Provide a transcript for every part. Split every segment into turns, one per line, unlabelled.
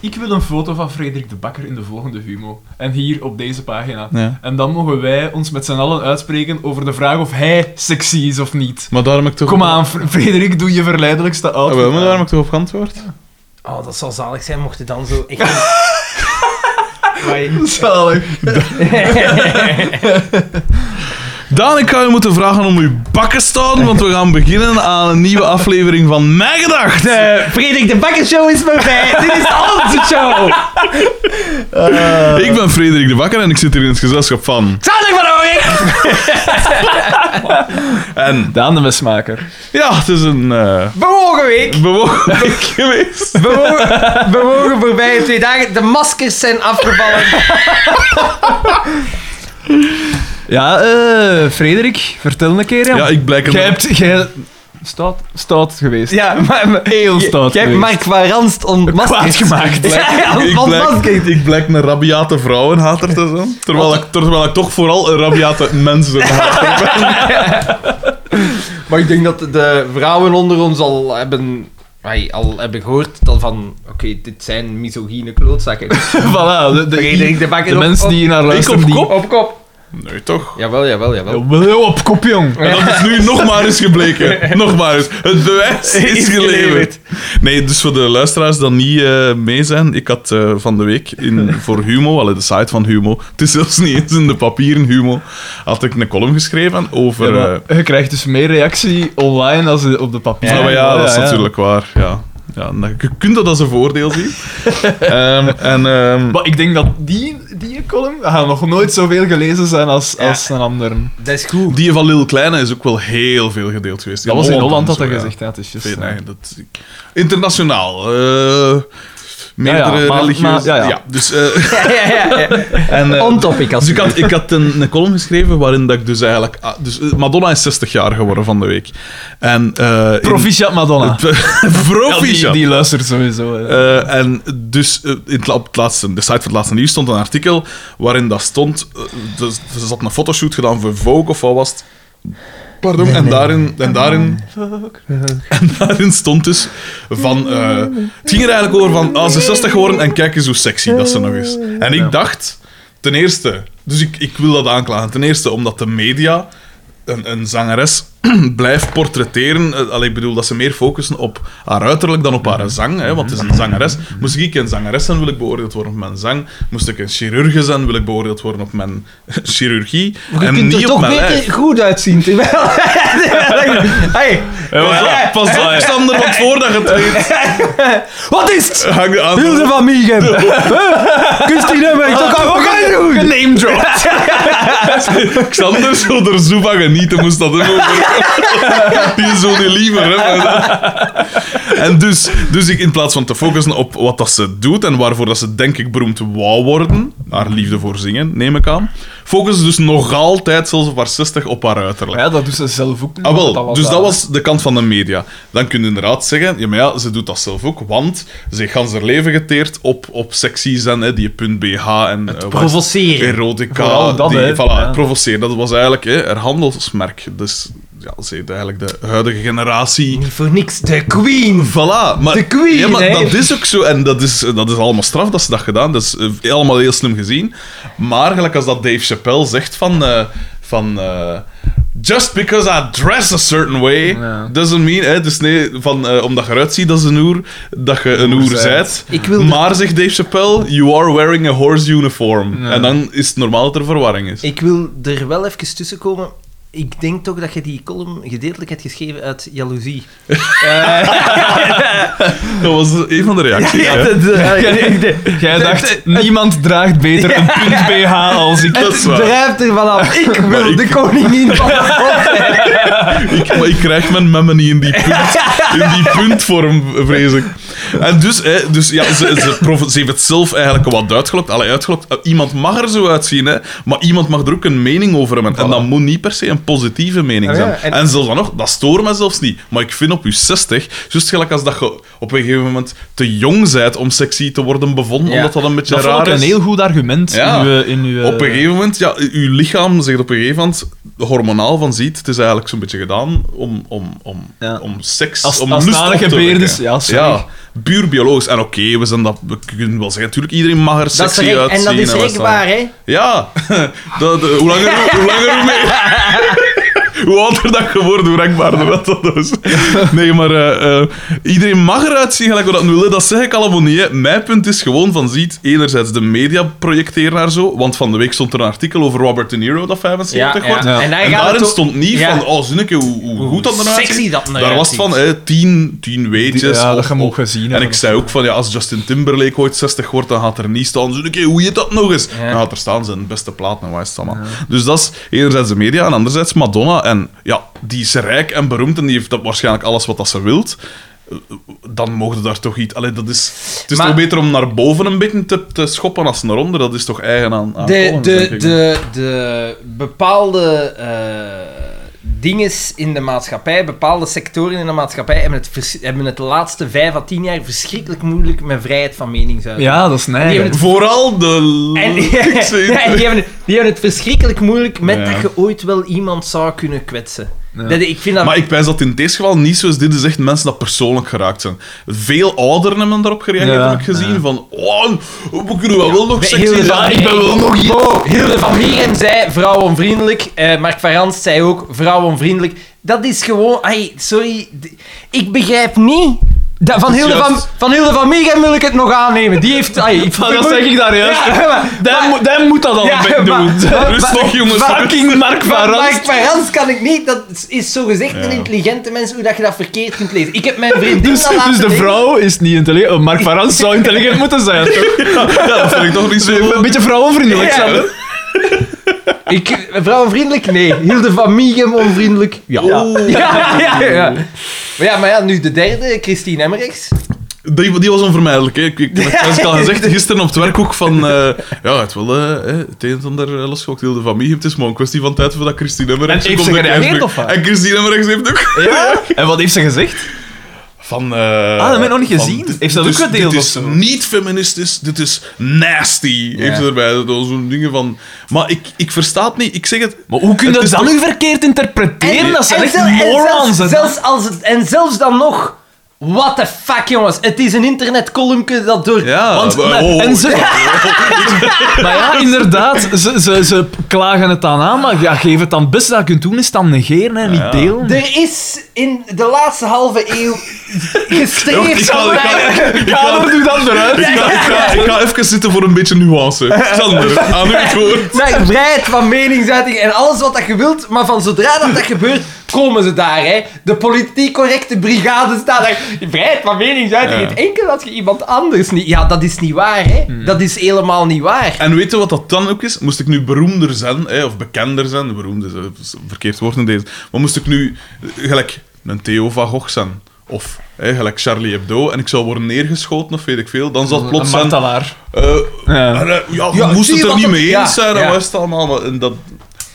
ik wil een foto van Frederik de Bakker in de volgende Humo. En hier op deze pagina.
Ja.
En dan mogen wij ons met z'n allen uitspreken over de vraag of hij sexy is of niet.
Maar daarom heb ik toch...
Kom aan, Fr- Frederik, doe je verleidelijkste
Ah,
outfit.
wel, maar
aan.
daarom heb ik toch op geantwoord?
Oh, dat zou zalig zijn mocht je dan zo echt... een- Maar je-
Zalig.
Daan, ik ga je moeten vragen om uw bakken te houden, want we gaan beginnen aan een nieuwe aflevering van Mijn Gedacht.
De Frederik de Bakker Show is voorbij. Dit is onze show.
Ik ben Frederik de Bakker en ik zit hier in het gezelschap van...
Xander van Ooyek.
En
Daan de mesmaker.
ja, het is een eh
Bewogen week.
bewogen week geweest.
Bewogen, bewogen voorbij in twee dagen. De maskers zijn afgevallen.
Ja, eh, Frederik, vertel een keer.
Ja, ik blijk
Jij
een...
hebt... Jij... Stout, stout geweest.
Ja, maar... maar-
Heel stout
Jij hebt
geweest.
Mark van Ranst ontmaskerd.
Kwaad gemaakt.
Ja, ja,
Ik blijk,
ontmaskerd.
ik blijk een rabiate vrouwenhater te zijn, terwijl ik, terwijl ik toch vooral een rabiate mensenhater ben.
Maar ik denk dat de vrouwen onder ons al hebben, ai, al hebben gehoord dat van... Oké, dit zijn misogyne klootzakken.
voilà, de, de,
Frederik de Bakker
de
op-
mensen
op-
die hier naar luisteren...
op
die-
kop?
Op kop.
Nee, toch?
Jawel, jawel, jawel.
Ja, op kop, jong.
En dat is nu nog maar eens gebleken. Nog maar eens. Het bewijs is,
Is geleverd.
geleverd. Nee, dus voor de luisteraars die niet eh, mee zijn, ik had eh, van de week in, voor Humo, allee, de site van Humo, het is zelfs niet eens in de papieren Humo, had ik een column geschreven
Ja,
over... eh,
maar je krijgt dus meer reactie online dan op de papier.
ja, maar ja, dat is natuurlijk waar. Ja. Ja, en dat- je kunt dat als een voordeel zien. Ehm, en, ehm,
Maar ik denk dat die, die column gaat nog nooit zoveel gelezen zijn als,
Ja.
als een ander.
Dat is goed.
die van Lil Kleine is ook wel heel veel gedeeld geweest.
Dat was in Holland dat
en
hij
zo, ja.
gezegd had. is eh,
Ik
juist,
weet
ja.
niet, dat, ik- internationaal. eh, meerdere
Ja, ja, maar-
religieuze...
maar- ja, ja.
dus, eh,
Ja, ja, ja.
en, eh,
On topic,
dus ik
alsjeblieft.
had, ik had een, een column geschreven waarin dat ik dus eigenlijk... ah, Dus eh, Madonna is 60 jaar geworden van de week. En, eh, in-
Proficiat Madonna. Ja,
Proficiat.
die, die luistert sowieso. hè.
Eh, en dus eh, in het la- op het laatste, de site van het laatste nieuws stond een artikel waarin dat stond. eh, dus, ze had een fotoshoot gedaan voor Vogue of wat was het? Pardon, en daarin. En daarin, en daarin stond dus van. eh, het ging er eigenlijk over van. Ah, ze is 60 geworden en kijk eens hoe sexy dat ze nog is. En ik dacht, ten eerste. Dus ik, ik wil dat aanklagen. Ten eerste omdat de media een, een zangeres blijft portretteren. eh, allee, ik bedoel dat ze meer focussen op haar uiterlijk dan op haar zang. Hè, want het is een zangeres. Moest ik een zangeres zijn, wil ik beoordeeld worden op mijn zang. Moest ik een chirurg zijn, wil ik beoordeeld worden op mijn chirurgie.
Je
en
kunt
niet
er
op
toch
mijn
beter
lijf.
goed uitzien. Terwijl... hey, dus, eh,
Ja, maar ja, pas op, Sander, want voordat je het weet,
wat is het?
hang je aan.
Hilde van Miegem. Christine Meij,
Ah,
toch al
Een name drop.
Xander zou er zo van genieten, moest dat hem overkomen. Die is zo niet liever, hè. maar- En dus, dus ik, in plaats van te focussen op wat dat ze doet en waarvoor dat ze, denk ik, beroemd wou worden, haar liefde voor zingen, neem ik aan, focussen ze dus nog altijd, zelfs op haar 60, op haar uiterlijk.
Ja, dat doet ze zelf ook. niet,
Ah, wel.
want
dus dat
haar-
was de kant van de media. Dan kun je inderdaad zeggen, ja, maar ja, ze doet dat zelf ook, want ze heeft gans haar leven geteerd op, op sexy zijn, hè, die punt BH en... eh, wat is het?
provoceren.
Erotica.
Vooral dat,
die,
hè.
voilà,
Ja.
provoceren. Dat was eigenlijk hè, haar handelsmerk. Dus ja, ze heeft eigenlijk de huidige generatie...
Niet voor niks, de queen.
Voilà, maar,
De queen,
ja, maar
hè.
dat is ook zo. En dat is, dat is allemaal straf dat ze dat gedaan. Dat is eh, allemaal heel slim gezien. Maar gelijk als dat Dave Chappelle zegt van... eh, van eh, Just because I dress a certain way
Ja.
doesn't mean... Hè, dus nee, van, eh, omdat je eruit ziet als een oer, dat je een oer
zijt.
zijt.
Ik wil-
Maar, zegt Dave Chappelle, you are wearing a horse uniform. En dan is het normaal dat er verwarring is.
Ik wil er wel even tussen komen. Ik denk toch dat je die column gedeeltelijk hebt geschreven uit jaloezie.
Dat was een van de reacties. hè.
Jij
Het-
dacht, niemand draagt beter een punt BH als ik.
Dat is
Het
waar.
drijft ervan af. Ik wil de koningin van de pop zijn.
Ik, maar ik krijg mijn memmen niet in die, punt, in die puntvorm, vrees ik. En dus, hè, dus ja, ze, ze, provo- ze heeft het zelf eigenlijk wat uitgelokt. Allee, uitgelokt. Eh, Iemand mag er zo uitzien, hè, maar iemand mag er ook een mening over hebben. En dat moet niet per se een positieve mening
Ah,
zijn.
ja, en-
en... zelfs dan nog, dat stoort mij zelfs niet. Maar ik vind op je 60, juist gelijk als dat je op een gegeven moment te jong bent om sexy te worden bevonden,
Ja.
omdat dat een beetje
Dat vond
raar
ik een
is.
heel goed argument
Ja.
in uw... In uw
eh,
Op een gegeven moment, ja, uw lichaam zegt op een gegeven moment hormonaal van ziet, het is eigenlijk zo'n beetje gedaan om, om, om,
Ja.
om seks,
Als-
om
als
lust
het
op te
gebeurd
wekken.
is, ja, sorry.
puur biologisch. En oké, we zijn dat... We kunnen wel zeggen, natuurlijk, iedereen mag er
Dat is
sexy
rek-
uitzien.
en dat is
wat
echt waar, hè?
Ja. dat, eh, hoe langer hoe, hoe langer hoe meer. Hoe ouder dat je wordt, hoe rekbaarder dat dat is. Nee, maar eh, eh, iedereen mag eruit zien gelijk we dat willen. Dat zeg ik allemaal niet. hè. Mijn punt is gewoon van, ziet, enerzijds de media projecteren naar zo. Want van de week stond er een artikel over Robert De Niro dat 75 wordt.
Ja.
En,
En,
daar gaat
daarin
het ook-
stond niet
Ja.
van, oh zinneke, hoe, hoe goed dat eruit
sexy
ziet.
dat eruit
Daar was het
ziet.
van, hè, tien, tien weetjes.
Ja, dat
of-
je hem ook
of-
gezien
En
hebt.
ik zei ook van, ja, als Justin Timberlake ooit 60 wordt, dan gaat er niet staan, zinneke, hoe heet dat nog eens?
Ja.
Dan gaat er staan zijn beste plaat, en waar is het allemaal. Dus dat is enerzijds de media, en anderzijds Madonna. En ja, die is rijk en beroemd, en die heeft dat waarschijnlijk alles wat dat ze wilt. Dan mogen ze daar toch iets... Allee, dat is, het is
Maar-
toch beter om naar boven een beetje te, te schoppen als naar onder. Dat is toch eigen aan, aan
de,
Collins, denk
de,
ik.
de, de bepaalde eh dingen in de maatschappij, bepaalde sectoren in de maatschappij, hebben het, vers- hebben het de laatste vijf à tien jaar verschrikkelijk moeilijk met vrijheid van meningsuiting.
Ja, dat is
Die
neigen.
hebben
Vooral de...
En,
linkse-
Ja, en die, hebben, die hebben het verschrikkelijk moeilijk met
Ja.
dat je ooit wel iemand zou kunnen kwetsen.
Ja.
Dat, ik vind dat...
Maar ik wijs dat in deze geval niet zo is. Dit is echt mensen dat persoonlijk geraakt zijn. Veel ouderen hebben daarop gereageerd,
Ja,
heb ik gezien.
ja.
Van, oh, we kunnen wel, wel nog
Bij
sexy
Hilde
zijn.
van-
Ik ben wel nog hier.
Wow, Hilde van Mieren zei vrouwenvriendelijk. Eh Mark van Rans zei ook vrouwenvriendelijk. Dat is gewoon... Ay, sorry. d- Ik begrijp niet... dat- van,
is
Hilde van,
juist.
van Hilde van Mieren wil ik het nog aannemen. Die heeft... Ay, ik,
Van, dat zeg ik daar juist.
Ja, maar-
Dan, moet- dan moet dat al
Ja,
een beetje
maar-
doen.
maar-
Rustig,
maar-
jongens.
Fucking Mark van
Maar
Ranst.
Mark van Rans kan ik niet. Dat is zo gezegd
Ja.
een intelligente mens hoe dat je dat verkeerd kunt lezen. Ik heb mijn vriendin
Dus,
al laten
dus de
denken-
vrouw is niet intelligent. Oh, Mark van Ranst zou intelligent moeten zijn. toch?
Ja, dat vind ik toch niet zo...
Een beetje vrouwenvriendelijk.
Ja.
snap je?
Ik, vrouwenvriendelijk? Nee. Hilde van Miegem onvriendelijk? Ja.
Oeh.
Ja, ja, ja. Maar ja, maar ja, nu de derde, Christine Emmerichs.
Die, die was onvermijdelijk. Hè. Ik, ik, dat heb ik al gezegd gisteren op het werk ook van... eh, ja, het wil eh, eh, het een en ander eh, losgehokt. Heel de familie. Het is maar een kwestie van tijd voordat Christine Emmerich...
En heeft ze gereageerd, of wat?
En Christine Emmerich heeft ook...
En wat heeft ze gezegd?
Van, eh,
Ah, dat heb ik nog niet
van,
gezien.
dit-
Heeft ze dat
dit
ook
is-
gedeeld
Dit
of
is
zo?
niet feministisch, dit is nasty. Heeft ze erbij dat was zo'n dingen van. Maar ik, ik versta het niet. Ik zeg het.
Maar hoe kun
Het
je
is
dat dan
toch-
nu verkeerd interpreteren? dat zijn echt
zel- en
morons. hè.
Zelfs, zelfs als het, en zelfs dan nog... What the fuck, jongens. Het is een internetcolumnke dat door...
Ja,
Want-
maar-
maar-
oh,
en ze-
ja.
Maar ja, inderdaad, ze, ze, ze klagen het dan aan, maar ja, geef het dan het beste dat je kunt doen, is dan negeren en
Ja.
niet delen.
Er is in de laatste halve eeuw gestreefd...
Ik ga- ik ga-
naar-
Kader, doe dat eruit.
Ik ga, ik, ga, ik ga even zitten voor een beetje nuance. Sander, aan uw woord.
naar vrijheid van meningsuiting en alles wat dat je wilt, maar van zodra dat dat gebeurt, komen ze daar, hè. De politiek correcte brigade staat daar. Vrijheid van meningsuiting,
Ja.
het enkel dat je iemand anders niet... Ja, dat is niet waar, hè. Dat is helemaal niet waar.
En weet je wat dat dan ook is? Moest ik nu beroemder zijn, hè, of bekender zijn, beroemd is een verkeerd woord in deze, maar moest ik nu eh, gelijk een Theo van Gogh zijn, of hè, gelijk Charlie Hebdo, en ik zou worden neergeschoten of weet ik veel, dan zou het plots
Een
zijn...
martelaar.
eh,
Ja.
en, eh, ja, je
Ja,
moest
zie
het er
wat
niet
het-
mee eens
ja,
zijn,
ja.
dan was het allemaal... maar, en dat...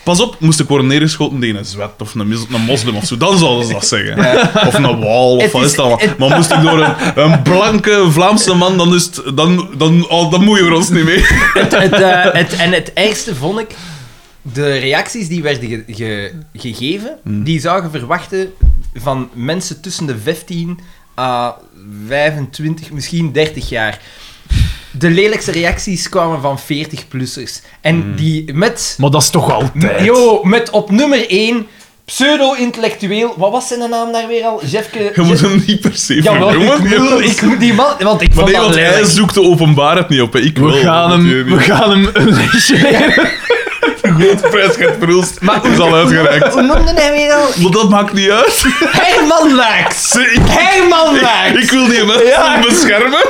Pas op, moest ik worden neergeschoten tegen een zwet of een, mis- een moslim of zo, dan zouden ze dat zeggen. Of een wal of
Het
wat
is-
is dat allemaal.
het-
Maar moest ik door een, een blanke Vlaamse man, dan, is het, dan, dan, oh, dan moet je er ons niet mee.
het, het, eh, het- en het ergste vond ik, de reacties die werden ge- ge- gegeven, die zouden verwachten van mensen tussen de 15 à 25, misschien 30 jaar. De lelijkste reacties kwamen van 40-plussers. En die met...
Maar dat is toch altijd.
Yo, met op nummer 1 pseudo-intellectueel... Wat was zijn naam daar weer al? Jeffke...
Je moet hem niet per se
Jawel,
vernoemen.
ik wil- ik moet die man... Want ik
Maar
vond
nee,
dat
want hij
lelijk.
zoekt de openbaarheid niet op. Hè. Ik
We
wil.
gaan
dat
hem,
weet je
we
niet.
gaan hem negeren.
De prijs gaat verhulst.
Maar
is al uitgereikt.
Hoe noemde hij weer al?
Maar dat maakt niet uit.
Herman Laaks!
Ze- Ik,
Herman
ik,
Laaks!
ik wil die mensen
Ja.
beschermen.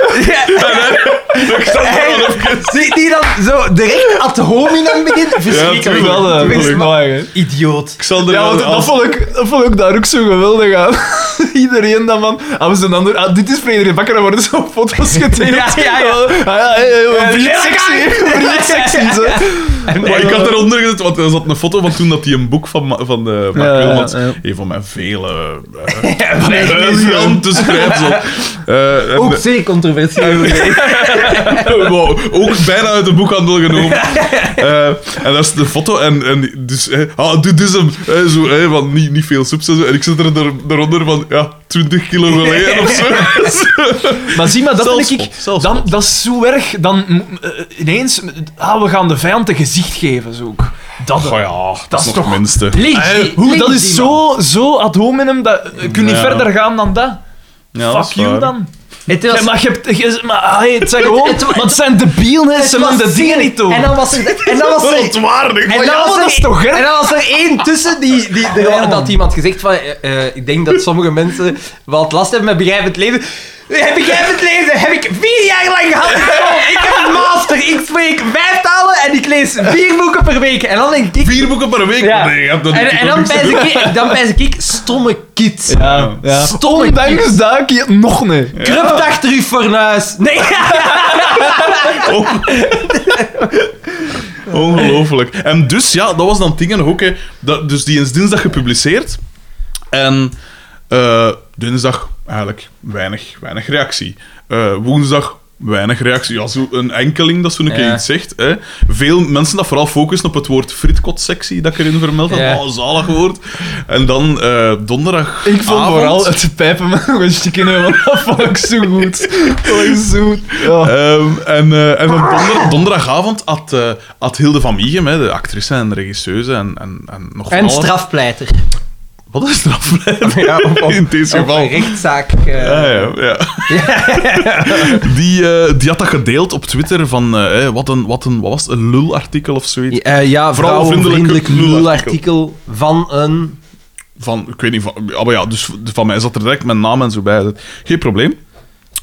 En hij- ik zal
Hey.
er wel even...
Zie die dan zo direct ad hominem begint? Verschrikkelijk.
tuurlijk.
Wel, eh,
Tuurlijk.
is mooi, hè.
Idioot.
Ik zal er
Ja, want
wel
dat
af-
vond, ik, dat vond ik daar ook zo geweldig aan. Iedereen dan van, ah, we zijn dan door- ah, dit is Frederik Bakker, daar worden zo foto's getekend.
Ja, ja, ja.
Ah, ja, hey, hey,
Eh,
vriend
ja,
sexy,
ja.
vriend sexy, zo.
Maar ik had eronder gezet, want er zat een foto van toen dat hij een boek van, Ma- van eh, Mark
Ja, ja,
Wilmots,
ja.
een van mijn vele eh, briljante schrijfsels. Eh, en-
Ook zeer controversieel.
Wow, ook bijna uit de boekhandel genomen. Eh, en dat is de foto. En, en die- dus, eh, ah, dit is hem. Eh, zo, eh, van niet, niet veel subs en zo. En ik zit er daar- daaronder van, ja, 20 kilo geleden of zo.
Maar zie maar, dat
Zelfspot,
vind ik...
zelfspot.
Dan, dat is zo erg. Dan mm, eh, ineens... mm, Ah, we gaan de vijand een gezicht geven, zo ook. Dat...
Goh Oh ja, dat,
Dat
is
is
nog
toch-
het minste.
Links,
Eh,
die-
hoe,
links
dat
die
is
man.
zo, zo ad hominem, dat je kunt niet
Ja.
verder gaan dan dat.
Ja, dat
Fuck
is
you
waar.
dan.
Het
Ja,
was,
maar je hebt, je- maar, ah, hey, het zijn gewoon...
het wa-
want het zijn debielen, hè, ze
het
willen
was
de dingen
zeer-
niet doen.
En dan was er... En dan was er
Verontwaardigd.
en
ja,
dan was
maar dat
er,
is toch erg?
en dan was er één tussen die, die, die-
Ja,
dat
man.
had iemand gezegd van, eh, eh, ik denk dat sommige mensen wat last hebben met begrijpend leven. Eh, Begrijpend leven heb ik vier jaar lang gehad. in school. Ik heb een master, ik spreek vijf talen en ik lees vier boeken per week. En dan denk ik...
Vier boeken per week?
Ja.
Nee, je hebt dat
en,
natuurlijk
en dan
niks te
pijs ik, dan pijs ik, stomme kid.
Ja, ja.
Stomme
Ondanks
kies.
dat, ik- nog niet.
Krupt achter uw fornuis. Nee,
doen. Ongelooflijk. En dus, ja, dat was dan dingen ook. Hè. Dat, dus die is dinsdag gepubliceerd. En eh, dinsdag eigenlijk weinig, weinig reactie. Eh, woensdag weinig reactie. Ja, zo een enkeling dat zo'n keer
Ja.
iets zegt. Hè. Veel mensen dat vooral focussen op het woord fritkotsectie dat ik erin vermeld heb.
Ja.
Oh, zalig woord. En dan eh, donderdag
Ik vond
avond-
vooral het pijpen met een chicken, want dat vond ik zo goed. Dat was zo goed. Ja.
Ehm, en eh, en op donder- donderdagavond had, eh, had Hilde van Miegem, hè, de actrice en regisseuse en, en, en nog van
en
alles-
strafpleiter.
Wat is strafleider?
Ja, of- of-
In dit
Of een
geval.
rechtszaak. eh,
Ja, ja, ja. die, eh, die had dat gedeeld op Twitter van eh, hè, wat, een, wat, een, wat was het, een lulartikel of zoiets.
Eh, ja,
vrouwenvriendelijk
vrouwenvriendelijk nulartikel van een...
Van, ik weet niet, van, ah, maar ja, dus van mij zat er direct mijn naam en zo bij. Geen probleem.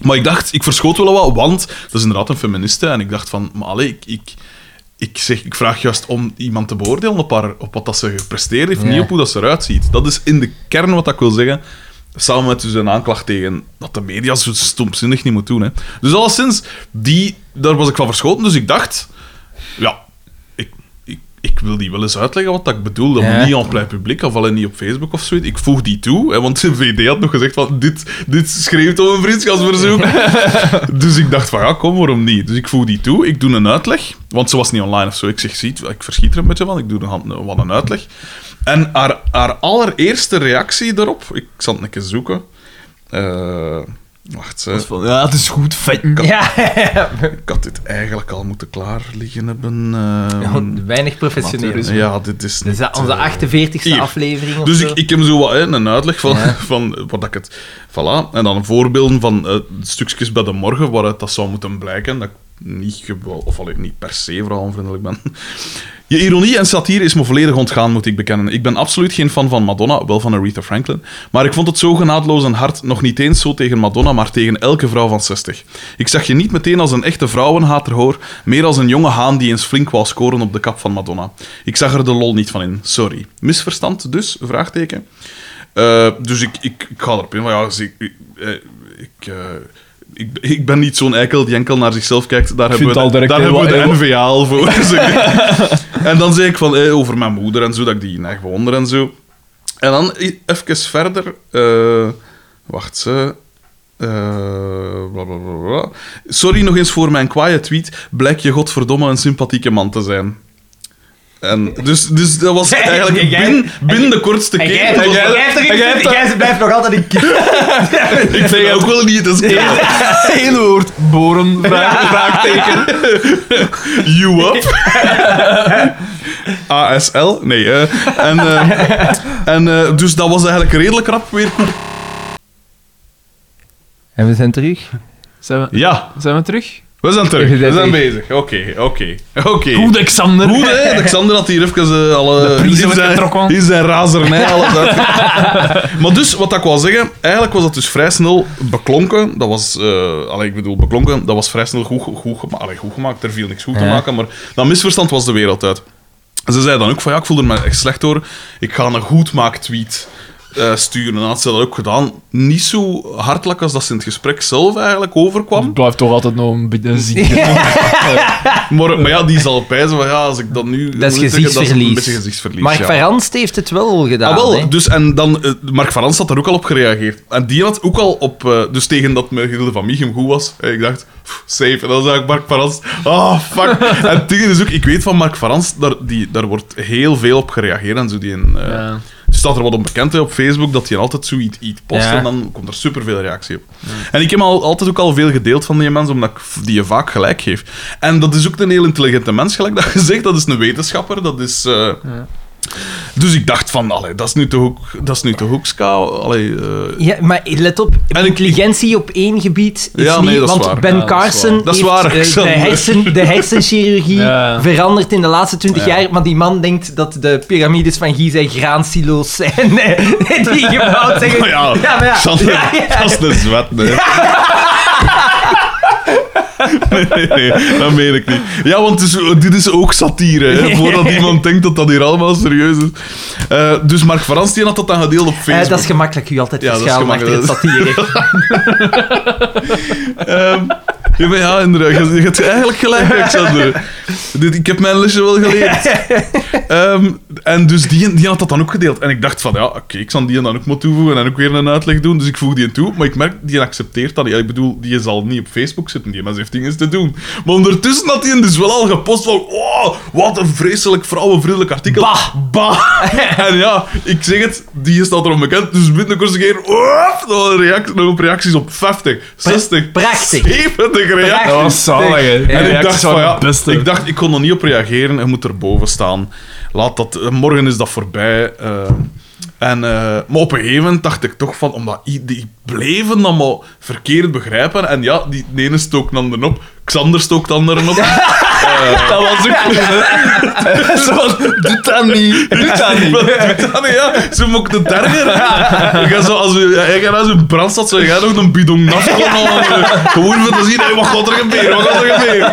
Maar ik dacht, ik verschoot wel wat, want dat is inderdaad een feministe. En ik dacht van, maar allee, ik, ik, ik, zeg, ik vraag juist om iemand te beoordelen op, haar, op wat dat ze gepresteerd heeft,
Ja.
niet op hoe dat ze eruit ziet. Dat is in de kern wat ik wil zeggen. Samen met dus een aanklacht tegen dat de media zo stomzinnig niet moet doen. Hè. Dus alleszins, die, daar was ik van verschoten. Dus ik dacht, ja, ik, ik, ik wil die wel eens uitleggen wat dat ik bedoel. Dat
Ja.
moet niet aan plein publiek, of alleen niet op Facebook of zoiets. Ik voeg die toe, hè, want de VD had nog gezegd van dit, dit schreeuwt om een vriendschapsverzoek. dus ik dacht van ja, kom, waarom niet? Dus ik voeg die toe, ik doe een uitleg, want ze was niet online of zo. Ik zeg, ziet, ik verschiet er een beetje van, ik doe een, hand- een- wat een uitleg. En haar, haar allereerste reactie daarop, ik zal het een keer zoeken. Eh, wacht, ze.
Ja, het is goed, vet.
Ja,
ik had dit eigenlijk al moeten klaar liggen hebben. eh,
weinig professioneel.
ja, dit is
Dus dat
niet,
onze
eh,
48e
hier.
aflevering of
Dus
zo.
ik, ik heb zo wat, hè, een uitleg van,
Ja.
van wat ik het... Voilà. En dan voorbeelden van eh, stukjes bij de morgen waaruit dat zou moeten blijken. Dat ik niet, gewel- of allee, niet per se vrouwenvriendelijk ben. Je ironie en satire is me volledig ontgaan, moet ik bekennen. Ik ben absoluut geen fan van Madonna, wel van Aretha Franklin. Maar ik vond het zo genadeloos en hard, nog niet eens zo tegen Madonna, maar tegen elke vrouw van 60. Ik zag je niet meteen als een echte vrouwenhater hoor, meer als een jonge haan die eens flink wou scoren op de kap van Madonna. Ik zag er de lol niet van in, sorry. Misverstand dus? Vraagteken. Eh, dus ik, ik, ik ga erop in. Maar ja, dus ik, ik, eh, ik, eh, ik, ik ben niet zo'n eikel die enkel naar zichzelf kijkt. Daar hebben
vind
we,
het al direct
daar
heel
hebben we
wat-
de NVA al voor. Dus ik- en dan zei ik van, eh, over mijn moeder en zo, dat ik die in echt bewonder en zo. En dan i- even verder. eh, wacht, ze. Eh, bla, bla, bla, bla. Sorry nog eens voor mijn kwaaie tweet. Blijk je godverdomme een sympathieke man te zijn. En dus, dus dat was eigenlijk
En jij-
binnen, binnen de kortste
En
keer.
jij hebt
dat
er-
was-
jij hebt
en jij
er-
hebt er-
jij blijft nog altijd een kind.
ik vind ook wel niet eens keer.
Hele woord, boren, vraag, vraagteken.
You up. ASL? Nee. eh, en eh, en eh, dus dat was eigenlijk redelijk rap weer.
En we zijn terug.
Zijn we,
Ja,
zijn we terug?
we zijn terug.
Even
We zijn
zijn
bezig. Oké, oké. Oké.
Goed, Xander.
Goed, hè? Alexander had hier even eh, alle...
De prijzen
in
werd
zijn-
getrokken.
In zijn razernij, alles uit. maar dus, wat ik wou zeggen, eigenlijk was dat dus vrij snel beklonken. Dat was... eh allee, ik bedoel, beklonken, dat was vrij snel goed, goed, gema- allee, goed gemaakt. Er viel niks goed te
Ja.
maken, maar dat misverstand was de wereld uit. Ze zei dan ook van, ja, ik voelde me echt slecht door. Ik ga een goedmaak-tweet eh, sturen. En dat had ze dat ook gedaan. Niet zo hartelijk als dat ze in het gesprek zelf eigenlijk overkwam.
blijft toch altijd nog een beetje ziek.
Maar, maar ja, die zal pijzen van, ja, als ik dat nu...
Dat is
moet zeggen,
gezichtsverlies.
een beetje gezichtsverlies,
Mark
ja.
Verranst heeft het wel gedaan.
Ah,
hè.
wel, dus en dan, eh, Mark Varans had daar ook al op gereageerd. En die had ook al op, eh, dus tegen dat mijn Hilde van Michum goed was, eh, ik dacht, pff, safe. En dan zag ik Mark Varans, ah, fuck. en tegen is ook, ik weet van Mark Varans, daar, die, daar wordt heel veel op gereageerd en zo. Die in, eh,
Ja.
Dus staat er wat onbekend hè, op Facebook dat hij altijd zoiets iets post
Ja.
en dan komt er superveel reactie op. En ik heb al, altijd ook al veel gedeeld van die mensen, omdat ik v- die je vaak gelijk geef. En dat is ook een heel intelligente mens, gelijk dat je zegt. Dat is een wetenschapper, dat is... eh, Dus ik dacht van, allee, dat is nu toch ook, dat is nu toch ook ska, allee, eh,
Ja, maar let op,
ik-
intelligentie op één gebied is
Ja, nee,
niet...
dat is
want
waar.
Ben
Ja, dat is
Carson
waar. Dat is
heeft,
waar,
eh, de,
Alexander.
hersen, de hersenchirurgie
Ja.
veranderd in de laatste twintig
Ja.
jaar, maar die man denkt dat de piramides van Gizeh graansilo's zijn eh, die gebouwd zijn.
Nou ja,
maar ja.
Sander,
Ja, ja.
dat is een zwet, nee. Nee, nee, nee, dat meen ik niet. Ja, want het is- dit is ook satire, hè, voordat iemand denkt dat dat hier allemaal serieus is. Eh, dus Mark Frans die had dat dan gedeeld op
Eh,
Facebook.
dat is gemakkelijk, u altijd
Ja, dat is
verschuilen achter het satire.
Ehm, ja, maar ja, inderdaad. Je, je hebt eigenlijk gelijk, Alexander. Dit, ik heb mijn lesje wel geleerd. Ehm, en dus die, die had dat dan ook gedeeld. En ik dacht van, ja, oké, ik zal die dan ook maar toevoegen en ook weer een uitleg doen. Dus ik voeg die toe, maar ik merk, die accepteert dat niet. Ja, ik bedoel, die zal niet op Facebook zitten. Die mens heeft dingen te doen. Maar ondertussen had hij dus wel al gepost van, oh, wat een vreselijk vrouwenvriendelijk artikel. Bah! en ja, ik zeg het, die staat erom bekend. Dus binnenkort een keer, oh, dan waren reacties, nog op reacties op 50, 60,
prachtig.
70 reacties.
Dat was zalig, hè.
Ja,
En ik dacht, van, ja,
het beste.
ik dacht, ik kon er niet op reageren. Hij moet er boven staan. Laat dat, eh, morgen is dat voorbij. eh. en, eh, maar op een gegeven moment dacht ik toch van... Omdat i- die bleven dan maar verkeerd begrijpen. En ja, die de ene stook dan de op. Xander stook dan de op.
Dat was ook... Zo, doet dat niet. Doet dat niet.
Wat doet dat, ja? Ze moet de derde. Ik ga zo, als we, hij gaat naar zijn brandstad, zou jij nog een bidon nafkomen. Gewoon om te zien, hey, wat gaat er gebeuren, wat gaat er gebeuren.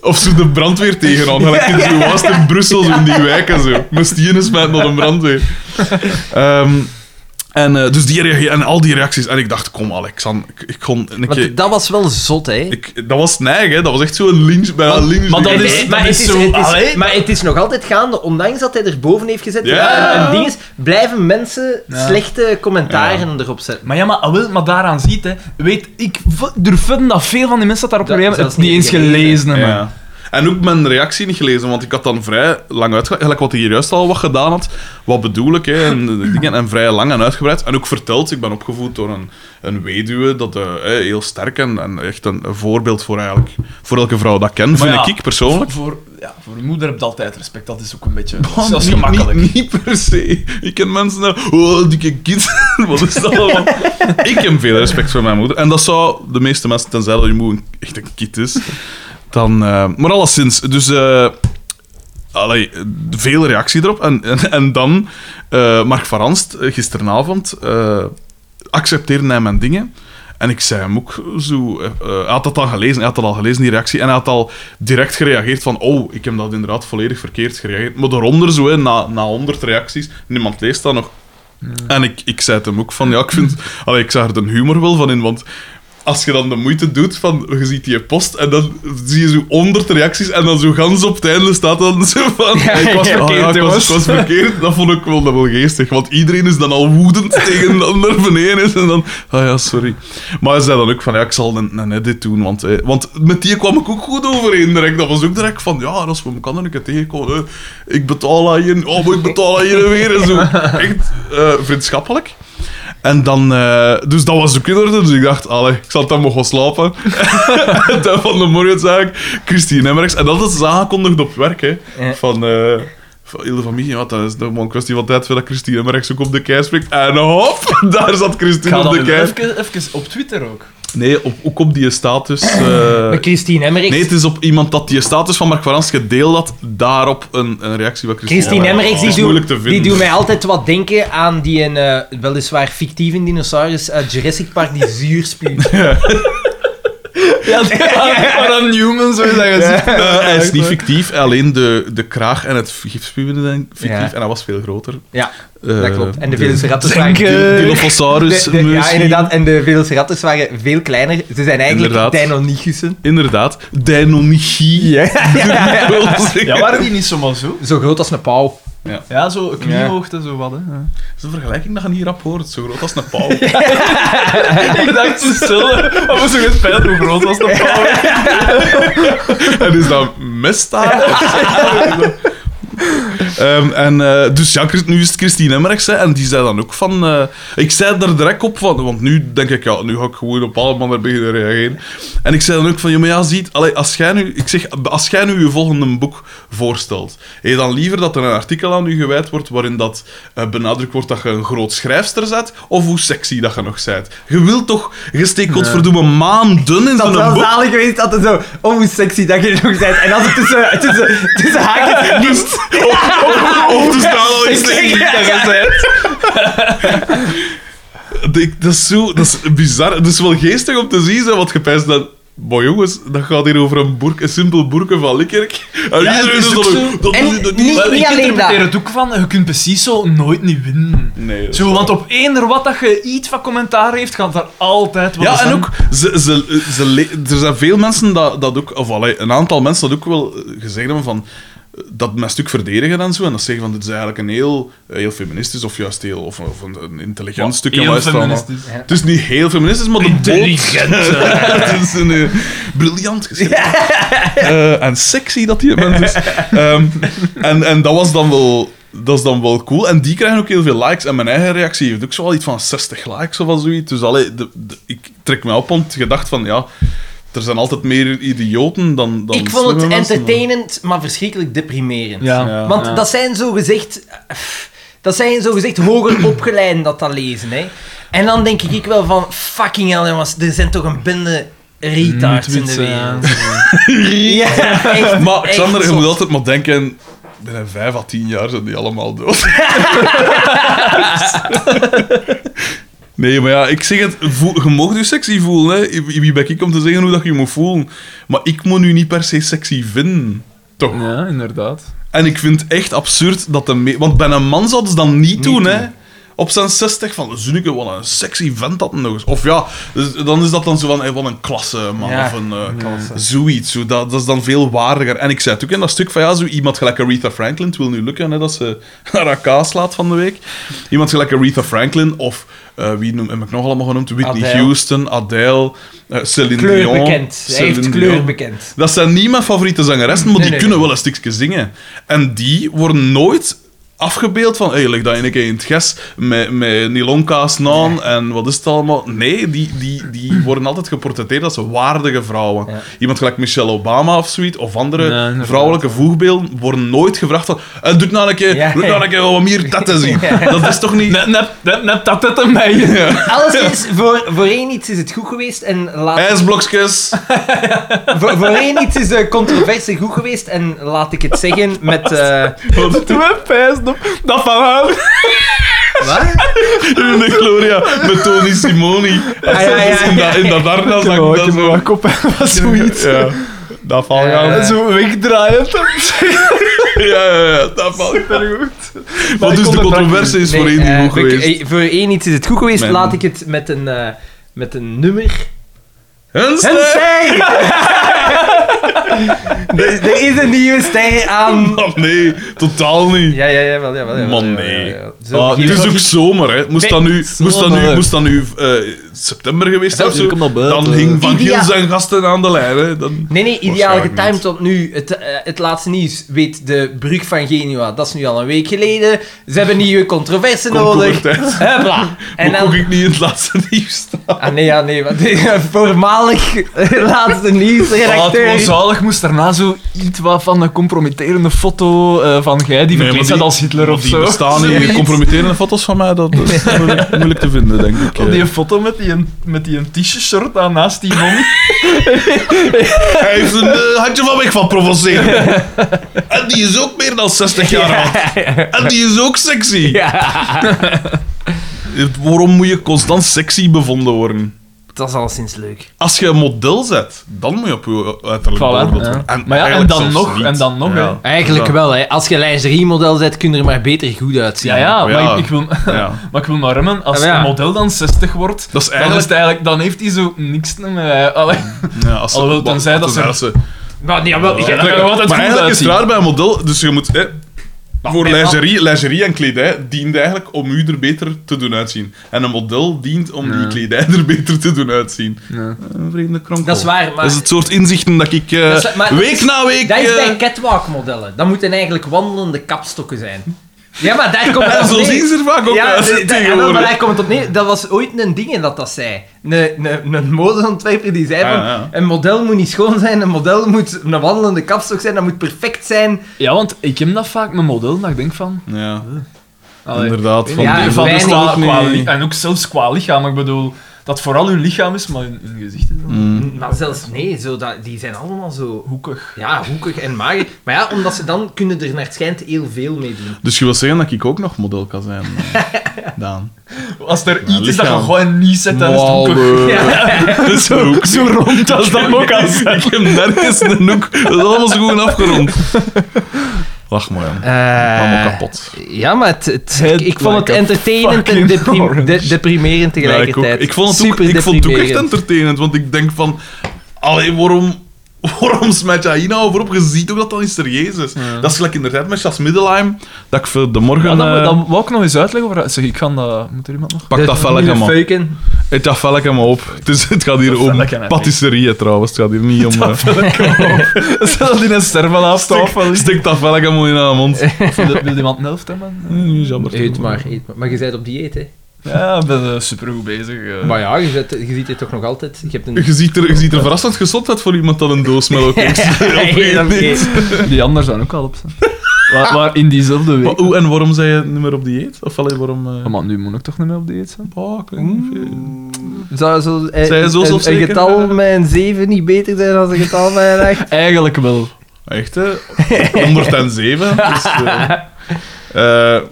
Of ze de brandweer tegenaan, gelijk in zo was het in Brussel, zo in die wijken zo. Met stieren smijten naar de brandweer. Ehm, en, eh, dus die reage- en al die reacties. En ik dacht, kom Alexander, ik, ik kon... Een keer,
Want dat was wel zot, hè?
ik, dat was neig, hè. Dat was echt zo'n lynch, bijna lynch.
maar dat
Nee,
is-
nee, maar
dat
het
is
is-
zo-
het is-
Allee.
Maar het is nog altijd gaande, ondanks dat hij er boven heeft gezet.
Ja.
En, en ding is, blijven mensen slechte commentaren erop zetten.
Maar ja, maar, ah, wel, maar daaraan ziet, hè. Weet, ik v- durf vinden dat veel van die mensen dat daarop
Dat-
proberen, het
zelfs
niet
niet
eens gelezen hebben.
Ja. En ook mijn reactie niet gelezen, want ik had dan vrij lang uitgelegd, gelijk wat hij hier juist al wat gedaan had, wat bedoel ik, hè, en, de dingen, en vrij lang en uitgebreid. En ook verteld, ik ben opgevoed door een, een weduwe, dat eh, eh, heel sterk en, en echt een, een voorbeeld voor eigenlijk, voor elke vrouw dat ken, vind
ja,
ik, ik persoonlijk.
Voor, voor- ja, voor uw moeder heb je altijd respect, dat is ook een beetje...
Oh,
dat is
niet-
gemakkelijk.
Niet, niet per se. Ik ken mensen dat... Oh, dikke kind. Wat is dat allemaal? ik heb veel respect voor mijn moeder. En dat zou de meeste mensen, tenzij dat je moeder een- echt een kind is, dan... eh, maar alleszins, dus... eh, Allee, veel reactie erop. En, en, en dan, eh, Mark van Ranst, eh, gisteravond, eh, accepteerde hij mijn dingen. En ik zei hem ook zo... eh, eh, hij had dat al gelezen, hij had dat al gelezen, die reactie. En hij had al direct gereageerd van... Oh, ik heb dat inderdaad volledig verkeerd gereageerd. Maar daaronder zo, hè, na, na 100 reacties, niemand leest dat nog. En ik, ik zei het hem ook van... Ja, ik vind... Allee, ik zag er de humor wel van in, want... Als je dan de moeite doet van, je ziet die post en dan zie je zo 100 reacties en dan zo gans op het einde staat dan zo van, ik was
ja, Oh,
verkeerd,
ja,
ik was,
jongens.
ik was verkeerd. Dat vond ik wel, dat wel geestig, want iedereen is dan al woedend tegen de ander beneden is en dan, ah ja, sorry. Maar hij zei dan ook van, ja, ik zal een, een edit doen, want, eh, want met die kwam ik ook goed overeen direct. Dat was ook direct van, ja, als we elkaar dan een keer tegenkomen, eh, ik betaal aan je, oh, maar ik betaal aan je weer en zo. Echt eh, vriendschappelijk. En dan, eh, dus dat was ook in orde. Dus ik dacht, allee, ik zal dan maar gaan slapen. en dan van de morgen zag ik Christine Emmerichs. En dat is dus aangekondigd op werk, hè.
Ja.
Van, eh van heel de familie. Want dat is nog maar een kwestie van tijd voordat Christine Emmerichs ook op de kei springt. En hop, daar zat
Ik
Christine
ga
op
dat
de
nu
kei.
even, even op Twitter ook.
Nee, op, ook op die status. eh,
Maar Christine Emmerich.
nee, het is op iemand dat die status van Mark Varans gedeeld had. Daarop een, een reactie van Christine,
Christine Emmerich,
Het
die,
is moeilijk te
doet, die
vinden.
doet mij altijd wat denken aan die een, eh, weliswaar fictieve dinosaurus uit Jurassic Park die zuur spuwt.
Ja,
Ah,
aan Newman, zo is dat gezien.
Eh, hij is niet fictief, alleen de, de kraag en het gipspuwen zijn fictief.
Ja.
En hij was veel groter.
Ja,
Eh,
dat klopt. En de
de-
Velociraptors waren...
Zenke.
Dil- Dilophosaurus.
De- de- ja,
Dus misschien.
inderdaad. En de Velociraptors waren veel kleiner. Ze zijn eigenlijk
Inderdaad.
Deinonychussen.
Inderdaad. Deinonychie. Ik wil zeggen.
Ja, waren die niet zomaar zo?
Zo groot als een pauw.
Ja, zo kniehoogte, zo wat, hè. Ja.
Dat is een vergelijking dat je niet rap hoort. Zo groot als een pauw.
Ik dacht, ze zullen... Maar zo gespeeld, hoe groot was de pauw?
en is dat misdaad? Of zo? Ehm, en, eh, dus ja, Christ- nu is het Christine Emmerichs. hè, En die zei dan ook van... eh, ik zei er direct op van... Want nu denk ik, ja, nu ga ik gewoon op alle mannen beginnen reageren. En ik zei dan ook van... Ja, maar ja, ziet... Allee, als jij nu... Ik zeg, als jij nu je volgende boek voorstelt... Heb je dan liever dat er een artikel aan u gewijd wordt... waarin dat eh, benadrukt wordt dat je een groot schrijfster bent... of hoe sexy dat je nog bent? Je wilt toch... Je steekt godverdomme maanden in
Dat
zo'n
is wel
boek...
zalig geweest dat het zo... Oh, hoe sexy dat je er nog bent. En dan zo tussen, tussen, tussen haakjes niet.
Of te staan al in sexy dat je bent. Ik- dat, is zo, dat is bizar. Het is wel geestig om te zien, zo, want je pijst dat... Boy jongens, dat gaat hier over een, boerk, een simpel boerke van Likkerk. En iedereen
is
is
ook
dan
zo.
ook... Dat,
En
dat- dat-
niet-
dat-
Maar ik
alleen
interpreteer
dat.
het ook van, je kunt precies zo nooit niet winnen.
Nee, dat is
Zo, want op eender wat dat je iets van commentaar heeft, gaat daar altijd wat
Ja,
zijn.
en ook, ze, ze, ze, le- er zijn veel mensen dat, dat ook, of allee, een aantal mensen dat ook wel eh, gezegd hebben van eh, dat mijn stuk verdedigen en zo. En dat zeggen van dit is eigenlijk een heel, eh, heel feministisch of juist heel of, of een, een intelligent
Ja,
stuk.
heel
en luister allemaal.
feministisch.
Ja.
Het is niet heel feministisch, maar de
Intelligent,
boodschap- het is een eh, briljant geschreven. Eh, en sexy dat die bent is. Ehm, en, en dat was dan wel. Dat is dan wel cool. En die krijgen ook heel veel likes. En mijn eigen reactie heeft ook zo wel iets van 60 likes of wel zoiets. Dus allee, de- de- ik trek me op want het gedacht van ja, er zijn altijd meer idioten dan. dan
Ik vond het
slimme mensen.
entertainend, maar verschrikkelijk deprimerend.
Ja.
Ja.
Want
Ja.
dat zijn zogezegd... pff, Dat zijn zogezegd hoger opgeleiden dat dat lezen, hè. En dan denk ik wel van... Fucking hell, jongens. Er zijn toch een bende retards in de
Nitwits, ja.
wereld. Ja, echt,
Maar
echt
Xander, je
zot.
moet altijd maar denken. Binnen vijf à tien jaar zijn die allemaal dood. Nee, maar ja, ik zeg het, voel, je mag je sexy voelen. Hè. Wie ben ik om te zeggen hoe dat je je moet voelen? Maar ik moet nu niet per se sexy vinden. Toch?
Ja, inderdaad.
En ik vind het echt absurd dat de me- Want bij een man zouden ze dat niet, doen, hè. Op zijn 60 van, Zunike, wat een sexy vent dat nog eens. Of ja, dus dan is dat dan zo van, hey, wat een klasse man.
Ja.
Of een, eh, zoiets. Zo, dat, dat is dan veel waardiger. En ik zei het ook in dat stuk van, ja, zo iemand gelijk Aretha Franklin, het wil nu lukken, hè, dat ze haar AK slaat van de week. Iemand gelijk Aretha Franklin, of eh, wie noem, heb ik nog allemaal genoemd? Whitney
Adele.
Houston, Adele, eh, Celine Dion.
Kleurbekend. Hij heeft
Celine
kleur
Dion.
bekend.
Dat zijn niet mijn favoriete zangeressen, maar
Nee,
die
nee.
kunnen wel een stukje zingen. En die worden nooit afgebeeld van, hey, leg dat in een keer in het ges met, met nylonkaas aan en wat is het allemaal. Nee, die, die, die worden altijd geportretteerd als waardige vrouwen.
Ja.
Iemand gelijk Michelle Obama of zoiets, of andere
Ja, inderdaad.
vrouwelijke voegbeelden, worden nooit gevraagd van, eh, doe nou een keer,
Ja.
doe nou een keer wat meer dat te zien. Dat is toch niet...
Net, net, net, net dat het aan mij is.
Alles is... Voor, voor één iets is het goed geweest en laat...
IJsblokjes.
Voor, voor één iets is de controversie goed geweest en laat ik het zeggen met... eh,
Wat doe je pijst op? Dat van hem.
wat?
Met Gloria, met Tony Simoni.
ja, ja, ja,
In dat- In dat harnas, dat dat zo...
kop en wat zoiets.
Ja, dat valt
Ja.
gaan.
Zo wegdraaien.
Ja, ja, ja, dat valt
Supergoed.
Maar
ik
dus
kon
de
het
controverse is voor
Nee,
één die
eh,
goed
voor-
geweest.
eh, Voor één iets is het goed geweest,
Mijn-
laat ik het met een, eh, met een nummer... Eh.
Hensen!
er, er is een nieuwe ster aan...
Man, Oh, nee, totaal niet.
Ja, ja, ja, wel, ja, wel. Ja, wel,
Man,
ja, wel,
nee.
ja, wel. Zo,
Ah,
hier-
Het is ook zomer, hè. Moest dat nu, moest dat nu,
zomer.
moest dat nu eh, september geweest zijn of
natuurlijk
zo,
komt dat buiten.
dan hing Van
Idea-
Giel zijn gasten aan de lijn, hè. Dan...
Nee, nee, ideaal
Waarschijnlijk
getimed,
niet.
want nu het, eh, het laatste nieuws weet de brug van Genua. Dat is nu al een week geleden. Ze hebben nieuwe controverse nodig.
Komkommertijd.
Huppla. En
Hoe kon
dan...
ik niet in het laatste nieuws staan?
Ah nee, ja, nee, want voormalig laatste
Ah, het
nieuwsredacteur.
zalig moest daarna zo iets wat van een compromitterende foto eh, van jij die verkleed staat als Hitler of
die
zo.
bestaan
Zoiets.
niet. Compromitterende foto's van mij, dat is moeilijk, moeilijk te vinden, denk ik.
Op
eh.
die foto met die, een- met die een t-shirt aan naast die man.
Hij heeft een eh, handje van weg van provoceren. En die is ook meer dan 60 jaar oud. En die is ook sexy. Eh, Waarom moet je constant sexy bevonden worden?
Dat is al sinds leuk.
Als je een model zet, dan moet je op je uiterlijk
Voilà,
beoordeeld
ja.
worden.
Maar ja, en
eigenlijk
dan
zelfs
nog,
niet.
en dan nog, hè.
Eigenlijk
Ja.
wel, hè. Als je een lingerie-model zet, kun je er maar beter goed uitzien.
Ja, ja, maar
ja.
Ik, ik wil,
Ja.
maar ik wil maar remmen. Als
Ja, maar ja.
een model dan 60 wordt,
Dat
dan, is
is eigenlijk...
het eigenlijk, dan heeft hij zo niks meer. eh, allee.
Ja, als ze-
Alhoewel, tenzij dat ze-
ze...
Maar, ja, wel,
Ja,
Maar
dat gaat altijd goed
eigenlijk is
uitzien.
het raar bij een model, dus je moet... eh, voor
mijn man-
lingerie, lingerie en kledij dient eigenlijk om u er beter te doen uitzien. En een model dient om die kledij er beter te doen uitzien. Eh,
Ja.
Een vreemde kronkel.
Dat is waar, maar...
Dat is het soort inzichten dat ik eh,
Dat is- maar-
week na week...
Dat is
eh,
bij catwalk-modellen. Dat moeten eigenlijk wandelende kapstokken zijn. Ja, maar daar komt het
en
op
zo
neer.
zien ze er vaak ook
Ja,
uit
de- de- en wel,
tegenwoordig.
maar daar komt het op neer. Dat was ooit een ding in dat dat zei. Een, een, een modeontwerper die zei
Ah,
van...
ja.
Een model moet niet schoon zijn, een model moet een wandelende kapstok zijn, dat moet perfect zijn.
Ja, want ik heb dat vaak met modellen, dat ik denk van...
Ja,
allee,
inderdaad. Van
Ja,
eh,
die-
van
dus
weinig.
qua-
ook
qua
niet.
li- en ook zelfs qua lichaam, ik bedoel... Dat vooral hun lichaam is, maar hun, hun gezicht is dan
Mm.
Maar zelfs nee, zo dat, die zijn allemaal zo...
hoekig.
Ja, hoekig en mager. Maar ja, omdat ze dan kunnen er naar het schijnt heel veel mee doen.
Dus je wil zeggen dat ik ook nog model kan zijn, eh, Daan?
Als er
Ja,
iets is dat je
lichaam.
gewoon niet zet, dan is het hoekig.
Dat is ook zo rond als dat ook als Ik heb nergens een hoek. Dat is allemaal zo goed afgerond. Eh, Lach maar, jong. Allemaal kapot.
Eh, Ja, maar het, het- ik, ik vond het
like a
entertainend en
fucking
deprim-
orange.
de- deprimerend
Ja, ik, ook.
tegelijkertijd.
ik vond het ook,
Super
ik vond het ook echt
deprimerend.
entertainend, want ik denk van... Allee, waarom... Waarom smet jij hier nou over op? Je ziet ook dat dat niet serieus is. Dat is gelijk inderdaad met Jas Middelheim, dat ik voor de morgen...
Ja, dan,
eh,
dan wou ik nog eens uitleggen. Waar, zeg, ik kan dat... Moet er iemand nog?
pak dat velletje,
Nieuwe
man.
feuken.
Eet dat velletje maar op. Het, is, het gaat hier
Dat
om
velletje, hè,
patisserie trouwens. Het gaat hier niet om... eh,
Stel dat in een ster van
Stik, stik dat velletje maar in haar mond.
Wil wil iemand een helft hebben?
Eh, Jammer.
Eet maar, eet maar. Maar je bent op dieet, hè.
Ja, ik ben eh, supergoed bezig. eh.
Maar ja, je, bent- je ziet het toch nog altijd. Je hebt een...
Je ziet er, je ziet er verrassend gezond uit voor iemand dat een doos met elkaar
Hey, dat is-
Die anders zijn ook al op zijn. maar, maar in diezelfde week.
Maar hoe en waarom zei je niet meer op dieet? Of alleen waarom... eh,
Ja, maar nu moet ik toch niet meer op dieet zijn?
oh, ik weet niet veel.
Zou zo, eh,
Zijn je zo
een, een
zelfzeker?
getal met een 7 niet beter zijn dan een getal met een 8?
Eigenlijk wel.
Echt, hè? 107. Dus, eh, eh,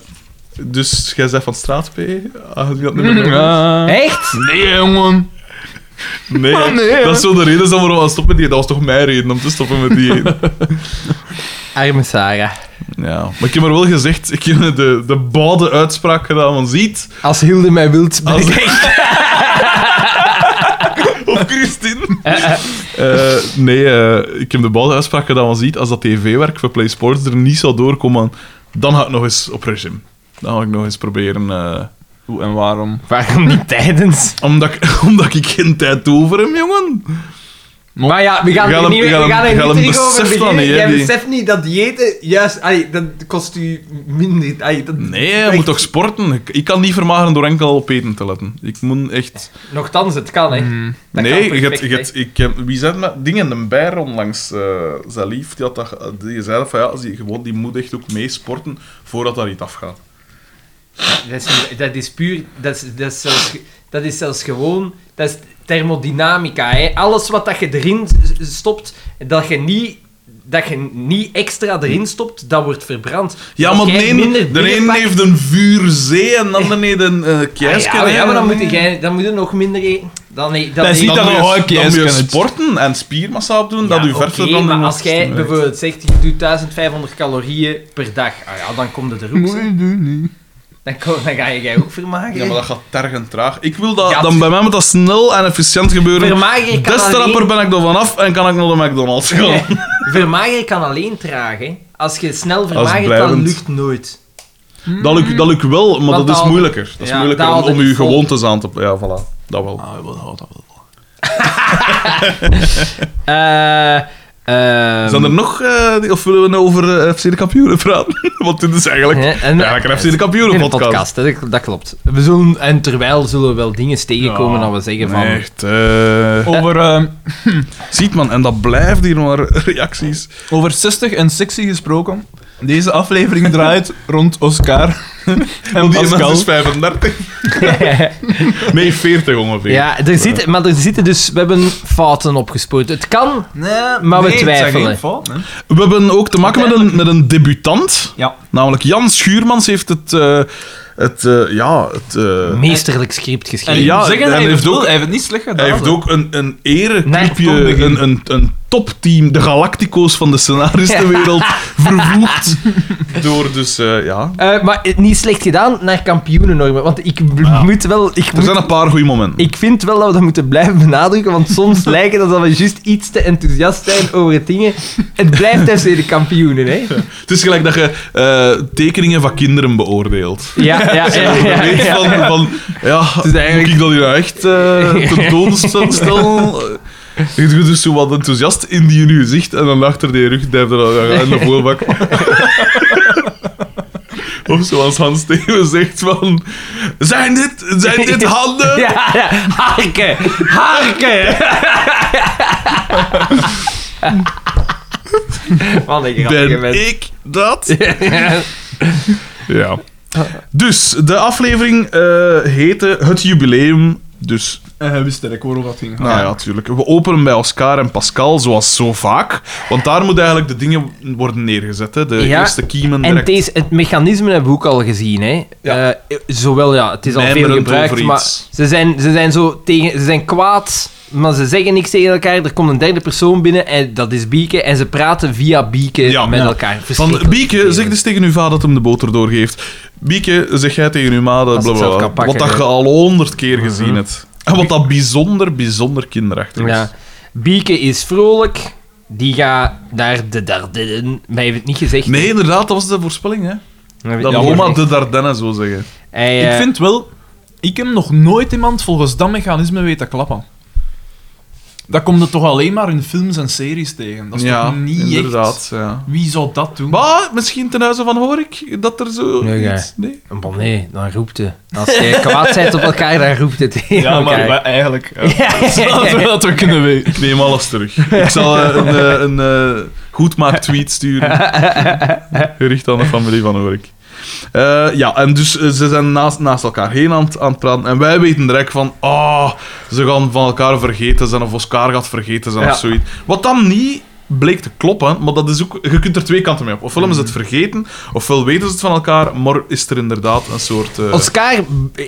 dus jij zei van straat, P? Ah, die had niet
Mm.
meer nodig.
Echt?
Nee, jongen.
Nee,
Maar nee, hè.
dat is zo de reden waarom we stoppen met dieet. Dat was toch mijn reden om te stoppen met dieet.
Arme Sarah.
ja. Maar ik heb maar wel gezegd, ik heb de, de bade uitspraak gedaan van ziet...
Als Hilde mij wilt... ben
Als-
ik echt-
Of Christine. Eh, nee, eh, ik heb de bal uitspraak gedaan van ziet, als dat tv-werk voor Play Sports er niet zou doorkomen, dan ga ik nog eens op regime. Dan ga ik nog eens proberen... eh,
Hoe en waarom?
Waarom niet tijdens?
omdat, ik, omdat ik geen tijd doe voor hem, jongen.
Maar ja, we gaan
Ga
er
hem-
niet,
ga
we
hem-
gaan er
ga hem
niet terug over
beseffen
beginnen.
dan niet, hè,
Jij
die-
beseft niet dat diëten juist... Allee, dat kost u minder... Allee, dat...
Nee, je moet toch sporten? Ik, ik kan niet vermageren door enkel op eten te letten. Ik moet echt...
Nochtans, het kan, hè. Hmm. Dat kan
nee, je
perfect,
hebt- je
hè.
hebt- ik heb... Wie zei dat? Dingen de Bijer onlangs, eh zijn lief, die, had dat, die zei dat van ja, als die, gewoon, die moet echt ook mee sporten voordat dat iets afgaat.
Dat is, niet- dat is puur... Dat is, dat, is zelfs, ge- dat is zelfs gewoon... Dat is thermodynamica, hè. Alles wat dat je erin s- stopt, dat je niet... Dat je niet extra erin stopt, dat wordt verbrand.
Ja,
Als
maar
jij
de een,
minder
de een
binnenpakt-
heeft een vuurzee en de ander heeft een eh
Ah,
keisker.
ja, maar, ja, maar dan moet,
je
jij, dan moet je nog minder eten. Dan, nee, dan
Dat is
nee.
niet dat
dan
je
moet
ook
je, dan moet je
keiskeren hebt.
sporten en spiermassa opdoen, dat
Ja,
je verder
oké,
dan...
maar als jij bijvoorbeeld zegt, je doet 1500 calorieën per dag, ah ja, dan komt het er ook. hè. Dan, kom- dan ga je jij ook vermagen.
Ja, maar dat gaat tergend traag. Ik wil dat...
Ja,
dan bij mij moet dat snel en efficiënt gebeuren.
Vermager kan,
Des te rapper
alleen,
ben ik er vanaf en kan ik naar de McDonald's gaan.
vermager kan alleen traag, hè. Als je snel vermagert, dan
blijvend.
lukt nooit.
Dat lukt dat lukt wel, maar
Want
dat is
dan-
moeilijker. Dat is
ja,
moeilijker
dan
om,
had
om
het
je
vol.
gewoontes aan te... Ja, voilà. Dat wel.
Ah, wel, dat wel.
Eh, ehm,
Zijn er nog... eh, die- of willen we nou over eh, FC de Kampioenen praten? Want dit is eigenlijk...
hè, en-
eigenlijk een FC de
in
Kampioenen
een
podcast.
podcast, hè, dat, dat klopt. We zullen, en terwijl zullen we wel dingen tegenkomen
Ja,
dat we zeggen van... Oh.
Echt, eh.
Over, eh,
Ziet man, en dat blijft hier maar reacties.
over 60 en sexy gesproken. Deze aflevering draait rond Oscar en
Die man
Pascal.
is 35. Nee, 40 ongeveer.
Ja, er zitten, maar er zitten dus... We hebben fouten opgespoord. Het kan...
Nee,
Maar we
het zijn
twijfelen.
geen fout, hè.
We hebben ook te maken met een, met een debutant.
Ja.
Namelijk Jan Schuurmans heeft het... eh, het eh, ja, het... eh,
Meesterlijk script geschreven.
En ja,
Ja,
zeggen,
en
hij
heeft
heeft,
ook-
ook, hij heeft het niet slecht gedaan.
hij heeft
hoor.
ook een, een ereclipje,
Nee,
een, een, een topteam, de Galactico's van de scenaristenwereld, vervoegd door dus, eh, ja...
Eh, maar eh, niet slecht gedaan naar kampioenennormen. Want ik b- moet wel. Ik,
Er
moet-
zijn een paar goede momenten.
ik vind wel dat we dat moeten blijven benadrukken. Want soms lijken dat we juist iets te enthousiast zijn over het dingen. Het blijft FC de kampioenen, hè?
Het is gelijk dat je eh, tekeningen van kinderen beoordeelt.
Ja, ja, ja. ja,
Weet
ja.
van, van, ja,
is eigenlijk-
moet ik dat hier nou echt eh ten toon stel- stellen? Je doet dus zo wat enthousiast in die in je gezicht en dan achter die rug duift er dan in de voorbak. Of zoals Hans Steven zegt van... Zijn dit, zijn dit handen?
Ja, ja. Harken! Harken! Wat een grappige
Ben
mens.
ik dat? Ja. Dus, de aflevering eh, heette Het Jubileum. Dus
En hij wist direct waarover dat ging gaan.
Nou ja, natuurlijk. We openen bij Oscar en Pascal, zoals zo vaak. Want daar moeten eigenlijk de dingen worden neergezet. Hè. De
Ja,
eerste kiemen
En
direct.
deze, het mechanisme hebben we ook al gezien. Hè.
Ja.
Eh, zowel, ja, het is al
Mijmerend
veel gebruikt,
over
maar
iets.
ze zijn, ze, zijn zo tegen, ze zijn kwaad, maar ze zeggen niks tegen elkaar. Er komt een derde persoon binnen, en dat is Bieke, en ze praten via Bieke
Ja.
met
Ja.
elkaar.
Van Bieke, zeg dus tegen uw vader dat hem de boter doorgeeft. Bieke, zeg jij tegen uw ma dat
Als het
blablabla.
zelf kan pakken, Mhm.
Wat dat je
ja.
al honderd keer gezien hebt. En wat dat bijzonder, bijzonder kinderachtig is.
Ja. Bieke is vrolijk, die gaat naar de Dardennen, maar hij heeft het niet gezegd.
Nee, inderdaad, dat was de voorspelling. Hè.
Hij heeft
Dat
het niet
oma
gezegd.
de Dardenne zou zeggen.
Hij,
Ik
eh,
vind wel, ik heb nog nooit iemand volgens dat mechanisme weten klappen. Dat komt er toch alleen maar in films en series tegen. Dat is
ja,
toch niet
inderdaad.
echt...
Ja.
Wie zou dat doen?
Maar misschien ten huize van Horik, dat er zo...
Nee, ja.
iets- nee?
Bon, nee, dan roept hij. Als je kwaad bent op elkaar, dan roept het tegen
Ja, maar
elkaar.
wij- eigenlijk... Ja.
Ja.
Laten we dat we kunnen weten.
Ik neem alles terug. Ik zal eh, een, eh, een eh, goedmaak-tweet sturen. Gericht aan de familie van Horik. Eh, ja, en dus eh, ze zijn naast, naast elkaar heen aan, het- aan het praten. En wij weten direct van... Ah, ze gaan van elkaar vergeten zijn. Of Oscar gaat vergeten zijn
Ja.
of zoiets. Wat dan niet bleek te kloppen. Maar dat is ook... Je kunt er twee kanten mee op. Ofwel hebben ze het
Mhm.
vergeten. Ofwel weten ze het van elkaar. Maar is er inderdaad een soort... eh,
Oscar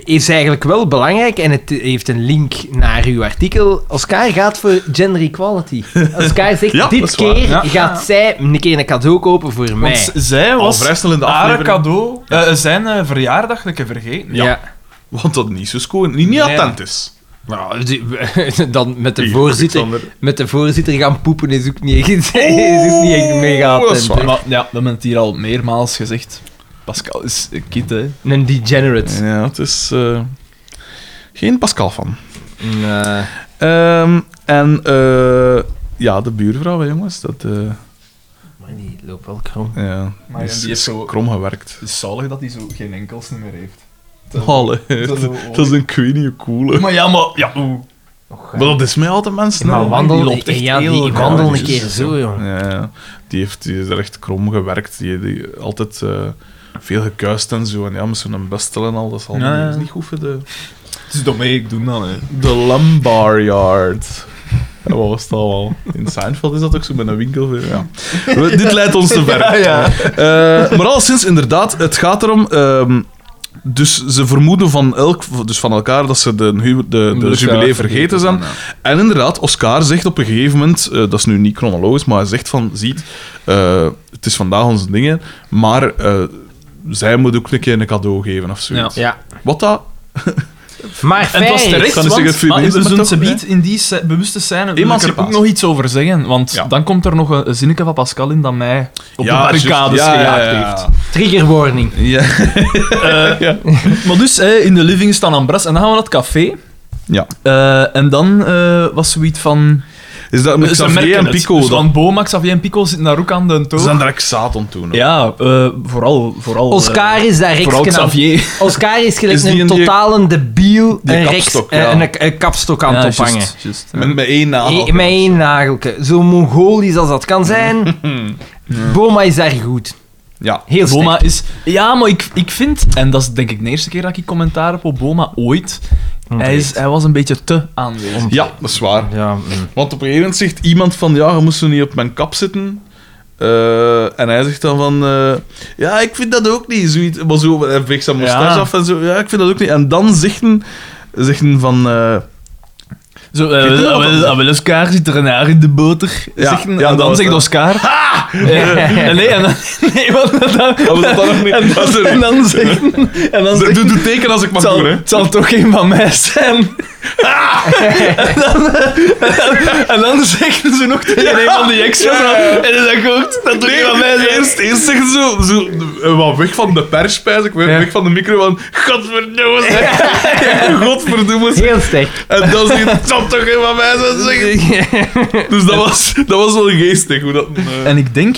is eigenlijk wel belangrijk en het heeft een link naar uw artikel. Oscar gaat voor gender equality. Oscar zegt,
Ja, dat
dit
is waar.
keer
Ja.
gaat zij een keer een cadeau kopen voor
Want
mij.
z- zij
al
was
vrij snel in de
haar
aflevering.
cadeau, eh, zijn eh, verjaardag een keer vergeten.
Ja.
Want dat niet zo schoon... Niet, niet
Nee.
attent is.
Nou, die- dan met de,
Hier,
voorzitter,
Alexander.
met de voorzitter gaan poepen is ook niet echt, is ook niet echt mega
dat is
attent, hè.
Maar, ja, we hebben het hier al meermaals gezegd. Pascal is een kid, hè.
Een degenerate.
Ja, het is eh, geen Pascal van.
Een, eh,
Ehm, en eh, ja, de buurvrouw, hè, jongens, dat eh,
maar die loopt wel krom.
ja,
Maar
is,
die heeft
is
zo-
krom gewerkt.
Het is zalig dat hij zo geen enkels meer heeft.
Allee,
dat is wel-
dat is een queenie coole.
Maar ja, maar... Ja, oeh.
Maar
eh,
dat is mij altijd mensen.
Maar
hè.
wandel,
loopt echt
eh, ja,
heel
die
raar,
wandel een
dus.
keer zo, jong.
Ja, die, heeft, die is er echt krom gewerkt. Die, die altijd eh, veel gekuist en zo. En ja, met zo'n bestel en al, dat is, al
Ja, ja.
dat is niet goed voor de...
Het is domme, ik doe dat, hè.
De Lumbar Yard. Ja, wat was het allemaal? In Seinfeld is dat ook zo, met een winkel. Ja. We- Dit leidt ons te ver. Eh, maar alleszins, inderdaad, het gaat erom... ehm, dus ze vermoeden van, elk, dus van elkaar dat ze de, hu- de,
Dus
de jubilee vergeten zijn. En inderdaad, Oscar zegt op een gegeven moment, eh, dat is nu niet chronologisch, maar hij zegt van, ziet, eh, het is vandaag onze dingen, maar eh, zij moet ook een keer een cadeau geven of zoiets.
Ja.
Wat dat
Maar
En het was
feit-
terecht,
Kan ik
want
zeggen,
maar we
feminisme
zullen
toch,
ze biedt in die se- bewuste scène wil ik er ook
Emancipatie.
nog iets over zeggen, want
Ja.
dan komt er nog een, een zinnetje van Pascal in dat mij op de barricades
juist. Ja,
gejaagd
ja, ja.
heeft.
Trigger warning.
Ja.
Maar dus, hè, in de living staan Ambras en dan gaan we naar het café.
Ja.
Eh, en dan eh, was zoiets van...
Is dat met
Ze
Xavier
merken
en
het.
Pico?
Dus
dat-
van Boma, Xavier en Pico zitten daar ook aan de
Ze
toon.
zijn direct zaad aan toen.
Ja, eh, vooral... vooral eh,
Oscar is daar
vooral
reksken aan.
Xavier.
Oscar is gelijk
Is die
een
een die-
totale debiel
die
een, reks,
kapstok,
eh,
ja.
een, een kapstok aan
Ja,
het
juist,
ophangen.
juist.
Met, met één nagel.
Hey, Met één nagelke. Zo mongolisch als dat kan zijn. Boma is daar goed.
Ja.
Heel sterk.
Boma is... Ja, maar ik, ik vind... En dat is denk ik de eerste keer dat ik commentaar heb op Boma ooit. Hij, is, hij was een beetje te aanwezig.
ja, dat is waar.
Ja, mm.
Want op een gegeven moment zegt iemand van... Ja, je moest zo niet op mijn kap zitten. Eh, en hij zegt dan van... eh, ja, ik vind dat ook niet. Zoiets, maar zo, hij veegt zijn moustache
Ja.
af en zo. Ja, ik vind dat ook niet. En dan zegt hij zegt hij van... eh,
Zo, eh,
Weet je
wel,
wat dat
wel, ah, wel, Oscar zit er een haar in de boter.
Ja,
zegt een-
ja,
en
dat
dan
was
zegt
dat.
Oscar... Eh, nee, en dan... Nee, want dan...
Ja, maar dat dan nog niet.
En
Dat is
dan,
er-
en dan zegt... En dan
Doe,
zegt...
doe teken als ik mag
Het zal,
doen, hè.
het zal toch geen van mij zijn. en, dan, en, dan zeggen ze nog tegen een van die extra's. En dan zeg ik ook, dat toch geen van mij zijn.
Eerst, eerst zeggen ze zo, zo eh, wat weg van de pers, spijs ik, weg van de micro, van godverdomme, zeg. godverdomme, zeg.
Heel sterk.
En dan zeg je, het zal toch geen van mij zijn, zeg. Dus dat was, dat was wel geestig, hoe dat... eh.
En ik denk,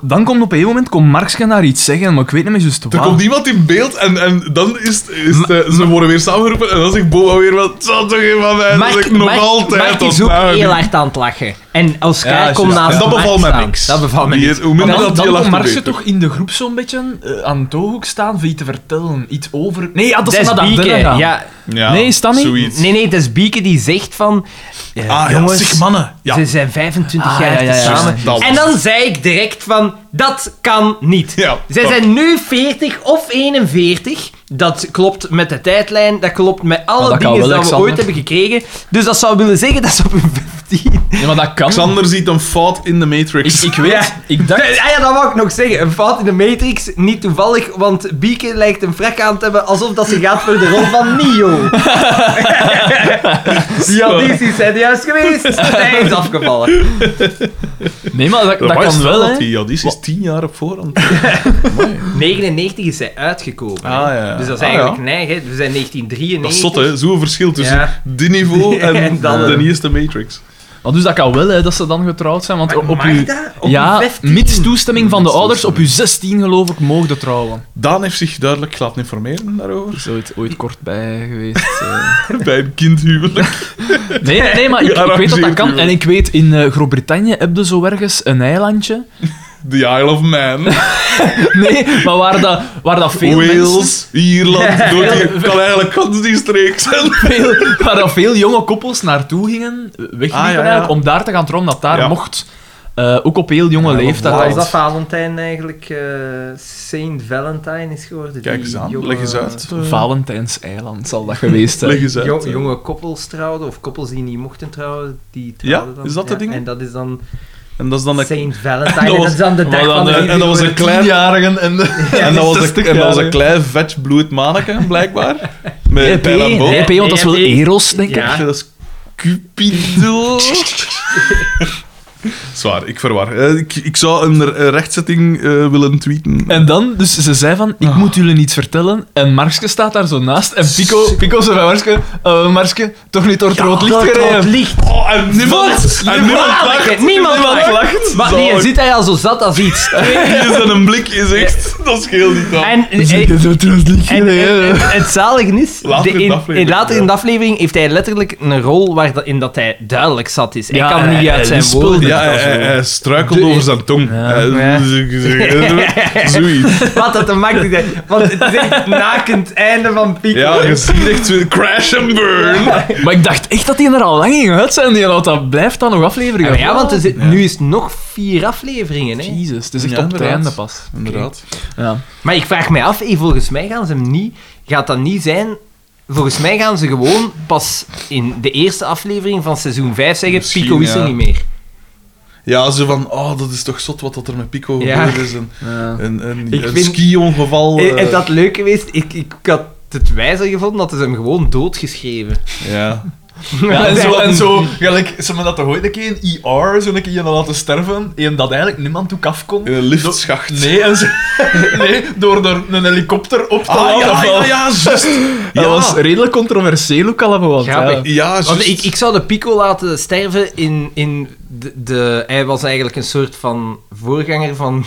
dan komt op een gegeven moment komt Marx gaan daar iets zeggen, maar ik weet niet meer juist
er
Ah.
waar.
komt iemand in beeld en, en dan is, het- is het, eh, ze worden weer samengeroepen en dan zegt Boba weer wel, het zal toch geen van mij zijn, zeg. nog altijd.
Mark is
tot
ook
nou.
heel hard aan het lachen. En Oscar
Ja,
komt
juist.
naast
En dat
Mark
bevalt mij
staan.
niks.
Dat bevalt mij
Die-
niks.
hoe minder
dan
dat die
dan
lacht,
komt
hoe
Marx
beter.
toch in de groep zo'n beetje eh, aan het ooghoek staan voor iets te vertellen. Iets over... Nee, ja, dat is
Dat is
naar dat
Bieke.
binnen gaan.
Ja,
Ja,
Nee, is dat niet?
Zoiets.
nee, nee, dat is Bieke die zegt van... eh,
Ah, ja,
jongens,
zeg mannen. Ja,
Ze zijn 25
Ah,
jaar
ja, ja, ja.
samen.
Juist, dat was
En dan zei ik direct van, dat kan niet.
Ja,
Zij
dat-
zijn nu 40 of 41. Dat klopt met de tijdlijn, dat klopt met alle
Ah, dat kan
dingen die
wel,
we
Xander.
ooit hebben gekregen. Dus dat zou willen zeggen dat ze op hun 15...
Ja, maar dat kan.
Xander ziet een fout in de
ik,
Matrix.
ik weet, ik dacht...
Ah ja, dat wou ik nog zeggen. Een fout in de Matrix, niet toevallig, want Bieke lijkt een frak aan te hebben alsof dat ze gaat voor de rol van Neo. Die audities zijn juist geweest. Hij is afgevallen.
Nee, maar dat, dat
Waar
kan
staat
wel,
dat
hè.
hier? Ja, die is tien jaar op voorhand.
99 is zij uitgekomen. hè.
Ah, ja.
Dus dat is
Ah, ja.
eigenlijk neig, hè. We zijn 1993.
Dat is zot, hè? Zo'n verschil tussen
Ja.
die niveau en,
En dan,
de
eh,
eerste Matrix.
Maar dus dat kan wel, hè, dat ze dan getrouwd zijn. Want op
mag
uw-
dat? Op uw
ja,
15?
mits toestemming van de ouders, op uw 16 geloof ik, mogen trouwen.
Daan heeft zich duidelijk laten informeren daarover.
Is ooit, ooit kort bij geweest. eh.
Bij een kindhuwelijk.
Nee, nee, nee, maar ik, ik weet dat dat kan. En ik weet, in eh, Groot-Brittannië heb je zo ergens een eilandje.
The Isle of Man.
Nee, maar waar dat, waar dat veel mensen...
Wales, Ierland. Door die, kan eigenlijk kans die streek zijn.
Veel, waar dat veel jonge koppels naartoe gingen, wegliepen
Ah, ja, ja.
eigenlijk, om daar te gaan trouwen, dat daar
Ja.
mocht. eh, ook op heel jonge leeftijd.
Als
al.
dat Valentijn eigenlijk eh, Saint Valentine is geworden.
Kijk
die
eens aan,
jonge-
leg eens uit. eh.
Valentijnseiland zal dat geweest zijn.
Leg eens uit.
Jo- jonge koppels trouwden, of koppels die niet mochten trouwen, die trouwden dan.
is dat de ding?
En dat is dan
En dat is dan een...
Saint Valentine,
Dat was-
en dat is dan de dag
maar dan,
van de
eh,
en dat was een
liefde.
klein...
Tienjarigen en de...
En dat was een,
60
en dat was
jaar,
een klein, vet, bloed manneke, blijkbaar. Met pijl en
Nee,
boog.
nee, P, want dat is wel
Nee, P.
Eros, denk ik.
Ja.
Dat is Cupido. Zwaar, ik verwar. Eh, Ik, ik zou een re- een rechtzetting eh, willen tweeten.
En dan, dus ze zei van,
Oh.
ik moet jullie iets vertellen. En Markske staat daar zo naast. En Pico, Pico zei van Markske, eh, Markske, toch niet door het rood licht
Door het rood
gereden.
licht.
Oh, en niemand, en niemand lacht.
Niemand, niemand lacht.
lacht.
Maar
Zo,
nee, je ziet hij al zo zat als iets.
hier is dan een blik is echt... Dat scheelt niet aan.
En, eh,
Door het rood licht
En,
gereden.
en- en het zalige is,
Later in
de-
de
in,
aflevering,
in- later
ja.
in de aflevering heeft hij letterlijk een rol waarin dat hij duidelijk zat is. Hij
Ja,
kan niet
hij- hij
uit zijn
lispelde.
woorden.
Ja, hij, hij- hij struikelt over zijn tong. dus Eh, Zoiets.
Wat dat te makkelijk is. Want het is echt nakend einde van Pico.
Ja, je ziet echt zo- crash and burn.
Maar ik dacht echt dat die er al lang ging uit zijn. Die had dat blijft dan nog afleveringen.
Ja, Ah, maar ja, want er zit, nu is het nog vier afleveringen. Hè.
Jezus, het is echt
Ja,
op het
inderdaad.
einde pas.
Inderdaad.
Ja.
Maar ik vraag mij af, eh, volgens mij gaan ze hem niet... Gaat dat niet zijn... Volgens mij gaan ze gewoon pas in de eerste aflevering van seizoen 5 zeggen
Misschien,
Pico is er
ja.
niet meer.
Ja, zo van, oh, dat is toch zot wat dat er met Pico
Ja.
gebeurd is. En, en, en,
Ik
een
vind-
ski-ongeval.
En
eh,
is dat leuk geweest? Ik, ik had het wijzer gevonden dat ze hem gewoon doodgeschreven.
Ja.
Ja, en zo, en zo gelijk, ze hebben dat toch ooit een keer in E ER, zo'n keer iemand laten sterven, en dat eigenlijk niemand toe af kon.
In een liftschacht.
Nee, en ze, nee, door er een helikopter op te
Ah,
laten
ja, ja,
vallen.
ja, juist.
Dat
Ja.
was redelijk controversieel ook allemaal, want
Grappig.
ja.
Ja, juist.
Want ik, ik zou de Pico laten sterven in, in de, de... Hij was eigenlijk een soort van voorganger van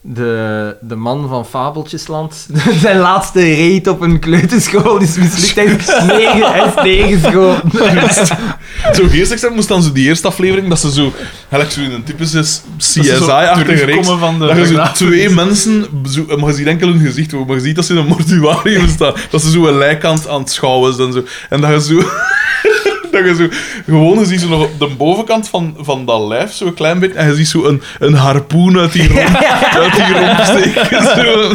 de, de man van Fabeltjesland. Zijn laatste reet op een kleuterschool is mislukt. Hij is negen- hij is neergeschoten.
Zo geestig zijn moest dan zo die eerste aflevering, dat ze zo, eigenlijk zo in een typische s- CSI-achtige reeks,
terugkomen van de
dat je zo
begrafenis.
twee mensen, zo, maar je ziet enkel hun gezicht, maar je ziet dat ze in een mortuarium staan, dat ze zo een lijk aan, het- aan het schouwen zijn en zo, en dat je zo... Dat je zo, gewoon ziet zo nog op de bovenkant van, van dat lijf, zo'n klein beetje, en je ziet zo een, een harpoen uit die romp, uit die romp steken. Zo.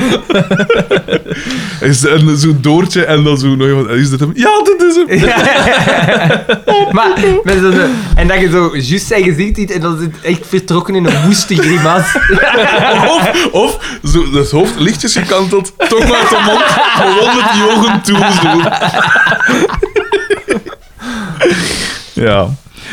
En zo- En zo'n doortje, en dan zo nog iemand, is dit hem? Ja, dit is hem!
Maar, met zo'n- en dat je zo juist zijn gezicht ziet en dan zit echt vertrokken in een woeste grimas.
Of, of zo, het hoofd lichtjes gekanteld, toch uit de mond, gewoon met die ogen toe. Zo. Ja.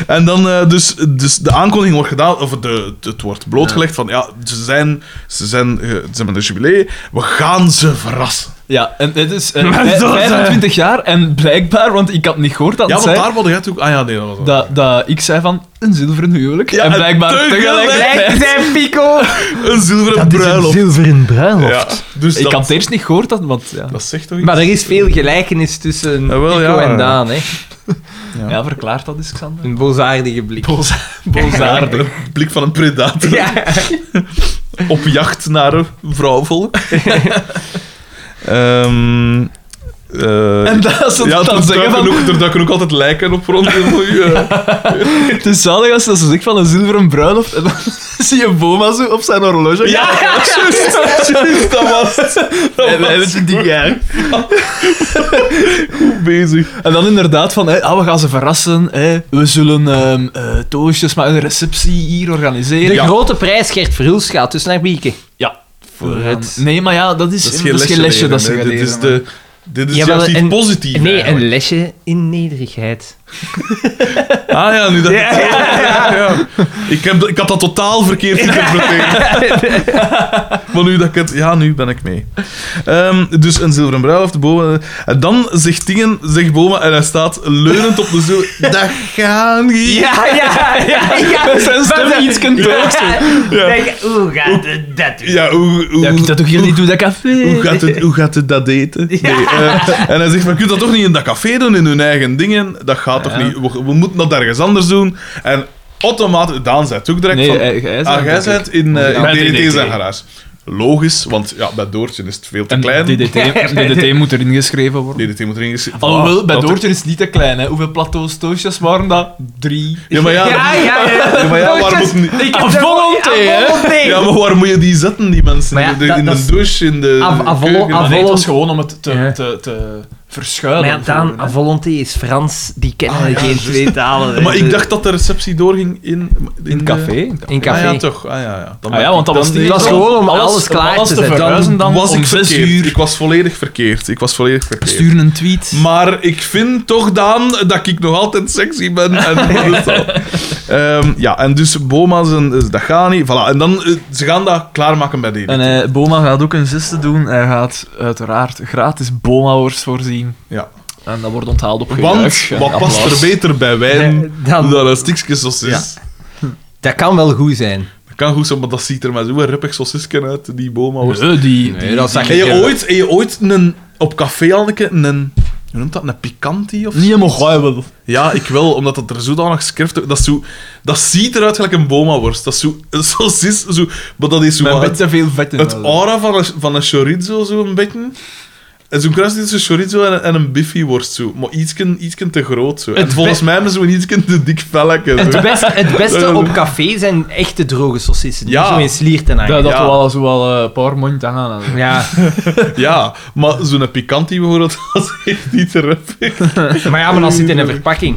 En dan, eh, dus, dus de aankondiging wordt gedaan, of de, het wordt blootgelegd van, ja, ze zijn, ze zijn, eh, ze hebben een jubilee, we gaan ze verrassen.
Ja, en het is eh,
Maar
vij-
dat, eh.
25 jaar en blijkbaar, want ik had niet gehoord dat
Ja,
het
want
zei,
daar wilde jij ook... Ah ja, nee, dat was het.
dat, dat ik zei van een zilveren huwelijk.
Ja,
en blijkbaar
tegelijk- dus
tegelijkertijd.
Lijkt zijn pico!
Een zilveren bruiloft.
zilveren bruiloft.
Ja, dus
Ik
dat,
had het eerst niet gehoord, dat, want ja,
dat zegt toch iets?
Maar er is veel gelijkenis tussen
Jawel,
Pico
ja.
en Daan, hè.
ja. verklaart dat eens, Xander.
Een bozaardige blik.
Bozaardig.
Een blik van een predator.
Ja.
op jacht naar een vrouwvolk. Ehm eh,
En dat ze
ja,
dat
er
dan zeggen
duiken
van...
ook, er duiken ook altijd lijken op rond in het milieu.
Het is zalig als dat ze zegt van een zilveren bruiloft en dan zie je Boma zo op zijn horloge.
Ja, juist, juist, dat was het. Dat
En, en,
was
het is die jaar.
goed bezig.
en dan inderdaad van, hé, ah, we gaan ze verrassen. hé, we zullen ehm eh, toastjes, maar een receptie hier organiseren.
De
Ja.
grote prijs Gert Verhulst gaat dus naar Bieke.
Ja.
Voor het...
Nee, maar ja, dat is,
Dat is geen lesje,
lesje dat ze
leren,
gaan
nee. dit is,
leren,
de, dit is
Ja, wel,
juist iets
een-
positiefs.
Nee, een
eigenlijk.
lesje in nederigheid.
Ah ja, nu dat... Ja, ja, ja. Ik, heb, dat- ik had dat totaal verkeerd geïnterpreteerd. maar nu dat ik het... Ja, nu ben ik mee. Ehm, dus een zilveren bruiloft, Boma. En dan zegt Dingen, zegt Boma, en hij staat leunend op de zo. Dat gaan niet.
Ja, ja, ja, ja.
Zijn stem iets kunt
Ja.
Denk, Oeh, gaat het dat doen?
Ja, hoe, hoe,
Ja, ik dat ook hier niet doen, dat café.
hoe, gaat het, hoe gaat het dat eten? Nee, eh, en hij zegt, maar kun je dat toch niet in dat café doen, in hun eigen dingen? Dat gaat toch niet? We, we moeten dat ergens anders doen. En automatisch... Daan zei het ook direct
Nee, eh,
van...
hij- hij zei
ah, jij
het
bent in, eh,
Ja,
in
DDT.
DDT zijn garage. Logisch, want ja, bij Doortje is het veel te
En
klein. DDT,
DDT, DDT moet erin geschreven worden.
moet erin geschreven...
Alhoewel, bij
Oh, Dat-
Doortje is het niet te klein. Hè. Hoeveel plateaus, toastjes waren dat? Drie.
Ja, maar ja...
Ja, ja, ja.
ja, maar ja, waar moet,
Ik heb volonté, hè?
ja, maar waar moet je die zetten, die mensen?
Maar ja,
in de,
dat-
in
dat
de
is-
douche, in de...
Av- avolo-
Maar
keuken.
nee, het
Avalon-
was gewoon om het te,
Ja.
te, te verschuilen.
Maar ja,
voor,
Daan,
hè.
Volonté is Frans, die kennen geen twee talen. hè.
Ah, Maar ik dacht dat de receptie doorging in...
in het
de-
café.
In café.
Ah ja, toch. Ah ja, ja. Dan
Ah ja,
ben
want dat
ik-
was
dan-
niet...
was gewoon om alles klaar te zetten.
verhuizen dan
was
om
ik
zes
verkeerd.
uur.
Ik was volledig verkeerd. Ik was volledig verkeerd.
Stuur een tweet.
Maar ik vind toch, Daan, dat ik nog altijd sexy ben. En dat is al. Ehm, ja, en dus Boma, zijn, eh, dat gaat niet. Voilà. En dan, eh, ze gaan dat klaarmaken bij die.
En eh, Boma gaat ook een zesde doen. Hij gaat uiteraard gratis Boma-worst voorzien.
Ja.
En dat wordt onthaald op
Want,
gejuich en
wat past
applaus.
er beter bij wijn
Dan-
dan een stikje sausis?
Dat kan wel goed zijn.
Dat kan goed zijn, maar dat ziet er maar zo'n rippig sausisken uit, die Boma. worst.
Nee, die...
Nee, dat zag
Heb
ik,
je,
eh,
ooit, heb je ooit een, op café al een, keer een... Hoe noemt dat? Een pikanti of zo?
Niet helemaal hebben.
Ja, ik wel, omdat dat er zodanig script... Dat, is zo, dat ziet eruit gelijk een boma-worst. Dat is zo... zo, is, zo maar dat is zo...
Met
wat-
een beetje veel vet in.
het
wel.
aura van een, van een chorizo, zo'n beetje. En zo'n kruis tussen chorizo en, een- en een biffy-worst, zo. Maar ietsken, ietsken te groot, zo. En
Het
volgens
be-
mij hebben ze een ietsken te dik velletje, zo.
Het, best- het beste op café zijn echte droge saucissen. die
Eh, Ja.
Zo in sliert en
dat
hangen.
dat
Ja.
wel zo wel eh, een paar mond aan.
Ja,
Ja, maar zo'n pikantie bijvoorbeeld, dat is echt niet te ruppig.
maar ja, maar dat zit in een verpakking.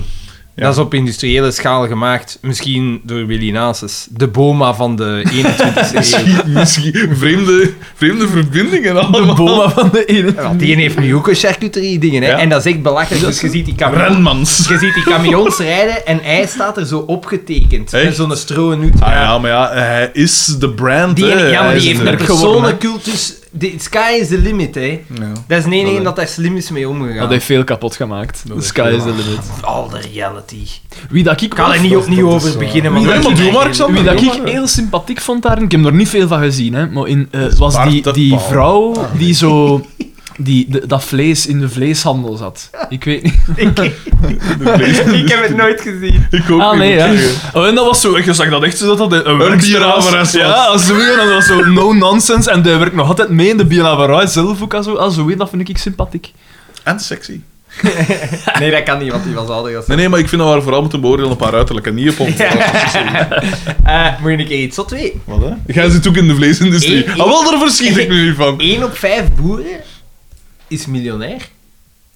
Ja.
Dat is op industriële schaal gemaakt. Misschien door Willy Nasus. De boma van de 21ste eeuw.
Misschien vreemde, vreemde verbindingen allemaal.
De Boma van de ene.
Want die heeft nu ook een charcuterie dingen. Hè?
Ja.
En dat is echt belachelijk. Dus je ziet die camion
Renmans.
Je ziet die camions rijden en hij staat er zo opgetekend.
Echt?
Met zo'n stroonoet.
Ah ja, maar ja, hij is de brand,
Die,
hè.
ja, maar
Hij is
die heeft
de-
een personencultus. De sky is the limit, hè.
Ja.
Dat is de enige dat daar slim is mee omgegaan.
Dat heeft veel kapot gemaakt.
Dat
The
is
sky is the limit.
All the reality.
Wie dat ik
Ik kan er niet opnieuw over beginnen, maar...
Nee,
dat
maar
is eh,
doe maar,
eigenlijk-
Xander.
Wie dat
Ja,
ik
maar.
heel sympathiek vond daar, ik heb er niet veel van gezien, hè, maar in, eh, was die,
Bart de
die
Pauw. Ah,
vrouw die zo... Die, de- dat vlees in de vleeshandel zat. Ik weet niet.
Ik heb het nooit gezien.
Ik ook
Ah,
niet.
nee,
moet
ja.
ik zeggen.
Oh, en dat was zo... Je zag dat echt zo, dat dat een
bierhaveres was.
Ja, zo, en dat was zo no-nonsense. En die werkt nog altijd mee in de Bielavarai zelf ook. al Zo, ah, zo, dat vind ik sympathiek.
En sexy.
Nee, dat kan niet, want die was ouder als...
Nee, nee, maar ik vind dat we haar vooral moeten beoordelen op haar uiterlijk en niet op ons.
Eh, moet je een keer iets zot weten?
Wat, hè? Jij zit ook in de vleesindustrie.
Ik- ik-
Ah, wel, daar verschiet ik nu niet van.
1 op 5 boeren is miljonair.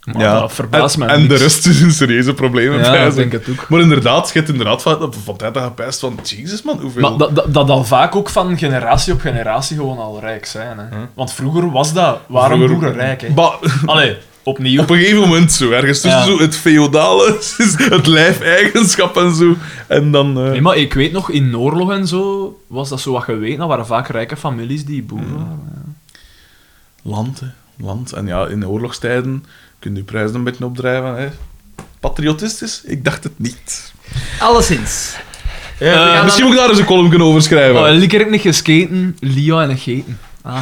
Maar
Ja.
Oh, dat verbaast
en,
mij
en de
niks.
rest is in serieuze problemen.
Ja,
prijzen.
ik denk het ook.
Maar inderdaad, je hebt inderdaad van, van tijd aan gepijst van... Jezus, man, hoeveel...
Maar dat, dat, dat al vaak ook van generatie op generatie gewoon al rijk zijn. Hè. Want vroeger was dat... Waren
Hm. Vroeger-
boeren rijk, hè?
Ba-
Allee, opnieuw.
op een gegeven moment zo, ergens tussen
Ja.
zo het feodale, het lijfeigenschap en zo. En dan... eh,
Nee, maar ik weet nog, in oorlog en zo was dat zo wat geweten. Dat waren vaak rijke families die boeren waren.
Land, hè. Land. En ja, in de oorlogstijden kun je je prijzen een beetje opdrijven. Hè. Patriotistisch? Ik dacht het niet.
Alleszins.
Eh,
Ja,
Misschien moet ik daar eens een column kunnen over schrijven.
Oh, Likker heb niet gesketen, Lia en gegeten.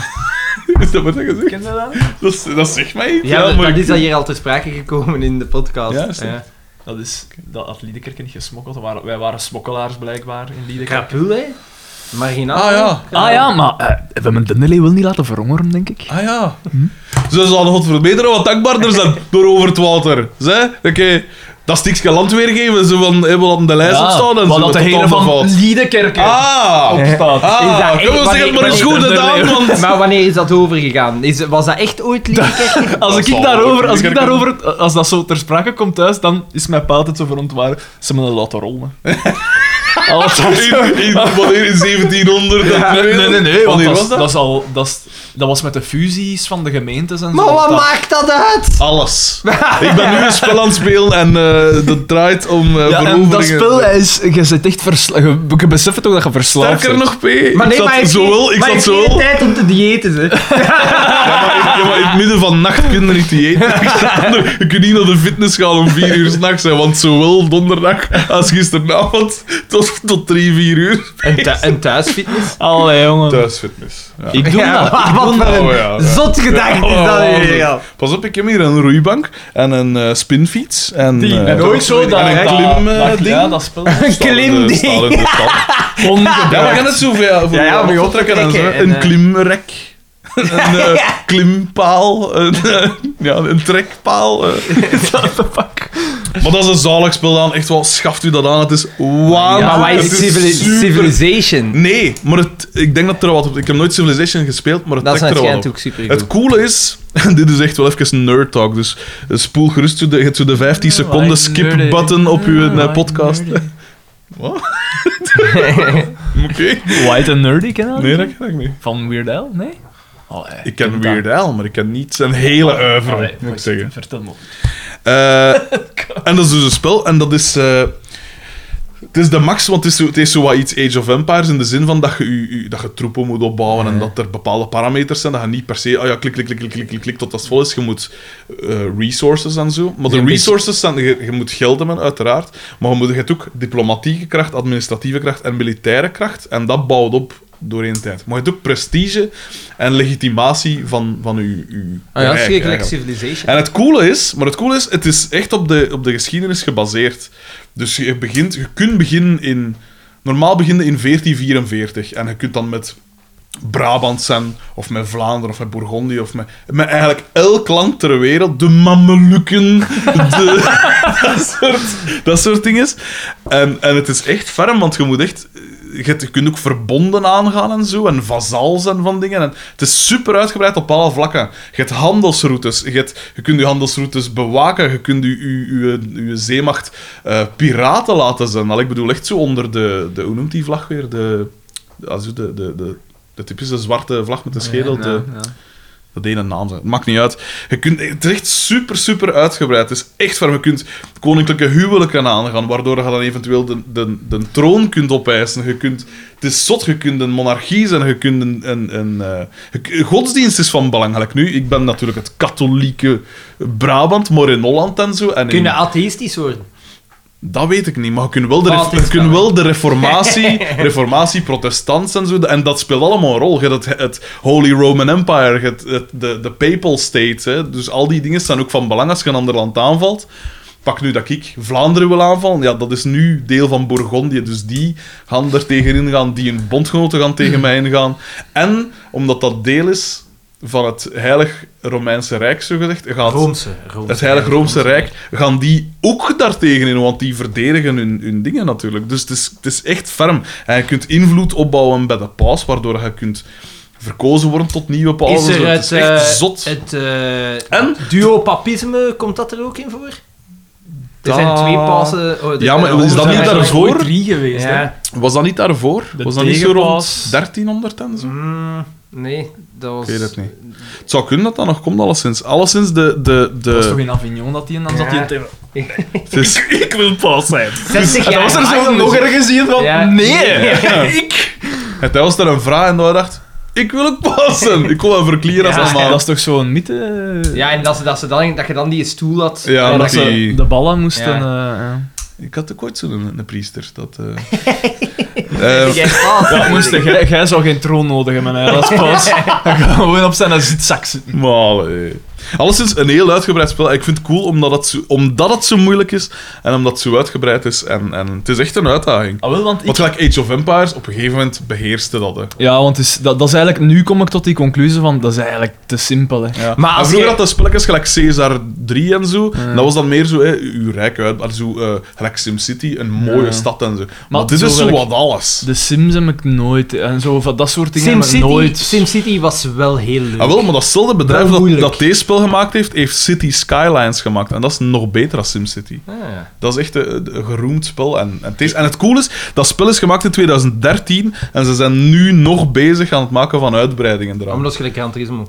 Is dat wat je gezegd?
Ken je dat?
Dat, is- dat zegt mij iets.
Ja, maar
maar
dat
ik-
is al hier al ter sprake gekomen in de podcast.
Ja, is dat?
Ja.
Dat is, dat had Liedekerk niet gesmokkeld. Dat waren- wij waren smokkelaars blijkbaar in Liedekerk.
Krapul, hè? Marginaal.
Ah ja,
Ah ja, maar eh, we hebben Dunderlee wil niet laten verhongeren, denk ik.
ah ja. Ze zouden God verbeteren wat dankbaarder zijn door over het water. Zij? Oké, dat stukje land weergeven. Ze van, hey, we hadden de lijst
Ja,
opstaan en
maar
zo.
dat degene
allemaal
van
fout.
Liedekerk
Ah,
opstaat.
Is
ah,
dat
kom,
echt-
zeg het maar eens goed
wanneer-
gedaan, want...
Maar wanneer is dat overgegaan? Is, was dat echt ooit Liedekerk?
Als ik,
Ah, zal
daarover,
wel
als ik
Liedekerk
daarover, als dat zo ter sprake komt thuis, dan is mijn pa altijd zo verontwaardigd. Ze hebben dat laten rollen. Alles
In, in, wanneer in 1700? en-
Nee, nee, nee, nee, want
Wanneer
dat,
was dat?
dat is al, dat, is- dat was met de fusies van de gemeentes en zo.
Maar wat
Dat-
maakt dat uit?
Alles. Ik ben nu een spel aan het spelen en eh, dat draait om eh
Ja, en
veroveringen.
dat spel is... Je zit echt versla- je- Je beseft ook dat je verslaafd
Sterker
bent.
nog, P. ik zat
ik
zowel... Ik zat
maar ik heb geen
zowel...
tijd om te diëten, hè.
Ja, maar, in- ja, maar in het midden van nacht kun je niet eten. Ik zat onder- Je kunt niet naar de fitness gaan om vier uur s'nachts, want zowel donderdag als gisteravond tot, tot drie, vier uur
En, thu- en thuisfitness?
Allee, jongen.
thuisfitness. Ja.
Ik doe
Ja,
dat.
maar wat voor een
Oh, ja, ja.
zot gedachte is dat
Oh,
hier, ja.
ja. Pas op, ik heb hier een roeibank en een eh, spinfiets. En,
Die-
eh,
en ook zo dat...
en een
dat-
klim,
dat-
eh,
Ja,
ding.
dat spel.
Een
Staan in de-
klimding.
staan in de stad. Ja, we gaan het zo ver voor
Ja, ja,
jou
om je op te
optrekken en zo.
trekken en,
Een
eh,
klimrek. een eh, klimpaal. Een, eh, ja, een trekpaal. eh. maar dat is een zalig spel dan. Echt wel, schaft u dat aan. Het is waanzinnig.
Maar wij
Het
is civili-
super- Mm,
Civilization?
Nee, maar het, ik denk dat er wat op... Ik heb nooit Civilization gespeeld, maar het
Dat is
trekt er wat op.
waarschijnlijk ook super
Het coole is, dit is echt wel even een nerd talk, dus spoel gerust zo de, je hebt zo de 15 seconden skip button op uw eh, podcast. Oké.
White and Nerdy, ken je dat?
Nee, dat ken ik niet.
Van Weird Al? Nee? Allee.
Ik ken Weird Al, maar ik ken niet zijn hele uivre,
Allee,
moet ik zeggen.
Vertel me.
Eh, en dat is dus een spel, en dat is... eh, het is de max, want het is, zo, het is zo wat iets Age of Empires in de zin van dat je, je, je- dat je troepen moet opbouwen en dat er bepaalde parameters zijn. Dat je niet per se, ah ja, klik, klik, klik, klik, klik, klik, klik tot dat het vol is. Je moet eh, resources en zo. Maar de resources zijn, je, je moet geld hebben, uiteraard. Maar je, moet, je hebt ook diplomatieke kracht, administratieve kracht en militaire kracht. En dat bouwt op doorheen tijd. Maar je hebt ook prestige en legitimatie van, van je, je
Ah ja,
rijk,
schrikkelijk
eigenlijk.
civilization.
En het coole is, maar het coole is, het is echt op de, op de geschiedenis gebaseerd. Dus je, begint, je kunt beginnen in... Normaal beginnen in 1444. En je kunt dan met Brabant zijn, of met Vlaanderen, of met Bourgondië, of met, met eigenlijk elk land ter wereld. De Mamelukken, de, dat, soort, dat soort dingen. En, en het is echt ferm, want je moet echt... Je, hebt- je kunt ook verbonden aangaan en zo, en vazals en van dingen. En het is super uitgebreid op alle vlakken. Je hebt handelsroutes, je, hebt, je kunt je handelsroutes bewaken, je kunt je, je, je, je zeemacht eh, piraten laten zijn. Al, ik bedoel, echt zo onder de, de... Hoe noemt die vlag weer? De... de, als je de, de, de de typische zwarte vlag met de schedel. de, dat ene naam zijn. Het maakt niet uit. Je kunt, het is echt super, super uitgebreid. Het is echt waar je kunt koninklijke huwelijken aangaan, waardoor je dan eventueel de, de, de troon kunt opeisen. Je kunt, het is zot, je kunt een monarchie zijn, je kunt een... een, een eh, je- godsdienst is van belang. Gelijk nu, ik ben natuurlijk het katholieke Brabant, maar in Holland en zo. En in-
Kunnen atheïstisch nou worden?
dat weet ik niet, maar je kunt wel de,
Wat
ref-
is
je kunt
dat?
wel de reformatie, reformatie, protestants en zo, en dat speelt allemaal een rol. Je hebt het, het Holy Roman Empire, het, het- de, de Papal State, hè. dus al die dingen zijn ook van belang als je een ander land aanvalt. Pak nu dat ik Vlaanderen wil aanvallen, ja, dat is nu deel van Bourgondië, dus die gaan er tegen ingaan, die een bondgenoten gaan tegen mij ingaan. En, omdat dat deel is van het Heilig Romeinse Rijk, zo gezegd, gaat
Roomse.
het Heilig Roomse Rijk, gaan die ook daartegen in, want die verdedigen hun, hun dingen natuurlijk. Dus het is, het is echt ferm. En je kunt invloed opbouwen bij de paus, waardoor je kunt verkozen worden tot nieuwe paus.
Is er
het is
het,
echt
eh,
zot.
het eh,
En?
duopapisme, komt dat er ook in voor? Er
Da-
zijn twee pasen... oh, er
Ja, maar
zijn
is dat
er
niet
zijn er
daarvoor?
ooit
Voor?
drie geweest,
drie,
hè.
Ja.
Was dat niet daarvoor?
De
Was dat niet zo
tegenpaas.
rond 1300 en zo?
Mm, nee, dat was...
Ik weet het niet. Het zou kunnen dat dat nog komt, alleszins. Alleszins de... de, de
Dat was toch in Avignon dat die en dan zat hij in het...
het is-
Ik wil paus zijn.
60
En dan was er zo nog ergens iemand van...
Ja.
Nee!
Ik!
En hij was daar een vraag en hij dacht... Ik wil ook passen. Ik wil een verklieren als allemaal.
dat is toch zo'n mythe?
Ja, en dat, ze, dat, ze dan, dat je dan die stoel had.
Ja,
dat
dat
ze
die-
de ballen moesten... eh, ja.
Ik had ook ooit zo'n een, priester. Dat, eh. Eh,
Dat moest hij- jij, jij zou geen troon nodig hebben, hè, als paus. Hij gaat gewoon op zijn zitzak zitten.
maar allee. Alleszins een heel uitgebreid spel. Ik vind het cool omdat het zo, omdat het zo moeilijk is en omdat het zo uitgebreid is. En, en het is echt een uitdaging.
Ah, wel, want ik...
Want gelijk Age of Empires, op een gegeven moment beheerste dat. Hè.
Ja, want het is, dat, dat is eigenlijk... Nu kom ik tot die conclusie van, dat is eigenlijk te simpel, hè.
Ja.
Maar
En
als
vroeger
je-
had dat spelletjes gelijk Caesar 3 en zo. Dat was dan meer zo, hè, uw rijk uit. Maar zo, eh, gelijk SimCity, een mooie
Ja.
stad en zo. Maar,
Maar
dit
zo
is zo
gelijk-
wat alles.
De Sims heb ik nooit... En zo, van dat soort dingen heb ik
SimCity
nooit...
SimCity was wel heel leuk.
Ah, wel, maar datzelfde bedrijf
Wel
dat,
moeilijk.
dat deze spel gemaakt heeft, heeft City Skylines gemaakt. En dat is nog beter dan SimCity.
Ah,
Dat is echt eh, een, geroemd spel. En, en, het is, en het cool is, dat spel is gemaakt in 2013 en ze zijn nu nog bezig aan het maken van uitbreidingen eraan.
Omdat gelijk Gran Turismo.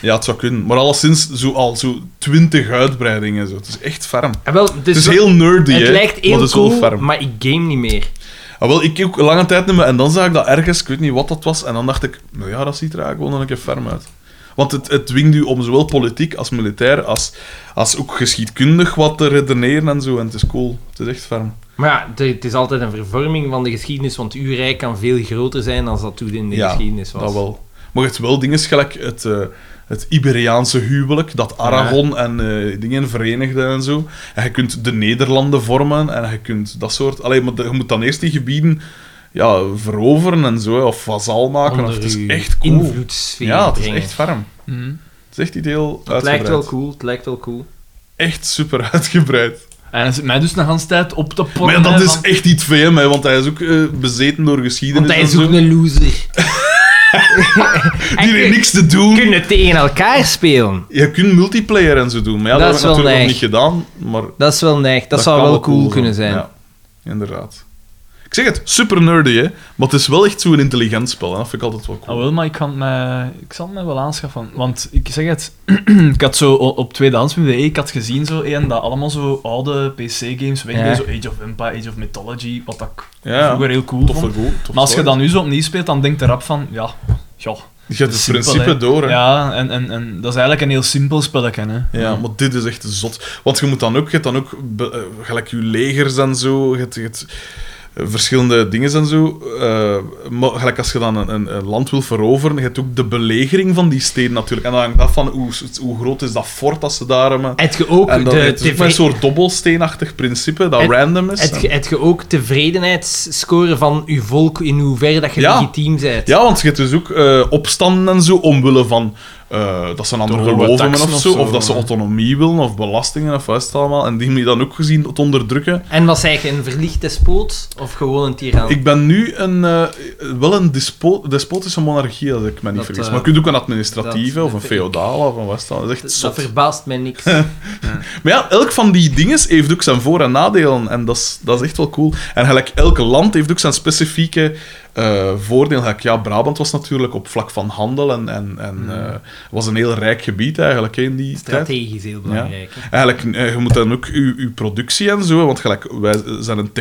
Ja, het zou kunnen. Maar alleszins zo, al zo 20 uitbreidingen. Zo. Het is echt ferm.
Ah, wel, het
Het
is
is
wel-
heel nerdy,
het
hè,
lijkt
maar
heel
het is
cool,
wel ferm.
maar ik game niet meer.
Ah, wel, ik ook lange tijd niet meer. En dan zag ik dat ergens, ik weet niet wat dat was. En dan dacht ik, nou ja, dat ziet er eigenlijk wel een keer ferm uit. Want het, het dwingt u om zowel politiek als militair, als, als ook geschiedkundig wat te redeneren en zo. En het is cool. Het is echt ferm.
Maar ja, de- het is altijd een vervorming van de geschiedenis, want uw rijk kan veel groter zijn dan dat toen in de
Ja,
geschiedenis was.
Dat wel. Maar het wel dingen gelijk het, eh, het Iberiaanse huwelijk, dat Aragon en eh, dingen verenigden en zo. En je kunt de Nederlanden vormen en je kunt dat soort... Allee, maar de- je moet dan eerst die gebieden ja, veroveren en zo, hè, of vazal maken.
Onder
of, het is
uw
echt cool.
invloedssfeer
Ja, het is
brengen.
echt ferm.
Mhm.
Het is echt ideeel
Het
uitgebreid.
lijkt wel cool, het lijkt wel cool.
Echt super uitgebreid.
En hij zit mij dus nog hele tijd op te porren.
Maar ja, dat
hè,
is
van-
echt niet VM, hè, want hij is ook eh, bezeten door geschiedenis.
Want hij
en
is
zo.
ook een loser.
Die heeft niks te doen.
Kunnen tegen elkaar spelen.
Je kunt multiplayer en zo doen, maar ja, dat,
Dat
heb ik
is wel
natuurlijk nog
neig.
niet gedaan. Maar dat,
Dat is wel neig, dat, zou
kan
wel cool,
zijn.
kunnen zijn.
Ja, inderdaad. Ik zeg het, super nerdy, hè. Maar het is wel echt zo'n intelligent spel. Hè. Dat vind ik altijd wel
Ah,
cool.
wel, maar ik, kan het mij, ik zal het mij wel aanschaffen. Want ik zeg het, ik had zo o- op tweedehands.be, E, ik had gezien zo een dat allemaal zo oude PC-games wegdeden.
Ja.
Zo Age of Empire, Age of Mythology, wat ik
Ja,
vroeger heel cool
tof
vond.
goed.
Maar als je dat nu zo opnieuw speelt, dan denkt de rap van, ja, ja.
Je hebt het
simpel,
principe
hè.
door, hè.
Ja, en, en, en dat is eigenlijk een heel simpel spelletje, hè. Mm.
Ja, maar dit is echt zot. Want je moet dan ook, je hebt dan ook be- eh, gelijk je legers en zo, je hebt, je hebt, eh, verschillende dingen en zo. eh, maar gelijk als je dan een, een, een land wil veroveren, je hebt ook de belegering van die steden natuurlijk. En dan hangt dat van hoe, hoe groot is dat fort dat ze daar hebben.
Heb je ook
En dat
de,
het is ook
tv
met een soort dobbelsteenachtig principe dat
Het-
random is.
Heb je, heb je ook tevredenheidsscore van je volk in hoeverre dat je
Ja.
legitiem bent?
Ja, want je hebt dus ook eh, opstanden en zo omwille van eh, dat ze een ander
Door hoge
geloof hebben
taxen
of
of
zo,
zo,
of dat ze
ja.
autonomie willen, of belastingen of wat is het allemaal. En die moet je dan ook gezien te onderdrukken.
En was hij een verlichte spoot of gewoon een tiran?
Ik ben nu een, eh, wel een despo- despotische monarchie, als ik me niet
Dat,
vergis.
eh,
maar je kunt ook een administratieve
dat-
of een
dat-
feodale of een wat is dat? Dat is echt
dat
zot.
verbaast mij niks.
Maar ja, elk van die dinges heeft ook zijn voor- en nadelen. En dat is, dat is echt wel cool. En gelijk elk land heeft ook zijn specifieke eh, voordeel. Gelijk, ja, Brabant was natuurlijk op vlak van handel en, en, en eh, was een heel rijk gebied eigenlijk hè, in die tijd.
Hmm. Strategisch heel belangrijk. hè.
Eigenlijk, eh, je moet dan ook uw uw productie en zo, want gelijk, wij zijn een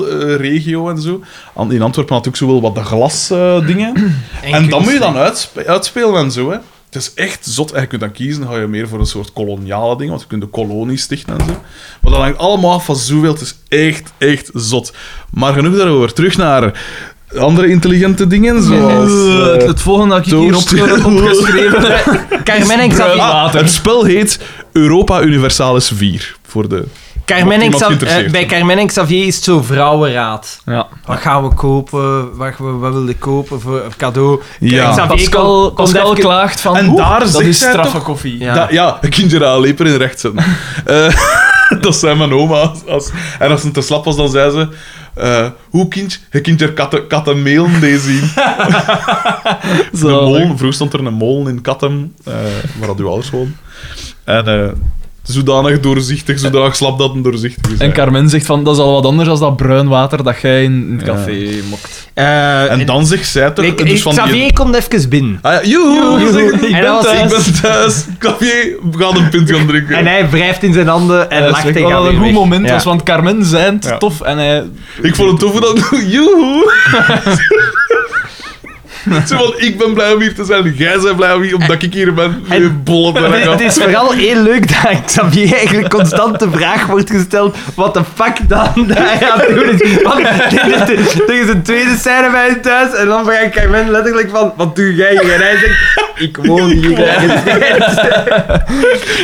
textielregio en zo. An- In Antwerpen had ook zowel wat de glasdingen. en dat
kunst,
moet je
hè.
dan uitspe- uitspelen en zo, hè. Het is echt zot. En je kunt dan kiezen, ga je meer voor een soort koloniale ding, want je kunt de kolonie stichten en zo. Maar dat hangt allemaal af van zoveel. Het is echt, echt zot. Maar genoeg daarover. Terug naar andere intelligente dingen, zoals...
Eh, het,
eh,
het volgende dat ik hier
toast.
opge- opgeschreven heb.
Carmen en Xavier.
Ah, het spel heet Europa Universalis 4, voor de
Carmen en
iemand
Xav-
geïnteresseerd
eh, bij
zijn.
Carmen en Xavier is het zo vrouwenraad.
Ja.
Ah.
Wat gaan we kopen? Wat, we- wat wil ik kopen voor een cadeau?
Ja.
Xavier
Pascal,
komt- komt
Pascal
even-
klaagt van.
En
"Oeh,
daar
dat
zegt
is
zij
straffe
toch-
koffie.
Ja.
Ja, ja een kindje aan leper in recht zetten. Eh, dat zei mijn oma. Als, als- en als ze te slap was, dan zei ze... eh, hoe kindje? Je kunt er katten, kattenmeel mee zien. De molen, vroeger stond er een molen in Katten, eh waar had uw ouders wonen. En eh, zodanig doorzichtig, zodanig slap dat een doorzichtig is.
En
eigenlijk.
Carmen zegt van, dat is al wat anders dan dat bruin water dat jij in het café mokt.
Eh,
en dan zegt zij toch...
nee,
dus van die-
Xavier komt even binnen.
Ah, ja, joehoe, je zegt, ik,
En
ben
dat was-
thuis. ik ben thuis. Xavier, we gaan een pint gaan drinken.
En hij wrijft in zijn handen en
Dat
lacht
is
tegen
echt wel
Xavier
een goed
weg.
moment
Ja.
was, want Carmen zijn
Ja.
tof en hij...
Ik vond het tof hoe dat... Joehoe! Zo van, ik ben blij om hier te zijn. Jij bent blij om hier, omdat ik hier ben. Je bolle ben ik
Het
af.
is vooral heel leuk dat Xavier eigenlijk constant de vraag wordt gesteld wat de fuck dan daar gaat doen is. Want dit- dit- dit is een tweede scène bij hem thuis en dan vraag ik Carmen letterlijk van wat doe jij hier? En hij zegt ik woon hier.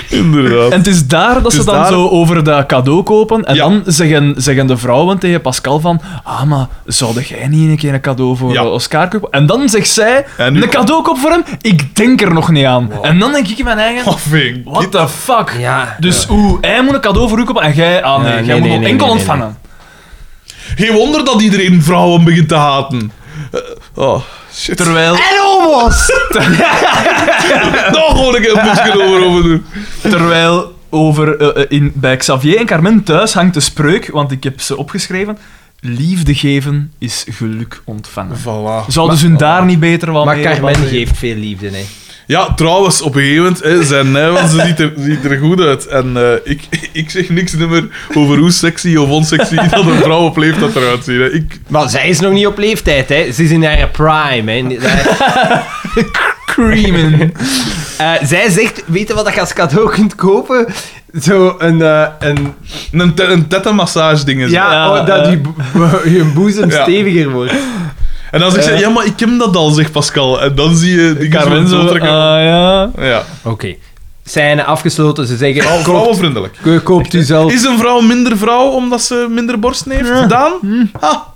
Inderdaad.
En het is daar dat
is
ze dan
daar-
zo over dat cadeau kopen en
Ja.
dan zeggen, zeggen de vrouwen tegen Pascal van ah, maar zou jij niet een keer een cadeau voor
Ja.
eh, Oscar kopen? En dan zegt zij,
En nu-
een cadeau koop voor hem? Ik denk er nog niet aan. En dan denk ik in mijn eigen...
Wat vind ik
What
Oh, dit?
the fuck?
Ja.
Dus oeh, hij moet een cadeau voor u kopen en jij... Ah nee,
Ja, nee,
jij moet
nee,
hem
nee,
enkel
nee, nee,
ontvangen.
Geen wonder dat iedereen vrouwen begint te haten. Eh, oh, shit.
Terwijl...
En almost!
Nog gewoon een keer een boekje over over doen.
Terwijl over, eh, eh, in, bij Xavier en Carmen thuis hangt de spreuk, want ik heb ze opgeschreven. Liefde geven is geluk ontvangen.
Voilà.
Zouden ze hun daar niet beter wel
Maar
mee
Carmen
hebben?
geeft veel liefde. Hè.
Ja, trouwens, op een gegeven moment, hè, zijn hè, want ze ziet er, ziet er goed uit. En eh, ik, ik zeg niks meer over hoe sexy of onsexy dat een vrouw op leeftijd eruit ziet. hè. Ik,
Maar zij is nog niet op leeftijd, hè. ze is in haar prime. Hè.
Creamen.
Eh, zij zegt, weet je wat je als cadeau kunt kopen? Zo een, eh, een
een, te- een tettenmassage ding is
Ja,
Ja,
oh, dat
eh.
je, bo- je boezem
Ah, Ja.
steviger wordt.
En als ik zeg, ja, maar ik heb dat al, zegt Pascal. En dan zie je die
Eh. Carmen zo, ah ja.
Ja,
Oké. Scène afgesloten, ze zeggen...
vrouw-
koop,
vrouwenvriendelijk.
ko- koopt u zelf...
Oh, Is een vrouw minder vrouw omdat ze minder borsten heeft? Daan?
Hm?
Ha.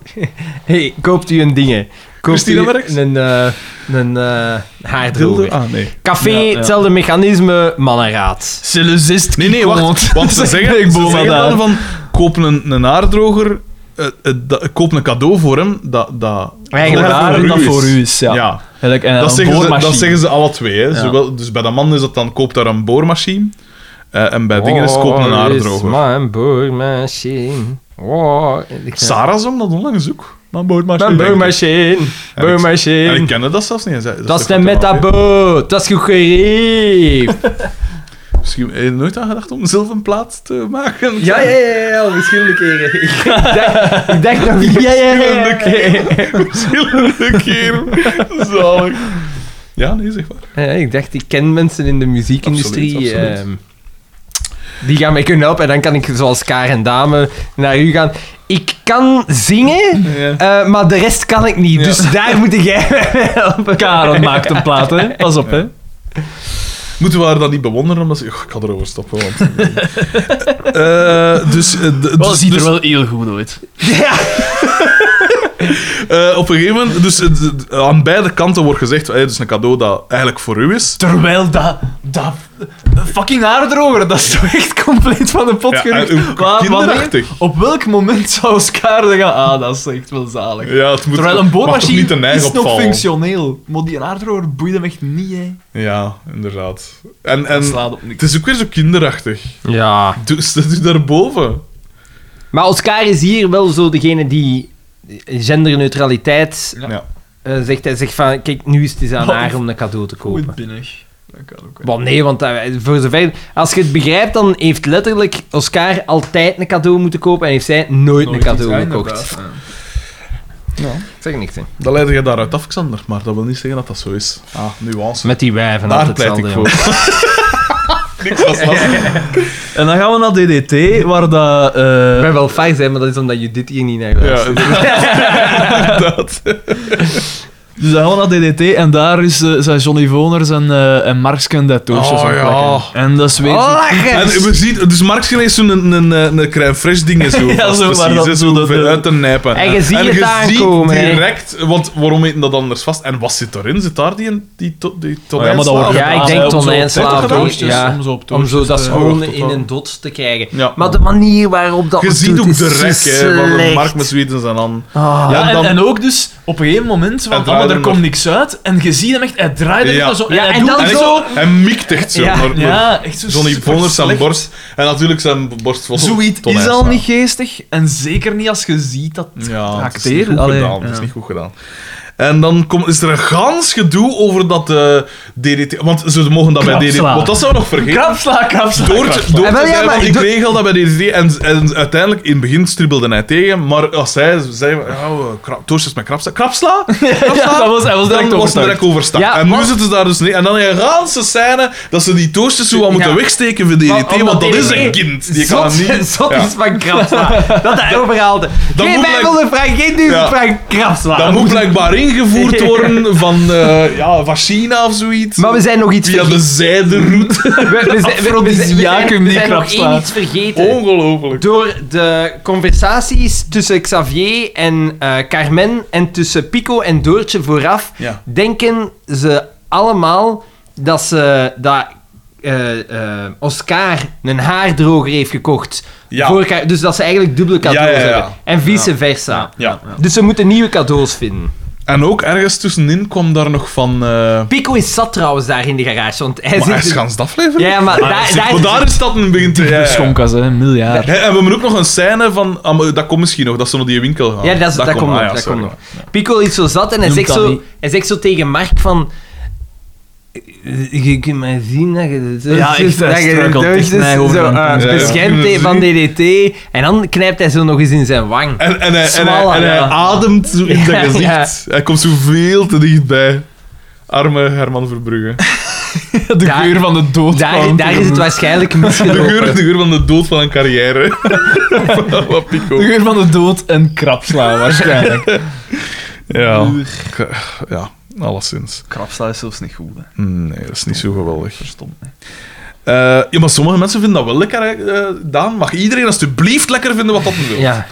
hey, koopt u een dingen. Koopt
Christina
u
Merks?
een, eh een eh,
Dildo?
haardroger.
Ah, nee.
Café,
Ja, ja.
hetzelfde mechanisme, mannenraad.
C'est le zist
Nee, nee, wacht. Want ze zeggen, ze zeggen
daar.
dan van, koop een, een haardroger, eh, eh, dat- koop een cadeau voor hem, dat... dat
Eigenlijk
dat
waar
dat
is.
voor u is, ja.
Ja.
Gelijk, en
Dat
een
zeggen, ze, dat
boormachine.
zeggen ze alle twee. Hè.
Ja.
Zowel, dus bij dat man is dat dan, koop daar een boormachine. eh, en bij dingen is
Oh,
koop een haardroger.
Oh, Mijn boormachine. Oh, ik-
Sarah zong dat onlangs ook.
Een
Mijn
boormachine.
boormachine.
En ik- En ik
Boormachine.
kende dat zelfs niet. en zei, dat is
Dat is
toch
een
wat te maken, hè?
metaboot. Dat is goed gerief.
Misschien heb je nooit aan gedacht om zelf een plaat te maken.
Ja, ja, ja, ja, al verschillende keren. Ik dacht, ik dacht nog ja, ja, ja,
Verschillende
ja.
keren. Verschillende keren. Zalig. Ja, nee, zeg maar.
Ja, ik dacht, ik ken mensen in de muziekindustrie.
Absoluut, absoluut.
ehm, die gaan mij kunnen helpen en dan kan ik, zoals Karen Dame, naar u gaan. Ik kan zingen, eh, maar de rest kan ik niet. Dus daar moet jij mij helpen.
Karel maakt een plaat, hè. Pas op, hè.
Dus- Moeten we haar dan niet bewonderen? Omdat ze... Oh, ik ga erover stoppen. Want... Eh, dus eh, d-
Dat
dus,
ziet er
dus,
wel heel goed uit.
eh, op een gegeven moment... Dus, eh, d- d- aan beide kanten wordt gezegd... Hey, dus een cadeau dat eigenlijk voor u is.
Terwijl dat... dat een fucking haardroger, dat is toch echt compleet van de pot
Ja,
gerukt.
en- en
Wa-
kinderachtig.
wanneer- Op welk moment zou Oscar zeggen... Ah, dat is echt wel zalig.
Ja, het moet,
Terwijl een
mag toch
boormachine
niet een eigen
is nog
opvallen.
functioneel. Maar die haardroger boeit hem echt niet, hè.
Ja, inderdaad. En, en
Dat slaat op niks.
het is ook weer zo kinderachtig.
Ja.
Dus dat is daarboven.
Maar Oscar is hier wel zo degene die genderneutraliteit
Ja.
Ja.
eh, zegt. Hij zegt van, kijk, nu is het eens aan
Wat?
haar om een cadeau te kopen.
Goed binnen. Dat kan ook.
Wel nee, want dat- voor zover... Als je het begrijpt, dan heeft letterlijk Oscar altijd een cadeau moeten kopen en heeft zij nooit, een cadeau gekocht. Ik zeg niks, hè.
Dat leidde je daaruit af, Xander. Maar dat wil niet zeggen dat dat zo is. Ah, nuance.
Met die wijven
Daar
altijd
pleit ik
hetzelfde,
voor. Niks was lastig.
En dan gaan we naar DDT, waar dat...
Ik
eh
ben wel fijn zijn, maar dat is omdat je dit hier niet naar
Ja,
luistert.
inderdaad. Inderdaad.
Dus dan gaan we naar DDT en daar is, eh, zijn Johnny Voners en, eh en Markske en dat doosjes
Oh,
aan het
ja.
plakken. En dat is
Oh,
weer...
Ah,
zo-
En we zien, dus Mark Schillen is zo'n een, een, een, een crème fraîche ding zo.
Ja,
vast,
zo, maar
precies,
dat-
hè,
zo
zo
dat-
ver uit te nijpen.
En je ziet
en
het
je
aankomen,
ziet
hè.
direct, want waarom heet dat anders vast? En wat zit erin? Zit daar die, die, to- die
Oh, ja, maar dat wordt
Ja,
gedaan,
ik denk
hè, om zo
tonijnslaaf,
op
hoor.
toastjes-
Ja.
om zo op
Om zo
toastjes
dat
te-
schoon
eh, wacht,
in
totaal.
een dot te krijgen.
Ja.
Maar de manier waarop dat
Je
wordt
ziet
doet
ook
is
de
zo
rek, hè, van
slecht.
Mark met Zweden zijn aan.
Ah.
Ja,
Ja,
en,
dan-
en ook dus op een gegeven moment,
Hij
want
draaide
er
hem
komt
nog.
niks uit, en je ziet hem echt, hij draait hem
Ja.
nog zo, en
Ja,
hij
en
doet
dan
echt
En,
zo...
hij mikt echt zo.
Ja.
maar, maar
Ja, echt zo
Johnny
super
Voners zijn
slecht.
borst. En natuurlijk zijn borst vol
Zoiets is
tonijnslaaf.
al niet geestig, en zeker niet als je ziet dat...
Ja, het is
Acteren,
niet goed
allee,
gedaan. Het
ja.
is niet goed gedaan. En dan komt is er een gans gedoe over dat eh, DDT... Want ze mogen dat bij DDT...
Klapslaan.
Want dat zou nog vergeten.
Krapsla, krapsla,
Door,
krapsla.
door
En wel,
te
ja,
zijn
maar
van, ik
door-
regel dat bij DDT. En, en uiteindelijk, in het begin stribbelde hij tegen. Maar als zij zei... Ja, krap, toastjes met krapsla... Krapsla? Krapsla?
Ja, dat was, hij was direct
dan was het
overtuigd.
direct overstap.
Ja,
en nu
want-
zitten ze daar dus niet. En dan een ganse scène dat ze die toastjes zo wat moeten
Ja.
wegsteken voor DDT. Want,
omdat
dat is
DDT
een kind. Die kan
zot,
hem niet...
zot
Ja.
is van Krapsla. Dat hij overhaalde.
Dan
Geen
moet blijk-
bijbelde vraag, geen
Ja.
duvelvraag, Krapsla.
Dat moet blijkbaar ingevoerd worden van, eh, ja, van China of zoiets.
Maar we zijn nog iets
Via de
vergeten.
zijderoute.
We, we, zijn- we, zijn- we, zijn- we
Afrodisiacum
zijn,
die
nog
Krapsla.
één iets
Oh,
vergeten.
Ongelooflijk.
Door de conversaties tussen Xavier en eh, Carmen en tussen Pico en Doortje vooraf,
Ja.
denken ze allemaal dat, ze, dat eh, eh, Oscar een haardroger heeft gekocht.
Ja.
Voor, Car- dus dat ze eigenlijk dubbele cadeaus
Ja, ja, ja.
hebben. En vice versa.
Ja.
Dus ze moeten nieuwe cadeaus vinden.
En ook ergens tussenin kwam daar nog van... eh
Pico is zat trouwens daar in de garage, want
maar
hij
hij
zit... dus-
is gans de aflevering.
ja, maar, daar,
Zit-
daar,
Ah, maar daar is dat een begin te... ja, ja.
Schonkas, hè, een miljard.
Hè, En we hebben ook nog een scène van... ah, maar dat komt misschien nog, dat ze naar die winkel gaan.
Ja, dat, is- dat, komt
ah,
nog.
ja,
dat
sorry.
komt nog. Pico is zo zat en hij
Noem
zegt
dat
zo,
niet.
hij zegt zo tegen Mark van... "Eh, Je kunt mij zien dat je de
Ja,
doosjes-
echt, hij
dat je de
struikelt echt
doosjes
met
zo
over de
eh,
tong.
Ja, ja.
beschermt hebt van DDT. En dan knijpt hij zo nog eens in zijn wang.
En, en, hij, en, hij,
Smalle,
en hij
ja.
ademt zo in
Ja,
zijn gezicht. Hij komt zo veel te dichtbij. Arme Herman Verbrugge.
De
Daar-
geur van de dood.
Daar,
kwam
daar is het waarschijnlijk
De
misgelopen.
geur, de geur van de dood van een carrière. Wat
De
Pico.
geur van de dood en krapsla, waarschijnlijk.
Ja. Ja, alleszins. Mm,
krapsla is zelfs niet goed, hè.
Nee, dat is niet zo geweldig.
Verstond.
Eh, ja, maar sommige mensen vinden dat wel lekker, hè, eh, Daan. Mag iedereen alsjeblieft lekker vinden wat dat wil.
Ja.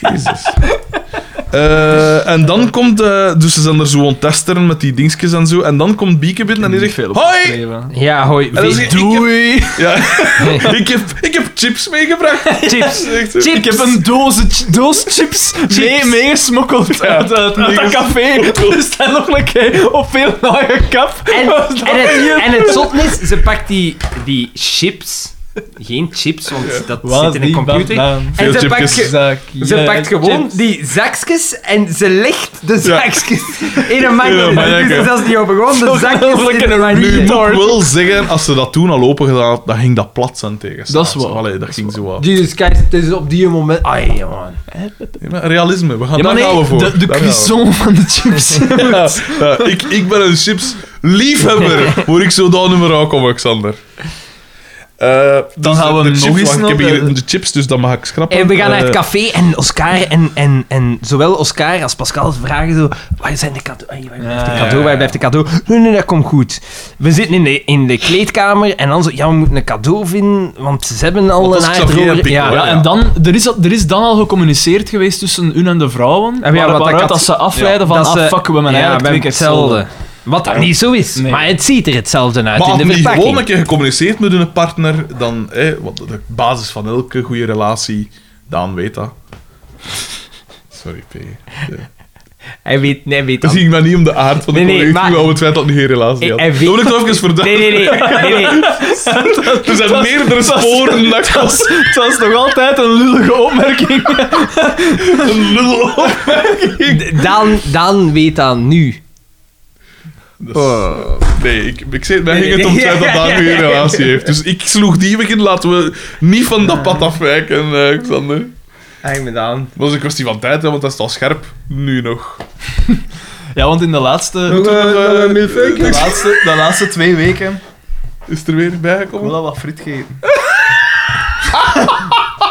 Jezus. Eh, en dan komt... eh, dus ze zijn er zo aan het testen met die dingetjes en zo. En dan komt Bieke binnen en die zegt... Hoi!
Ja, hoi.
En dan
Weet-
zeg je, Ik heb, ja, ik, heb, ik heb chips meegebracht.
Chips.
Zegt ze.
Ik heb een doos, doos chips, mee meegesmokkeld uit, uit, uit dat café. Dus dat nog een keer op veel lage kap.
En, en, het, en het zot is, ze pakt die, die chips. Geen chips, want dat zit in een computer.
Veel
En ze
chipjes.
pakt, Ze
Eh,
pakt gewoon die zakjes en ze legt de zakjes in een
In
mandje.
een mandje.
Dus zelfs niet open, gewoon de zakjes in een
Nu
mandje.
moet ik wel zeggen, als ze dat toen al open gedaan had, dan ging dat plat zijn tegen.
Dat is waar.
Allee, dat ging zo wat.
Jesus Christ, het is op die moment... Ai, man.
Ja, maar Realisme, we gaan,
Ja, maar
daar gaan
nee,
we voor.
de, de
Daar gaan we voor.
cuisson van de chips.
Ja, ja, ik, ik ben een chips-liefhebber. Word ik zo daar nummer ook om, Alexander. Eh, dus
gaan we
de
nog
chips,
eens
wacht, Ik
naar
heb
de-
hier de chips, dus dan mag ik schrappen.
En we gaan naar het
Eh,
café en Oscar en, en, en zowel Oscar als Pascal vragen zo... Waar zijn de cadeau? Ai, waar blijft de
Ja,
cadeau? Waar blijft de cadeau? Nee, nee, dat komt goed. We zitten in de, in de kleedkamer en dan zo... Ja, we moeten een cadeau vinden, want ze hebben al
Want dat
een
is Xavier en
haardroger.
Pico,
Ja,
hè?
Ja, en dan, er is, al- er is dan al gecommuniceerd geweest tussen hun en de vrouwen.
En ja,
waar-
wat dat
waaruit dat,
had-
ze afleiden van,
dat ze-
ah, fuck, we hebben eigenlijk
we
twee keer
hebben
hetzelfde.
Wat dat niet zo is.
Nee.
Maar het ziet er hetzelfde uit
Maar
in
als
de
je
verpakking.
gewoon een keer gecommuniceerd met een partner, dan... Eh, wat de basis van elke goede relatie, Daan weet dat. Sorry, P. Ja.
Hij weet, nee, hij weet
Dan
dat.
zie ik maar niet om de aard van de
Nee, nee,
collectie,
maar-
maar om het feit dat hij geen relatie had.
Hij-
Dat
hij weet-
wil ik nog even verduidelijken.
Nee, nee, nee. nee, nee.
Er zijn meerdere sporen dat ik als
Het was nog altijd een lullige opmerking.
een lul
D- Daan, Daan weet dat nu.
Dus,
Oh.
eh, nee, ik, ik zei, mij ging het om het feit dat Daan
Ja, ja,
geen
ja, ja.
relatie heeft. Dus ik sloeg die weg in. Laten we niet van dat pad afwijken, eh, Xander.
Hang me Daan.
Dat is een kwestie van tijd, hè, want dat is al scherp. Nu nog.
Ja, want in de laatste,
eh.
de laatste, de laatste twee weken
Is er weer bijgekomen?
dat wat friet geven.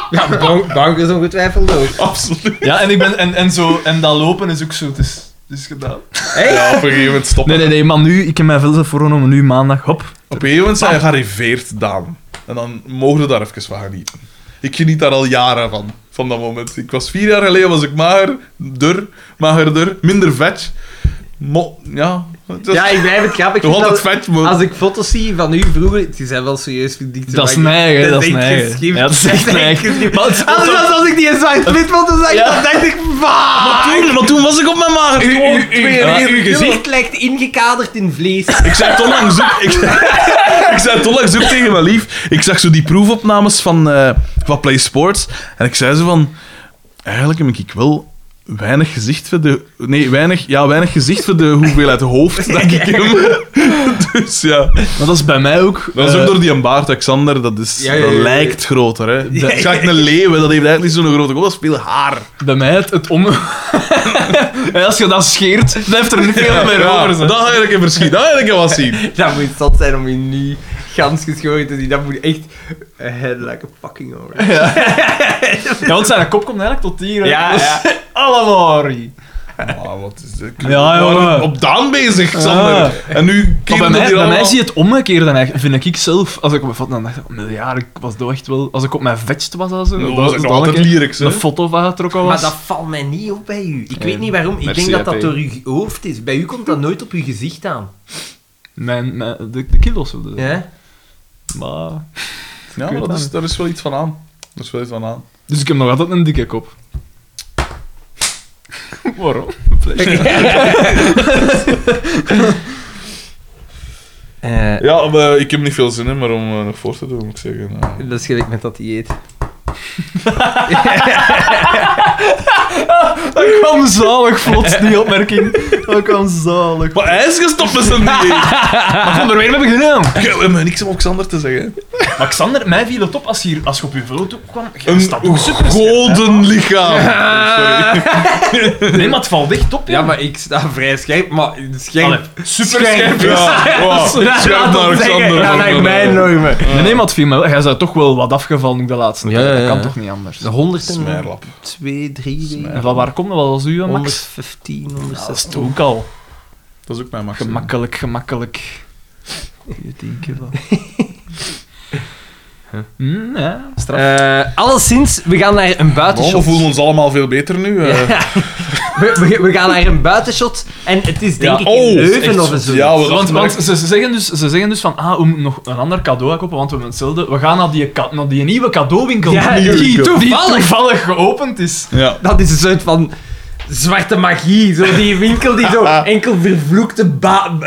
Ja, Dank is ongetwijfeld ook.
Absoluut.
Ja, en, ik ben, en, en, zo, en dat lopen is ook zo. Het is,
is gedaan.
Ja, op een gegeven moment stoppen.
Nee, nee, nee, maar nu, ik heb mij veel voorgenomen, nu maandag, hop.
Op een gegeven moment zijn we gearriveerd, Daan. En dan mogen we daar even van genieten. Ik geniet daar al jaren van, van dat moment. Ik was vier jaar geleden, was ik mager, dur, magerder, minder vet. Mo ja, het was
Ja, ik blijf het grappig.
nog
vinden
altijd
dat-
vet, maar...
Als ik foto's zie van u vroeger, die zijn wel serieus verdikte.
Dat is mijn eigen, dat is
denk
mijn
ik
eigen.
geschreven.
Ja, dat is echt
Dat
mijn
denk
eigen.
ik geschreven.
Maar het is-
Anders dan als ik die in zwart-wit foto zag, dan dacht ik, vaak.
toen, maar toen was ik op mijn mager. gewoon
Uw
42 kilo.
gezicht lijkt ingekaderd in vlees.
Ik zei het onlangs ook... Ik, ik zei het onlangs ook tegen mijn lief. Ik zag zo die proefopnames van, eh, van Play Sports. En ik zei zo van... Eigenlijk heb ik wel weinig gezicht voor de... Nee, weinig, ja, weinig gezicht voor de hoeveelheid hoofd dat ik heb. Dus ja.
Maar dat is bij mij ook.
Dat is ook
eh,
door die een baard, Alexander. Dat, is,
Ja, ja, ja,
dat
ja.
lijkt groter, hè. Dat is gelijk een leeuw, hè. dat heeft eigenlijk niet zo'n grote kop. Dat is veel haar.
Bij mij het, het om... En als je dat scheert, blijft er niet veel meer
Ja,
over.
dat
zeg.
ga ik even verschieten. Dat ga ik even wat zien.
Dat moet zat zijn om je niet gans geschoren te zien. Dat moet echt a head like a fucking horse.
Ja, want zijn kop komt eigenlijk tot hier. hè.
Ja,
Dat is
ja.
Allemaal. rie.
Ah, wat is dit?
Ja,
We waren
jongen.
Op Daan bezig, Xander.
Ah.
En nu
Maar bij
keert dat
mij,
hier
bij mij
allemaal...
zie je het omgekeerde, eigenlijk, vind ik, ik zelf. Als ik op mijn foto dan dacht ik, "Maar ja, ik was toch echt wel... Als ik op mijn vetst was, als zo,
Ja,
dat
was ik
was
nog
dan een
altijd
keer
lyrics, hè.
een foto van getrokken was.
Maar dat valt mij niet op bij u. Ik weet niet waarom. Ik
merci,
denk dat dat
AP.
door uw hoofd is. Bij u komt dat nooit op uw gezicht aan.
Mijn, mijn, de, de kilo's. of de-
Ja?
Maar...
Ja,
Ik weet
maar dat
dat
is,
niet.
daar is wel iets van aan. Er is wel iets van aan.
Dus ik heb nog altijd een dikke kop. Waarom?
Eh,
Ja, maar ik heb niet veel zin in, maar om eh, nog voor te doen, moet ik zeggen. Eh,
dat is gelijk met dat dieet.
Dat kwam zalig vlot, die opmerking. Dat kwam zalig.
Maar hij is gestopt met zijn dieet.
Maar van der Weer heb ik gedaan.
Ik heb helemaal niks om op Xander te zeggen.
Maar Xander, mij viel het op als je, hier- als je op je foto kwam. Je
Een
staat ook super
golden lichaam. Sorry.
Nee, maar het valt echt op,
Ja, maar ik sta vrij scherp, maar scherp.
Allee,
super
Oh, Ja, wow. Scherp naar Xander.
Ja, lijkt mij normen.
Nee, nee, maar het viel me wel. Jij bent toch wel wat afgevallen de laatste
Ja,
keer.
ja,
Dat
ja.
kan toch niet anders.
Smeerlap.
102, 3
En van waar komt dat wel als u, hè, Max?
115,
Ja, dat is
116.
toch ook al.
Dat is ook mijn maximum.
Gemakkelijk, gemakkelijk. 10 kilo. Mm, ja, straf.
Eh, alleszins, we gaan naar een
Nou, we
buitenshot.
voelen ons allemaal veel beter nu. eh.
We, we, we gaan naar een buitenshot en het is
Ja,
denk ik
oh,
in
echt
Leuven of
zot.
zo.
Ja, we-
Want, want ze, ze zeggen dus, ze zeggen dus van, ah, we moeten nog een ander cadeau kopen, want we hebben hetzelfde. We gaan naar die, ka- naar die nieuwe cadeauwinkel.
Ja,
die,
die toevallig-
die toevallig geopend is.
ja.
Dat is een soort van zwarte magie. Zo die winkel die zo enkel vervloekte ba-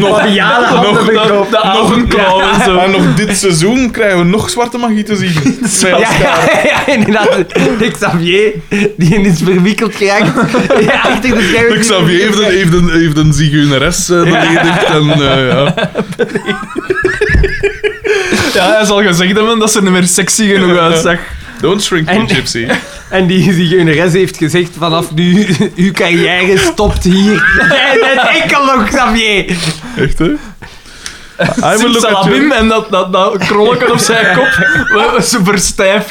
babianen handen
nog, dat-
verkoopt.
nog een klauw
Ja.
en zo. En nog dit seizoen krijgen we nog zwarte magie te zien. Bij
Ja,
elkaar.
ja, ja, inderdaad. De Xavier, die is verwikkeld geraakt. Ja, achter de schermen.
De Xavier heeft e- een, heeft een, heeft een zigeuneres eh, beledigd. En, eh, ja.
Ja, hij zal gezegd hebben dat ze er meer sexy genoeg uitzag.
Don't shrink me,
En-
Gypsy.
En die zigeuneres heeft gezegd, vanaf nu, uw carrière stopt hier. Jij bent enkel nog Xavier.
Echt, hè? Ah, Hij
Hij
wil
Salabim en dat, dat, dat krolken op zijn kop. we- Ze verstijft.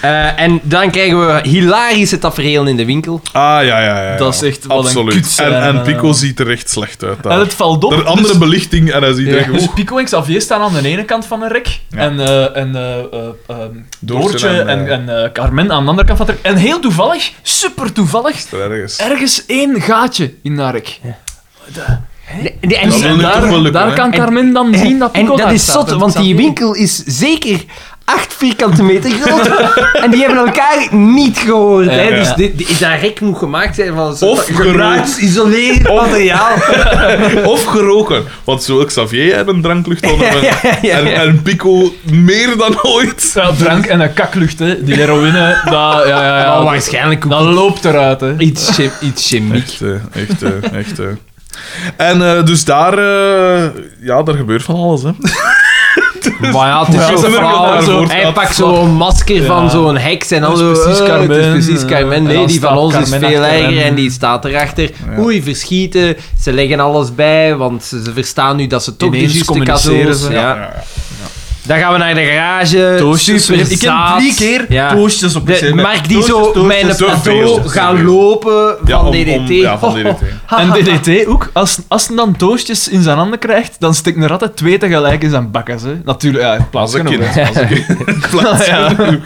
Eh, en dan krijgen we hilarische tafereelen in de winkel.
Ah, ja, ja, ja. ja.
Dat is echt wel een
Absoluut.
kutscène.
En, en Pico ziet er echt slecht uit.
En
Daar.
het valt op.
Er andere
dus-
belichting en hij ziet er echt...
Dus
oeh,
Pico en Xavier staan aan de ene kant van de rek.
Ja.
En, eh, en eh, eh, ehm,
Doortje
Doortje
en,
en,
eh,
en, eh, Carmen aan de andere kant van de rek. En heel toevallig, super toevallig,
ergens.
ergens één gaatje in haar rek.
Nee, nee, en
Dat
die-
wil
En
nu
daar,
toch wel lukken,
daar
hè?
kan Carmen dan zien dat
En
Pico
dat
daar
is
staat.
zot,
En
want die
Xavier-
winkel is zeker 8 vierkante meter groot. en die hebben elkaar niet gehoord. hè.
Ja.
Dus dit, dit, dat rek moet gemaakt zijn van zo'n
Of gerookt.
isolerend materiaal.
Of geroken. Want zo Xavier en een dranklucht onder hem.
Ja, ja, ja.
En, en Pico meer dan ooit.
Ja, drank en een kaklucht, hè. Die heroïne, dat, ja, ja, ja,
Maar waarschijnlijk ook
dat loopt eruit, hè.
iets, chim- iets chemiek.
Echt, eh, echt, eh, echt. eh. En eh, dus daar... eh, ja, daar gebeurt van alles, hè.
Maar ja, het is
Ja,
zo'n
ze merken
verhaal,
daar
zo-
voort-
Hij
dat-
pakt zo'n masker van
Ja.
zo'n heks en dan
Dat is
zo...
precies
eh,
Carmen,
Het is precies
eh,
Carmen.
en
Nee,
dan
die van
staat
ons is
Carmen
veel
achter
erger
hem.
en die staat erachter.
Ja.
Oei, verschieten. Ze leggen alles bij, want ze, ze verstaan nu dat ze toch de
Ineens
juiste
communiceren
cadeaus...
ze.
Ja.
ja.
Dan gaan we naar de garage.
Toastjes.
super
Ik ken
zaad.
drie keer
Ja.
Toastjes op
De,
PC.
Mark die zo
Toastjes,
mijn
toastjes,
plateau
toastjes.
gaan lopen van
Ja, om-
DDT.
om- ja, van DDT.
Oh.
En DDT ook. Als, als hij dan toastjes in zijn handen krijgt, dan stikt er altijd twee tegelijk in zijn bakkes. Hè. Natuurlijk, ja, in plaats
Als een
genomen.
kind. Als een kind. Plaats genomen.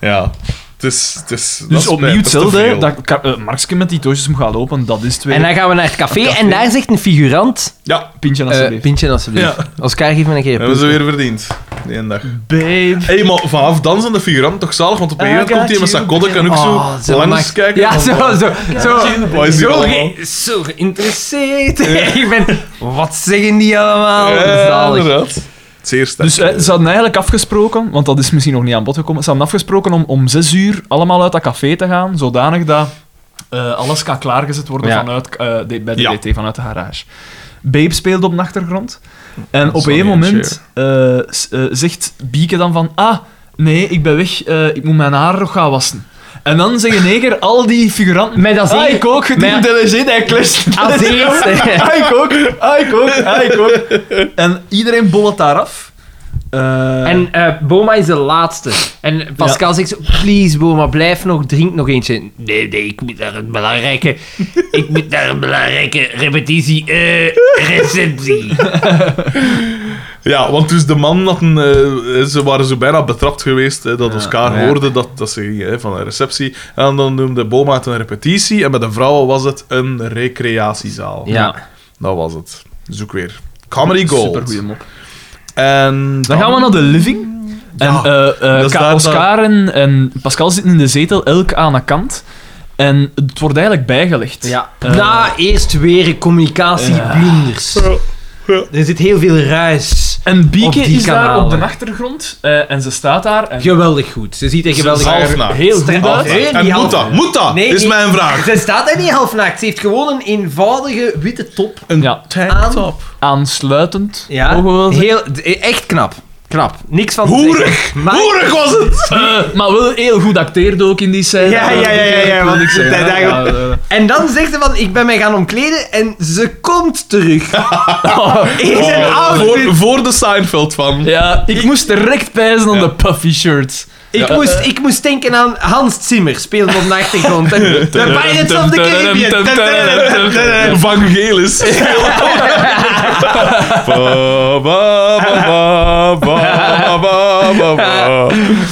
Ja. Het is... Het is dat
Dus
is
opnieuw
mij- dat is te
hetzelfde.
veel.
Dat, ka- eh, Markske met die toastjes moet gaan lopen, dat is twee.
En dan gaan we naar het café,
café.
en daar zegt een figurant...
Ja,
Pintje
eh
alsjeblieft.
Pintje, alsjeblieft. Oscar, geef me een keer een
hebben
punt.
ze weer verdiend. Die ene dag.
Babe.
Hé, maar vanaf dan zijn de figuranten toch zalig, want op een
I
gegeven moment
got
komt hij met zijn
you.
kodden en ook
Ah, Oh,
zo langs
maakt-
kijken. Oh,
Ja,
van,
zo, zo, zo,
Wat is hier
zo,
allemaal?
ge- zo geïnteresseerd. Ik ben, wat zeggen die allemaal?
Ja,
Zalig.
inderdaad. Zeer sterk.
Dus eh, ze hadden eigenlijk afgesproken, want dat is misschien nog niet aan bod gekomen, ze hadden afgesproken om om zes uur allemaal uit dat café te gaan, zodanig dat eh, alles kan klaargezet worden
Ja.
vanuit, eh, de- bij de
Ja.
DT, vanuit de garage. Babe speelde op de achtergrond. En op
Sorry,
een moment eh, s- eh, zegt Bieke dan van, ah, nee, ik ben weg, eh, ik moet mijn haar nog gaan wassen. En dan zeggen in één keer al die figuranten...
Met als
Ah,
eerste-
ik ook,
met-
gedoemd LG, hij clasht.
Als eerste.
Ah, ik ook. Ah, ik ook. Ah, ik ook. En iedereen bollet daar af. Eh,
En eh, Boma is de laatste. En Pascal zegt zo, please Boma, blijf nog, drink nog eentje. Nee, nee, ik moet naar een belangrijke, ik moet naar een belangrijke repetitie, eh, receptie.
Ja, want dus de man had een, eh, ze waren zo bijna betrapt geweest eh, dat Oscar
ja.
hoorde dat, dat ze gingen hè, van een receptie. En dan noemde Boma het een repetitie en bij de vrouwen was het een recreatiezaal.
Ja.
Dat was het. Zoek weer. Comedy Gold.
Supergoeie mop.
En dan,
Dan gaan we naar de living. En
Ja,
eh, eh,
dat is
Ka-
daar dat-
Oscar en, en Pascal zitten in de zetel, elk aan een kant. En het wordt eigenlijk bijgelegd.
ja.
Eh,
Na eerst weer communicatieblunders. Er zit heel veel ruis.
En Bieke
Op die
is daar op
kanalen.
de achtergrond eh, en ze staat daar. En
Geweldig goed. Ze ziet er geweldig
Ze-
uit.
half naakt.
heel goed
Stra-
uit.
Nee, niet
en moet
half
dat? Moet dat?
Nee,
is
ik-
mijn vraag.
Ze Dus staat daar niet halfnaakt. Ze heeft gewoon een eenvoudige witte top
Een
Ja.
aan.
Aansluitend.
Ja,
mogen we wel zeggen.
heel, d- echt knap. Knap. Niks van te
Hoerig!
zeggen. Maar-
Hoerig was het!
Eh, maar wel heel goed acteerde ook in die scène.
Ja, ja, ja, ja, ja, want
ik
ze- daar- En dan zegt ze van, ik ben mij gaan omkleden en ze komt terug.
Ah.
In zijn outfit.
Oh. voor, voor de Seinfeld van.
Ja, ik moest direct pijzen aan
Ja.
de puffy shirt.
Ik, moest, ik moest denken aan Hans Zimmer, speelde op de achtergrond. En de Pirates of the Caribbean.
Van Gelis. Ba, ba, ba, ba, ba, ba, ba, ba.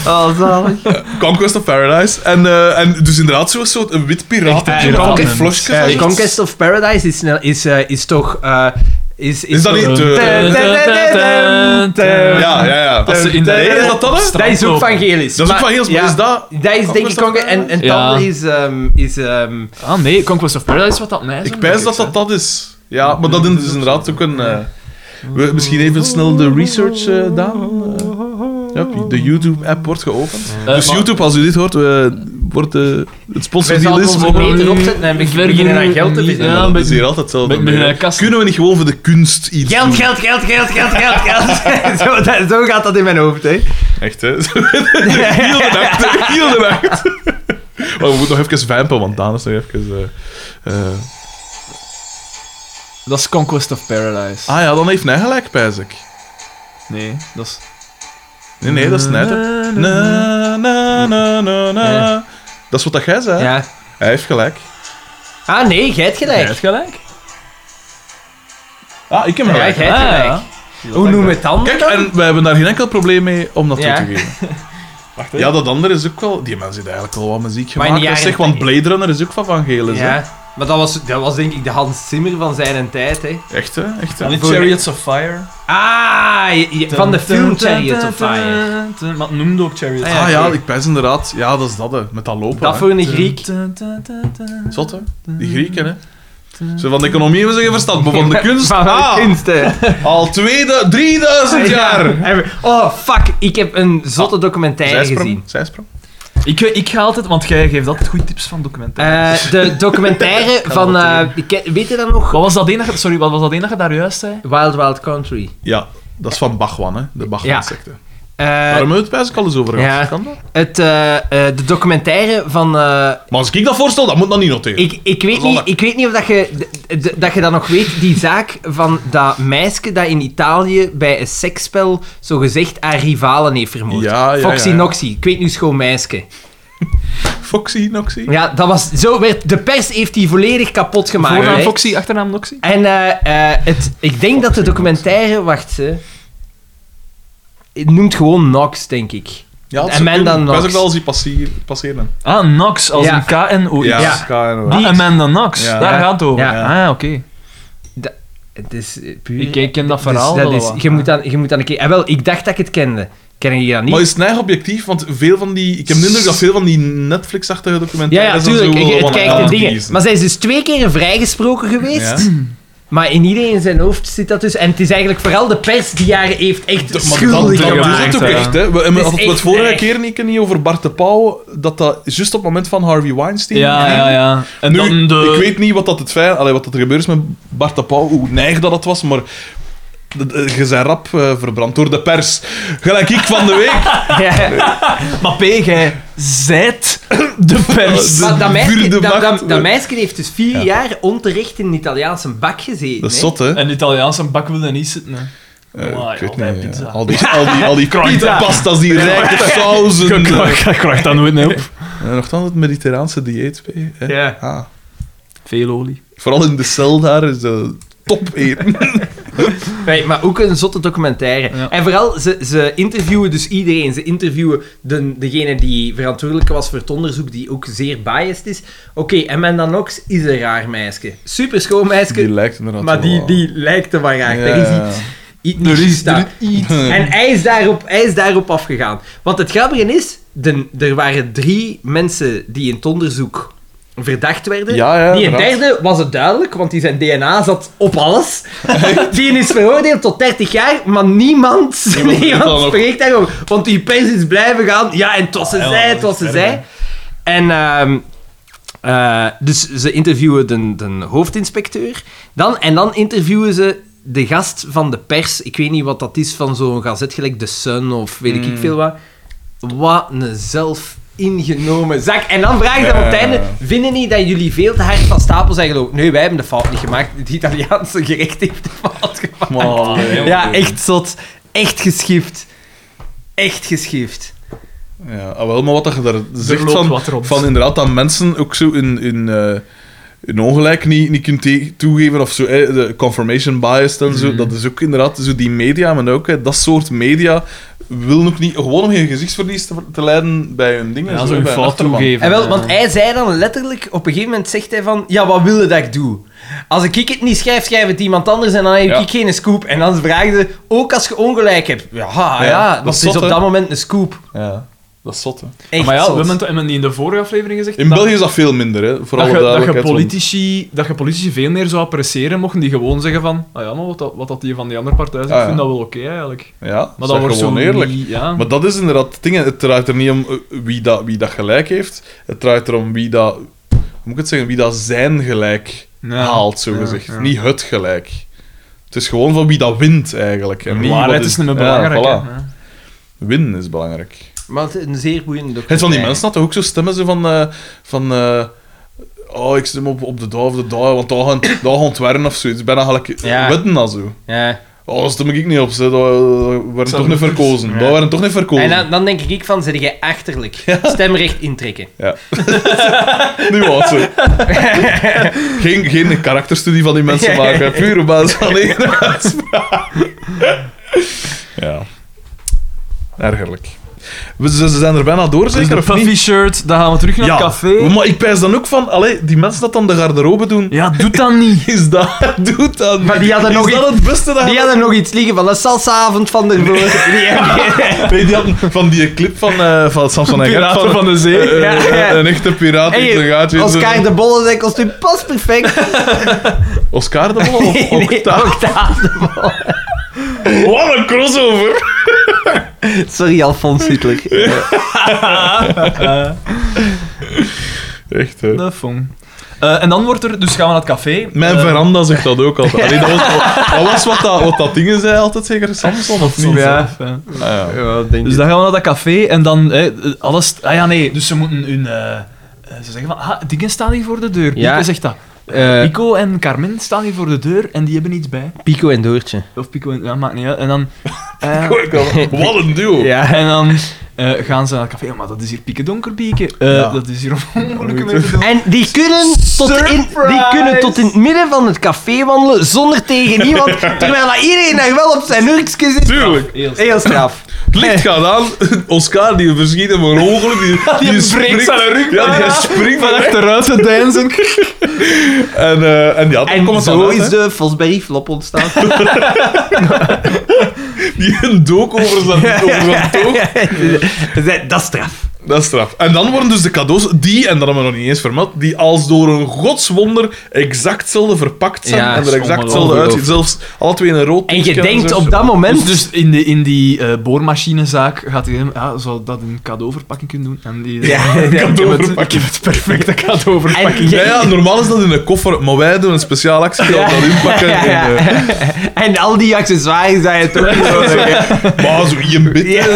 Oh, zalig.
Conquest of Paradise. En, eh, en dus inderdaad zo'n soort een wit piraat.
Echt een
Een
piraat.
rocket flosje.
Eh,
zoiets.
Conquest of Paradise is, snel- is, eh, is toch... eh, is,
Is dat
toch-
niet, eh,
Dun, dun, dun, dun, dun.
Ja, ja, ja.
Als ze in de-
Nee, is dat dat? hè?
Dat is ook van Gelis.
Dat is ook van Gelis, maar
ja,
is dat...
Dat is denk ik...
Conquest of
Conquest- En, en
Paradise? Ja.
Tanden is... ehm, is ehm,
Ah nee, Conquest of Paradise, wat dat mij
Ik pijs dat dat dat is. Ja, maar dat is dus inderdaad ook een... eh, we- misschien even snel de research eh daan. ja, de YouTube-app wordt geopend.
Eh,
dus YouTube, als u dit hoort, eh, wordt eh, het
Wij
sponsordeal
zouden
is...
ons
voor-
niet erop zetten en
Verder
beginnen aan geld te
niet,
verdienen.
ja.
dat
ben-
is hier altijd hetzelfde.
ben- ben-
mee, hè.
eh, kast-
Kunnen we niet gewoon voor de kunst iets
Geld,
doen?
geld, geld, geld, geld, geld, geld. zo, dat- zo gaat dat in mijn hoofd, hè.
Echt, hè? Heel de nacht. Heel de nacht. Maar we moeten nog even vampen, want Daan is nog even... eh, eh,
Dat is Conquest of Paradise.
Ah ja, dan heeft hij gelijk, pijs ik.
nee, dat is...
Nee, nee, dat is net. hè. Na, na, na, na, na. Dat is wat dat jij zei.
Ja.
Hij heeft gelijk.
Ah, nee, jij hebt
Jij
gelijk.
hebt gelijk.
Ah, ik heb
Ja, jij
gelijk.
hebt gelijk. Hoe noem je het dan?
Kijk, en we hebben daar geen enkel probleem mee om dat
Ja.
toe te geven. ja, dat andere is ook wel... Die mensen heeft eigenlijk wel wat muziek
Maar
gemaakt.
in de
hè,
jaren-
Zeg, want Blade Runner is ook van Van Gelis. hè.
Ja. Maar dat was, dat was denk ik de Hans Zimmer van zijn tijd, hè.
Echt, hè? Echt, hè?
En
voor-
Chariots of Fire.
Ah, je- je- van de film Chariots of Fire.
Fire. Maar het noemde ook Chariots
Ah ja, ik pijs inderdaad. Ja, dat is dat, hè. Met dat lopen,
Dat
hè.
voor een Griek.
Zot, hè. Die Grieken, hè. Zo van de economie hebben ze geen verstand, maar van de kunst...
Van de
ah,
kunst, hè.
Al 2000, 3000 jaar! Ah.
Ja. Oh, fuck. Ik heb een zotte documentaire
Zijsprong,
gezien.
zijsprong.
Ik, eh, ik ga altijd, want jij geeft altijd goede tips van documentaires.
Eh, de documentaire van... eh, ik ken- weet je dat nog?
wat was dat één dat je- sorry, wat was dat één dat je daar juist zei?
Wild Wild Country.
Ja, dat is van Bachwan, hè. De
Ja.
Bachwan-secte.
Eh,
Waarom hebben we het bij al eens over gehad?
ja.
Kan dat?
het, eh, eh, de documentaire van... eh,
Maar als ik dat voorstel, dat moet nog niet noteren.
ik, ik, weet
Zonde.
niet, ik weet niet of dat je, d- d- dat je dat nog weet. Die zaak van dat meisje dat in Italië bij een seksspel zogezegd haar rivalen heeft vermoord.
Ja, ja,
Foxy
ja, ja.
Noxy. Ik weet nu schoon meisje.
Foxy, Noxy.
Ja, dat was... Zo werd... De pers heeft die volledig kapot gemaakt.
Voornaam
hè.
Foxy, achternaam Noxy.
En eh, eh, het, ik denk dat de documentaire... Wacht, hè. Het noemt gewoon Nox, denk ik.
Ja,
En men dan nog.
Ik wel zien passeren. passeren.
Ah, Nox, als
Ja.
een K-N-O.
Ja,
Ja.
Sky-
Ah, Amanda Knox,
Ja.
daar
Ja.
gaat het over.
Ja.
Ah, oké.
Het is eh, puur...
Ik, ik ken dat
Dus
verhaal
dat
wel
is,
wat.
je, moet dan, je moet dan een keer... Ah, wel, ik dacht dat ik het kende. Ken je dat niet?
Maar is het erg objectief? Want veel van die... Ik heb de indruk dat veel van die Netflix-achtige
Ja, ja,
documentaires... en zo
tuurlijk.
wel
Je- Het
wat
kijkt in
aan
dingen.
kiezen.
Maar zij is dus twee keer vrijgesproken geweest. Maar in iedereen zijn hoofd zit dat dus. En het is eigenlijk vooral de pers die haar heeft echt
Dat- maar dat,
schuldig
dat
gemaakt.
is het ook echt, hè. We, en we
is
hadden het
echt
vorige
erg.
keer niet, niet over Bart de Pauw, dat dat juist op het moment van Harvey Weinstein...
Ja, ja, ja. En
nu,
dan de...
Ik weet niet wat dat het feit, allee, wat dat er gebeurd is met Bart de Pauw, hoe neig dat het was, maar d- d- je zijn rap eh, verbrand door de pers. Gelijk ik van de week.
Ja.
Maar P, jij zijt de pers.
Maar dat meisje,
vierde
dat, dat,
macht.
dat meisje heeft dus vier jaar onterecht in een Italiaanse bak gezeten.
Dat is
hè.
zot, hè?
En de Italiaanse bak wil er niet zitten. hè.
Eh,
Amai,
ik weet
altijd
niet. ja.
pizza.
Al die, al die, al die
Krakta.
pizza-pastas, die rijke sauzen.
Ik krijg dat nooit meer op.
Eh, Nochtans het Mediterraanse dieet, P. hè.
Ja.
Ah.
Veel olie.
Vooral in de cel daar is dat top eten.
Nee, maar ook een zotte documentaire.
Ja.
En vooral, ze, ze interviewen dus iedereen. Ze interviewen de, degene die verantwoordelijk was voor het onderzoek, die ook zeer biased is. Oké, en Amanda Knox is een raar meisje. Super schoon meisje,
Die lijkt inderdaad
maar die,
wel-
die lijkt er maar raar. Er is
Ja.
iets, iets niet juist daar. En hij is, daarop, hij is daarop afgegaan. Want het grappige is, de, er waren drie mensen die in het onderzoek verdacht werden.
Ja, ja,
die in
inderdaad.
derde was het duidelijk, want die zijn DNA zat op alles. die is veroordeeld tot 30 jaar, maar niemand,
Niemand
niemand,
weet dat nog.
spreekt daarover. Want die pers is blijven gaan. Ja, en tot ze
ja,
zij,
dat
tot
is
ze
verder,
zij. En... ehm, eh, dus ze interviewen de, de hoofdinspecteur. Dan, en dan interviewen ze de gast van de pers. Ik weet niet wat dat is van zo'n gazet, gelijk The Sun of weet ik veel wat. Wat een zelf ingenomen zak. En dan vraag je dan op het
Ja.
einde: vinden niet dat jullie veel te hard van stapel zijn gelopen? Nee, wij hebben de fout niet gemaakt. Het Italiaanse gerecht heeft de fout gemaakt.
Maar,
ja, echt zot. Echt geschift. Echt geschift.
Ja, ah, wel, maar wat dat je daar zegt
loopt
van,
wat rond.
van inderdaad dat mensen ook zo in, in, eh, in ongelijk niet, niet kunt te- toegeven of zo, eh, de confirmation bias en
Mhm.
zo, dat is ook inderdaad zo die media, maar ook eh, dat soort media wil ook niet, gewoon om geen gezichtsverlies te, te leiden bij hun dingen.
Ja,
zo,
zo'n
bij hun
fout
achterban.
toegeven.
En wel, want hij zei dan letterlijk, op een gegeven moment zegt hij van, ja, wat wil je dat ik doe? Als ik ik het niet schrijf, schrijf het iemand anders en dan heb
Ja.
ik geen scoop. En dan vragen ze, ook als je ongelijk hebt. Ja, ja,
Ja, dat
want
is
het is
zot,
op
hè?
dat moment een scoop.
Ja, dat is zot, hè.
Echt
maar ja,
zot.
we hebben het- hebben we niet in de vorige aflevering gezegd.
In
dat-
België is dat veel minder, hè, voor
dat
alle
je, dat, je
duidelijkheid. want-
politici, dat je politici veel meer zou appreciëren mochten die gewoon zeggen van ah ja, maar wat dat, wat dat die van die andere partij zegt,
Ah, ja.
vind dat wel oké eigenlijk.
ja,
Maar dat wordt
gewoon
zo
eerlijk.
niet- ja.
Maar dat is inderdaad het ding. hè. Het draait er niet om eh, wie dat, wie dat gelijk heeft. Het draait erom wie dat... Hoe moet ik het zeggen? Wie dat zijn gelijk
Ja.
haalt, zo gezegd. Niet het gelijk. Het is gewoon van wie dat wint, eigenlijk. En niet
waarheid
wat
is niet meer belangrijk.
Ja,
hè.
voilà.
Ja.
Winnen is belangrijk.
Maar het is een zeer boeiende
Het
documentaire.
van die mensen dat toch ook zo stemmen ze van... eh, van eh, oh, ik stem op, op de dag of de dag, want daar gaan, daar gaan het werken of zoiets. Bijna gelijk
Ja.
wetten dat zo.
Ja.
Oh, daar stem ik niet op. Ze dat, dat werden toch niet verkozen. Dat werden toch niet verkozen.
En dan, dan denk ik van, zit jij achterlijk. Stemrecht intrekken.
Ja. Nuance. geen, geen karakterstudie van die mensen maken. Puur op basis van één uitspraak. ja. Ergerlijk. We, ze, ze zijn er bijna door,
Dus
zeker?
de
Of niet?
puffy shirt, dan gaan we terug naar het café.
Maar ik pijs dan ook van... Allee, die mensen dat dan de garderobe doen...
Ja, doe dat niet.
Is dat... Doet dat
Maar die hadden
Is
nog
dat het beste dat
Die hadden nog iets liggen van de salsaavond van de
Nee, die hadden van die clip van, eh, van Samson en Gert.
Piraten van de Zee.
eh, eh,
Ja, ja.
Een echte piraat die te gaat. weet je.
Oscar de Bolle, zijn kostuum past perfect.
Oscar de Mol of
Nee,
Octa?
Octave.
Wat een crossover!
Sorry, Alfons Hitler.
Echt, hè.
De fong. Eh, Eh, en dan wordt er, dus gaan we naar het café.
Mijn
Eh,
veranda zegt dat ook altijd. Allee, dat, was, wat was wat dat, wat dat dingen zei altijd, zeker Samson of niet?
Ja, ja.
Ah, ja.
Ja, denk
Dus dan gaan we naar dat café en dan eh, alles. Ah ja, nee, dus ze moeten hun. eh, eh, ze zeggen van, ah, dingen staan hier voor de deur.
Ja.
Pico zegt dat. Pico en Carmen staan hier voor de deur en die hebben iets bij.
Pico en Doortje.
Of Pico en. Ja, maakt niet uit. En dan. eh,
Kijk dan, Wat een duo.
ja, en dan eh, gaan ze naar het café. Ja, maar dat is hier pieke donkerbieke. Eh,
Ja.
Dat is hier op onmogelijke manier.
En die kunnen, tot in, die kunnen tot in het midden van het café wandelen zonder tegen iemand, terwijl dat iedereen daar wel op zijn hurkje zit.
Tuurlijk.
Heel
Heel straf.
Het licht
Eh.
gaat aan. Oscar, die verschiet hem een ongeluk. Die, die, springt
zijn rug
Ja, die springt van
Achteruit te deinzen.
En, eh, en ja, dan komt
En
het
zo
dan uit,
is
hè.
de Fosberry flop ontstaan.
Die een dook over zijn, over zijn toog.
Dat is straf.
Dat is straf. En dan worden dus de cadeaus, die, en dat hebben we nog niet eens vermeld, die als door een godswonder exact hetzelfde verpakt zijn
Ja,
en
is
er exact hetzelfde
ongelooflijk.
uitzien. Zelfs alle twee in een rood
En je
toesje
denkt
zo.
op dat
Dus,
moment...
dus in, de, in die eh, boormachinezaak gaat hij hem, ja, zou dat een cadeauverpakking kunnen doen? En die,
Ja,
ik,
ja.
heb het, ik
Cadeauverpakking.
heb het perfecte cadeauverpakking.
En-
Ja, ja, normaal is dat in een koffer, maar wij doen een speciale actie dat we dat inpakken.
Ja, ja.
En, eh,
En al die accessoires zijn het ook nodig.
maar zo je bit,
Ja.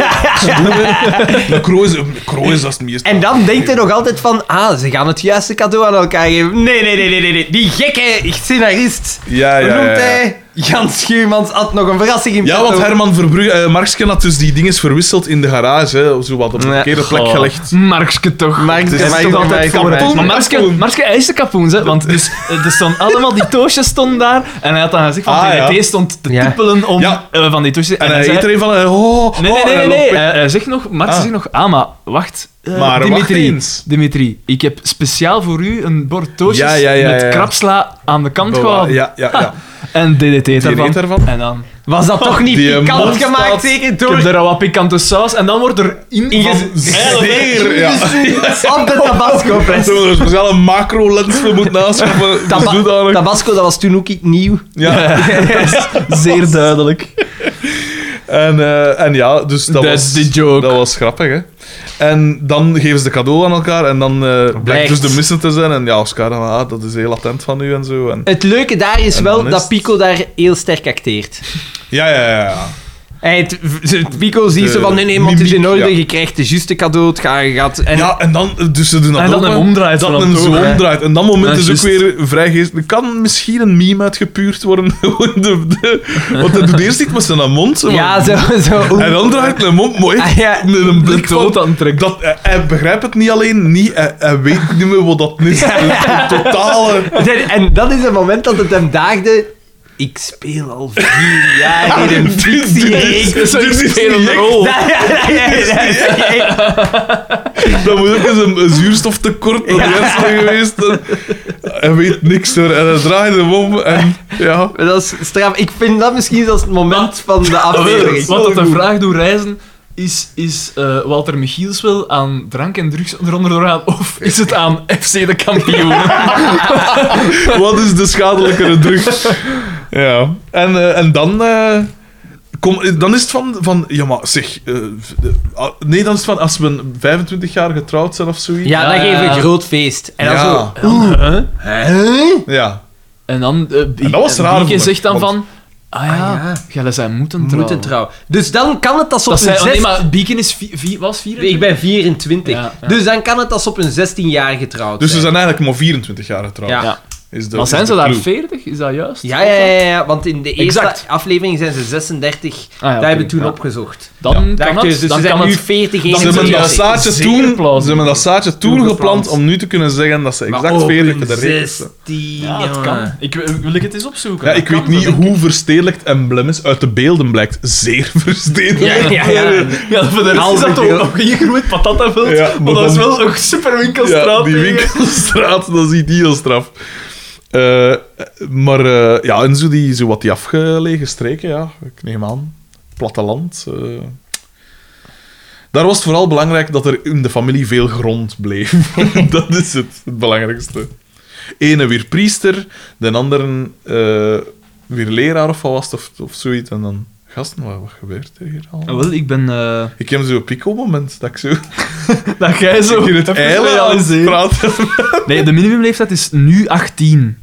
een krooi is, een krooi is eh, dat het meest.
En dan denkt hij nog altijd van, ah, ze gaan het juiste cadeau aan elkaar geven. Nee, nee, nee, nee, nee, nee. Die gekke scenarist,
Ja, ja,
hoe
ja,
noemt
ja.
hij? Jans Schuurmans had nog een verrassing in
Ja,
petto.
want Herman Verbrugge, eh Marksken had dus die dinges verwisseld in de garage, hè, of zo wat op een
Ja.
verkeerde plek
Goh.
gelegd.
Markske toch.
Markske,
Het is
Markske,
toch altijd
Markske,
voor-
Markske.
Maar Markske, Markske hij is de kapoen, hè? Want dus, eh, er stonden allemaal die toosjes stonden daar. En hij had dan gezegd van
Ah, ja.
TNT stond te
Ja.
tippelen om
Ja.
eh, van die toosjes.
En
hij
hij
zei-
eet er een van, eh, oh,
Nee, nee,
oh, en
nee, nee.
hij loopt
nee.
weg.
Hij, hij zegt nog, Marx
Ah.
zegt nog, ah, maar wacht. eh,
Maar wacht
Dimitri,
eens.
Dimitri, ik heb speciaal voor u een bord toosjes
Ja, ja, ja,
met
ja, ja.
krapsla aan de kant
Bewa-
gehouden.
Oh, Ja, ja, ja.
En DDT
Die
daarvan.
eet ervan.
En dan...
Was dat toch niet
Die
pikant
mond
gemaakt,
staat-
zeker?
Ik
Door
heb daar wat pikante saus en dan wordt er in,
Inge-
Zeer, ja.
op de Tabasco-fles.
Zo een speciale macro-lens voor moet naschaffen.
Taba-
Zodanig.
Tabasco, dat was toen ook iets nieuw.
Ja.
zeer duidelijk.
En, eh, en ja, dus dat
That's
was...
the joke.
Dat was grappig, hè. En dan geven ze de cadeau aan elkaar en dan eh, blijkt
Blijkt.
dus de missen te zijn. En ja, Oscar, dan, ah, dat is heel attent van u en zo. En...
Het leuke daar is
En
wel
dan is
dat
het-
Pico daar heel sterk acteert.
Ja, ja, ja, ja.
Hij het, het Pico ziet
De
zo van, nee, nee, maar het is in
mimiek,
orde,
ja.
je krijgt de juiste cadeau, het gaat, je gaat... En
Ja, en dan... eh, Dus ze doen dat
En dan
ook,
hem
hè.
omdraait van
Dat
hem
men zo
zo.
omdraait. En dat moment
Ja,
is ook
juist.
weer vrij geest. Er kan misschien een meme uitgepuurd worden. de, de, want hij doet eerst iets met zijn mond. zo van-
ja, zo, zo.
En dan draait hij hem om, mooi.
Ah, ja.
Met een blik van...
Dood aantrekt.
Dat, hij, hij begrijpt het niet alleen, niet, hij, hij weet niet meer wat dat is. Het Totale...
En- En dat is het moment dat het hem daagde. Ik speel al vier jaar in een
Dit- dit is-
fictiereeks.
dit is niet echt.
Ja, ja, ja, ja, ja, ja.
Dat moet ook eens een, een zuurstoftekort aan de hersenen geweest. En, hij weet niks hoor. En hij draait hem om en ja...
Maar Dat is straf. Ik vind dat misschien zelfs het moment van de aflevering.
Wat dat de vraag doet reizen, is, is eh, Walter Michiels wel aan drank en drugs eronder doorgaan, of is het aan FC de kampioen?
Wat is de schadelijkere druk? Ja. En, eh, en dan... eh, kom, eh, dan is het van, van... Ja, maar zeg... eh, v- de- ah, nee, dan is het van als we 25 jaar getrouwd zijn of zoiets.
Ja, dat
Ja, ja,
geeft
ja.
een groot feest. En dan
Ja.
zo...
Huh?
Ja.
En dan... eh, Bie-
En dat was raar,
Bieke
vond ik,
zegt dan
want-
van... Ah ja,
Ah, ja.
ja. zij moeten trouwen.
Moeten trouw. Dus dan kan het als op
Dat
een
zij, oh,
zes...
nee, maar Bieke is vi- vi- was vier.
Ik ben 24.
Ja, ja.
Dus dan kan het als op een 16-jarige getrouwd
Dus ze
zijn.
zijn eigenlijk maar 24 jaar getrouwd.
Ja.
Ja.
Is de,
Maar
is
zijn
de
ze daar
clue.
40? Is dat juist?
Ja, ja, ja, ja, want in de eerste
Exact.
aflevering zijn ze 36.
Ah, ja,
dat
oké,
hebben we toen
ja.
opgezocht.
Dan
Daar
kan het.
dus ze
dan
zijn
kan
nu
het.
40,
Dan
Ze
41.
hebben,
Ja,
dat zaadje
zeker
toen,
plausibel.
ze hebben dat zaadje toen
Toen
geplant
geplant.
om nu te kunnen zeggen dat ze
Maar
exact
op
40
hun
de regels zijn.
16,
Ja, het
jongen.
kan. Ik, eh, wil ik het eens opzoeken?
Ja,
Dat
ik weet
kan,
niet
dat-
hoe verstedelijkt emblem is. Uit de beelden blijkt zeer verstedelijkt.
Ja, ja, ja.
Ja, voor de rest is dat toch nog geen groeit patataveld,
Ja,
maar,
maar
dat is
dan-
wel een super
Ja,
winkelstraat.
die
tegen.
winkelstraat, dat is niet heel straf. Eh, maar eh, ja, en zo, die, zo wat die afgelegen streken, ja, ik neem aan. Platteland. eh. Daar was het vooral belangrijk dat er in de familie veel grond bleef. dat is het, het belangrijkste. Ene weer priester, de andere eh, weer leraar of wat was het, of, of zoiets. En dan, gasten, wat, wat gebeurt er hier al?
Ah, wel, ik ben... eh,
Ik heb zo'n pico-moment dat ik zo...
dat jij zo
in het
even
eilen aan het
realiseert.
praten.
Nee, de minimumleeftijd is nu 18.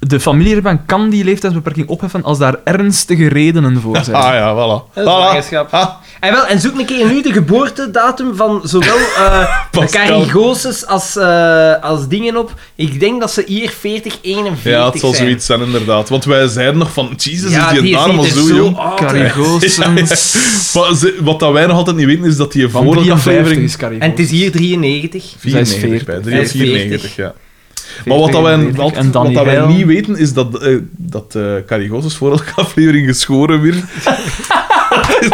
De familierechtbank kan die leeftijdsbeperking opheffen als daar ernstige redenen voor zijn.
Ah ja, voilà.
Dat is
voilà.
blankenschap.
Ah,
En, wel, en zoek een keer nu de geboortedatum van zowel eh de
Pascal.
Carigoses als, eh, als dingen op. Ik denk dat ze hier 40, 41 zijn.
ja, het zal zoiets zijn, inderdaad. Want wij zeiden nog van, Jesus,
Ja,
is die
die
een arme
ziet er
zo
zo
jong?
oud uit.
Carigosens.
Maar ze- wat dat wij nog altijd niet weten, is dat die
Van
voor de
53
aflevering...
is Carigos.
En het is hier 93.
Zij is
94
40.
bij, drie of
Zij is
94, ja. Maar wat, dat wij,
40,
wat,
en dan
wat dat wij
Nihil.
niet weten, is dat, eh dat eh Carigos is voor elke aflevering geschoren weer. die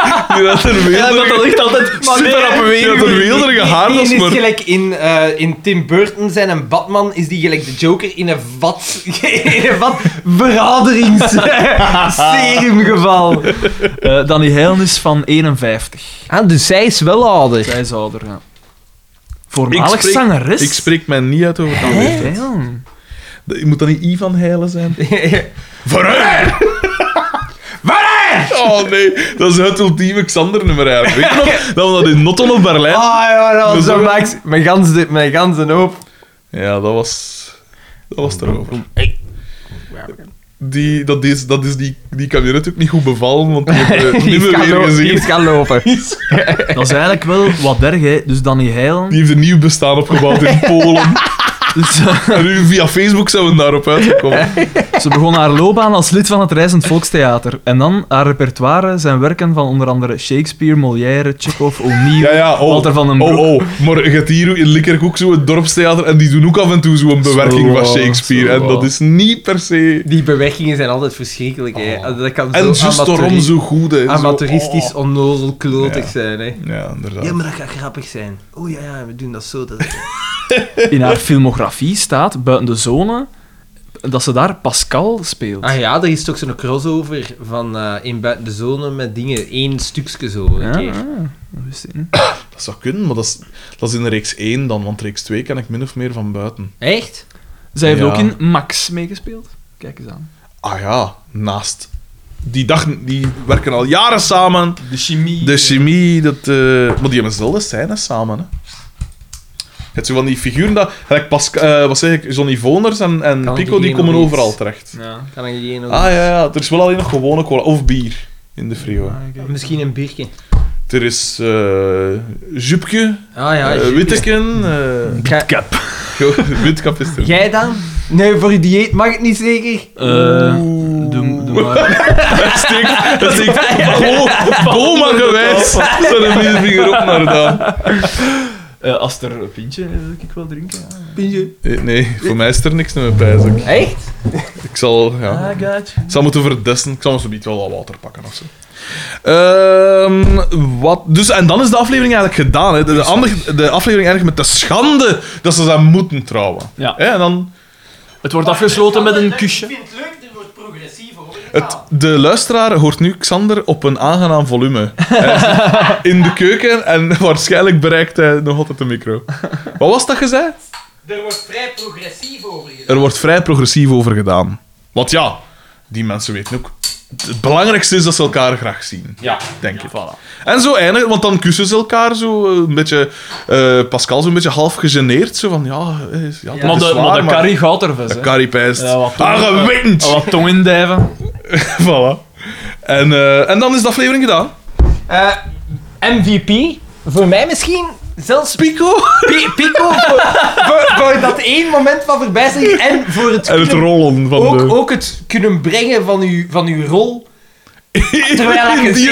had een wilder,
dat ligt altijd
super op een
weer.
die had een wilderige
Die
haardos,
is
maar...
gelijk in, eh, in Tim Burton zijn een Batman, is die gelijk de Joker in een vat, in een vat verraderingsserumgeval.
dan die heilen is Eh, van 51.
ah, dus zij is wel ouder.
Zij is ouder, ja. Voormalig
spreek-
zangeres?
Ik spreek mij niet uit over dat
Hè?
leeftijd.
Damn.
Je Moet dat niet Ivan Heilen zijn? Vooruit! Vooruit! Oh nee, dat is het ultieme Xander-nummer eigenlijk. Weet je nog dat we dat in Notten of Berlijn...
Ah ja, dat was
Zo-
zo Max. Mijn gans, de- mijn ganzen hoop.
Ja, dat was... Dat was
Oh,
erover. Die, dat is, dat is die, die kabinet ook niet goed bevallen, want die hebben we
Die
niet
is
meer
gaan,
weer
lo- die
gezien.
is gaan lopen.
Dat is eigenlijk wel wat erg, hè. Dus Danny Heilen...
Die heeft een nieuw bestaan opgebouwd in Polen.
Dus, eh,
En nu via Facebook zouden we daarop uitgekomen.
ze begon haar loopbaan als lid van het Reizend Volkstheater. En dan haar repertoire zijn werken van onder andere Shakespeare, Molière, Chekhov, O'Neill,
Ja, ja, oh.
Walter van den Broek.
Oh, oh, maar je hebt hier in Likkerk ook zo'n dorpstheater en die doen ook af en toe zo'n bewerking van
waar,
Shakespeare.
zo
En dat
waar.
is niet per se...
Die bewerkingen zijn altijd verschrikkelijk. Hè. Dat kan
Oh. En
zo
juist daarom
amateuri-
zo goed, hè. Zo- oh.
amateuristisch onnozel klotig
Ja.
zijn. Hè.
oh. Ja, inderdaad.
Ja, maar dat gaat grappig zijn. Oh ja, ja, we doen dat zo. Dat...
oh.
In haar filmografie staat, buiten de zone, dat ze daar Pascal speelt.
Ah ja, er is toch zo'n crossover van eh, in buiten de zone met dingen. één stukje zo. een
Ja,
keer.
ah, dat wist ik niet.
Dat zou kunnen, maar dat is, dat is in reeks 1 dan, want reeks 2 ken ik min of meer van buiten.
Echt?
Zij heeft
Ja.
ook in Max meegespeeld. Kijk eens aan.
Ah ja, naast. Die, dag, die werken al jaren samen.
De chemie.
De chemie, dat... eh, maar die hebben zelfde scènes samen, hè. Het zijn van die figuren dat... gelijk Pasca- eh, wat zeg ik? Johnny Voners en, en
Kan
Pico, die
diegene
komen
nog
overal
iets?
terecht.
Ja.
Kan ik die nog...
Ah ja, ja, er is wel alleen nog gewone cola. Of bier in de frio.
Ah, oké.
Misschien een biertje.
Er is eh Jupke,
Ah ja,
eh,
juist.
Witteken... eh,
Ga-
Witkap is er.
Jij dan? Nee, voor je dieet mag het niet zeker.
Eh, doe, doe maar.
steekt, dat steekt bo- boma gewijs zijn middelvinger op naar daar.
Eh, als er een pintje is, wil ik wel drinken. Ja.
Eh, Nee, voor mij is er niks meer bij. zeg.
Echt?
Ik zal, ja,
Ah, gotcha.
ik zal moeten verdessen. Ik zal zo niet wel wat water pakken of zo. Ehm, wat, dus, en dan is de aflevering eigenlijk gedaan. Hè. De, de, ander- de aflevering eindigt met de schande dat ze zijn moeten trouwen.
Ja.
Hè, en dan
Het wordt afgesloten met een kusje.
vind het leuk, er wordt progressief hoor.
Het, de luisteraar hoort nu Xander op een aangenaam volume. Hij zit in de keuken en waarschijnlijk bereikt hij nog altijd de micro. Wat was dat gezegd?
Er wordt vrij progressief over
Er wordt vrij progressief over gedaan. Want ja, die mensen weten ook. Het belangrijkste is dat ze elkaar graag zien.
Ja.
Denk ik. En zo eindigen, want dan kussen ze elkaar zo eh, een beetje. eh, Pascal zo'n beetje half gegeneerd. Zo van ja, eh, ja, dat
Maar
is
de,
waar,
maar de
maar-
carry gaat er vis,
De
hè.
curry pijst.
Ja, wat doen
ah,
we?
gewend!
Wat tong indijven.
Voilà. En, eh, en dan is de aflevering gedaan.
Eh, MVP? Voor mij misschien zelfs
Pico!
Pi- Pico voor, voor, voor dat één moment van voorbijzijn en voor het,
En het
kunnen-
rollen van
ook,
de...
ook het kunnen brengen van uw, van uw rol terwijl ik,
in, die,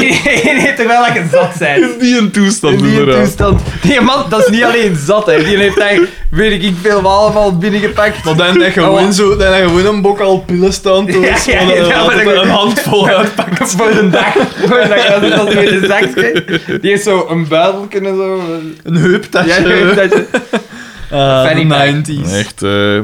een, terwijl ik een zat zijn.
in die een toestand,
In die
inderdaad.
toestand. Die man, dat is niet alleen zat, hè. die heeft eigenlijk, weet ik veel, wat allemaal binnengepakt.
Maar dan heb je gewoon zo, dan heb je gewoon een bok al pillen staan. te-
Oh, Ja, ja, ja,
eh,
maar
altijd
dan-
een handvol uitpakken.
voor een dag. Voor een dag, dat is dat weer een zakje. Die heeft zo een buidel kunnen zo.
Een heuptasje.
Ja, je weet dat je-
Ah,
Eh,
Fanny
de
pack.
90s.
Echt, eh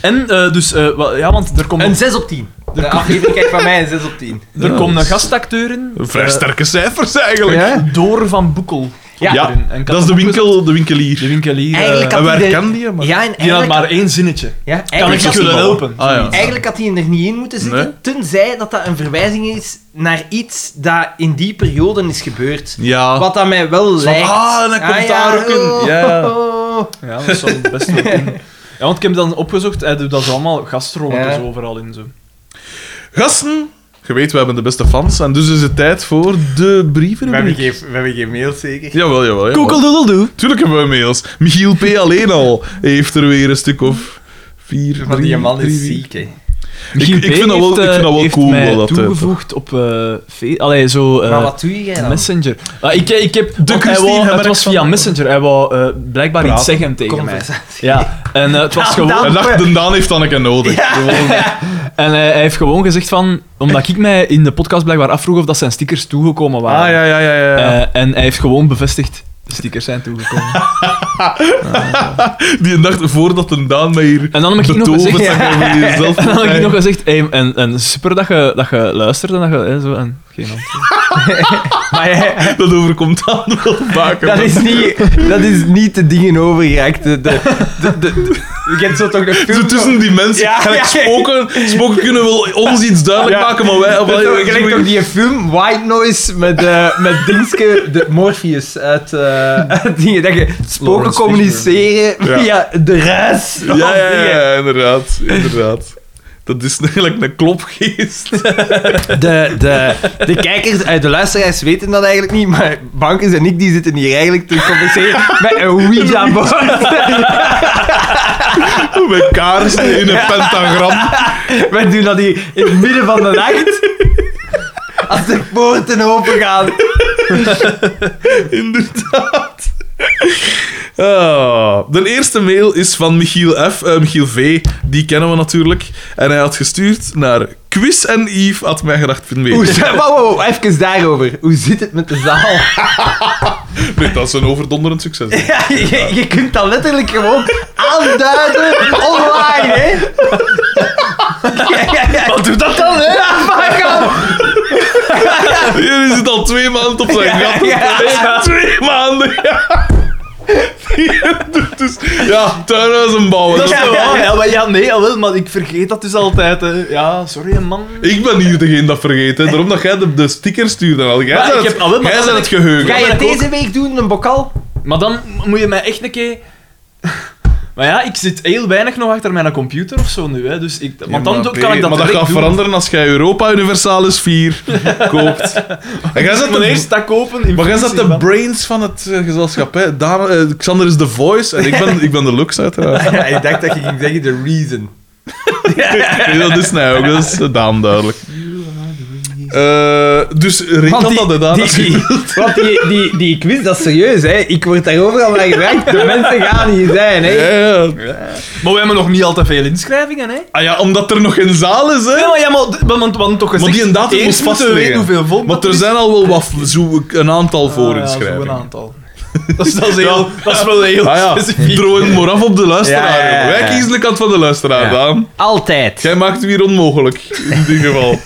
En, eh, dus, eh, wa- ja, want er komt,
Een 6 op 10. Mm. De aflevering kijk van mij een 6 op 10.
Oh.
er komt een gastacteur in.
vrij
Eh,
sterke cijfers eigenlijk.
Door van Boekel.
Ja.
Ja,
erin. En ik had
dat is de,
hem opgezocht.
winkel, de winkelier.
De winkelier.
Eigenlijk
eh,
en
had
waar
hij de-
kan die? Maar...
Ja, en
die had
eigenlijk,
maar één zinnetje.
ja,
Kan
eigenlijk
ik je
had
dat
kunnen
niet
helpen?
Ah, ja.
Eigenlijk had hij er niet in moeten zitten,
Nee.
tenzij dat dat een verwijzing is naar iets dat in die periode is gebeurd.
Ja.
Wat dat mij wel
Ah. Van,
lijkt.
ah, en dat
Ah,
komt
ja,
daar ook in.
oh.
Ja.
Ja, dat zou het best wel kunnen. Ja, want ik heb dan opgezocht, hij doet dat zo allemaal gastronomers
Ja.
overal in. Zo.
Gasten, je weet, we hebben de beste fans. En dus is het tijd voor de brievenrubriek.
geen, we hebben geen mail zeker.
Jawel, jawel. jawel.
Koekeldoedeldoe.
Tuurlijk hebben we mails. Michiel P. alleen al heeft er weer een stuk of vier.
Maar die
drie,
man
drie, Eh,
is
vier.
ziek, hè.
Ik- ik vind dat wel- ik vind dat wel cool, wel, dat, eh,
toegevoegd op... eh fe- Allee, zo... eh,
Maar wat doe jij dan?
Messenger. Ah, ik, ik heb, want hij
Christine
wou- het
Hemmerich
was
van-
via Messenger. Hij wou eh, blijkbaar iets
Praten.
zeggen tegen mij.
Conversatie. Ah,
Ja, en eh, het was
Daan,
gewoon...
Daan.
En dacht, de Daan heeft Anneke nodig.
En hij, hij heeft gewoon gezegd van... Omdat ik mij in de podcast blijkbaar afvroeg of dat zijn stickers toegekomen waren.
Ah, ja, ja, ja. ja. ja.
Eh, en hij heeft gewoon bevestigd... De stickers zijn toegekomen.
Eh, Die dacht, voordat de Daan mij hier
En dan heb ik nog gezegd...
betoverd, zag hij weer zelf
En dan had ik
voorbij.
nog gezegd, hey, en, en super dat je, dat je luistert en dat je... hè, zo, en geen antwoord.
Maar jij-
Dat overkomt Daan wel vaker.
dat is niet, dat is niet de dingen overgeraakt. De, de, de, de- je kent zo toch de film...
Zo tussen die mensen.
Ja,
Gelijk
ja.
Spoken, spoken kunnen wel ons iets duidelijk
Ja.
maken, maar wij... of-
Dat is
of-
toch-
of-
gelijk toch die film White Noise met, eh met Dingske, de Morpheus uit eh, uit die dat je spoken
Lawrence
communiceren
Ja.
via de ruis.
Ja, ja, ja, ja, inderdaad. Inderdaad. Dat is eigenlijk een klopgeest.
De, de, de kijkers, eh, de luisteraars weten dat eigenlijk niet, maar Bankers en ik die zitten hier eigenlijk te communiceren met een Ouija-board.
Met kaarsen in een pentagram.
Wij doen dat hier in het midden van de nacht. Als de poorten open gaan.
Inderdaad. Ah, de eerste mail is van Michiel F. eh, Michiel V. Die kennen we natuurlijk. En hij had gestuurd naar quiz en Yves had mij gedacht van
Hoe,
mee.
zit- wow, wow, wow, even daarover. Hoe zit het met de zaal?
Nee, dat is een overdonderend succes.
Ja, je, je kunt dat letterlijk gewoon aanduiden online, hè? Ja, ja, ja. Wat doet Oh, dat dan, hè? Oh Ja, fuck off.
Hier is het al twee maanden op zijn
Ja,
gat.
ja.
Nee, Twee maanden, ja. Dus, ja, tuinhuizen bouwen. Dat is
Ja,
wel-
ja, ja.
maar ja, nee, jawel, maar ik vergeet dat dus altijd. hè. Ja, sorry man.
Ik ben hier degene dat vergeet. Hè. Daarom dat jij de, de sticker stuurde. al. Jij
Maar
bent
ik
het,
heb- ah, wel, maar
jij
dan
bent
heb
het geheugen.
Ga je
ik
het deze week doen, een bokal?
Maar dan moet je mij echt een keer... Maar ja, ik zit heel weinig nog achter mijn computer of zo nu, hè, dus ik... Want dan
Ja, maar
kan ik dat
Maar dat
direct
gaat
doen.
veranderen als jij Europa Universalis 4 koopt. En jij zet
Ik moet
de,
eerst dat kopen in
maar jij zet
functie
de
van-
brains van het eh, gezelschap. Hè. Daan, eh, Xander is de voice en ik ben, ik ben de looks uiteraard.
Ja, ik dacht dat je ging zeggen de reason.
Nee, dat is nou ook. Dat is eh, Daan duidelijk. Eh, dus Rick
Want
had
die-
dat inderdaad.
die- die- Want die, die, die quiz, dat is serieus, hè? Ik word daar overal naar gevraagd. De mensen gaan hier zijn,
Ja,
hè?
ja.
Maar we hebben nog niet al te veel inschrijvingen, hè?
Ah ja, omdat er nog geen zaal is, hè?
Ja, maar ja, maar, d- maar, want- want toch gezegd...
Maar die datum
eerst
moet
moeten we weten
vastliggen.
hoeveel volk
Maar
dat
er
is.
zijn al wel wat, zo een aantal
Ah, ja, zo'n
voorinschrijvingen.
aantal. Dat is, dat is, heel, dat is wel heel
Ah ja,
specifiek.
droon maar af op de luisteraar.
Ja, ja, ja, ja.
Wij kiezen de kant van de luisteraar,
Ja.
Daan.
Altijd.
Jij maakt het weer onmogelijk, in dit geval.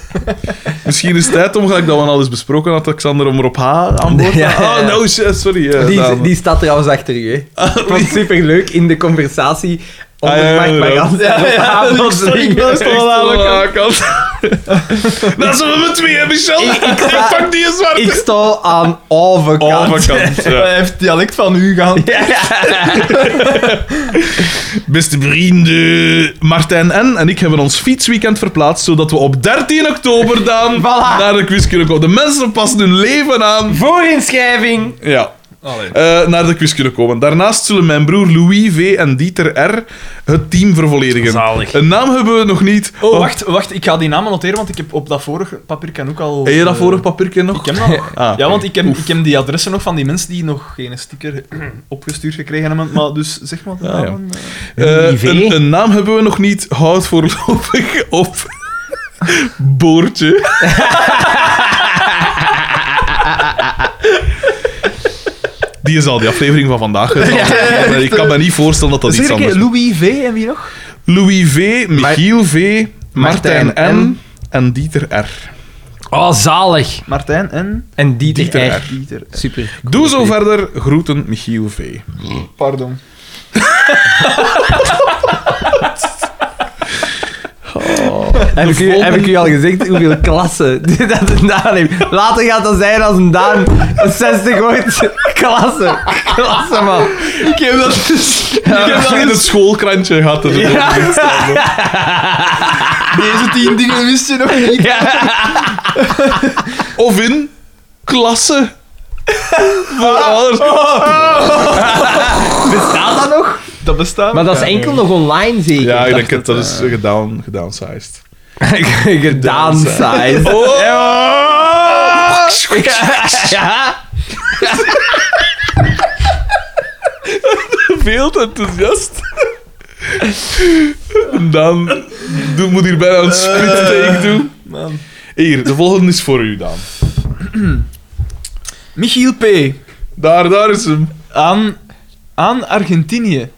Misschien is het tijd, om, gelijk dat we al eens besproken hadden, Alexander, om erop H aan boord te
Ja, ja, ja.
Oh, no, shit, sorry. eh,
Die,
Daan.
die staat trouwens achter u, hè? Ik vond het superleuk in de conversatie.
Ah, ja,
Onder Mark
inderdaad.
Marant.
Ja, ja,
Op
dat
avond-
is toch- Ah, dat is toch wel aan de kant. Dat zijn we met twee, hè, Michel?
Ik- ik sta-
pak die zwarte.
Ik sta aan overkant.
Overkant, ja.
Hij heeft dialect van u gehad.
Beste vrienden, Martijn N. en ik hebben ons fietsweekend verplaatst, zodat we op 13 oktober dan naar de quiz kunnen komen. De mensen passen hun leven aan.
Voorinschrijving.
Ja. Eh, naar de quiz kunnen komen. Daarnaast zullen mijn broer Louis V. en Dieter R. het team vervolledigen.
Zalig.
Een naam hebben we nog niet.
Oh, wacht, wacht, ik ga die namen noteren, want ik heb op dat vorige papier kan ook al...
Heb je dat
eh,
vorig papiertje nog?
Ik heb dat nog.
Ah,
ja, want ik heb, ik heb die adressen nog van die mensen die nog geen sticker opgestuurd gekregen hebben. Maar dus zeg maar de
Ah, ja.
namen. eh.
Eh,
Louis V.
een, een naam hebben we nog niet. Houd voorlopig op. Boortje. Die is al die aflevering van vandaag. hè. Maar ik kan me niet voorstellen dat dat
Zeg
iets
een keer,
anders is.
Louis V en wie nog?
Louis V, Michiel V, Martijn
Martijn
N. en Dieter R.
Oh, zalig.
Martijn en
En Dieter,
Dieter
R.
R.
Pieter.
Super.
Doe zo verder. Groeten Michiel V.
Pardon.
Heb ik, u, heb ik u al gezegd hoeveel klassen dit dat een Daan heeft? Later gaat dat zijn als een Daan een 60 ooit. Klasse. Klasse, man.
Ik heb dat dus... Ik heb dat
in het
dus...
schoolkrantje gehad. Dus
Deze tien dingen wist je nog niet.
Of in klasse. Voor ouders.
Bestaat dat nog?
Dat bestaat.
Maar dat is enkel nog online, zeker?
Ja, ik denk dat dat is eh, gedown, gedownsized.
Gedaan
Oh.
size. Ja.
Veel te enthousiast. En Dan doe, moet hier bijna een split take doen.
Man.
Hier, de volgende is voor u, Daan.
Michiel P.
Daar, daar is hem.
Aan, aan Argentinië.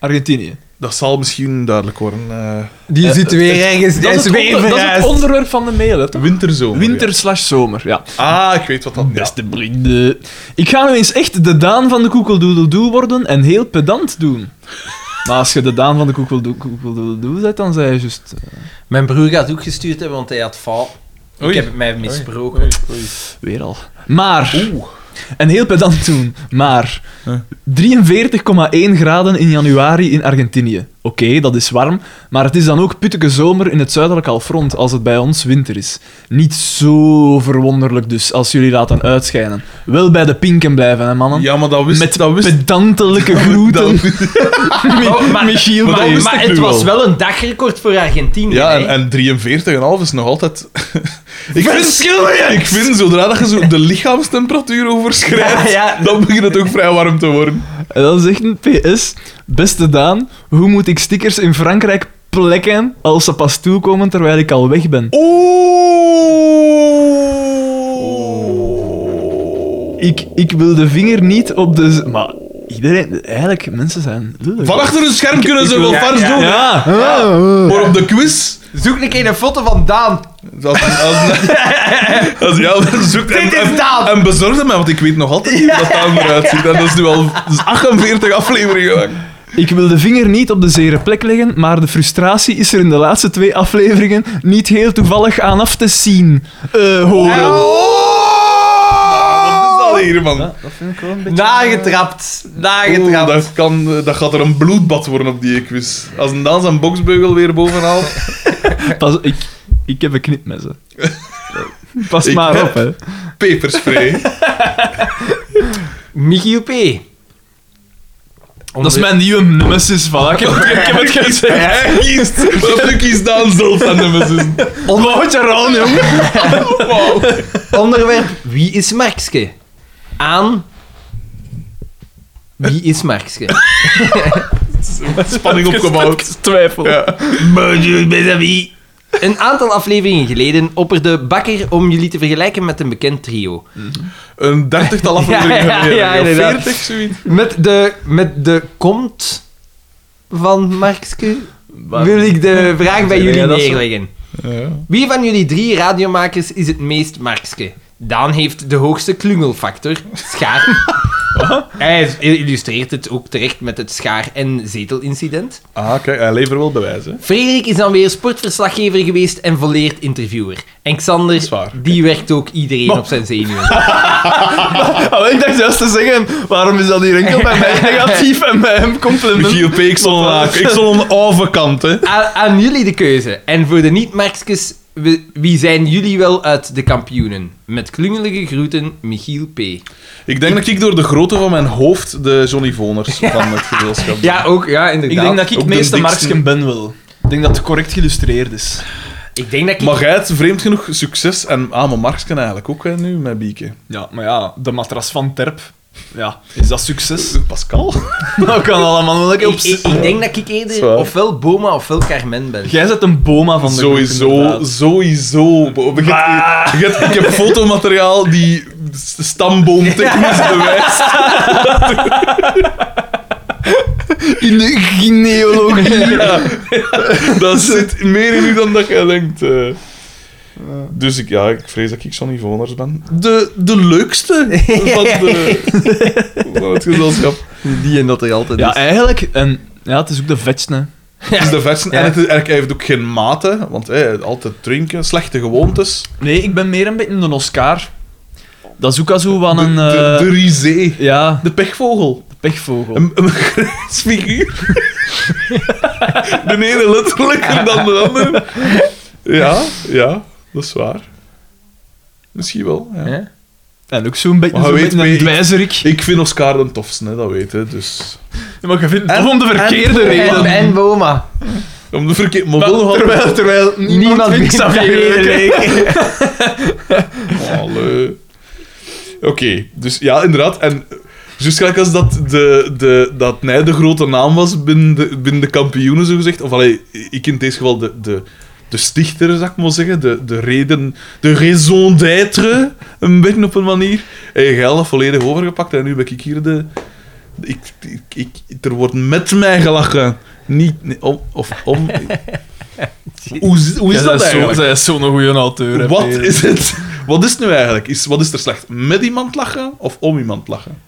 Argentinië.
Dat zal misschien duidelijk worden. eh,
Die zit weer ergens. Hij is
het
weer
onder- dat is het
verhuisd.
onderwerp van de mail, hè, toch?
winterzomer.
Winter slash zomer, ja.
ja. Ah, ik weet wat dat is.
Beste vrienden. Ik ga nu eens echt de Daan van de Koekeldoedeldoe worden en heel pedant doen. Maar als je de Daan van de Koekeldoe- Koekeldoedeldoe bent, dan zei je juist... eh,
Mijn broer gaat ook gestuurd hebben, want hij had faal. Ik
Oei.
heb het mij misbroken.
Weer al. Maar... En heel pedant doen, maar... 43,1 graden in januari in Argentinië. Oké, dat is warm, maar het is dan ook pittige zomer in het zuidelijk halfrond als het bij ons winter is. Niet zo verwonderlijk dus, als jullie laten uitschijnen. Wel bij de pinken blijven, hè mannen?
Ja, maar dat wist
Met
dat wist
pedantelijke groeten.
dat wist-
Oh, maar,
Michiel
Maar dat
P.
wist
Maar-
ik
Maar het
nu
was wel een dagrecord voor Argentinië.
Ja,
hè?
en, en 43,5 is nog altijd... ik, vind, ik vind, zodra dat je zo de lichaamstemperatuur overschrijdt,
Ja, ja.
dan begint het ook vrij warm te worden.
En dan zegt een PS: Beste Daan, hoe moet ik stickers in Frankrijk plekken als ze pas toekomen terwijl ik al weg ben?
Oeh.
Ik, ik wil de vinger niet op de. z- Maar iedereen, eigenlijk, mensen zijn. lullig.
Van achter hun scherm kunnen ze wel
wil-
vars
ja, ja.
doen.
Ja!
Maar op de quiz...
Zoek een keer een foto van Daan.
Als, als, als, ja, dat zoekt en,
Dit is
en,
Daan.
en bezorgde mij, want ik weet nog altijd niet hoe dat Daan eruit ziet. En dat is nu al dat is 48 afleveringen lang.
Ik wil de vinger niet op de zere plek leggen, maar de frustratie is er in de laatste twee afleveringen niet heel toevallig aan af te zien. eh horen.
Wat is dat hier, man?
Nagetrapt.
Oeh,
Nagetrapt.
dat, kan, eh, dat gaat er een bloedbad worden op die quiz. Als een Daan zijn boksbeugel weer bovenhaalt...
Pas, ik, ik heb een knipmes. hè. Pas
Ik-
maar op, hè.
Peperspray.
Michiel P.
Dat is mijn nieuwe nemesis, voilà. Ik heb, ik heb het gezegd.
Hij kiest. Maar nu kiest Daan zelf aan de beslissing.
Ontmoetje Ron, jongen.
Onderwerp: Wie is Markske? Aan. Wie is Markske?
Spanning opgebouwd.
Twijfel.
Ja.
Een aantal afleveringen geleden opperde Bakker om jullie te vergelijken met een bekend trio.
Een dertigtal
Ja,
afleveringen
ja,
geleden.
ja, inderdaad.
40, zoiets.
Met de, met de komt van Markske wil ik de vraag bij
Zeg
jullie
jij dat zo?
neerleggen.
Ja.
Wie van jullie drie radiomakers is het meest Markske? Daan heeft de hoogste klungelfactor, schaar. Hij illustreert het ook terecht met het schaar- en zetelincident.
Ah, kijk, hij levert wel bewijs, hè.
Frederik is dan weer sportverslaggever geweest en volleerd interviewer. En Xander,
is waar.
die werkt ook iedereen op zijn zenuwen.
Ah, ik dacht juist te zeggen, waarom is dat hier enkel bij mij negatief en bij hem compliment?
Michiel P. Ik zal een, ik zal een oude kant, hè.
aan, aan jullie de keuze. En voor de niet-Markskes, wie- wie zijn jullie wel uit de kampioenen? Met klungelige groeten, Michiel P.
Ik denk dat ik door de grootte van mijn hoofd de Johnny Voners van het gezelschap ben.
Ja, ook, ja, inderdaad.
Ik denk dat ik
Ook
het
de
meeste
dikste.
Marksken ben wel. Ik denk dat het correct geïllustreerd is.
Ik denk dat ik...
Maar jij hebt vreemd genoeg succes en Amo Marksken eigenlijk ook hè, nu met Bieke.
Ja, maar ja, de matras van Terp. Ja, is dat succes?
Pascal?
Eh, Dat kan allemaal wel lekker
Ik, ik, ik denk dat ik
Zwaar.
eerder ofwel Boma ofwel Carmen ben.
Jij zet een boma van de groep,
Sowieso,
inderdaad.
sowieso. Bo- Je hebt- je hebt- ik heb fotomateriaal die s- stamboomtechnisch bewijst.
In de genealogie.
Ja. Dat zit meer in u dan dat jij denkt. eh. Dus ik, ja, ik vrees dat ik Johnny Voners ben. De, de leukste van, de, van het gezelschap.
Die en dat er altijd
Ja, eigenlijk. En, ja, het is ook de vetste. hè.
Het is de versen. En het is, eigenlijk- hij heeft ook geen maten, want hey, altijd drinken, slechte gewoontes.
Nee, ik ben meer een beetje een Oscar. Dat is ook al zo van
De,
een...
de,
eh,
de risée.
ja,
De pechvogel.
de pechvogel.
Een, een grensfiguur. de ene letterlijker dan de andere. Ja, ja, dat is waar. Misschien wel, ja.
Ja.
En ook zo'n beetje
Maar je
zo'n
weet
beetje een
mee-
dwijzerik.
Ik vind Oscar de tofste, hè, dat weet je. Dus...
Ja, maar je vindt
En-
het om de verkeerde
en-
reden.
En, en Boma.
Om de verkeerde... Maar wel nog altijd...
terwijl
Niemand
vindt
vindt
Xavier
Xavier
leuk, hè.
Allee. Oké, dus ja, inderdaad. En juist gelijk als dat, de, de, dat hij de grote naam was binnen de, binnen de kampioenen, zogezegd. Of allee, ik in deze geval de, de, de stichter, zou ik maar zeggen. De, de reden, de raison d'être, een beetje op een manier. En je hebt dat volledig overgepakt en nu ben ik hier de... Ik, ik, ik- er wordt met mij gelachen. Niet... nee, om, of om... Hoe, is- hoe is
Ja,
dat
dat is zo-
eigenlijk?
dat is zo'n goede auteur. hè,
Wat
Peter.
is het? Wat is het nu eigenlijk? Is, wat is er slecht? Met iemand lachen of om iemand lachen?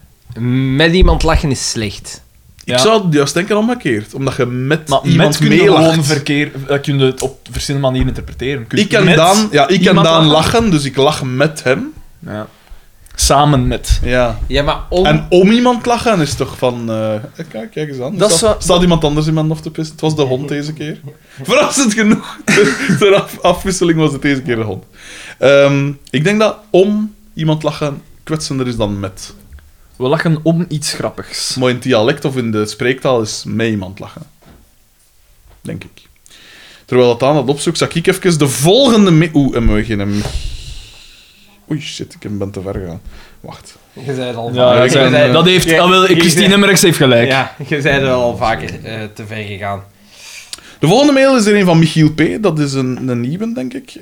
Met iemand lachen is slecht.
Ja.
Ik zou het juist denken omgekeerd. Omdat je met
Maar
iemand
met kun je gewoon
meelacht.
verkeer... eh, kun je het op verschillende manieren interpreteren. Kun je
Ik kan
met
Daan, ja, ik kan
iemand
Daan lachen. dus ik lach met hem.
Ja. Samen met.
Ja.
Ja, maar om...
En om iemand lachen is toch van... eh, kijk, kijk eens aan.
Dat
staat,
zou-
staat iemand anders in mijn of te pissen? Het was de hond deze keer. Verrassend genoeg. Ter, ter af- afwisseling was het deze keer de hond. Ehm, ik denk dat om iemand lachen kwetsender is dan met.
We lachen om iets grappigs.
Maar in het dialect of in de spreektaal is met iemand lachen. Denk ik. Terwijl dat aan het opzoek, zag ik even de volgende... mi- Oeh, en we beginnen... Oei, shit, ik ben te ver gegaan. Wacht.
Je zei het al
Ja,
dat
dat,
ik zijn- ben, eh,
dat heeft... ah, wel,
Hier-
Christine Emmerix heeft gelijk.
Ja, je zei er al vaker eh, te ver gegaan.
De volgende mail is er een van Michiel P. Dat is een, een nieuwe, denk ik.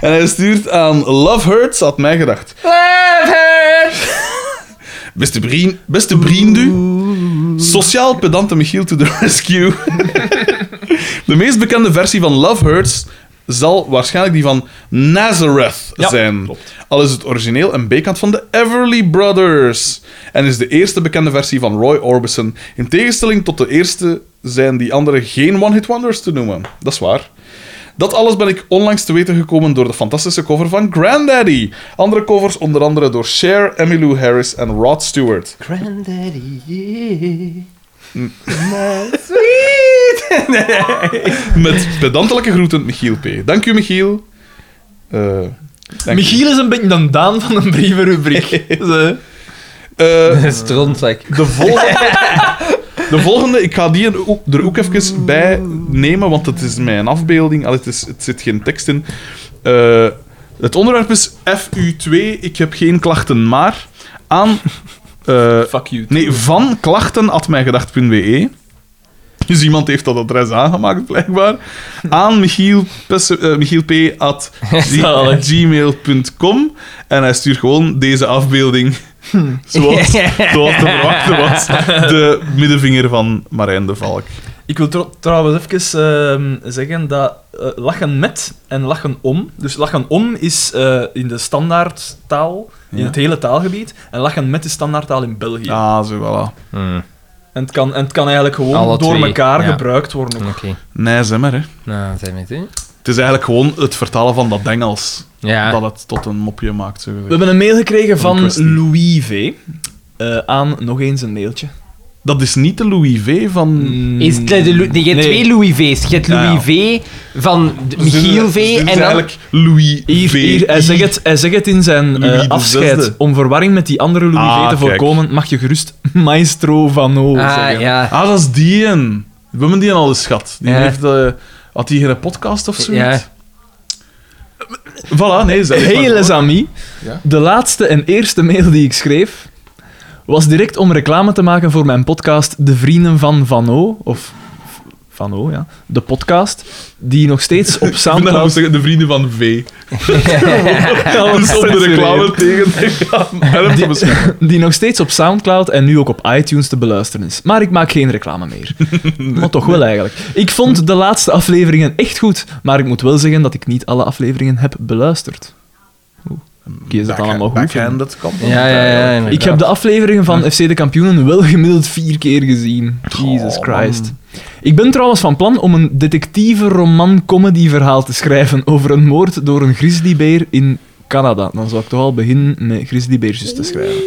en hij stuurt aan Love Hurts, had mij gedacht. Beste, brien, beste vrienden, sociaal pedante Michiel to the rescue. de meest bekende versie van Love Hurts zal waarschijnlijk die van Nazareth
Ja,
zijn. Al is het origineel een bekant van de Everly Brothers. En is de eerste bekende versie van Roy Orbison. In tegenstelling tot de eerste zijn die andere geen one-hit wonders te noemen. Dat is waar. Dat alles ben ik onlangs te weten gekomen door de fantastische cover van Grandaddy. Andere covers onder andere door Cher, Emmylou Harris en Rod Stewart.
Granddaddy, yeah. Mm.
Met pedantelijke groeten, Michiel P. Dank u, Michiel. Eh, dank u.
Michiel is een beetje de Daan van een brievenrubriek. Zo.
Eh,
Strontzak.
de volgende... De volgende, ik ga die er ook- er ook even bij nemen, want het is mijn afbeelding. Allee, het, is, het zit geen tekst in. Eh, het onderwerp is FU2, ik heb geen klachten, maar... Aan... eh,
Fuck you.
Nee, van klachten.mijgedacht.be. E. Dus iemand heeft dat adres aangemaakt, blijkbaar. Aan Michiel, Pesse- eh, Michiel P. at g-
Zalig.
gmail.com. En hij stuurt gewoon deze afbeelding. Zoals, zoals te verwachten was. De middenvinger van Marijn de Valk.
Ik wil tro- trouwens even ehm, zeggen dat eh, lachen met en lachen om. Dus lachen om is eh, in de standaardtaal, in
Ja. Ah.
het hele taalgebied. En lachen met is standaardtaal in België.
Ja, zo voilà.
Mm.
En, het kan, en het kan eigenlijk gewoon
Alle
door
twee,
elkaar
ja.
gebruikt worden.
Oké.
ook.
Nee, zeg maar, hè.
Nou, zijn we het, hè?
Het is eigenlijk gewoon het vertalen van dat Engels.
Ja.
Dat het tot een mopje maakt, zo
We
gezegd.
hebben een mail gekregen van
kwestie.
Louis V. eh, aan nog eens een mailtje.
Dat is niet de Louis V. van...
Mm.
Is het, eh, de Lou- nee, je hebt
Nee.
twee Louis V's. Je hebt
Ja,
Louis V van de-
Dus dit is-
Michiel
dus dit
V
is
en dan...
eigenlijk Louis
Hier,
V.
hier, hij, zegt het, hij zegt het in zijn
Louis
eh,
de
afscheid.
Zesde.
Om verwarring met die andere Louis
Ah,
V te
kijk.
voorkomen, mag je gerust Maestro van O
Ah,
zeggen.
ja.
Ah, dat is die een. We hebben die een al eens gehad. Die
Ja.
heeft, eh, had die geen podcast of zo?
Ja.
Ah,
Voilà, nee. Zeg
Hey les amis,
Ja?
de laatste en eerste mail die ik schreef was direct om reclame te maken voor mijn podcast De Vrienden van Van O. Of van O, ja, de podcast, die nog steeds op
Ik vind dat we
Soundcloud...
zeggen, de vrienden van V. Dus om de reclame tegen te gaan. En hem te beschermen.
die nog steeds op Soundcloud en nu ook op iTunes te beluisteren is. Maar ik maak geen reclame meer. maar toch wel eigenlijk. Ik vond de laatste afleveringen echt goed, maar ik moet wel zeggen dat ik niet alle afleveringen heb beluisterd. Oeh. Ik Kies dat allemaal goed. vinden.
Backhanded kan dat.
Ja, ja, ja. inderdaad.
Ik heb de afleveringen van FC de Kampioenen wel gemiddeld vier keer gezien. Jesus Christ. Ik ben trouwens van plan om een detectieve roman-comedy verhaal te schrijven over een moord door een grizzlybeer in Canada. Dan zou ik toch al beginnen met grizzlybeertjes te schrijven.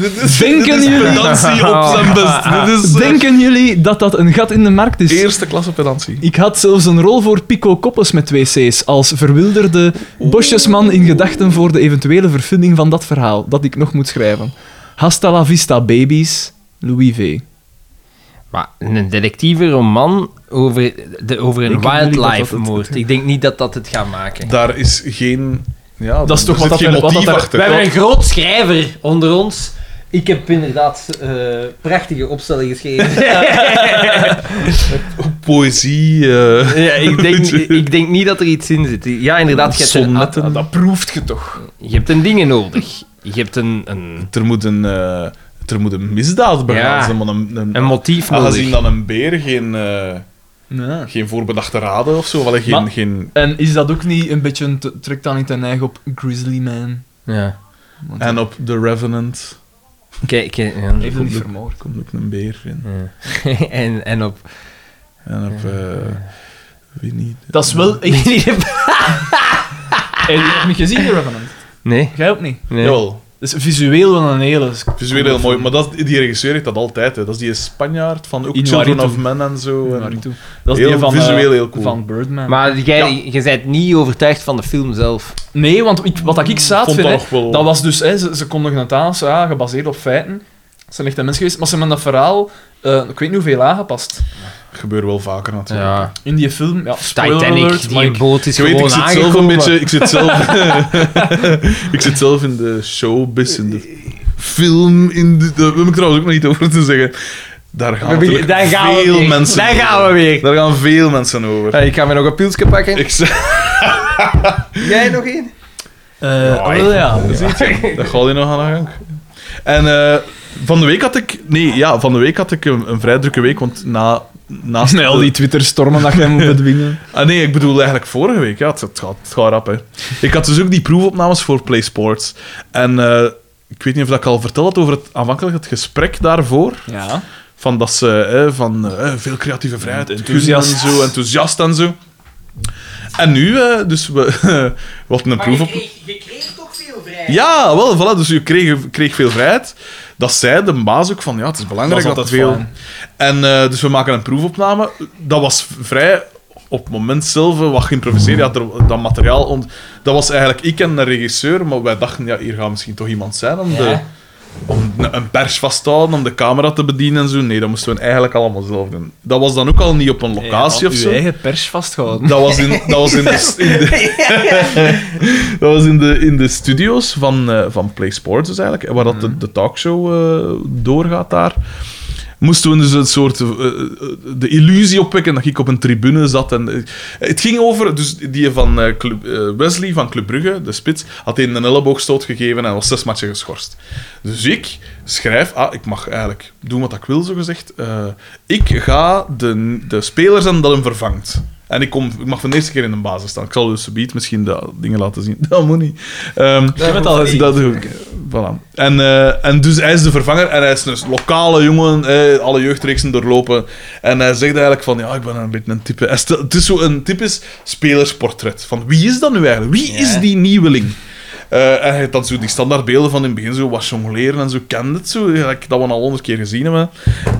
Dit is,
Denken
dit is
jullie- Oh.
pedantie op zijn best. Dit is eh,
Denken jullie dat dat een gat in de markt is?
eerste klasse pedantie.
Ik had zelfs een rol voor Pico Koppes met twee C's als verwilderde bosjesman in gedachten voor de eventuele verfilming van dat verhaal dat ik nog moet schrijven. Hasta la vista, babies. Louis V.
Maar een detectieve roman over, de, over een
Ik denk niet dat dat het-
wildlife-moord. Ik denk niet dat dat het gaat maken.
Daar is geen... Ja,
Dat is toch
er
wat dat
zit geen
er- wat
motief
dat er-
achter.
We hebben een groot schrijver onder ons. Ik heb inderdaad eh, prachtige opstellen geschreven.
Poëzie... eh,
ja, ik, denk, ik denk niet dat er iets in zit. Ja, inderdaad, je hebt, een,
Sonnetten.
Ah, Dat proeft je toch?
je hebt een dingen nodig. Je hebt een, een,
Er moet een, eh, er moet een misdaad begaan
Ja.
zijn, maar een, een,
een motief
aangezien
nodig.
dan een beer geen, eh, geen voorbedachte raden of zo, of allee, geen,
Maar-
geen,
En is dat ook niet een beetje een te- trek dan niet ten eigen op Grizzly Man?
Ja.
Want
en op The Revenant
Kijk, kijk, ja.
heeft hem niet
ook-
vermoord.
komt ook een beer in.
Ja. en, en op...
En op... eh wie niet?
Dat is wel echt... Heb je dat niet gezien, The Revenant?
Nee,
Jij ook niet.
nee.
Jawel,
Dat is visueel wel een hele...
visueel heel mooi, maar dat, die regisseur heeft dat altijd. Hè. Dat is die Spanjaard van ook
Iñárritu.
Children of Men en zo.
Naar
En,
ik toe. Dat is
Heel
die van, eh,
visueel heel cool.
Van Birdman.
Maar jij, je bent niet overtuigd van de film zelf.
Nee, want ik- wat ik zaad
Vond
vind,
dat
hè,
nog wel-
dat was dus, hè, ze, ze kondigden het aan, zo, ja, gebaseerd op feiten. Ze zijn echt een mens geweest, maar ze hebben dat verhaal, eh, ik weet niet hoeveel aangepast.
gebeurt wel vaker natuurlijk.
Ja.
In die film, ja, spoiler
Titanic,
alert, maar
die
ik-
boot is
Ik weet, ik
gewoon
zit zelf een
aangekomen.
beetje... Ik zit zelf, ik zit zelf in de showbiz, in de film, in de... Daar heb ik trouwens ook nog niet over te zeggen. Daar gaan,
We
natuurlijk
beginnen- daar gaan we
veel
weer.
mensen
Daar
over.
gaan we weer.
Daar gaan veel mensen over.
Ja, Eh, ik ga me nog een pilsje pakken.
Ik zeg...
Jij nog één?
Eh, wel ja.
Dat gaat hier nog aan de gang. En eh, van de week had ik... Nee, ja, van de week had ik een, een vrij drukke week, want na... Naast
Snel
de-
die Twitter-stormen dat jij moet bedwingen.
Ah nee, ik bedoel eigenlijk vorige week. Ja, het, het gaat, het gaat rap, hè. Ik had dus ook die proefopnames voor Play Sports. En eh, ik weet niet of dat ik al verteld had over het aanvankelijk het gesprek daarvoor.
Ja.
Van dat ze hè, van, eh, veel creatieve vrijheid, enthousiast en zo, enthousiast en zo. En nu, eh, dus we, we hadden een proef op.
je kreeg toch veel vrij.
Ja, wel, voilà, dus je kreeg, kreeg veel vrijheid. Dat zei de baas ook van, ja, het is belangrijk
Dat
dat,
is
dat
altijd
veel...
fijn.
En eh, dus we maken een proefopname. Dat was v- vrij op het moment zelf eh, wat geïmproviseerd. Ja, er- dat materiaal... ont- Dat was eigenlijk ik en een regisseur, maar wij dachten, ja, hier gaat misschien toch iemand zijn om, de, om een een pers vast te houden, om de camera te bedienen en zo. Nee, dat moesten we eigenlijk allemaal zelf doen. Dat was dan ook al niet op een locatie of zo.
Je eigen pers vasthouden.
Dat was in, dat was in de, in de, dat was in de, in de studio's van, eh, van Play Sports, dus eigenlijk, waar dat de, de talkshow eh, doorgaat daar. Moesten we dus een soort eh, eh, de illusie opwekken dat ik op een tribune zat. En, eh, het ging over, dus die van eh, Club- eh, Wesley van Club Brugge, de spits, had een een elleboogstoot gegeven en was zes matchen geschorst. Dus ik schrijf, ah, ik mag eigenlijk doen wat ik wil, zo gezegd. Eh, ik ga de, de speler zijn dat hem vervangt. En ik, kom, ik mag voor de eerste keer in de basis staan. Ik zal dus subiet misschien de dingen laten zien. Dat moet niet. Ehm,
Je hebt het al gezien.
dat doe ik. Voilà. En, eh, en dus hij is de vervanger en hij is een lokale jongen, eh, alle jeugdreeksen doorlopen. En hij zegt eigenlijk van, ja, ik ben een beetje een type... Hij stelt- Het is zo een typisch spelersportret. Van, wie is dat nu eigenlijk? Wie is die nieuweling? Eh, en hij had dan zo die standaardbeelden van in het begin, zo wat jongleren en zo, kende het zo, gelijk dat we al honderd keer gezien hebben.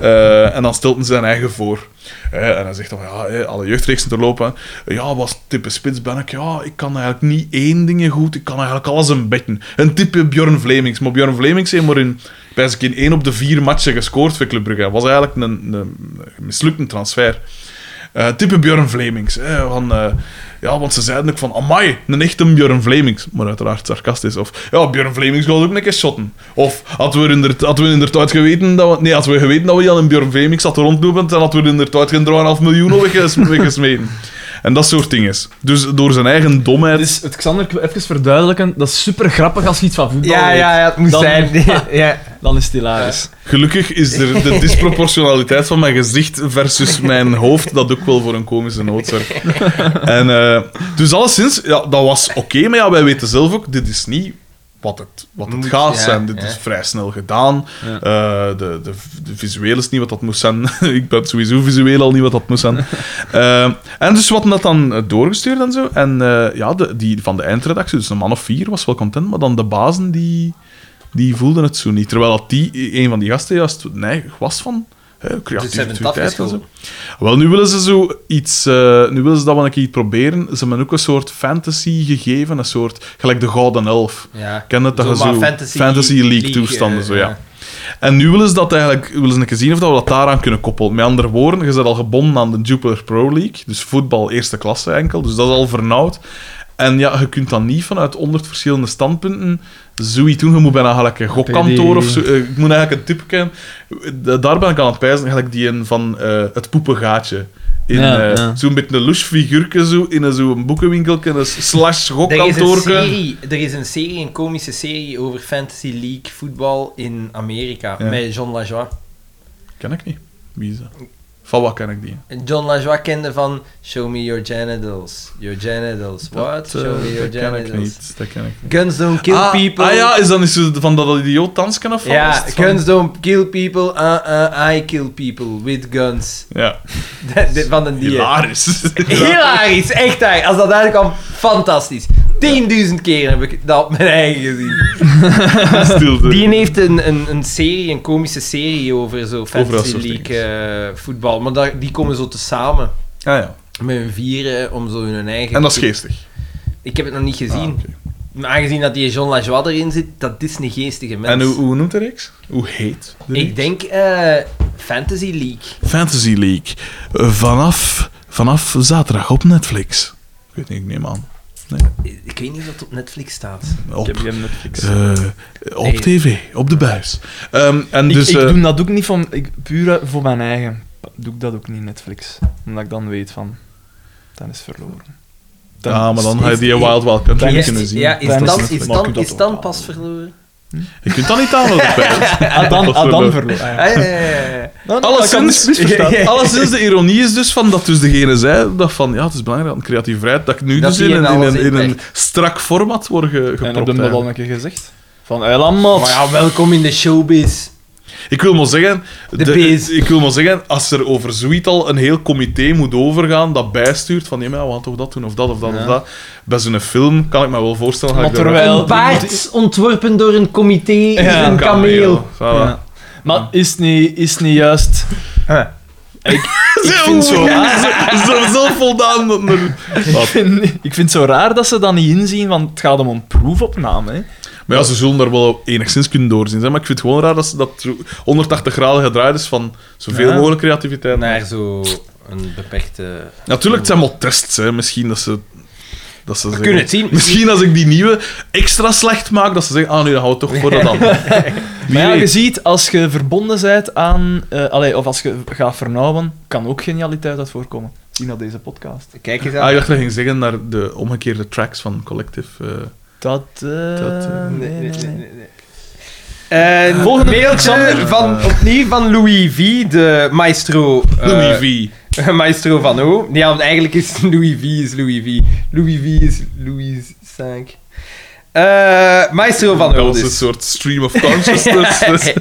Eh, en dan stelt hij zijn eigen voor. Eh, en hij zegt dan, van, ja, eh, alle jeugdreeksen te lopen. Ja, wat type spits ben ik? Ja, ik kan eigenlijk niet één ding goed, ik kan eigenlijk alles een beetje. Een type Björn Vlemings. Maar Björn Vlemings heeft maar in, bij zijn in één op de vier matchen gescoord voor Club Brugge. Dat was eigenlijk een, een mislukte transfer. Eh, Eh, type Björn Vlemings. Hè, van, eh, ja, want ze zeiden ook van, amai, een echte Björn Vlemings. Maar uiteraard sarcastisch. Of, ja, Björn Vlemings gaat ook een keer shotten. Of, hadden we inderdaad, hadden we inderdaad geweten dat we... Nee, hadden we geweten dat we Jan en Björn Vlemings hadden rondlopen, dan hadden we inderdaad geen 3,5 miljoen op wegges- weggesmeten. En dat soort dingen. Dus door zijn eigen domheid...
Dus het Xander, ik wil even verduidelijken, dat is super grappig als je iets van voetbal
Ja,
weet.
ja, ja, het moest
Dan-
zijn. ja.
Dan is het hilarisch.
Gelukkig is er de disproportionaliteit van mijn gezicht versus mijn hoofd dat ook wel voor een komische noot zorgt. En, eh, dus alleszins, ja, dat was oké, maar ja, wij weten zelf ook, dit is niet wat het, wat het
Moet,
gaat
ja,
zijn. Dit
ja.
is vrij snel gedaan.
Ja.
Eh, de, de, de visueel is niet wat dat moest zijn. Ik ben sowieso visueel al niet wat dat moest zijn. Eh, en dus we hadden dat dan eh, doorgestuurd en zo. En eh, ja, de, die van de eindredactie, dus een man of vier, was wel content, maar dan de bazen die die voelden het zo niet. Terwijl dat die, een van die gasten juist neig was van hè,
hebben
creativiteit
het
en zo. Wel, nu willen ze zo iets... eh, nu willen ze dat wel een keer proberen. Ze hebben ook een soort fantasy gegeven, een soort... Gelijk de Gouden Elf.
ja.
Ken het dat je
Zo'n
zo...
Fantasy
League,
League,
toestanden,
eh,
zo, ja.
ja.
En nu willen ze dat eigenlijk... Willen ze een keer zien of dat we dat daaraan kunnen koppelen. Met andere woorden, je bent al gebonden aan de Jupiler Pro League. Dus voetbal eerste klasse enkel. Dus dat is al vernauwd. En ja, je kunt dan niet vanuit 100 verschillende standpunten zoiets doen. Je moet bijna gelijk een gokkantoor of zo. eh, Ik moet eigenlijk een tip kennen. Da- Daar ben ik aan het pijzen, eigenlijk die een van eh, het poepengaatje. In,
Ja,
eh,
ja.
Zo'n beetje een lush figuurke zo, in een- zo'n boekenwinkelke, een slash
Er is,
gokkantoorke.
een serie, er is een serie, een komische serie over Fantasy League voetbal in Amerika
Ja.
met John Lajoie.
Ken ik niet. Wie is dat? Van wat ken ik die?
En John Lajoie kende van Show me your genitals, your genitals, what?
Eh,
Show me your
dat ken ik
genitals.
niet. Dat ken ik niet.
Guns don't kill
ah,
people.
Ah ja, is dan niet zo van dat idioot dansken of wat
Ja,
was het van?
guns don't kill people, uh, uh, I kill people with guns.
Ja,
Dat- dit van een dier.
hilarisch.
Hilarisch, echt waar. Als dat uitkwam, fantastisch. 10.000 keer heb ik dat op mijn eigen gezien.
Stilte.
Die heeft een, een, een serie, een komische serie over zo
dat
Fantasy
soort
League eh, voetbal. Maar daar, die komen zo tezamen
Ah, ja.
met hun vieren om zo hun eigen...
En dat is geestig.
Ik heb het nog niet gezien.
Ah, oké.
Maar aangezien dat die John Lajoie erin zit, dat is een geestige mens.
En hoe, hoe noemt de reeks? Hoe heet de reeks?
Ik denk eh, Fantasy League.
Fantasy League. Eh, Vanaf, vanaf zaterdag op Netflix. Ik weet niet, ik neem aan.
Ik weet niet of dat op Netflix staat.
Ik heb
Op,
geen Netflix.
eh, op
Nee.
tv, op de buis. Ehm, en
Ik,
dus,
ik
eh,
doe dat ook niet van, ik, puur uit- voor mijn eigen. Doe ik dat ook niet Netflix. Omdat ik dan weet van, dan is verloren. Dan
ja, ah, maar dan ga je
is-
die Wild Wild Country niet kunnen zien.
ja, is
Dan
dan,
is het maar
is
kun
dan,
je dat
is dan
ook
pas verloren?
Je kunt dat niet aan op de buis.
Ah, dan, ah, dan verloren. Ah, ja.
Ah, ja, ja, ja, ja.
Nou, dat kan mis-
Alleszins,
misverstaan.
alleszins, de ironie is dus van dat dus degene zei dat van ja, het is belangrijk aan creatieve vrijheid dat ik nu
Dat
dus
die
in,
in
een- in,
alles
een, in een
inperkt.
strak format word ge, gepropt.
En heb je dat
eigenlijk.
al een keer gezegd? Van, eiland mat.
Maar ja, welkom in de showbiz.
Ik wil maar zeggen,
De
de-
beest.
ik wil maar zeggen, als er over zoiets al een heel comité moet overgaan dat bijstuurt van ja, maar ja, we gaan toch dat doen of dat of dat
Ja.
of dat. Bij zo'n film kan ik me wel voorstellen. ga ik
Maar
daar-
terwijl- Wel,
een paard ontworpen door een comité
Ja,
is een kameel.
Voilà.
Ja. Maar is het niet, is het niet juist...
Ik
vind het zo
zo, zo, zo voldaan. dat er-
Ik vind, ik vind het zo raar dat ze dat niet inzien, want het gaat om een proefopname. Hè.
Maar ja, ze zullen daar wel enigszins kunnen doorzien. Zeg. Maar ik vind het gewoon raar dat ze dat zo 180 graden gedraaid is van zoveel
Ja.
mogelijk creativiteit.
Naar zo een beperkte...
Natuurlijk, het zijn wel tests. Hè. Misschien dat ze... Dat ze zeggen-
kunnen het zien.
Misschien als ik die nieuwe extra slecht maak, dat ze zeggen, ah, nu dan gaan we toch voor dat dan.
Maar ja, je ziet, als je verbonden bent aan... eh allee, of als je gaat vernauwen, kan ook genialiteit uit voorkomen. Zien dat deze podcast.
Kijk eens
Ah,
aan.
ik dacht dat je ging zeggen naar de omgekeerde tracks van Collective. eh.
Dat... eh,
eh,
nee, nee, nee.
Eh,
Volgende
mailtje
Xander.
van, opnieuw van Louis V, de maestro... eh,
Louis V.
Maestro van O. Ja, want eigenlijk is Louis V is Louis V. Louis V is Louis V. Eh, Maestro van O
Dat was een
dus.
soort stream of consciousness. dus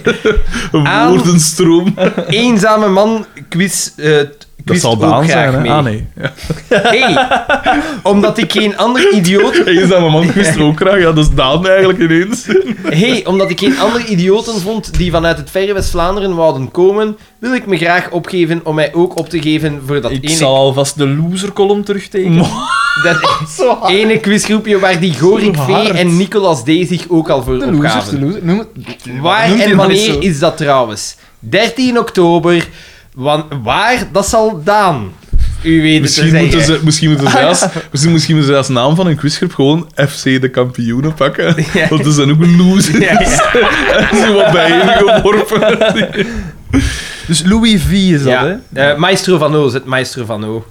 een
Aan-
woordenstroom.
Eenzame man quiz... eh,
Dat
quiz
zal
ook
Daan
graag
zijn, hè?
mee.
Ah, nee. Ja.
Hey, omdat ik geen ander idioot...
Eenzame man wist ook graag. Ja, dat is Daan eigenlijk ineens.
Hey, omdat ik geen andere idioten vond die vanuit het verre West-Vlaanderen wouden komen, wil ik me graag opgeven om mij ook op te geven voor dat
Ik
ene...
zal alvast de loser-column terugtekenen.
Dat ene quizgroepje waar die Gorik
Zo
V
hard.
en Nicolas D. zich ook al voor opgaven.
loser. Noem het.
Waar
Noemt
en
die maar eens
wanneer
zo.
is dat trouwens? 13 oktober. Wan- waar? Dat zal Daan. U weet
Misschien
het
moeten,
te zeggen. Ah,
ze, misschien, moeten ze als, misschien, misschien moeten ze als naam van hun quizgroep gewoon FC de kampioenen pakken.
Ja.
Want ze zijn ook losers.
Ja, ja.
Ze zijn wat bijeengeworpen.
Dus Louis V is dat, hè?
Ja. Eh, Maestro van O, zet Maestro van O.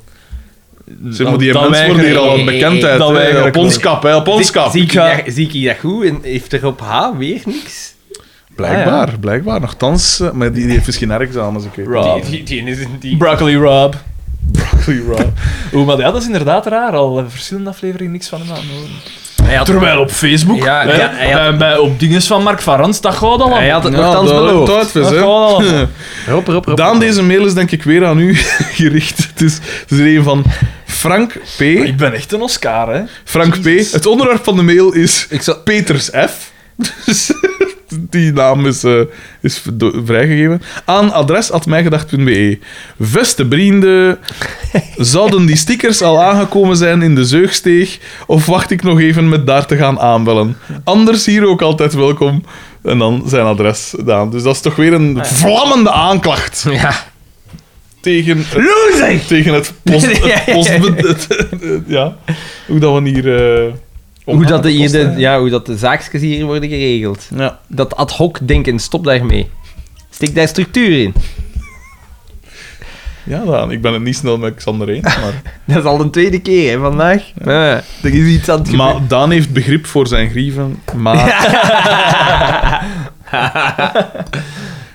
Zeg maar, die
Dan- dan
mensen worden hier
weiger
al
ik-
een bekendheid.
dan
hè.
weiger ik
op ons
wel.
kap, hè, op ons
Zie-
kap.
Zie ik daar- zie ik hier dat goed en heeft er op H weer niks? Ah,
Blijkbaar, blijkbaar. Nogthans, eh, maar die, die heeft misschien herexamens. Ik weet het
Rob.
Die, die, die is een die.
Broccoli Rob.
niet. Rob.
Oeh, maar ja, dat is inderdaad raar. Al eh, verschillende afleveringen niks van hem aan. hoor.
Hij had,
Terwijl op Facebook,
Ja,
hè,
ja, hij had-
bij, bij- op dinges van Mark Varans, dat gaat al.
hij
aan.
had het
Nou,
nogthans
dat
beloofd.
loopt uit, vis,
Dat
hè.
gaat al. aan.
Rop, rop, rop.
Daan, deze mail is denk ik weer aan u gericht. Het is, het is er een van Frank P.
Ik ben echt een Oscar, hè.
Frank P. Het onderwerp van de mail is Peters F. Dus die naam is, eh, is do- vrijgegeven. Aan adres atmijgedacht.be. Beste vrienden, E. zouden die stickers al aangekomen zijn in de zeugsteeg? Of wacht ik nog even met daar te gaan aanbellen? Anders hier ook altijd welkom. En dan zijn adres, Daan. Dus dat is toch weer een vlammende aanklacht
Ja.
tegen het, Tegen het post... Het post het- het- ja. Hoe dat we hier... eh,
Hoe
omgaan
dat, de,
met
hier
post,
de,
hè.
ja, hoe dat de zaakjes hier worden geregeld.
Ja.
Dat ad hoc denken, stop daarmee. Steek daar structuur in.
Ja, Daan. Ik ben het niet snel met Xander heen. Maar,
Dat is al de tweede keer hè, vandaag. Ja. Er is iets aan het gebeuren.
maar Daan heeft begrip voor zijn grieven. Maar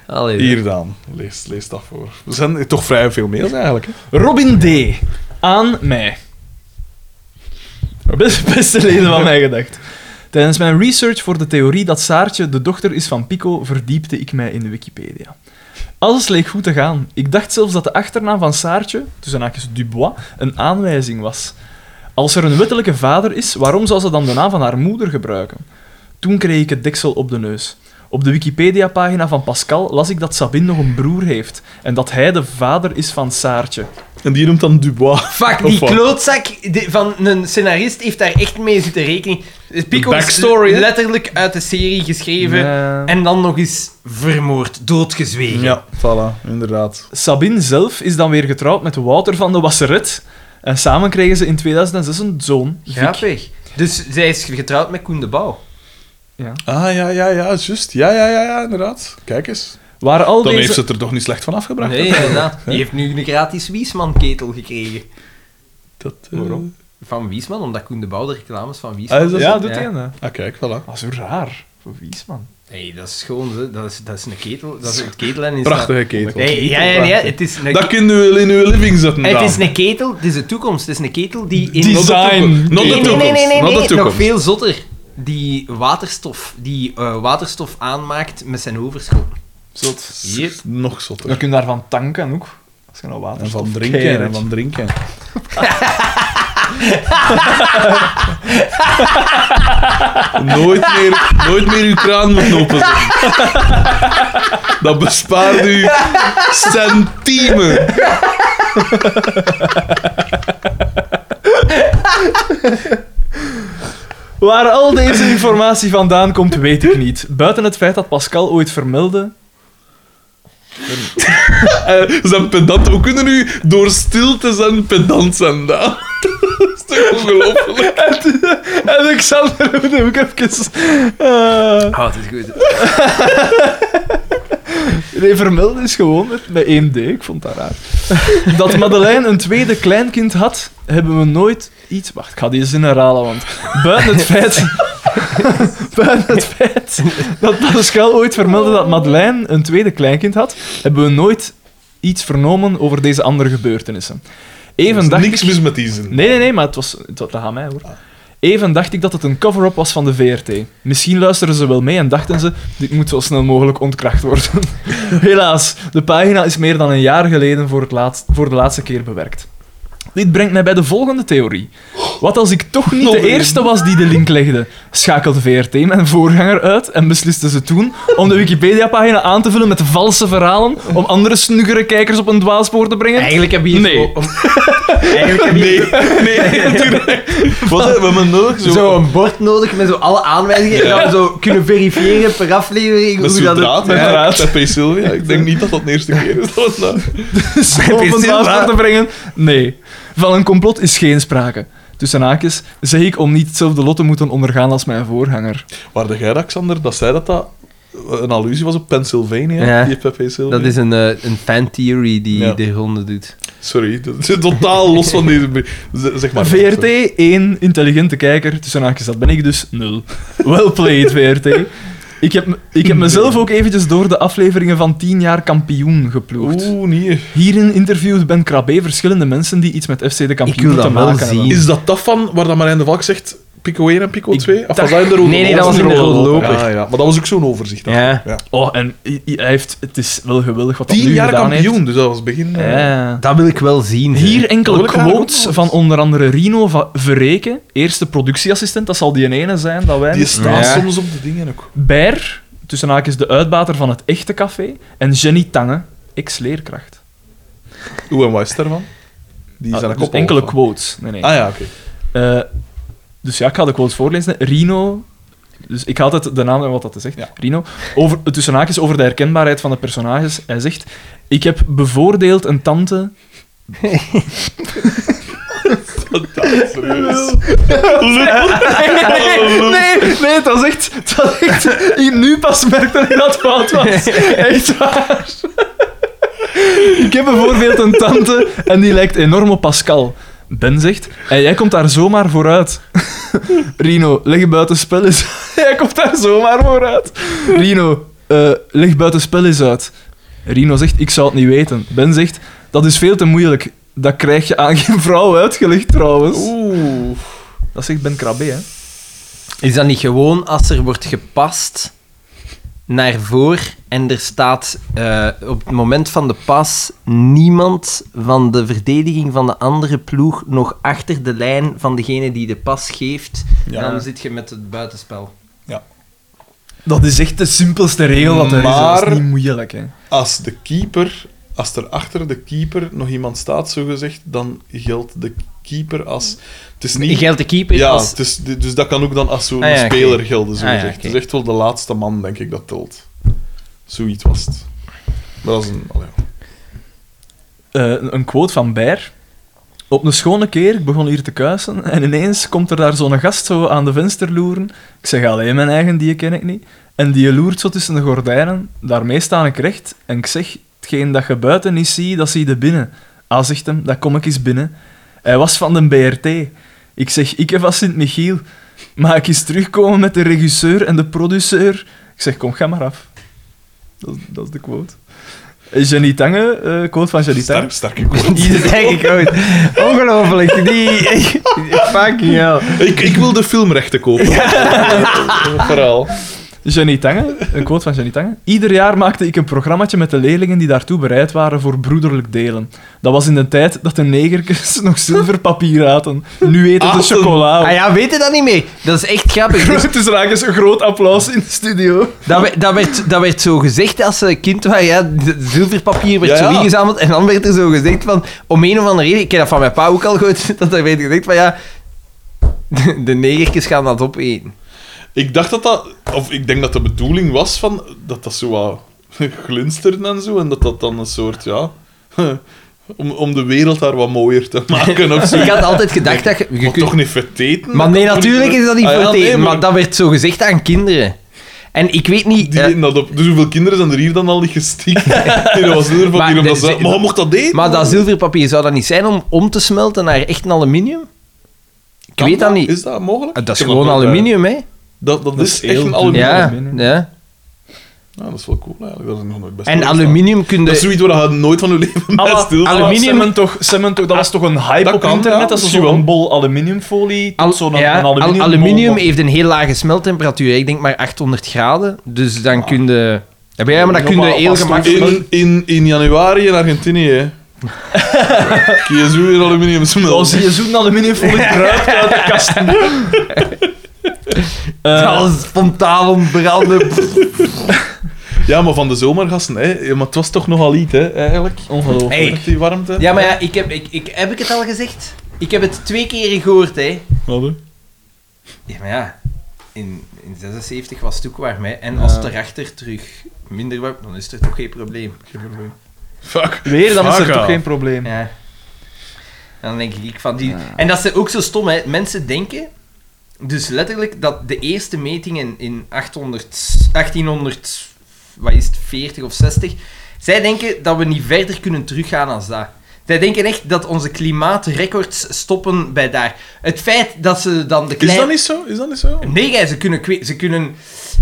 Allee,
hier, Daan. Lees, lees dat voor. Er zijn toch vrij veel mails eigenlijk. Hè?
Robin D. Aan mij. Best, beste leden van mij gedacht. Tijdens mijn research voor de theorie dat Saartje de dochter is van Pico, verdiepte ik mij in de Wikipedia. Alles leek goed te gaan. Ik dacht zelfs dat de achternaam van Saartje, tussen haakjes Dubois, een aanwijzing was. Als er een wettelijke vader is, waarom zou ze dan de naam van haar moeder gebruiken? Toen kreeg ik het deksel op de neus. Op de Wikipedia-pagina van Pascal las ik dat Sabine nog een broer heeft en dat hij de vader is van Saartje.
En die noemt dan Dubois.
Fuck,
Of
die
wat?
klootzak de- van een scenarist heeft daar echt mee zitten rekenen. Pico
Backstory,
is
hè?
letterlijk uit de serie geschreven
Ja.
en dan nog eens vermoord, doodgezwegen.
Ja, voilà. Inderdaad.
Sabine zelf is dan weer getrouwd met Wouter van de Wasseret. En samen kregen ze in 2006 een zoon.
Grappig. Dus zij is getrouwd met Koen de Bouw.
Ah, ja, ja, ja. Juist. Ja, ja, ja, ja. Inderdaad. Kijk eens.
Waar al
Dan
deze...
heeft ze het er toch niet slecht van afgebracht.
Nee,
hè?
inderdaad. Die heeft nu een gratis Wiesman-ketel gekregen.
Dat, eh,
Waarom?
Van Wiesman, omdat Koen de Bouw de reclames van Wiesman...
Ah, is dat
Ja,
zo?
doet
Ja.
hij dat?
Ah, kijk, voilà.
Dat is zo raar. Voor Wies, man.
Nee, dat is gewoon... zo. Dat is, dat is een ketel. Dat is een ketel en... Is
Prachtige ketel.
Nee, ja, ja, ja. Het is een,
Dat kunnen we in uw living zetten,
het
Daan.
is een ketel. Het is de toekomst. Het is een ketel die... In
Not de toekomst. Not de
nee, nee,
toekomst.
nee, nee, nee,
Not de
nee, nog
toekomst.
veel zotter. Die waterstof, die eh, waterstof aanmaakt met zijn overschot.
Zot.
Yep.
Nog
Je
zotter.
kunt daarvan tanken ook. Als je nou water
En van drinken, en van drinken. nooit, meer, nooit meer uw kraan moet openzetten. Dat bespaart u centiemen.
Waar al deze informatie vandaan komt, weet ik niet. Buiten het feit dat Pascal ooit vermeldde...
Eh, zijn pedant. We kunnen nu door stilte zijn pedant zijn, Daan. Dat is toch ongelooflijk?
En Xander moet ook even... eh,
Oh, dat is goed.
Nee, vermelden is gewoon met, met 1D. Ik vond dat raar. Dat Madeleine een tweede kleinkind had, hebben we nooit iets... Wacht, ik ga die zin herhalen, want buiten het feit... buiten het feit dat Pascal ooit vermeldde dat Madeleine een tweede kleinkind had, hebben we nooit iets vernomen over deze andere gebeurtenissen.
Er
Even
is
dacht
niks
ik-
mis met die zin.
Nee, nee, nee, maar het was... Het, dat gaat mij, hoor.
Ah.
Even dacht ik dat het een cover-up was van de VRT. Misschien luisterden ze wel mee en dachten ze, dit moet zo snel mogelijk ontkracht worden. Helaas, de pagina is meer dan een jaar geleden voor, het laatst, voor de laatste keer bewerkt. Dit brengt mij bij de volgende theorie. Wat als ik toch niet
Nog
de
één.
eerste was die de link legde? Schakelde VRT mijn voorganger uit en besliste ze toen om de Wikipedia-pagina aan te vullen met valse verhalen om andere snuggere kijkers op een dwaalspoor te brengen?
Eigenlijk heb je... hier
Nee.
o- om- Eigenlijk heb je
Nee, nee, natuurlijk. Wat hebben we nodig? Zo,
zo een bord nodig met zo alle aanwijzingen. En dan zo kunnen verifiëren per aflevering
met
hoe
zo'n
dat...
draad,
met
met
draad.
draad. P. Sylvia. Ik denk niet dat dat de eerste keer is. Dat het nou-
op een
Sylvia.
dwaalspoor te brengen? Nee. Van een complot is geen sprake. Tussen haakjes zeg ik om niet hetzelfde lot te moeten ondergaan als mijn voorganger.
Waar de jij, Alexander, dat zei dat dat een allusie was op Pennsylvania?
Ja.
Die Pepe Sylvia.
Dat is een, eh, een fan-theory die
Ja.
de ronde doet.
Sorry, dat is totaal los van deze... brie- Z- Zeg maar.
VRT, één intelligente kijker. Tussen haakjes, dat ben ik dus, nul. Well played, VRT. Ik heb, me- ik heb mezelf ook eventjes door de afleveringen van 10 jaar kampioen geploegd.
Oeh, nee.
Hierin interviewt Ben Krabbe verschillende mensen die iets met FC de
Ik wil
kampioen te
dat wel
maken hebben.
zien.
Is dat dat van waar dat Marijn de Valk zegt Pico 1 en Pico
Ik
2? Of was
dacht-
dat in de rode
Nee, nee, dat
loper?
was in de rode loper.
Ja, ja. Maar dat was ook zo'n overzicht. dan.
Ja.
Oh, en i- i- hij heeft, het is wel geweldig wat hij
Tien
nu
jaar
gedaan
kampioen, dus dat was het begin.
heeft.
eh,
Ja.
Dat wil ik wel zien. hè.
Hier enkele
wil ik graag
quotes
ook
van onder andere Rino Va- Verreken, eerste productieassistent. Dat zal die ene zijn dat wij
Die staat
Ja.
soms op de dingen ook.
Ber, tussen haakjes de uitbater van het echte café, en Jenny Tange, ex-leerkracht.
Hoe en wat is daarvan? Die
Ah,
zijn
dus enkele quotes. Nee, nee.
Ah ja, oké.
Eh, dus ja, ik ga de quotes voorlezen. Rino, dus ik ga altijd de naam en wat dat zegt.
Ja.
Rino, over, tussen haakjes over de herkenbaarheid van de personages. Hij zegt, ik heb bevoordeeld een tante... Nee, nee, het was echt... Het was echt ik nu pas merkte dat ik dat fout was. Echt waar. Ik heb bijvoorbeeld een tante en die lijkt enorm op Pascal. Ben zegt, en jij komt daar zomaar vooruit. Rino, leg buitenspel eens Jij komt daar zomaar vooruit. Rino, eh leg buitenspel eens uit. Rino zegt, ik zou het niet weten. Ben zegt, dat is veel te moeilijk. Dat krijg je aan geen vrouw uitgelegd trouwens.
Oeh.
Dat zegt Ben Krabbe, hè.
Is dat niet gewoon als er wordt gepast naar voor en er staat eh, op het moment van de pas niemand van de verdediging van de andere ploeg nog achter de lijn van degene die de pas geeft?
Ja.
Dan zit je met het buitenspel.
Dat is echt de simpelste regel dat er is. Dat
Maar-
is niet moeilijk, hè.
Als de keeper, als er achter de keeper nog iemand staat, zogezegd, dan geldt de keeper als... Het is niet...
Geldt de keeper
ja,
als...
het is, dus dat kan ook dan als zo'n
Ah, ja, oké.
speler gelden,
Ah, ja,
zogezegd.
oké.
Het is echt wel de laatste man, denk ik, dat telt. Zoiets was het. Maar dat is een... allee,
Eh, een quote van Baer. Op een schone keer, ik begon hier te kuisen, en ineens komt er daar zo'n gast zo aan de venster loeren. Ik zeg alleen mijn eigen, die ken ik niet. En die loert zo tussen de gordijnen. Daarmee sta ik recht en ik zeg, hetgeen dat je buiten niet ziet, dat zie je binnen. Ah, zegt hem, dat kom ik eens binnen. Hij was van de BRT. Ik zeg, ik heb van Sint-Michiel. Maar ik is terugkomen met de regisseur en de produceur. Ik zeg, kom, ga maar af. Dat, is- dat is de quote. Eh, Jenny Tange, eh quote van Jenny Tange.
sterk, sterke quote.
Die denk ik ooit. Ongelooflijk. Die... Fucking hell.
ik, ik wil de filmrechten kopen. Verhaal.
Jenny Tange, een quote van Jenny Tange. Ieder jaar maakte ik een programmaatje met de leerlingen die daartoe bereid waren voor broederlijk delen. Dat was in de tijd dat de negerkens nog zilverpapier aten. Nu eten ze
Aten.
chocola.
Ah ja, weet je dat niet meer? Dat is echt grappig. Dus
Grote zaakjes, een groot applaus in de studio.
Dat, we- dat, werd, dat werd zo gezegd als ze kind waren. Ja, de zilverpapier werd
Ja,
zo
ja.
ingezameld. En dan werd er zo gezegd van... Om een of andere reden... Ik heb dat van mijn pa ook al gehoord. Dat er werd gezegd van ja... De, de negertjes gaan dat opeten.
Ik dacht dat dat, of ik denk dat de bedoeling was van dat dat zo wat glinsterde en zo, en dat dat dan een soort, ja, om, om de wereld daar wat mooier te maken of zo.
Dus Ik had altijd gedacht dat je... je
maar
kunt-
toch niet verteten?
maar nee, natuurlijk is dat niet
Ah ja,
voor
nee,
tegen.
maar-
Maar dat werd zo gezegd aan kinderen. En ik weet niet...
Die
eh,
deden dat op. Dus hoeveel kinderen zijn er hier dan al niet gestikt? nee, dat was er van
Maar
hier omdat
de-
ze...
ze-
Maar je mocht dat eten?
maar dat zilverpapier, zou dat niet zijn om om te smelten naar echt een aluminium? Ik
Kan
weet dat niet. Ah, Eh,
Is dat mogelijk?
Dat is
Ik heb
gewoon
nog nooit- eh,
aluminium, hè?
Dat, dat, is echt
heel
een
dun.
aluminium. Ja.
Ja,
aluminium.
ja.
dat is wel cool eigenlijk. Dat is nog nooit best
En
stilgestaan.
aluminium kun
Dat is
je...
zoiets waar je nooit van je leven bij stil
aluminium. toch, Cement toch, dat was toch een hype
dat
op
kan,
internet?
ja,
dat is
misschien
zo'n
wel.
bol aluminiumfolie, tot
Al-
zo'n
ja,
een
al-
aluminiumbol.
aluminium heeft een heel lage smeltemperatuur. hè. Ik denk maar 800 graden. Dus dan kun je... Ja, maar ja, maar dan kun je
maar
heel
was toch
gemakkelijk...
In, in, in januari in Argentinië, hè. KSU in aluminium smelt.
Als Oh, je zo'n aluminiumfolie kruipt uit de kasten. Eh,
Alles spontaan ontbranden.
Ja, maar van de zomergassen, hè. Ja, Maar het was toch nogal iets, hè, eigenlijk.
ongelooflijk.
Hey.
Met die warmte.
Ja, maar ja, ik heb, ik, ik, heb ik het al gezegd? Ik heb het twee keer gehoord, hè.
Wat, hè?
Ja, maar ja. In, in 76 was het ook warm, hè. En als het erachter terug minder warm, dan is er toch geen probleem. Geen probleem.
Fuck.
Weer, dan is
Fuck
er toch
off.
geen probleem.
Ja. Dan denk ik van die... En dat is ook zo stom, hè. Mensen denken... Dus letterlijk dat de eerste metingen in 800, 1800... Wat is het? 40 of 60? Zij denken dat we niet verder kunnen teruggaan als dat. Zij denken echt dat onze klimaatrecords stoppen bij daar. Het feit dat ze dan de
Is
kleine...
dat niet zo? Is dat niet zo?
Nee, gij, ze kunnen... kwe- Ze kunnen...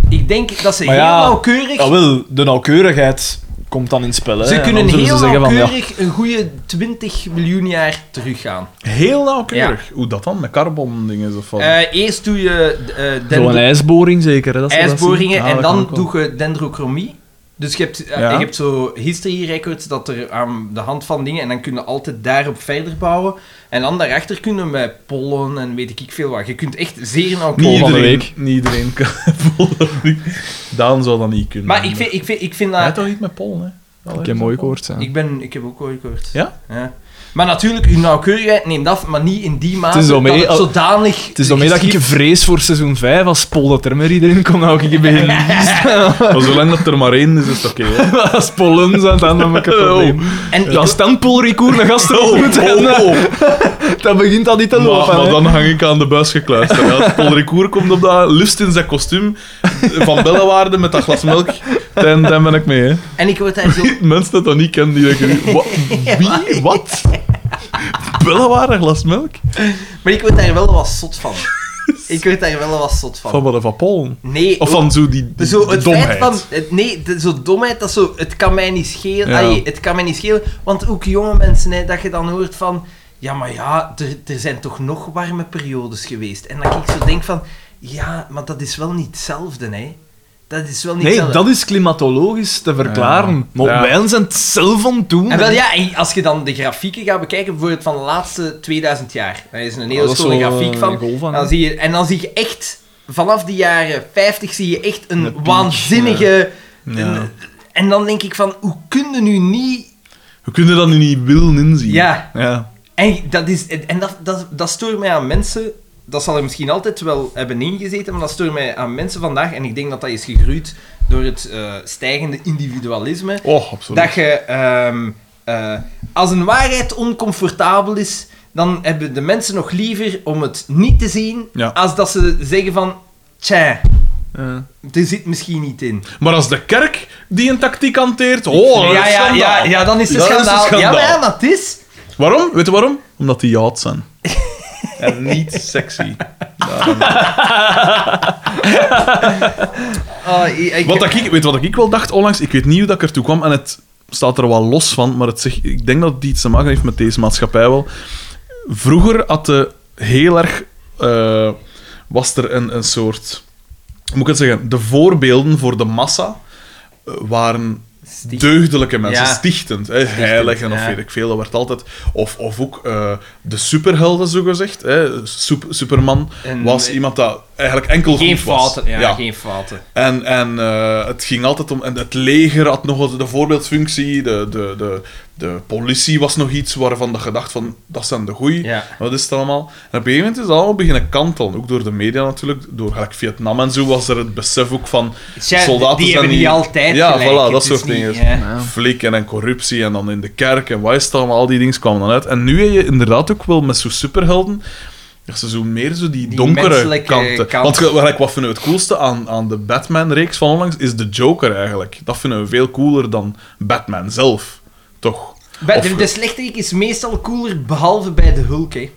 Ik denk dat ze
Maar
heel
ja,
nauwkeurig...
Ja, Ah, wel, de nauwkeurigheid komt dan in het spel. Hè.
ze
En dan
kunnen
zullen
heel
ze zeggen van, ja,
nauwkeurig een goede 20 miljoen jaar teruggaan.
Heel nauwkeurig. Hoe dat dan? Met carbon-dingen of wat?
Eh, eerst doe je eh
Zo'n
dendro-
ijsboring zeker. Hè, dat ze dat zien.
ijsboringen
Ah,
en
dat kan
dan
ook wel.
doe je dendrochronie. Dus je hebt, eh,
Ja.
je hebt zo history records dat er aan de hand van dingen en dan kun je altijd daarop verder bouwen. En dan daarachter kunnen we met pollen en weet ik veel wat. Je kunt echt zeer
Niet
nauwkeurig.
niet
van de
iedereen,
week.
Niet iedereen kan volgende week. Daan zou dat niet kunnen.
Maar ik vind, ik vind, ik vind
Hij had
dat.
toch niet met Pol, hè? Allee,
Ik heb mooi koorts. hè.
Ik, ben, ik heb ook ooit gehoord.
Ja?
Maar natuurlijk, uw nauwkeurigheid neemt af, maar niet in die mate
Het is
dat
daarmee
het
al-
zodanig.
Het is daarmee dat ik
geschikt-
vrees voor seizoen 5 als Pol dat er maar iedereen komt. Nou, ik begin
Maar zolang dat er maar één is, is het oké. hè.
als Pollen zijn, dan heb
Oh.
ik een probleem.
En ik-
Als dan Pol Ricoeur een gast erop moet en,
Oh,
eh,
oh.
dan begint dat niet te
Maar,
lopen.
maar
hè.
dan hang ik aan de buis gekluisterd. hè. Als Paul Ricoeur komt op dat, liefst in zijn kostuum van Bellewaarde met dat glas melk, dan, dan ben ik mee. Hè.
En ik word daar zo
Mensen dat dat niet kennen, die denken... "Wa- Wie? Wat? Bellewaarde glas melk?
Maar ik word daar wel wat zot van. ik word daar wel wat zot van.
Van wat? Van Paul?
Nee,
Of van zo die, die
zo het
domheid?
feit van... Het, nee, de, zo domheid, dat zo... Het kan mij niet schelen.
Ja.
Allee, het kan mij niet schelen. Want ook jonge mensen, hè, dat je dan hoort van... Ja, maar ja, er, er zijn toch nog warme periodes geweest. En dat ik zo denk van... Ja, maar dat is wel niet hetzelfde, hè. Dat is wel niet
Nee,
hetzelfde.
dat is klimatologisch te verklaren. Maar
Ja.
wij zijn het zelf aan het doen.
En wel, ja, en als je dan de grafieken gaat bekijken, bijvoorbeeld van de laatste 2000 jaar. Daar is een hele
dat is
schone
zo,
grafiek
eh,
van.
een golf van,
dan
hè.
zie je, en dan zie je echt, vanaf de jaren 50 zie je echt een waanzinnige... een- en dan denk ik van, hoe kun je nu niet...
We kunnen dat nu niet willen inzien.
Ja.
ja.
En, dat, is, en dat, dat, dat stoort mij aan mensen... Dat zal er misschien altijd wel hebben ingezeten, maar dat stoort mij aan mensen vandaag. En ik denk dat dat is gegroeid door het eh, stijgende individualisme.
Oh, absoluut.
Dat je, ehm, eh, als een waarheid oncomfortabel is, dan hebben de mensen nog liever om het niet te zien,
Ja.
als dat ze zeggen van, tja,
Ja.
er zit misschien niet in.
Maar als de kerk die een tactiek hanteert, oh, dat
ja,
is
ja,
schandaal.
ja, ja, dan is het
Dat is een
schandaal. Ja,
schandaal.
maar ja, maar het is...
Waarom? Weet je waarom? Omdat die jaad zijn. en niet sexy.
Oh, ik, ik-
Wat dat ik, weet je wat ik wel dacht onlangs? Ik weet niet hoe dat ik ertoe kwam en het staat er wel los van, maar het zegt- ik denk dat het iets te maken heeft met deze maatschappij wel. Vroeger had de heel erg... eh, was er een, een soort... Hoe moet ik het zeggen? De voorbeelden voor de massa eh, waren
Sticht.
deugdelijke mensen,
Ja.
stichtend, hè, heiligen of
ja.
weet ik veel. Dat werd altijd... Of, of ook eh, de superhelden, zogezegd. Hè, Sup- Superman
En-
was iemand dat eigenlijk enkel
geen
goed was.
fouten, ja, geen fouten.
En, en eh, het ging altijd om. En het leger had nog wel de voorbeeldfunctie. De, de, de, de politie was nog iets waarvan dat je dacht van dat zijn de goeie.
Ja.
Wat is het allemaal? En op een gegeven moment is het allemaal beginnen kantelen. Ook door de media natuurlijk. Door gelijk Vietnam en zo was er het besef ook van
Tja,
soldaten
die
zijn
hebben niet altijd
Ja,
gelijk.
voilà,
Het
dat
is
soort
niet,
dingen.
ja.
Flikken en corruptie en dan in de kerk en wat is het allemaal? Al die dingen kwamen dan uit. En nu heb je inderdaad ook wel met zo'n superhelden. Dat ze zo meer zo die,
Die
donkere
menselijke
kanten.
kant.
Want ge- gelijk, wat vinden we het coolste aan, aan de Batman-reeks van onlangs? Is de Joker eigenlijk. Dat vinden we veel cooler dan Batman zelf. Toch?
Bij-
Of-
De, de slechterik is meestal cooler, behalve bij de Hulk, hè.
Ja,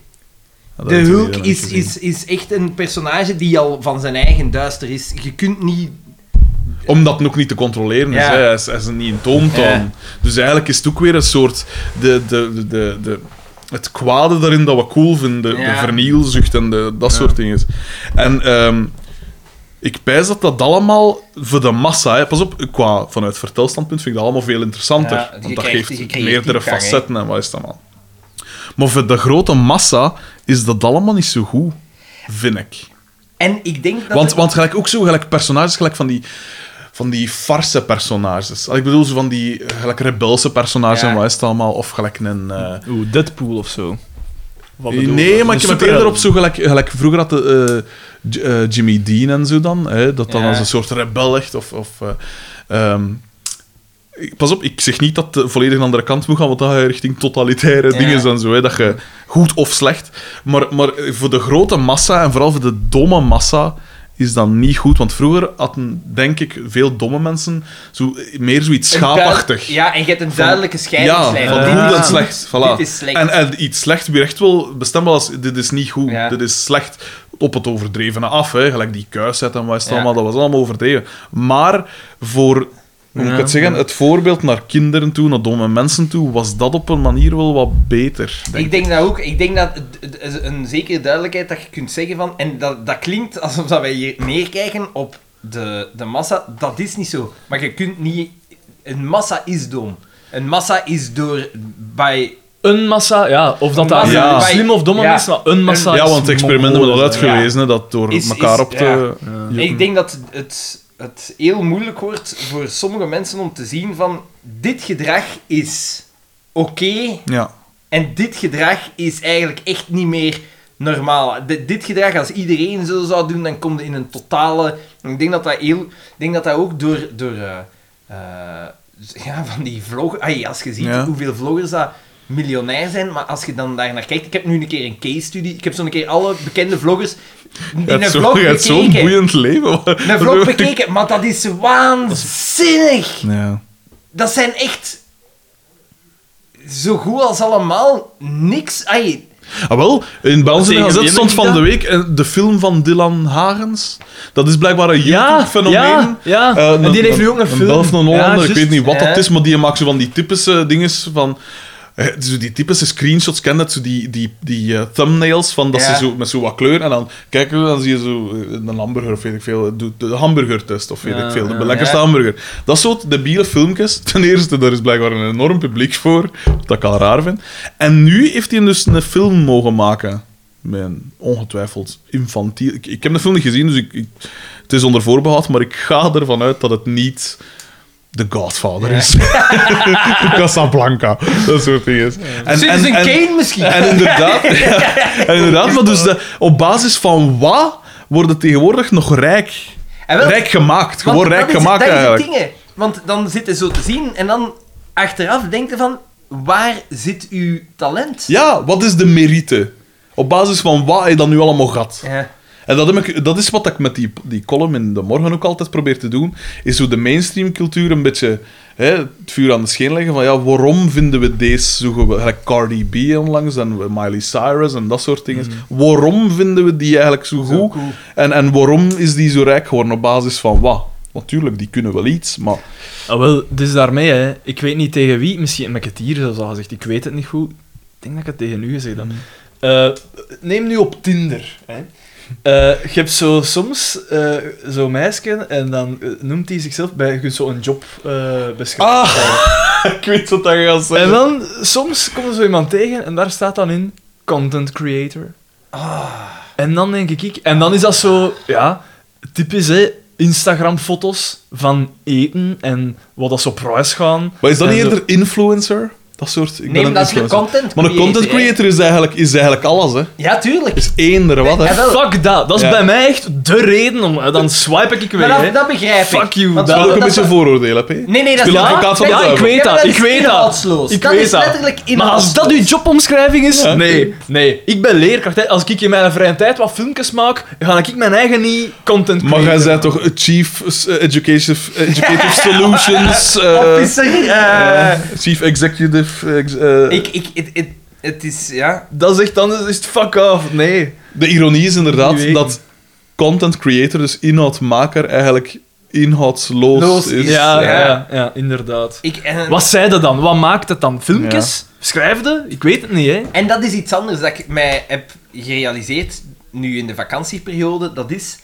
dat
De
heb ik
Hulk
nog
is,
niet gezien.
is, is echt een personage die al van zijn eigen duister is. Je kunt niet...
Omdat het ook niet te controleren is.
Ja.
Hè? Hij is, hij is niet in toontoon.
Ja.
Dus eigenlijk is het ook weer een soort... De, de, de, de, de- het kwade daarin dat we cool vinden. De,
Ja.
de vernielzucht en de, dat soort dingen. En ehm, Ik pijs dat dat allemaal voor de massa... Hè. Pas op, qua, vanuit vertelstandpunt vind ik dat allemaal veel interessanter.
Ja, je
want dat
krijgt- je
geeft
creëert
meerdere
diepgang, hè.
facetten en wat is dat allemaal. Maar voor de grote massa is dat allemaal niet zo goed, vind ik.
En ik denk dat...
Want,
het-
want gelijk ook zo, gelijk personages, gelijk van die, van die farse personages. Ik bedoel, zo van die eh, gelijk rebelse personages
Ja.
en wat is het allemaal. Of gelijk een... eh,
Oeh, Deadpool of zo. Wat bedoel je?
nee, maar
Een
ik heb het
superheld.
eerder op zo gelijk, gelijk vroeger had de, eh, J- eh, Jimmy Dean en zo dan, hè, dat dan
Ja.
als een soort rebel echt of... of eh, ehm, ik- Pas op, ik zeg niet dat het volledig aan de andere kant moet gaan, want dat ga je richting totalitaire
Ja.
dingen is en zo. Hè, dat je goed of slecht. Maar, maar voor de grote massa en vooral voor de domme massa is dat niet goed. Want vroeger hadden, denk ik, veel domme mensen zo, meer zoiets
een duid-
schaapachtig.
Ja, en je hebt een duidelijke
Ja,
scheidingslijn.
van
Dit
goed
is
en slecht. Voilà.
Dit is slecht.
En, en iets slecht weer echt wel bestembaar als dit is niet goed,
Ja.
dit is slecht. Op het overdrevene af, hè. gelijk die kuisheid en wat is het
Ja.
allemaal, dat was allemaal overdreven. Maar voor, hoe moet ik het zeggen, het voorbeeld naar kinderen toe, naar domme mensen toe, was dat op een manier wel wat beter. Denk.
ik denk dat ook. Ik denk dat het- het is een zekere duidelijkheid dat je kunt zeggen van... En dat, dat klinkt alsof dat wij hier neerkijken op de, de massa. Dat is niet zo. Maar je kunt niet... Een massa is dom. Een massa is door... Bij,
Een massa, ja. Of dat daar
Ja.
slim of domme
Ja.
mensen, maar een massa
ja,
is
want experimenten
Mongool,
hebben dat
hè.
uitgewezen, hè, dat door
Is-
elkaar
is-
op te...
ja.
Ja.
Ik denk dat het, het heel moeilijk wordt voor sommige mensen om te zien van... Dit gedrag is oké...
Ja.
En dit gedrag is eigenlijk echt niet meer normaal. D- dit gedrag, als iedereen zo zou doen, dan komt in een totale... Ik denk dat dat, heel, ik denk dat, dat ook door... door eh, eh, ja, van die vloggers... ai, Als je ziet
Ja.
hoeveel vloggers dat miljonair zijn, maar als je dan daar naar kijkt... Ik heb nu een keer een case-studie. Ik heb zo'n keer alle bekende vloggers
Je
in een
hebt
vlog
zo- je hebt zo'n
bekeken.
boeiend leven.
Een vlog bekeken, maar dat is waanzinnig!
Ja.
dat zijn echt zo goed als allemaal niks. Ai,
Ah, wel, in bij ons in de
Tegen
Gazette
wie
stond
heb ik
van de
dat?
week eh, de film van Dylan Hagens. Dat is blijkbaar een
Ja,
YouTube-fenomeen.
ja, ja.
Eh,
en die heeft nu ook een film.
Belf, een Hollander,
Ja,
ik
juist.
weet niet wat
Ja.
dat is, maar die maakt zo van die typische dinges van... eh, Zo die typische screenshots, ken dat? Zo die, die, die eh, thumbnails van dat
Ja.
ze zo, met zo wat kleur. En dan kijken we, dan zie je zo eh, een hamburger of weet ik veel. De, de hamburgertest of weet ik veel. De lekkerste
Ah, Ja.
hamburger. Dat soort debiele filmpjes. Ten eerste, daar is blijkbaar een enorm publiek voor. Dat ik al raar vind. En nu heeft hij dus een film mogen maken. Met een ongetwijfeld infantiel. Ik, ik heb de film niet gezien, dus ik, ik- het is onder voorbehoud. Maar ik ga ervan uit dat het niet. The Godfather is. Casablanca. Dat soort dingen. is. En,
Citizen Kane misschien.
en inderdaad, ja. en inderdaad maar dus de- op basis van wat worden tegenwoordig nog rijk?
En wel-
rijk gemaakt. Gewoon
Want
rijk
dat is-
gemaakt
dat is het
eigenlijk.
Dingen. Want dan zit je zo te zien en dan achteraf denkt je van, waar zit uw talent?
Ja, wat is de merite? Op basis van wat heb je dan nu allemaal gehad?
Ja.
En dat, heb ik, dat is wat ik met die, die column in de morgen ook altijd probeer te doen. Is hoe de mainstream cultuur een beetje hè, het vuur aan de scheen leggen. Van ja, waarom vinden we deze zo goed? Gelijk Cardi B onlangs en Miley Cyrus en dat soort dingen. Waarom vinden we die eigenlijk Mhm. zo goed? En, en waarom is die zo rijk geworden op basis van wat? Natuurlijk, die kunnen wel iets, maar...
Ah, wel, dus daarmee, hè. ik weet niet tegen wie, misschien heb ik het hier zelfs al gezegd, ik weet het niet goed. Ik denk dat ik het tegen u gezegd heb.
Mm.
Eh, neem nu op Tinder. Hè. Eh, je hebt zo soms eh, zo'n meisje en dan eh, noemt hij zichzelf bij je kunt zo een job eh beschrijven.
Ah, ik weet wat dat gaat zeggen.
En dan soms komt er zo iemand tegen en daar staat dan in content creator.
Ah.
En dan denk ik, ik, en dan is dat zo, ja, typisch hè, Instagram-foto's van eten en wat dat zo prijs gaan.
Maar is dat
En
niet
zo-
eerder influencer? Dat soort... Ik ben
Neem
een
dat je
influencer.
content
Maar een content
creator, hè.
creator is eigenlijk, is eigenlijk alles, hè.
Ja, tuurlijk.
Is eender wat,
En
hè.
wel,
Fuck dat, dat is
Ja.
bij mij echt de reden om. eh, Dan swipe ik
maar
weer.
dat,
hè.
dat begrijp ik.
Fuck you,
Want
dat-
Terwijl ik
dat-
een beetje
dat-
vooroordeel heb, hè.
Nee, nee, dat is
Speel
niet
advocaat van
waar.
de
Ja, eh. ik
duivel.
weet
maar
dat,
dat
ik
is
weet dat.
inhoudsloos.
Ik
Dat
weet
is
dat.
letterlijk
Maar als dat uw jobomschrijving is,
Ja.
nee, nee. Ik ben leerkracht. Hè. Als ik in mijn vrije tijd wat filmpjes maak, ga ik mijn eigen niet content
Maar jij
creëren.
zei toch eh, Chief eh, Educative, educative Solutions, eh,
Officer, eh,
Chief Executive... eh, ex- eh,
Ik, ik, het, het, het is, ja...
Dat is echt anders, is het fuck off. Nee.
De ironie is
Je
inderdaad
weet
dat content creator, dus inhoudmaker, eigenlijk inhoudsloos
Loos
is.
Ja,
ja.
ja, ja, inderdaad.
Ik, en,
Wat zei dat dan? Wat maakte dan? Filmpjes? Schrijfde? Ik weet het niet, hè?
En dat is iets anders dat ik mij heb gerealiseerd nu in de vakantieperiode. Dat is,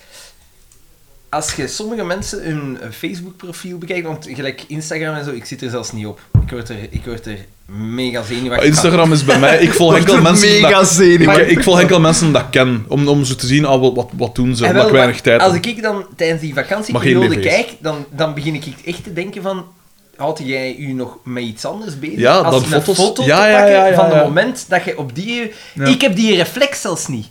ah, als je sommige mensen hun eh, Facebook-profiel bekijkt, want gelijk Instagram en zo, ik zit er zelfs niet op. Ik word er, ik word er mega zenuwachtig van.
Instagram is bij mij... Ik volg enkel mensen...
Mega
Dat, ik,
zenuwachtig.
ik volg enkel mensen dat ik ken. Om, om ze te zien, ah, wat, wat, wat doen ze,
En
omdat
wel,
ik weinig
maar
tijd
Als
heb.
ik dan tijdens die
Maar
vakantieperiode
geen BV's.
kijk, dan, dan begin ik echt te denken van... Houd jij u nog met iets anders bezig?
Ja,
als
dan
een
foto's.
foto te
Ja, ja,
pakken
ja, ja,
van
ja.
het moment dat je op die...
Ja.
Ik heb die reflex zelfs niet.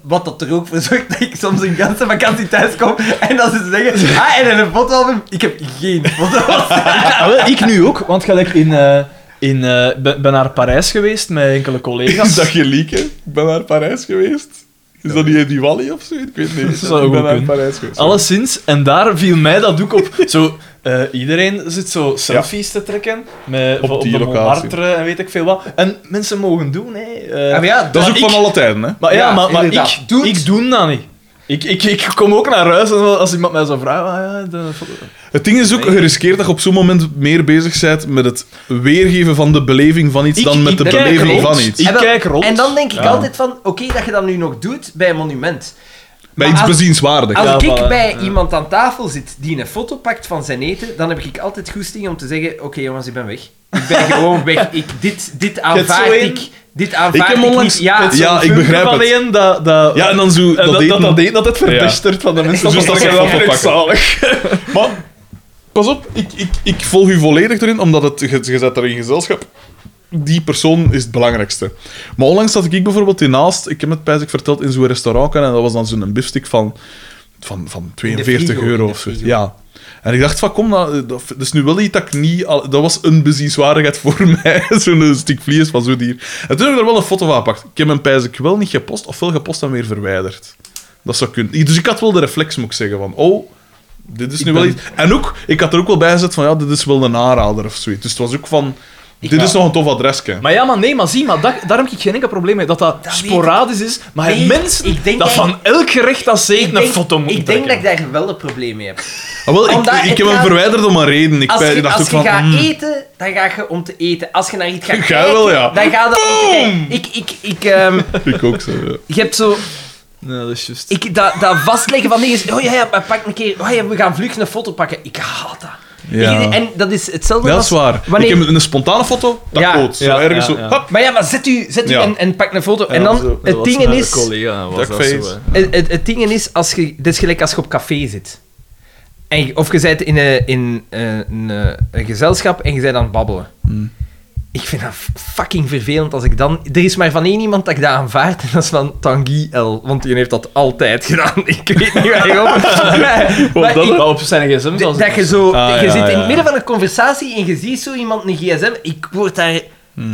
Wat dat er ook voor zorgt dat ik soms een ganse vakantie thuis kom en dat ze zeggen, ah, en een fotoalbum. Ik heb geen foto's.
Ah, wel, ik nu ook, want gelijk in... eh, in, eh, ben, ben naar Parijs geweest met enkele collega's.
Is dat gelieken? Ik ben naar Parijs geweest. Is dat niet die Wally of zo? Ik weet niet.
Dat zou
ik ben
goed
naar
kunnen.
Parijs geweest.
Alleszins, en daar viel mij dat ook op. Zo, eh, iedereen zit zo selfies te trekken met,
Op
op,
die
de
locatie.
Montmartre en weet ik veel wat. En mensen mogen doen, hè. Eh,
Ja, maar ja,
Dat is ook
ik-
van alle tijden, hè?
Maar ja,
Ja,
maar, maar
inderdaad.
ik, doe ik doe dat niet. Ik, ik, ik kom ook naar huis en als iemand mij zou vragen... Ah, ja, de foto-
Het ding is ook, je riskeert dat je op zo'n moment meer bezig bent met het weergeven van de beleving van iets
Ik-
dan met
ik
de
kijk rond.
beleving van iets.
Ik
En wel-
kijk rond.
En dan denk ik
Ja.
altijd van, oké, dat je dat nu nog doet bij een monument.
Bij
Maar
iets
als-
bezienswaardigs.
Als
Ja,
ik eh,
voilà,
bij iemand aan tafel zit die een foto pakt van zijn eten, dan heb ik altijd goesting om te zeggen: Oké jongens, ik ben weg. Ik ben gewoon weg. Ik, dit, dit aanvaard
zo één?
ik. Dit aanvaard ik,
heb onlangs-
niet. Ja,
het is Ja, ik
filmpje
begrijp
van
het.
één dat, dat,
Ja, en dan zo
en
dat,
Eh, dat, dat,
eten.
dat, dat het verdistert van de mensen.
Dus dat
is
ze
wel
foto pakken.
zalig.
Maar, pas op, ik, ik, ik volg u volledig erin, omdat het, je, je zet er in gezelschap. Die persoon is het belangrijkste. Maar onlangs zat ik bijvoorbeeld hiernaast, ik heb het pijs ik verteld, in zo'n restaurant en dat was dan zo'n biefstuk van, van, van 42
frigo, in
euro
de
of zo.
frigo.
Ja. En ik dacht van, kom, dat, dat dat is nu wel iets dat ik niet... al- Dat was een bezienswaardigheid voor mij, zo'n stuk vlees van zo'n dier. En toen heb ik er wel een foto van gepakt. Ik heb mijn pijs ik wel niet gepost, ofwel gepost en weer verwijderd. Dat zou kunnen. Dus ik had wel de reflex, moet ik zeggen, van... Oh, dit is nu wel iets... En ook, ik had er ook wel bij gezet van... Ja, dit is wel een aanrader of zoiets. Dus het was ook van... dit is nog een tof adresje.
Maar ja, maar nee, maar zie, maar dat, daar heb ik geen enkel probleem mee. Dat dat,
Dat
sporadisch is, maar
Nee,
mensen
ik denk
dat
dat-
van elk gerecht dat ze eten een foto moeten
ik denk dat
trekken.
ik daar wel een probleem mee heb.
Ah, wel, ik,
Omdat
ik
het
heb hem
gaat-
verwijderd om een reden. Ik
Als
bij-
je,
dacht
als
ook
je
van...
gaat
mm,
eten, dan ga je om te eten. Als je naar iets gaat
Ga
kijken,
wel, ja.
dan ga je om te kijken. Ik, ik, ik, ehm,
ik ook zo, ja.
je hebt zo
Nee, dat is juist.
ik, dat, dat vastleggen van dingen. Oh ja, ja, maar pak een keer. Oh ja, we gaan vlug een foto pakken. Ik haat dat.
Ja.
Ik- en dat is hetzelfde
Ja, dat
als
is waar.
wanneer-
Ik heb een spontane foto, dat
Ja.
klopt. Zo
Ja,
ergens
ja,
zo...
ja.
hop,
Maar ja, maar zet u, zet u
Ja.
en, en pak een foto. en dan, het ding is...
duckface.
Het, het, het ding is, als je, dit is gelijk als je op café zit. En, je- of je bent in, een, in eh, een, eh, een gezelschap en je bent aan het babbelen. Ik vind dat f- fucking vervelend als ik dan... Er is maar van één iemand dat ik dat aanvaard. En dat is van Tanguy L. Want die heeft dat altijd gedaan. Ik weet niet waarom. Maar- maar
dat,
ik-
dat op zijn gsm
D-
zoals
dat je zo...
Ah,
je
ja,
zit in
ja.
het midden van een conversatie en je ziet zo iemand een gsm. Ik word daar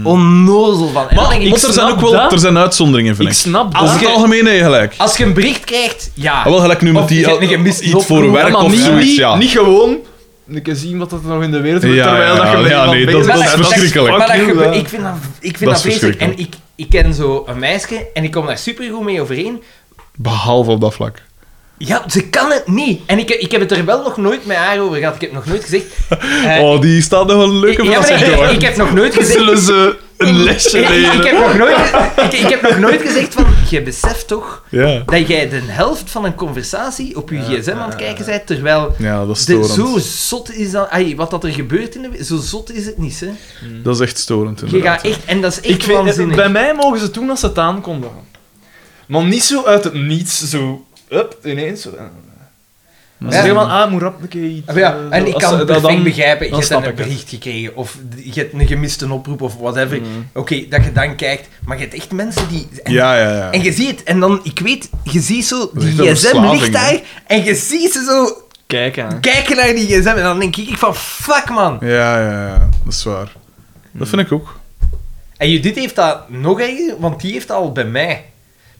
onnozel van. En dan
Maar
denk ik,
want er zijn
snap
ook wel
dat.
er zijn uitzonderingen, vind
Ik
ik.
snap
Als
dat.
het algemeen nee, gelijk.
als je een bericht krijgt, ja.
Ah, wel gelijk nu met
Of
die
je hebt een gemist
iets voor
oproep,
werk
maar
of
niet,
zoiets,
niet,
ja.
niet gewoon... Ik kan zien wat dat er nog in de wereld gebeurt,
Ja,
terwijl
ja,
dat je met
ja,
iemand
nee, dat-
bezig
Maar
dat is
bent.
dat-
verschrikkelijk.
Maar dat
Fuck you,
gebe-
ja.
ik vind dat, ik
Dat is
vind dat vreselijk. En
verschrikkelijk.
ik, ik ken zo een meisje en ik kom daar supergoed mee overeen.
Behalve op dat vlak.
Ja, ze kan het niet. En ik, ik heb het er wel nog nooit met haar over gehad. Ik heb nog nooit gezegd... eh,
Oh, die staat nog een
ik,
leuke
ja, maar
verrassing
ik,
door.
ik heb nog nooit gezegd...
Zullen ze een lesje
Ik, ik- ik
leren?
heb nog nooit, ik, ik heb nog nooit gezegd van... Je beseft toch
Ja.
dat jij de helft van een conversatie op je gsm aan het kijken bent, terwijl...
ja, dat is
de-
storend.
zo zot is dat... ai, wat dat er gebeurt in de... we- Zo zot is het niet, hè.
Dat is echt storend,
Je
inderdaad.
gaat echt... En dat is echt
Ik vind,
waanzinnig.
bij mij mogen ze toen als ze het aankondigen. Maar niet zo uit het niets, zo... Up, ineens. Zo. Als ze
Ja.
zeggen van, ah, moet rap een keer iets...
Ah, maar
eh,
Ja,
zo.
en ik
Als
kan
ze dat
het perfect
dan-
begrijpen, je
dan
hebt
snap
dan
ik
een
het.
bericht gekregen of je hebt een gemiste oproep of whatever.
Mm.
Oké, dat je dan kijkt, maar je hebt echt mensen die... En,
Ja, ja, ja.
en je ziet het, en dan, ik weet, je ziet zo,
is echt
die
een
gsm
verslaving,
ligt daar, en je ziet ze zo
Kijk aan.
kijken naar die gsm, en dan denk ik van, fuck man.
Ja, ja, ja. Dat is waar. Dat vind ik ook.
En Judith heeft dat nog erger, want die heeft dat al bij mij.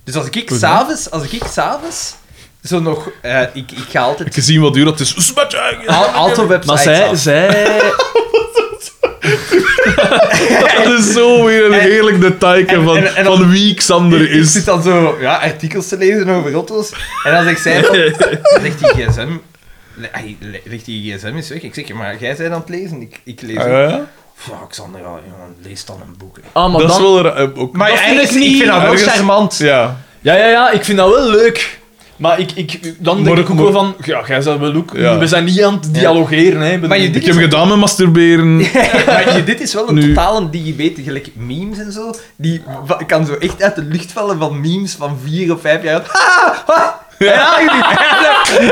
Dus als ik s'avonds, als ik s'avonds, zo nog, eh, ik, ik ga altijd...
Ik heb gezien wat duur dat is. Smet je eigen-
Al, altijd websites
Maar zij...
af.
zij
Dat is zo weer een
En-
heerlijk detailje
en-
van,
en- en dan-
van wie Xander
Ik- Ik
is.
zit dan zo ja, artikels te lezen over auto's. En als ik zei van, ligt die gsm... le- ai, le- Ligt die gsm eens weg? Ik zeg, maar jij bent aan het lezen. Ik, ik lees
Ah,
ook.
ja?
Pff, Alexander, ja, jongen, lees dan een boek. hè.
ah, maar
Dat is
dan-
wel... ra- eh, ook-
Maar
Dat
ja,
vind
ik,
ik niet
ik vind dat wel
ergens-
charmant.
Ja.
Ja, ja, ja, ik vind dat wel leuk. Maar ik, ik, dan
Maar
denk ik
ik
ook
moet-
wel van... Ja, jij zou wel ook...
Ja.
We zijn niet aan het dialogeren, hè. bedoel-
Maar je
Ik
dit
heb gedaan met masturberen.
maar je- dit is wel een
Nu-
totale digibete, gelijk memes en zo. Die va- kan zo echt uit de lucht vallen van memes van vier of vijf jaar. Ha! Ha! Ja,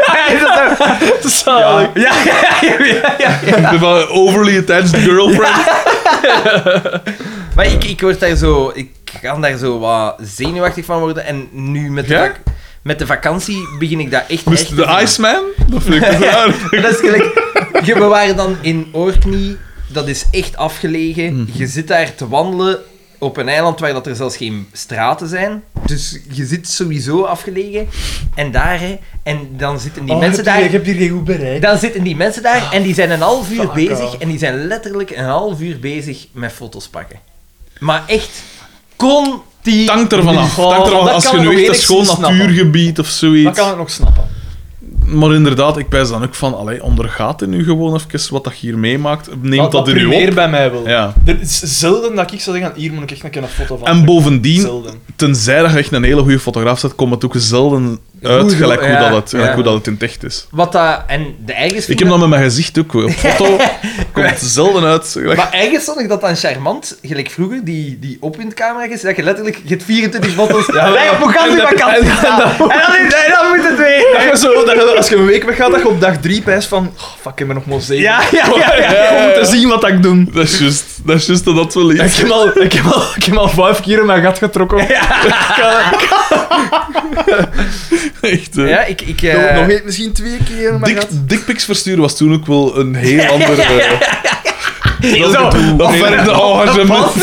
Ah,
Zalig.
ja, ja, ja, ja, ja.
Van Overly attached girlfriend.
Maar ik, ik word daar zo... Ik kan daar zo wat zenuwachtig van worden. En nu met de,
Ja?
vak- met de vakantie begin ik daar echt... echt
Moest
te
de
zien.
Iceman? Dat vind ik te raar.
Maar dat is gelijk... Je, we waren dan in Orkney. Dat is echt afgelegen.
Mhm.
Je zit daar te wandelen op een eiland waar dat er zelfs geen straten zijn. Dus je zit sowieso afgelegen. En daar, hè. En dan zitten
Oh,
die mensen daar...
heb hier geen goed bereik.
Dan zitten die mensen daar en die zijn een half uur
fuck
bezig.
off.
En die zijn letterlijk een half uur bezig met foto's pakken. Maar echt, kon die...
Tank ervan af. Tank ervan
Oh,
af.
dat
Als
kan
je
ik
nu
nog
echt een
enigszins
schoon
snappen.
natuurgebied of
Dat
zoiets.
kan ik nog snappen.
Maar inderdaad, ik wijs dan ook van, allee, ondergaat het nu gewoon even wat dat je hier meemaakt. Neem dat,
Wat- wat
in je
primeer
op.
bij mij wil.
Ja.
Er is zelden dat ik zou zeggen, hier moet ik echt een keer een foto van
En
trekken.
bovendien,
Zelden.
tenzij dat je echt een hele goede fotograaf zet, komt het ook zelden uit
Hoe-
gelijk hoe,
ja,
dat, het, gelijk
ja.
hoe dat het in het echt is.
Wat dat... En de
Ik
eigenschap...
heb dat met mijn gezicht ook. Op foto komt het zelden uit. gelijk-
Maar ergens vond ik dat dan charmant, gelijk vroeger, die, die opwindcamera is, dat je letterlijk, je hebt 24 foto's, ja, wij op vakantievakantie staan. En dan, is- en dan moet het weer.
Dat je zo, dat je, als je een week weggaat, dat je op dag drie pijst van... Oh, fuck, ik heb er nog maar zeven.
Ja, ja, ja. ja.
Om te zien wat ik doe.
Dat is juist dat, is juist dat dat wel
Ik
is.
heb, al, ik, heb al, ik heb al vijf keer in mijn gat getrokken.
Echt, eh.
Ja, ik... ik
Nog-
eh,
nog één- misschien twee keer in mijn gat.
Dik, dickpics versturen was toen ook wel een heel ander... eh, dat
Zo,
gedoe. dat verder engagement.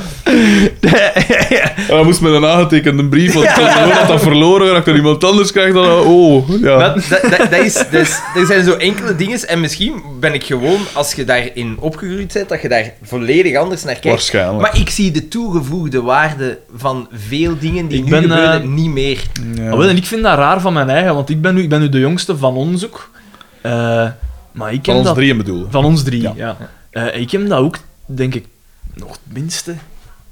Ja, ja. En dan moest met een aangetekende brief, want gewoon dat dat verloren raakt en iemand anders krijgt, dan... eh, Oh, ja.
Dat, dat, dat is, dat is- er zijn zo enkele dingen, en misschien ben ik gewoon, als je daarin opgegroeid bent, dat je daar volledig anders naar kijkt.
Waarschijnlijk.
Maar ik zie de toegevoegde waarde van veel dingen die
Ik
nu
ben,
gebeuren
eh,
niet meer.
Ja.
Ah, wel, en ik vind dat raar van mijn eigen, want ik ben nu, ik ben nu de jongste van ons ook. Eh, maar ik heb
Van ons
dat...
drieën bedoel.
Van ons drie,
Ja.
ja. Eh, ik heb dat ook, denk ik, nog het minste.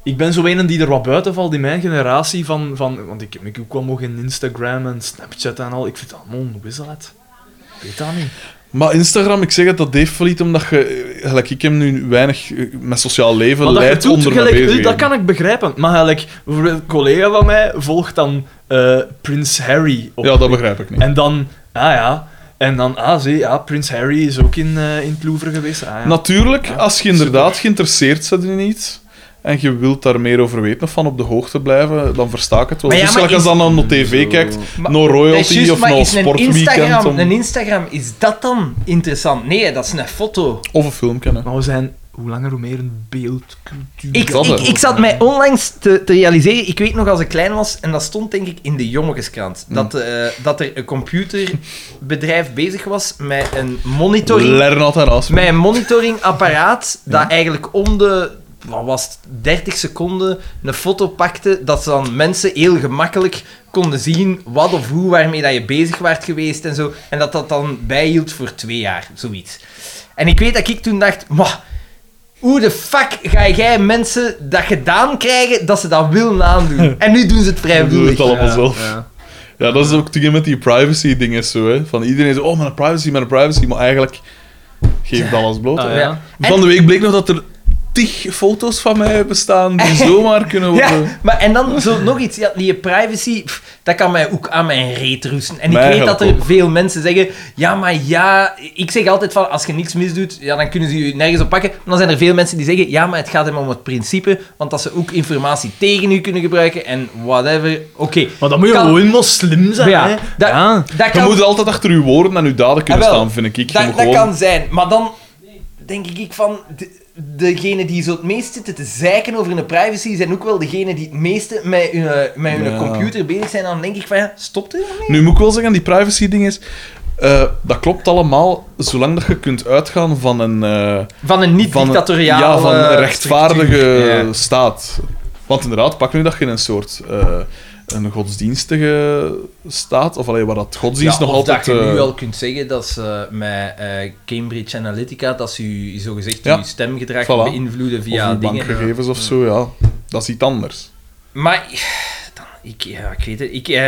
Ik ben zo een die er wat buiten valt in mijn generatie van... van want ik heb ik ook wel nog in Instagram en Snapchat en al. Ik vind dat allemaal een wisselheid. Ik weet dat niet.
Maar Instagram, ik zeg het, dat heeft wel iets omdat je, eh, gelijk ik hem nu weinig eh, met sociaal leven
Maar dat
leidt
je doet,
onder me
gelijk,
bezig.
dat kan ik begrijpen. Maar gelijk, bijvoorbeeld een collega van mij volgt dan eh Prins Harry op
Ja, dat begrijp ik niet.
En dan, ah ja, en dan, ah zie, ja, Prins Harry is ook in, eh, in het Louvre geweest. Ah, ja.
Natuurlijk, als je inderdaad
super.
geïnteresseerd bent in iets en je wilt daar meer over weten of van op de hoogte blijven, dan versta ik het wel.
Maar ja,
dus
maar
gelijk als
is-
dan naar de tv kijkt,
Maar-
no
Dat is
royalty
juist,
of
maar
no
is een
sportweekend
Instagram,
om-
een Instagram, is dat dan interessant? Nee, dat is een foto.
of een film kennen.
Maar we zijn hoe langer hoe meer een beeldcultuur.
Ik,
Dat,
ik,
hè.
ik zat mij onlangs te, te realiseren, ik weet nog als ik klein was, en dat stond denk ik in de jongenskrant, dat,
Hmm.
eh, dat er een computerbedrijf bezig was met een monitoring,
Lernat en Asma.
met een monitoringapparaat dat eigenlijk om de wat was het, 30 seconden een foto pakte, dat ze dan mensen heel gemakkelijk konden zien wat of hoe waarmee dat je bezig waart geweest en zo, en dat dat dan bijhield voor twee jaar, zoiets. En ik weet dat ik toen dacht, "Mwah, hoe de fuck ga jij mensen dat gedaan krijgen dat ze dat willen aandoen? En nu doen ze het
Doe
vrijwillig.
het allemaal zelf. Ja. dat is ook dingen met die privacy dingen zo. Hè. Van iedereen zo, oh, mijn privacy, mijn privacy. Maar eigenlijk geeft alles bloot.
Ah,
hè.
ja.
Ja.
Van de week bleek nog dat er tig foto's van mij bestaan die zomaar kunnen worden.
Ja, maar en dan zo nog iets, ja, die privacy, pff, dat kan mij ook aan mijn reet roesten. En ik
Mij
weet dat er
ook.
veel mensen zeggen, ja, maar ja, ik zeg altijd van, als je niks misdoet, ja, dan kunnen ze je nergens op pakken. Maar dan zijn er veel mensen die zeggen, ja, maar het gaat hem om het principe, want dat ze ook informatie tegen u kunnen gebruiken en whatever. Oké,
Maar dan moet je
Kan-
gewoon wel slim zijn,
Ja,
hè.
dat-
ja.
dat
Je
kan
moet altijd achter je woorden en je daden kunnen
Ah, wel.
staan, vind ik. ik. Je
Dat,
moet
dat
gewoon-
kan zijn, maar dan denk ik van... De, degene die zo het meest zitten te zeiken over hun privacy, zijn ook wel degene die het meeste met hun, eh, met hun
Ja.
computer bezig zijn. Dan denk ik van, ja, stop er mee.
Nu moet ik wel zeggen, die privacy ding is... eh, dat klopt allemaal, zolang dat je kunt uitgaan van een... eh,
Van een
van een,
niet-dictatoriaal...
ja, van een
eh,
rechtvaardige eh,
structuur. Ja.
staat. Want inderdaad, pak nu dat je in een soort... eh, een godsdienstige staat, of alleen waar dat godsdienst
Ja,
nog
of
altijd...
dat je
eh,
nu al kunt zeggen dat ze met eh, Cambridge Analytica, dat ze je zogezegd
Ja.
je stemgedrag
Voilà.
beïnvloeden
of
via
uw
dingen.
bankgegevens of zo, ja. Dat is iets anders.
Maar dan, ik, ja, ik weet het. Ik, eh,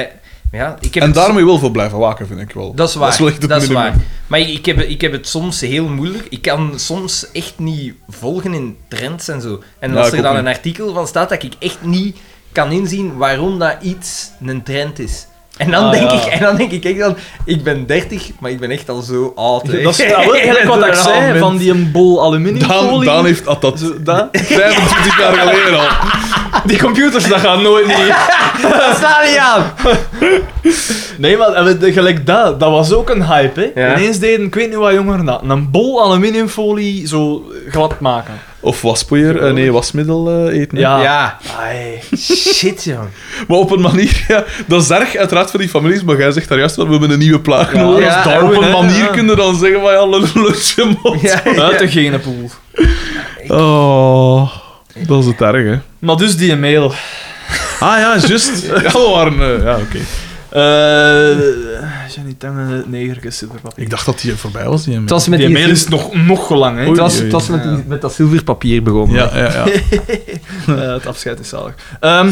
Ja, ik heb
En
het-
daarmee wil veel blijven waken, vind ik wel.
Dat is waar.
Dat is, wel echt het minimum.
waar. Maar ik heb, ik heb het soms heel moeilijk. Ik kan soms echt niet volgen in trends en zo. En
Nou,
Ja,
als
ik
er dan
ook
een artikel van staat dat ik echt niet kan inzien waarom dat iets een trend is. En dan,
Ah,
denk,
ja.
ik, en dan denk ik echt dan, ik ben 30, maar ik ben echt al zo oud. hè.
Dat is nou wel eigenlijk wat ik zei, van die een bol
Daan,
aluminiumfolie.
Daan heeft dat, dat
Zo, dat.
25 jaar geleden al.
Die computers, dat gaan nooit niet...
Dat staat niet aan.
Nee, maar eh, de- gelijk dat, dat was ook een hype, hè.
Ja.
Ineens deden, ik weet niet wat jongeren dat, een bol aluminiumfolie zo glad maken.
Of waspoeier, eh, nee, wasmiddel eh, eten. hè.
Ja.
Ja.
Ai.
Shit, joh.
Maar op een manier, ja, dat is erg uiteraard voor die families, maar jij zegt daar juist wel, we hebben een nieuwe plaag
Ja,
nodig.
dat is
Dus daar
Darwin,
op een
hè,
manier
ja.
kunnen dan zeggen van ja, lullusje mond.
Ja,
Uit
ja.
de genenpoel.
Oh, dat is het erg, hè.
Maar dus die mail.
Ah ja, juist. Ja, we waren... eh, ja, oké.
Eh... Jenny Tangen, negerke superpapier.
Ik dacht dat die voorbij was, die
Het was met
Die
die,
mail is nog, nog gelang, hè.
Oei.
het was, het was met, die- met dat zilverpapier begonnen.
Ja, ja, ja.
Eh, het afscheid is zalig. Ehm,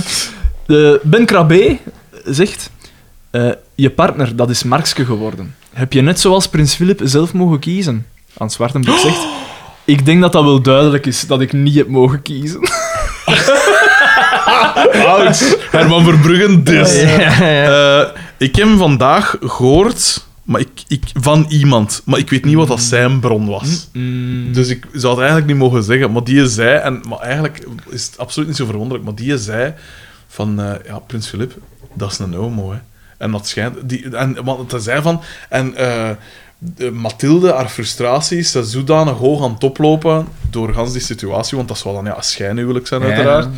de ben Krabbe zegt... eh, je partner, dat is Markske geworden. Heb je net zoals prins Philip zelf mogen kiezen? Aan Zwartenburg zegt... Ik denk dat dat wel duidelijk is, dat ik niet heb mogen kiezen.
Oud. Herman Verbruggen, dus.
Ja, ja.
Eh, ik heb hem vandaag gehoord maar ik, ik, van iemand, maar ik weet niet wat dat zijn bron was.
Mm.
Dus ik zou het eigenlijk niet mogen zeggen. Maar die zei, en, maar eigenlijk is het absoluut niet zo verwonderlijk, maar die zei van, eh, ja, Prins Filip, dat is een homo, hè. En dat schijnt... Die, en, want hij zei van... En eh, de- Mathilde, haar frustraties, ze is zodanig hoog aan het oplopen door gans die situatie, want dat zou dan ja, een schijnhuwelijk zijn,
Ja,
uiteraard.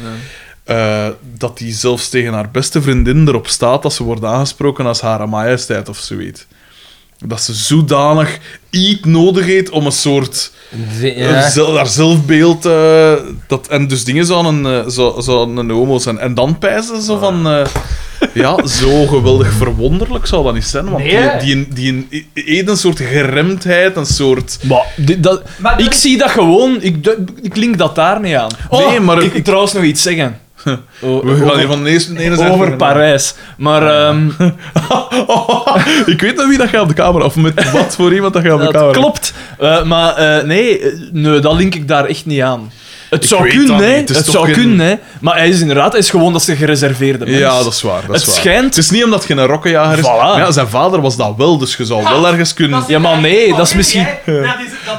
Eh, dat die zelfs tegen haar beste vriendin erop staat dat ze wordt aangesproken als Hare Majesteit of zoiets. Dat ze zodanig iets nodig heeft om een soort. eh, zel- haar zelfbeeld. eh, dat, en dus dingen zouden een, eh, zou- zouden een homo zijn. En dan pijzen
Ah.
ze van. eh, ja, zo geweldig verwonderlijk zou dat niet zijn. Want
Nee, hè?
die, die, die, eet een soort geremdheid, een soort.
Maar, dit- dat,
Maar dat
ik
is-
zie dat gewoon, ik, du- ik link dat daar niet aan. Oh,
Nee, maar-
ik, ik trouwens nog iets zeggen. O-
We gaan
over-
hier van de eerste- de ene zijde naar
over
de andere.
Parijs. Maar ehm,
Oh, ik weet nog wie dat gaat op de camera. Of met wat voor iemand dat gaat op de camera.
dat klopt. Eh, maar eh, nee, eh, nee, dat link ik daar echt niet aan. Het
Ik
zou
weet
kunnen,
dat
hè.
niet. Het
Het,
is toch
zou
geen-
kunnen, hè. Maar hij is inderdaad hij is gewoon dat ze gereserveerde mens.
Ja, dat is waar. Dat is
Het
waar.
schijnt-
Het is niet omdat je een rokkenjager is.
Voilà.
Maar ja, zijn vader was dat wel, dus je zou wel ergens kunnen.
Ja, maar nee, dat is misschien...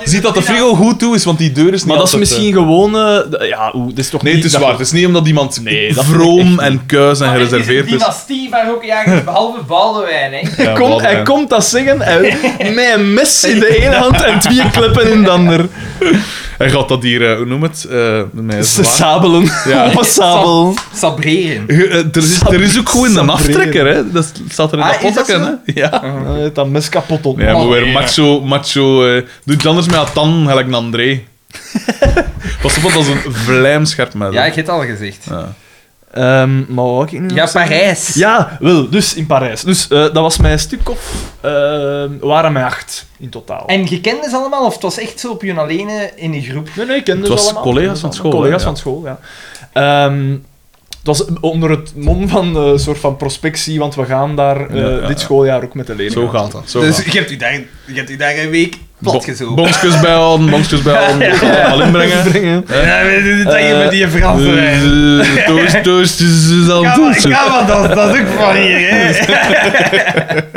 Ziet dat de frigo goed toe is, want die deur is niet
Maar dat is
altijd,
misschien
eh,
gewoon... eh, d- ja, oeh, dat is toch
Nee,
niet...
het is
dat-
waar. Het is niet omdat iemand
Nee, dat Ah, vind ik echt
vroom
niet.
en kuis en gereserveerd
Het is een
is.
dynastie van hockeyjagers, behalve Baldewijn, hè.
Hij,
Ja,
komt, hij
Waldemar.
komt dat zeggen en met een mes in de ene hand en twee kleppen in de ander.
Hij gaat dat hier, eh, hoe noem het? eh mijn
Ze
zwaar.
sabelen.
Ja.
Op een sabel.
Sabreren.
Je, eh, er, is, er is ook gewoon een
Sabreren.
aftrekker, hè? Dat staat er in
Ah,
dat
is dat
potje, hè? Ja.
Dan heeft Eh, dat mes kapot op.
Ja, maar weer
ja.
macho, macho. eh, doe iets anders met haar tan, gelijk een André. Pas op, want dat is een vlijmscherp met.
Ja, ik heb het al gezegd.
Ehm, maar wat wou ik nu nog
Ja,
zeggen?
Parijs.
Ja, wel, dus in Parijs. Dus eh, dat was mijn stuk of... ehm, waren mij acht in totaal.
En je kende ze allemaal, of het was echt zo op je alleen eh, in een groep?
Nee, nee, ik kende
Het
ze
was
allemaal.
collega's van school,
Collega's
hè,
van school, ja. Ehm, het was onder het mom van eh, een soort van prospectie, want we gaan daar eh,
Ja, ja,
dit
ja.
schooljaar ook met de leerlingen.
Zo gaat dat. Zo
dus
gaat.
je hebt, u daar, je hebt u daar een week
Bo-
platgezogen.
Bonsjes bijhouden, bonsjes bijhouden. Ja, Al inbrengen.
brengen.
ja, weet je dat je met die Frans rijdt?
Eh, Toast, toast, is al
Ja, maar-
toast.
ja, maar dat, dat is ook van hier, hè.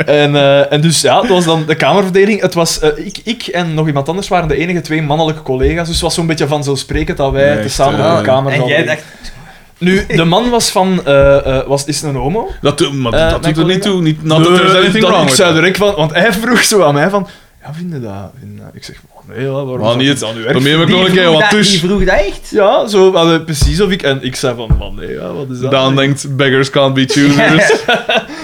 En, eh, en dus ja, het was dan de kamerverdeling. Het was, eh, ik, ik en nog iemand anders waren de enige twee mannelijke collega's, dus het was zo'n beetje vanzelfsprekend dat wij
Nee, echt,
tezamen
eh,
op de kamer
En
zouden
jij
liggen.
dacht,
Nu, de man was van... eh, eh, was, is een homo?
Dat, doet- maar
Eh,
dat
mijn
doet er niet
collega?
toe. Niet, not that there's
Nee,
anything
dat-
wrong
Ik
with
zei
that.
direct van... Want hij vroeg zo aan mij van... Ja, vind je dat? Vind je dat?" Ik zeg, oh, nee, ja, waarom
Maar
zou ik
niet,
dat nu
dan
erg
neem ik nog een
die
keer
vroeg,
wat
dat, die
tussen.
vroeg dat echt?
Ja, zo, maar, eh, precies of ik... En ik zei van, man, nee, ja, wat is dat?
Daan denkt, beggars can't be choosers.
Maar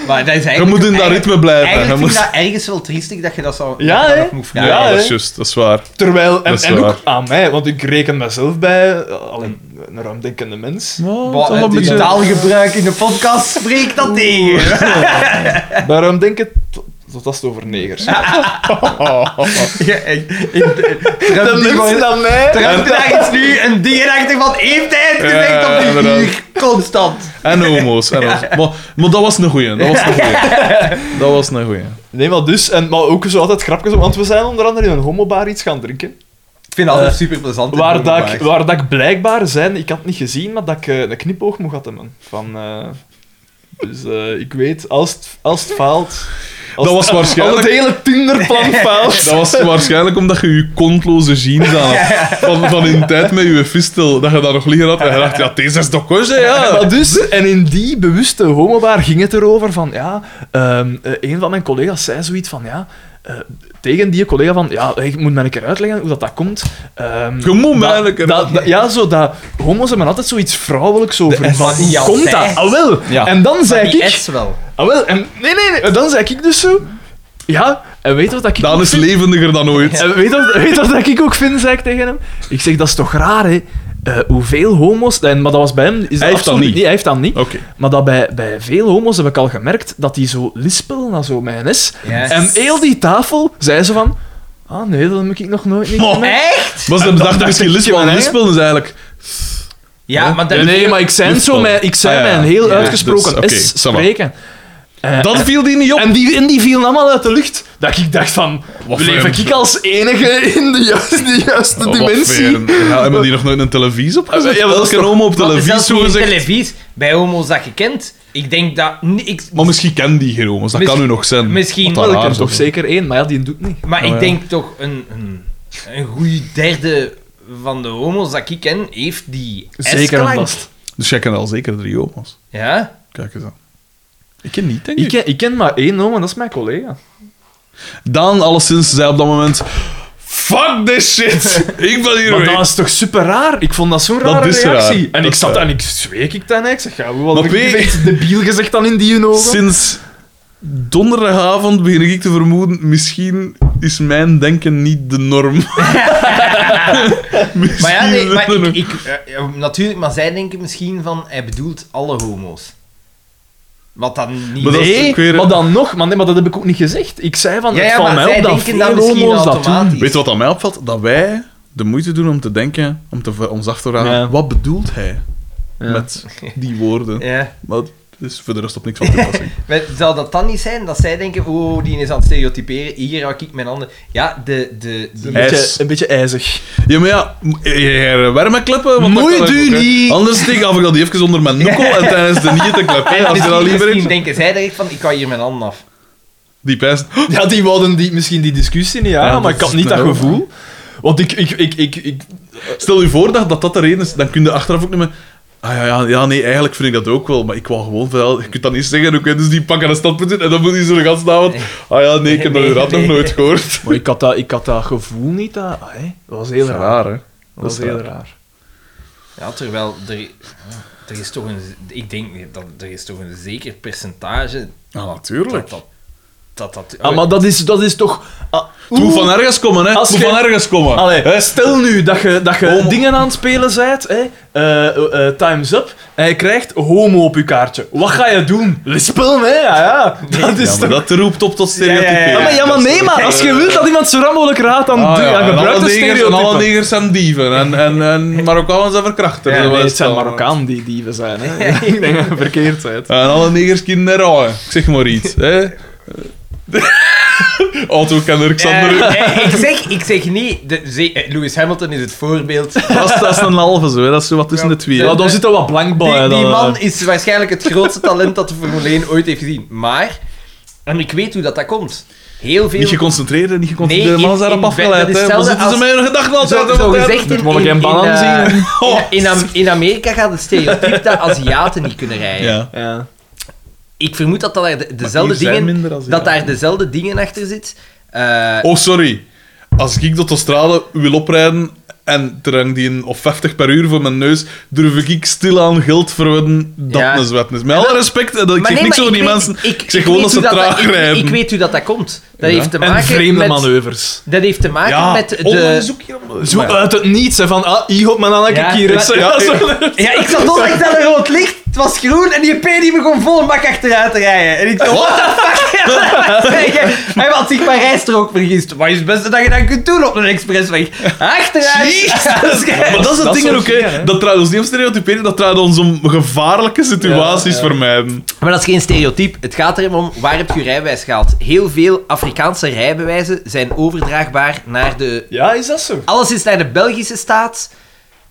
dat is
Je
eigenlijk...
moet in dat ritme blijven. Je
Eigenlijk vind ik
moet...
dat ergens wel triestig dat je dat zou
Ja,
dat je dat
hè?
nog moet
Ja,
vragen.
Ja, dat
hè?
is juist. Dat is waar.
Terwijl... En,
Dat is
en
waar.
ook aan mij, want ik reken mezelf bij... eh, al een, een ruimdenkende mens.
Wat, eh,
Toch een
het
beetje-
taalgebruik in de podcast spreekt dat tegen.
Bij ruimdenken... tot- Tot als het over negers.
Ja, en- en-
de
Trump die
mensen
gewoon-
aan mij...
Trump dacht nu een ding en dacht van, heeft hij het gezegd
Ja,
op de
inderdaad.
uur? Constant.
En homo's. En homo's. Maar, maar dat was een goeie. Dat was een goeie. Dat was een goeie.
Nee, maar dus, en, maar ook zo altijd grapjes, want we zijn onder andere in een homobar iets gaan drinken.
Ik vind het altijd super plezant.
Eh, Waar dat, ik, waar dat ik blijkbaar zijn, ik had het niet gezien, maar dat ik eh, een knipoog mocht hadden, man. Van, eh, dus eh, ik weet, als het, als het faalt... Als
Dat was
het-
waarschijnlijk-
Als het hele Tinderplan faalt...
Dat was waarschijnlijk omdat je je kontloze jeans aan had. Van, van in tijd met je fistel. Dat je daar nog liggen had. En je dacht, ja, deze is toch koze, ja.
Maar dus, en in die bewuste homobar ging het erover van, ja, ehm, eh, een van mijn collega's zei zoiets van, ja, eh, tegen die collega van, ja, ik moet me een keer uitleggen hoe dat, dat komt. Ehm,
Je moet me
dat-
eigenlijk...
dat- dat- ja, zo dat homo's hebben altijd zoiets vrouwelijks over.
S.
Van, hoe
Ja,
komt
zij.
dat? Ah, wel.
Ja.
En dan zei
Die
ik...
S wel.
Ah, wel. En, nee, nee, nee. Dan zei ik dus zo... Ja, en weet wat dat ik...
Daan
ook
is
vind?
levendiger dan ooit.
En weet wat, weet wat dat ik ook vind, zei ik tegen hem? Ik zeg, dat is toch raar, hè? Eh, hoeveel homo's... En, maar dat was bij hem... Is dat
Hij heeft dat
absoluut
niet. Oh.
Hij heeft dat niet.
Oké.
Maar dat bij, bij veel homo's heb ik al gemerkt dat die zo lispelen als zo mijn S.
Ja.
En heel die tafel zei ze van... Ah, nee, dat heb ik nog nooit niet
Oh,
gemerkt.
Echt?
Maar ze dachten misschien
ik wel,
Lisbon.
hè?
Lisbon is eigenlijk...
Ja, maar dat
Nee, nee, maar ik zei het zo
Lispel.
met, ik zei
Ah, ja.
met een heel
Ja,
uitgesproken
dus, oké,
S
ça va.
spreken. Eh,
Dat
en-
viel die niet op.
en die, en die vielen allemaal uit de lucht. Dat ik dacht van,
Wat
leef
voor-
ik als enige in de juiste, de juiste
Oh, wat
dimensie?
ver. Ja, hebben die nog nooit een televisie opgezet?
Ja, wel, dat is
Elke homo op televisie,
Zelfs niet in
zogezegd.
televisie. Bij homo's dat je kent. Ik denk dat... ni- Ik,
Maar misschien kennen die geen homo's, dat
Mis-
kan nu nog zijn. Wat
misschien
Wel,
dat
ik
raar
heb
zou
toch
zijn.
zeker één, maar ja, die doet niet.
Maar
Oh,
ik
ja.
denk toch een, een, een goede derde van de homo's dat ik ken, heeft die
Zeker
S-klank.
een last.
Dus jij kent al zeker drie homo's.
Ja?
Kijk eens aan. Ik ken niet, denk
Ik
ik.
ken, ik ken maar één homo, en dat is mijn collega.
Daan, alleszins, zei op dat moment... Fuck this shit! ik ben hier
Maar
weg.
dat is toch super raar? Ik vond dat zo'n
Dat
rare
is raar.
reactie. En
Dat
ik
is
zat
raar.
en ik zweek ik dan, hè. ik zeg, ja, hoe had
Maar
ik
weet-
weet, debiel gezegd dan in die ogen?
Sinds donderdagavond begin ik te vermoeden... Misschien is mijn denken niet de norm. Misschien
Maar ja, nee, maar
is het
ik,
een-
ik, eh, eh, natuurlijk, maar zij denken misschien van, hij bedoelt alle homo's. Wat dan niet...
Maar dat is
Nee,
ook weer-
maar dan nog, maar, nee, maar dat heb ik ook niet gezegd. Ik zei van,
ja,
het
ja,
valt
maar
mij
zij
op dat
denken dat
veel
misschien
homo's dat doen.
automatisch.
Weet je wat aan mij opvalt? Dat wij de moeite doen om te denken, om, te, om ons af te vragen,
Ja.
wat bedoelt hij
Ja.
met die woorden?
Ja.
Maar het is voor de rest op niks van toepassing.
Maar Zou dat dan niet zijn dat zij denken, oh, die is aan het stereotyperen, hier hak ik mijn handen. Ja, de... de, die-
Een
Hij
beetje,
is-
een beetje ijzig.
Ja, maar ja, eh, warmekleppen.
Moet u niet.
Anders steek af ik dat die even onder mijn nokkel en tijdens de niet te klappen. als
Ja,
je dat
misschien,
liever
misschien
is.
denken zij direct van, ik kan hier mijn handen af.
Die pijst.
Ja, die wouden die, misschien die discussie niet aan,
Ja,
maar
dat
ik had
is
niet dat
wel,
gevoel. Want ik, ik, ik, ik, ik,
Stel je voor dat dat, dat de reden is, dan kun je achteraf ook niet meer... Ah ja, ja, ja, nee, eigenlijk vind ik dat ook wel, maar ik wou gewoon veel. Je kunt dat niet zeggen, oké, dus die pakken een standpunt in en dan moet die zo'n gast avond. Ah ja, nee, ik heb dat
Nee,
inderdaad
nee.
nog nooit gehoord.
maar ik, had dat, ik had dat gevoel niet. Dat, ah, hè. dat was heel raar.
hè?
Dat was
dat is
heel
raar.
raar.
Ja, terwijl er, er is toch een. Ik denk dat er is toch een zeker percentage.
Ja, natuurlijk.
Dat dat. dat, dat
Ah, maar dat is, dat is toch... ah,
Het moet
oeh.
van ergens komen, hè? Het
Als
moet
je-
van ergens komen.
Allee,
Hè?
stel nu dat je, dat je
Homo.
dingen aan het spelen bent, hè? eh, eh, eh, time's up, en je krijgt homo op je kaartje. Wat ga je doen? Lispelen, hè? Ja, ja. Dat
Ja,
is
maar
toch...
dat roept op tot stereotypen.
Ja, maar, ja, maar nee, maar als je wilt dat iemand zo ram mogelijk raadt, dan doe- dan
Ah, en
gebruik
alle
de
negers, en
stereotypen.
alle negers zijn dieven. En, en, en Marokkanen zijn verkrachters.
Ja,
Dat
nee,
was
het zijn
dan.
Marokkanen die dieven zijn. Hè? ik denk dat je verkeerd bent.
En alle negers kinderen raaien. Ik zeg maar iets. Hè? Auto kan Xander.
ik, zeg, ik zeg niet. De, ze- eh, Lewis Hamilton is het voorbeeld. Die,
Dat, is, dat is een halve zo, hè. dat is zo wat tussen
Ja.
de twee.
Oh, Ja, dan zit er wat blank bij. hè,
die
dan,
man
hè.
is waarschijnlijk het grootste talent dat de Formule 1 ooit heeft gezien. Maar, en ik weet hoe dat, dat komt. Heel veel.
Niet geconcentreerd, niet geconcentreerd.
Nee,
de man
in-
is daarop
in- dat
afgeleid.
is
hè. Maar
hetzelfde
zitten ze
als-
met hun gedachten aan het
Zo,
zetten?
zo
want-
gezegd in,
Moet wel
in,
geen
in,
banaan
eh,
zien.
Oh.
in, Am- in Amerika gaat het stereotype dat Aziaten niet kunnen rijden.
Ja.
Ja.
Ik vermoed dat, dat daar de- dezelfde
hier zijn
dingen,
minder Aziaten.
dat daar dezelfde dingen achter zit. Eh,
Oh, sorry. Als ik de autostrade wil oprijden en er hangt die een of 50 per uur voor mijn neus, durf ik stilaan geld verwedden dat
Ja.
een zwet is. Met alle respect, eh, dat ik
maar
zeg
nee,
niks
maar
over
ik
die
weet-
mensen. Ik, zeg
weet
gewoon dat ze
hoe
traag
ik-
rijden.
Ik, weet hoe dat, dat komt. Dat
Ja.
heeft te
En
maken
vreemde
met...
manoeuvres.
Dat heeft te maken
ja.
met de...
Oh, maar zoek je allemaal-
Zo
Maar ja.
uit het niets, hè, van ah, hier op mijn Anneke
Ja,
hier is.
maar-
Ja, zo.
Ja, ik zat nog echt aan een rood licht. Het was groen en die P die begon vol bak achteruit te rijden. En ik dacht, what the fuck? Hij had zich bij rijstrook vergist. Wat is het beste dat je dan kunt doen op een expressweg? Achteruit!
Maar dat is het
dat
ding
soort
ook, hè. Dat draait ons niet om stereotyperen, dat draait ons om gevaarlijke situaties vermijden.
Maar dat is geen stereotype. Het gaat erom om waar heb je je rijbewijs gehaald. Heel veel Afrikaanse rijbewijzen zijn overdraagbaar naar de...
Ja, is dat zo?
Alles is naar de Belgische staat.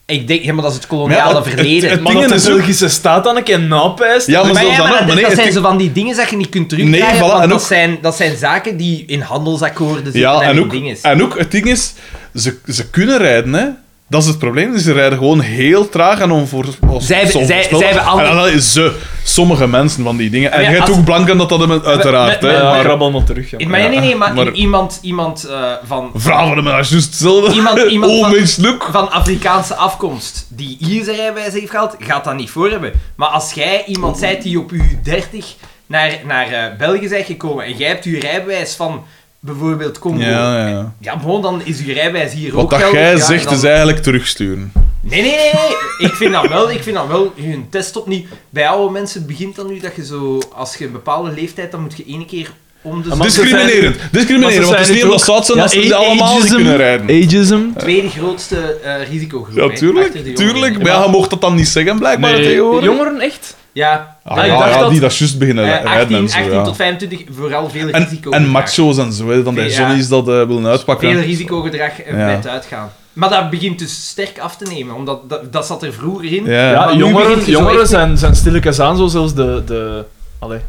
Ik denk, ja, maar dat is het koloniale
Maar ja, het-
verleden.
het-
Maar dat
Dingen
de
is ook-
Belgische staat dan een keer napijst.
Ja, maar
Maar
zelfs
ja,
dan
maar
ook.
dat,
Maar nee,
dat
het
zijn
ding-
zo van die dingen dat je niet kunt terugdraaien,
Nee, voilà,
want
en
dat,
ook-
zijn, dat zijn zaken die in handelsakkoorden zitten
Ja,
en,
en
in
ook,
dingen.
en ook het ding is, ze, ze kunnen rijden, hè. Dat is het probleem. Ze rijden gewoon heel traag en onvoorspelbaar.
Zij hebben- zij- zij hebben andere-
En dan is ze, sommige mensen van die dingen. En
Ja,
jij hebt
als-
ook blank aan dat dat hem- uiteraard,
we-
hè.
we-
maar
Maar
rabbel maar terug. Ja.
In- maar
Ja,
nee, nee, maar,
maar-
iemand, iemand eh, van,
vrouwen hebben daar juist hetzelfde.
Iemand- iemand
oh,
van-
menselijk.
van Afrikaanse afkomst die hier zijn rijbewijs heeft gehaald, gaat dat niet voor hebben. Maar als jij iemand zijt die op je 30 naar, naar eh, België bent gekomen en jij hebt je rijbewijs van bijvoorbeeld Congo, ja,
Ja, ja.
bon, dan is je rijbewijs hier ook
Wat dat
geldig.
jij
Ja,
zegt
dan-
is eigenlijk terugsturen.
Nee, nee, nee, nee. Ik vind dat wel. Ik vind dat wel. Hun test op niet. Bij oude mensen begint dan nu dat je zo... Als je een bepaalde leeftijd, dan moet je één keer om de...
Maar ze
Discriminerend. Discriminerend,
maar ze
want het is
zijn
niet
het
omdat ze oud zijn dat
Ja,
ze niet
a-
allemaal niet
ageism.
kunnen rijden.
Ageism.
tweede grootste eh, risicogroep.
Ja,
hè, achter de
tuurlijk.
jongeren.
Tuurlijk. Maar ja, je mocht dat dan niet zeggen, blijkbaar,
Nee.
tegenwoordig.
Jongeren, echt?
Ja.
Ah,
Ah, ik
ja,
dacht
ja,
dat-
die dat juist beginnen
eh,
rijden,
18,
mensen,
18
ja.
tot 25, vooral veel
En,
risico.
en macho's en zo, hè, dan die
Ja.
Johnny's dat eh, willen uitpakken.
Veel risicogedrag eh,
Ja.
met uitgaan. Maar dat begint dus sterk af te nemen, omdat dat, dat zat er vroeger in.
Ja.
Ja,
maar nu begint
jongeren,
je zo
jongeren
echt-
zijn, zijn stilletjes aan, zo zelfs de... de allee,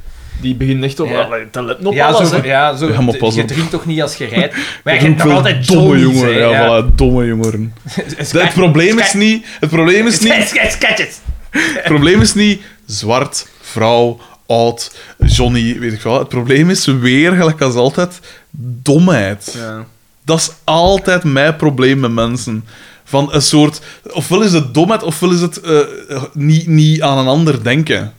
die beginnen echt op...
Ja.
Allee, te letten op
Ja,
alles,
zo,
hè.
ja, zo,
Ja, maar
je-
pas
je
op.
drinkt toch niet als je rijdt. Maar
Dat
je
zijn
hebt nog altijd
domme
Johnny's,
jongeren.
hè,
Ja,
ja.
voilà, domme jongeren.
Sky-
het probleem is niet... Het probleem is niet...
Sketch, sketches.
Het probleem is niet zwart, vrouw, oud, Johnny, weet ik wel. Het probleem is weer, gelijk als altijd, domheid. Dat is altijd mijn probleem met mensen. Van een soort... Ofwel is het domheid, ofwel is het eh, eh, niet, niet aan een ander denken.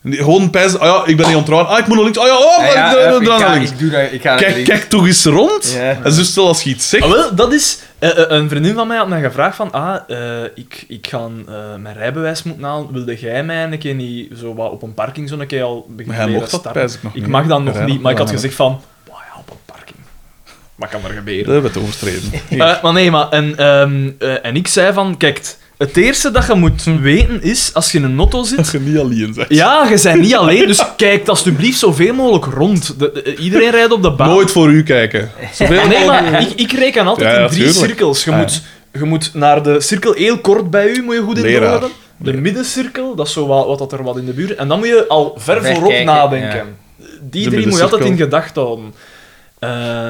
Nee, Gewoon pijzen, ah ja, ik ben niet ontrouwd. Ah, ik moet nog links. Ah ja, oh, maar
Ja, ja,
ik doe- doe-
ik
doe
ga-
naar links.
Ik doe dat, ik ga
Kijk, kijk toch eens rond. En zo stel als je iets zegt.
Ah, wel, dat is... eh, eh, een vriendin van mij had mij gevraagd van... Ah, eh, ik, ik ga eh, mijn rijbewijs moeten halen. Wilde jij mij een keer niet zo wat op een parking zo een keer al
Maar
beginnen
hij
leren
mocht dat
starten?
pijs ik nog
Ik
niet.
mag dat nog
Hij
niet,
nog
maar ik had
niet.
gezegd van... "Wauw, ja, op een parking. Wat kan er gebeuren?
Dat hebben we het overtreden.
Eh, maar nee, maar... En, ehm, eh, en ik zei van... Kijk, het eerste dat je moet weten is, als je in een auto zit...
Dat je niet alleen bent.
Ja, je bent niet alleen, dus kijk alsjeblieft zoveel mogelijk rond. De- de- iedereen rijdt op de baan.
Nooit voor u kijken. Zoveel
Nee,
mogelijk.
maar ik, ik reken altijd
Ja, ja,
in drie
tuurlijk.
cirkels. Je,
Ah, ja.
moet, je moet naar de cirkel heel kort bij u, moet je goed in
Leraar.
doorhebben. De middencirkel, dat is zo wat, wat dat er wat in de buurt. En dan moet je al ver
Ver
voorop
kijken,
nadenken. Die
De
drie moet je altijd in
middencirkel.
gedachten houden.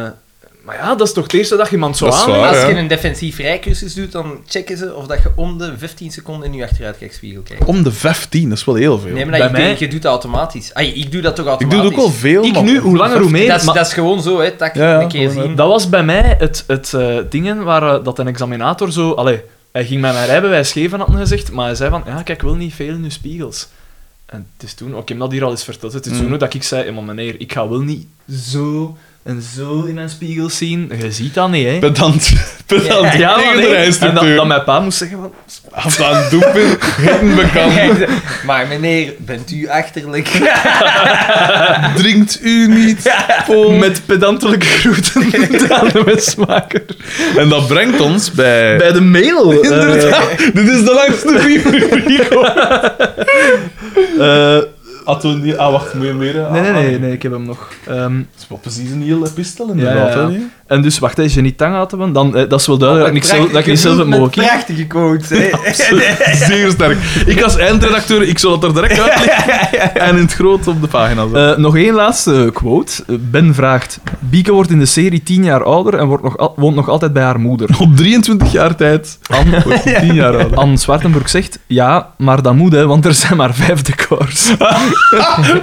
Eh, maar ja, dat is toch de eerste dag iemand zo
Dat is
aan.
waar.
Als
hè.
je een defensief rijcursus doet, dan checken ze of dat je om de 15 seconden in je achteruitkijkspiegel kijkt.
Om de 15, dat is wel heel veel.
Nee, maar
bij
dat- je,
mij-
doet- je doet dat automatisch. Ai, ik doe dat toch
ik
automatisch.
doe het ook wel veel.
Ik
maar-
nu, hoe langer hoe meer.
Dat is,
maar-
dat is gewoon zo, hè, tak,
Ja, ja,
een keer
gewoon,
zien.
Dat was bij mij het, het eh, dingen waar eh, dat een examinator zo... Allee, hij ging mij mijn rijbewijs geven, had hij gezegd, maar hij zei van, ja, kijk, ik wil niet veel in uw spiegels. En het is toen, ook ik heb dat hier al eens verteld, het is
Mm.
toen ook dat ik zei, "Ja, maar meneer, ik ga wel niet zo en zo in mijn spiegels zien. Je ziet dat niet, hè.
Pedant. Pedant.
Ja, maar
tegen de
nee. En dat,
rijstructuur.
dat mijn pa moest zeggen van...
Af aan doepen, hitten bekant.
Maar meneer, bent u achterlijk?
Drinkt u niet.
"Oh, Met pedantelijke groeten aan de wetsmaker.
En dat brengt ons bij...
Bij de mail. eh,
Inderdaad. Dit is de langste brief.
eh,
Atto, die... Ah, wacht, moet je meer?
nee, nee, nee, nee, ik heb hem nog. Ehm,
Het is wel precies een hele epistel,
inderdaad, hè, die? En dus, wacht, als je niet tang laten want dan, eh, dat is wel
Oh,
duidelijk dat ik, niet zelf, dat ik niet zelf het
Met
mogen kiezen.
Prachtige quotes, hè.
Zeer sterk. Ik als eindredacteur, ik zal het er direct uitleggen. En in het groot op de pagina zetten.
Eh, nog één laatste quote. Eh, Ben vraagt... Bieke wordt in de serie tien jaar ouder en wordt nog al- woont nog altijd bij haar moeder.
Op 23 jaar tijd. Anne wordt 10 jaar ouder.
Anne Zwartenburg zegt... Ja, maar dat moet, hè, want er zijn maar vijf decors.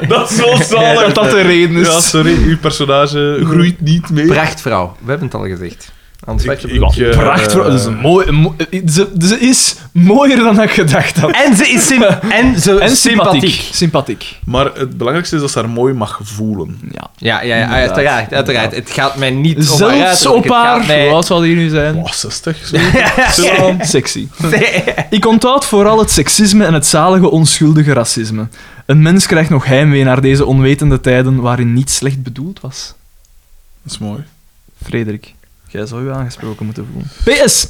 Dat is wel zalig.
dat dat de reden is.
Ja, sorry, uw personage groeit niet mee.
Prachtvrouw, we hebben het al gezegd. Hans Vatjebroek.
eh,
Prachtig. Dat is een mooi... een mooi- eh, ze, ze is mooier dan ik gedacht had.
En ze is sim en ze
En sympathiek. Sympathiek.
Maar het belangrijkste is dat ze haar mooi mag voelen.
Ja, ja, ja uiteraard, uiteraard. Het gaat mij niet om haar
Zelfs
uiterlijk,
op
het gaat
haar...
mij-
Wat zal die nu zijn?
Oh, 60. zo.
Sexy. Ik onthoud vooral het seksisme en het zalige onschuldige racisme. Een mens krijgt nog heimwee naar deze onwetende tijden waarin niets slecht bedoeld was.
Dat is mooi.
Frederik, jij zou je aangesproken moeten voelen. PS.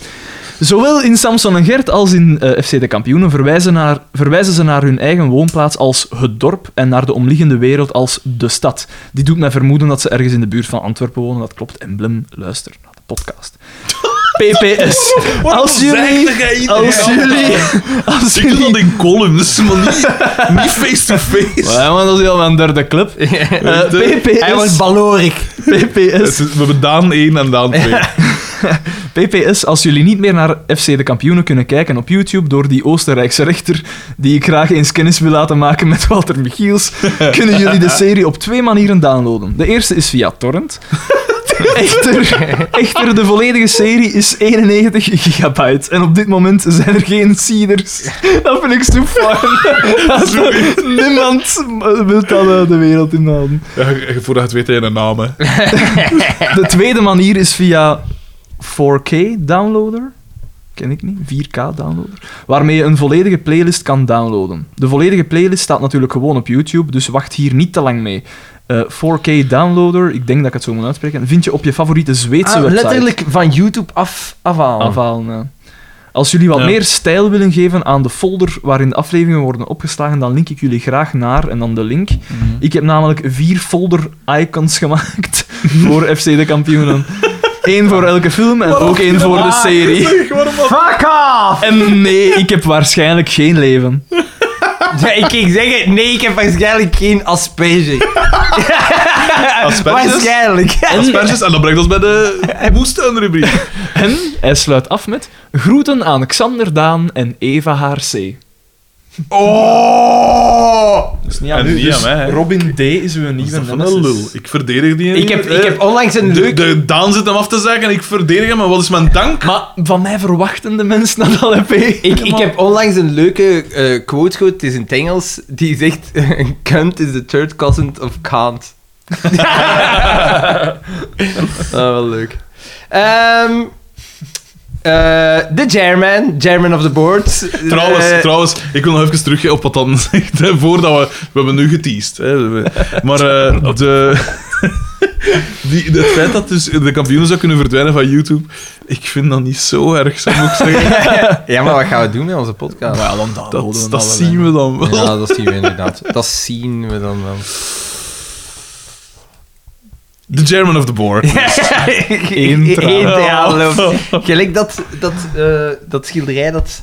Zowel in Samson en Gert als in eh, FC De Kampioenen verwijzen, naar, verwijzen ze naar hun eigen woonplaats als het dorp en naar de omliggende wereld als de stad. Die doet mij vermoeden dat ze ergens in de buurt van Antwerpen wonen. Dat klopt. Emblem, luister naar de podcast. PPS. Als jullie... Als jullie... Als
Ik doe
jullie...
dat in columns, maar niet, niet face-to-face.
Ja, maar dat is helemaal een derde club. Eh, PPS.
Hij wordt balorig.
PPS.
Het is- We hebben Daan 1 en Daan 2.
PPS, als jullie niet meer naar FC de kampioenen kunnen kijken op YouTube door die Oostenrijkse rechter die ik graag eens kennis wil laten maken met Walter Michiels, kunnen jullie de serie op twee manieren downloaden. De eerste is via torrent. Echter, echter, de volledige serie is 91 gigabyte. En op dit moment zijn er geen seeders. Dat vind ik zo fijn. Niemand wil dat eh, de wereld inhalen.
Ja, je- voordat je het weet, heb je een naam. hè.
De tweede manier is via 4K-downloader. Ken ik niet. 4K-downloader. Waarmee je een volledige playlist kan downloaden. De volledige playlist staat natuurlijk gewoon op YouTube, dus wacht hier niet te lang mee. Eh, 4K-downloader, ik denk dat ik het zo moet uitspreken, vind je op je favoriete Zweedse
Ah,
website. Ah.
letterlijk van YouTube af, afhalen.
Aanvalen, ja. Als jullie wat
Ja.
meer stijl willen geven aan de folder waarin de afleveringen worden opgeslagen, dan link ik jullie graag naar en dan de link.
Mm.
Ik heb namelijk vier folder-icons gemaakt voor FC de kampioenen. Eén voor elke film en ook één voor de serie.
Fuck off!
En nee, ik heb waarschijnlijk geen leven.
Ja, ik ging zeggen, nee, ik heb waarschijnlijk geen asperge.
Asperges.
Waarschijnlijk.
Asperges. En dat brengt ons bij de woestuinrubriek.
En hij sluit af met groeten aan Xander Daan en Eva HRC.
Oh!
Dus niet
aan En u, niet dus aan mij, hè.
Robin D is uw
Is
nieuwe
dat van een lul? Ik verdedig die.
Ik heb,
niet, hè.
ik heb onlangs een
de,
leuk...
de Daan zit hem af te zeggen en ik verdedig hem, maar wat is mijn dank?
Maar van mij verwachten de mensen dat al heb
Ik, ik heb onlangs een leuke eh, quote gehoord, het is in het Engels, die zegt... Cunt is the third cousin of can't. Ah, wel leuk. Ehm, eh, de chairman, chairman of the board.
Trouwens,
Eh,
trouwens, ik wil nog even terug op wat dan zegt, hè, voordat we... We hebben nu geteased. Hè. We- Maar eh, de, die, het feit dat dus de kampioenen zou kunnen verdwijnen van YouTube, ik vind dat niet zo erg, zou ik zeggen.
Ja, maar wat gaan we doen met onze podcast?
Ja, dan dat,
Dat, dat zien we dan wel.
Ja, dat zien we inderdaad. Dat zien we dan wel.
The chairman of the board.
Eén traan.
Eén traan loopt. Gelijk dat, dat, eh, dat schilderij dat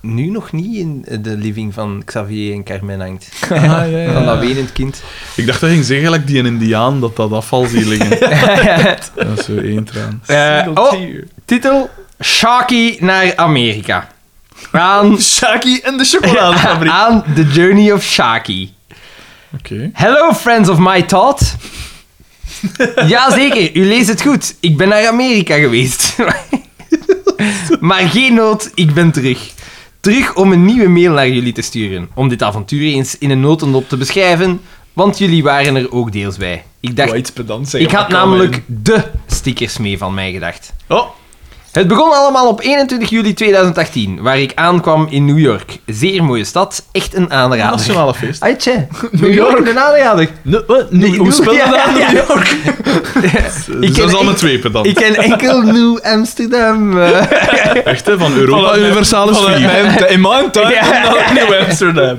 nu nog niet in de living van Xavier en Carmen hangt.
Ah,
Van dat wenend kind.
Ik dacht dat je ging zeggen, gelijk die een indiaan, dat dat afval zie liggen. Dat is zo één traan.
Eh, oh, titel Sharky naar Amerika. Aan,
Shaki en de chocoladefabriek.
aan The Journey of Sharky.
Oké.
Hello, friends of my thought. Jazeker, u leest het goed. Ik ben naar Amerika geweest. maar geen nood, ik ben terug. Terug om een nieuwe mail naar jullie te sturen. Om dit avontuur eens in een notendop te beschrijven, want jullie waren er ook deels bij. Ik dacht,
iets pedant zeggen.
ik had namelijk de stickers mee van mij gedacht.
Oh.
Het begon allemaal op 21 juli 2018, waar ik aankwam in New York. Zeer mooie stad, echt een aanrader.
Nationale feest.
Aitje, New York, een aanrader.
Hoe spel je dat?
Ja, ja, ja.
Dus dat is al
ik-
met twee per dan.
Ik ken enkel New Amsterdam. eh.
Echt, hè, van Europa Universalis
Vanuit
4.
mijn- In mijn tuin
Ja.
naar New Amsterdam.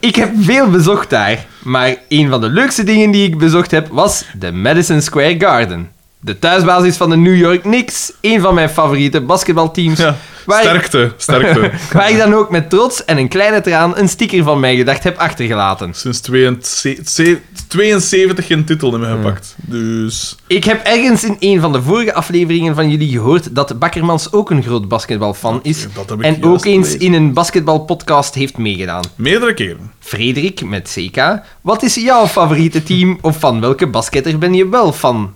ik heb veel bezocht daar. Maar een van de leukste dingen die ik bezocht heb was de Madison Square Garden. De thuisbasis van de New York Knicks, een van mijn favoriete basketbalteams.
Ja,
waar, ik,
Sterkte, sterkte.
waar ik dan ook met trots en een kleine traan een sticker van mij gedacht heb achtergelaten.
Sinds 72, 72 geen titel hebben gepakt. Dus
Ik heb ergens in een van de vorige afleveringen van jullie gehoord dat Bakkermans ook een groot basketbalfan is.
dat heb ik
En
juist
ook eens
gelezen.
in een basketbalpodcast heeft meegedaan.
meerdere keren.
Frederik met CK, wat is jouw favoriete team of van welke basketter ben je wel van?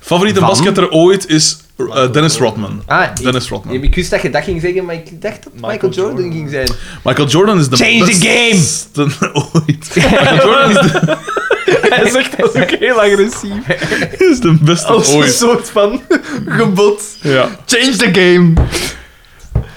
Favoriete
Van?
basketter ooit is eh, Dennis Rodman.
Ah,
Dennis
ik,
Rodman.
ik wist dat je dat ging zeggen, maar ik dacht dat Michael, Jordan, ging zijn.
Michael Jordan is de
Change the
beste ooit. Michael Jordan is de,
Hij zegt dat ook heel agressief.
is de
Oh,
beste
Als een
ooit.
soort van gebod.
Ja.
Change the game.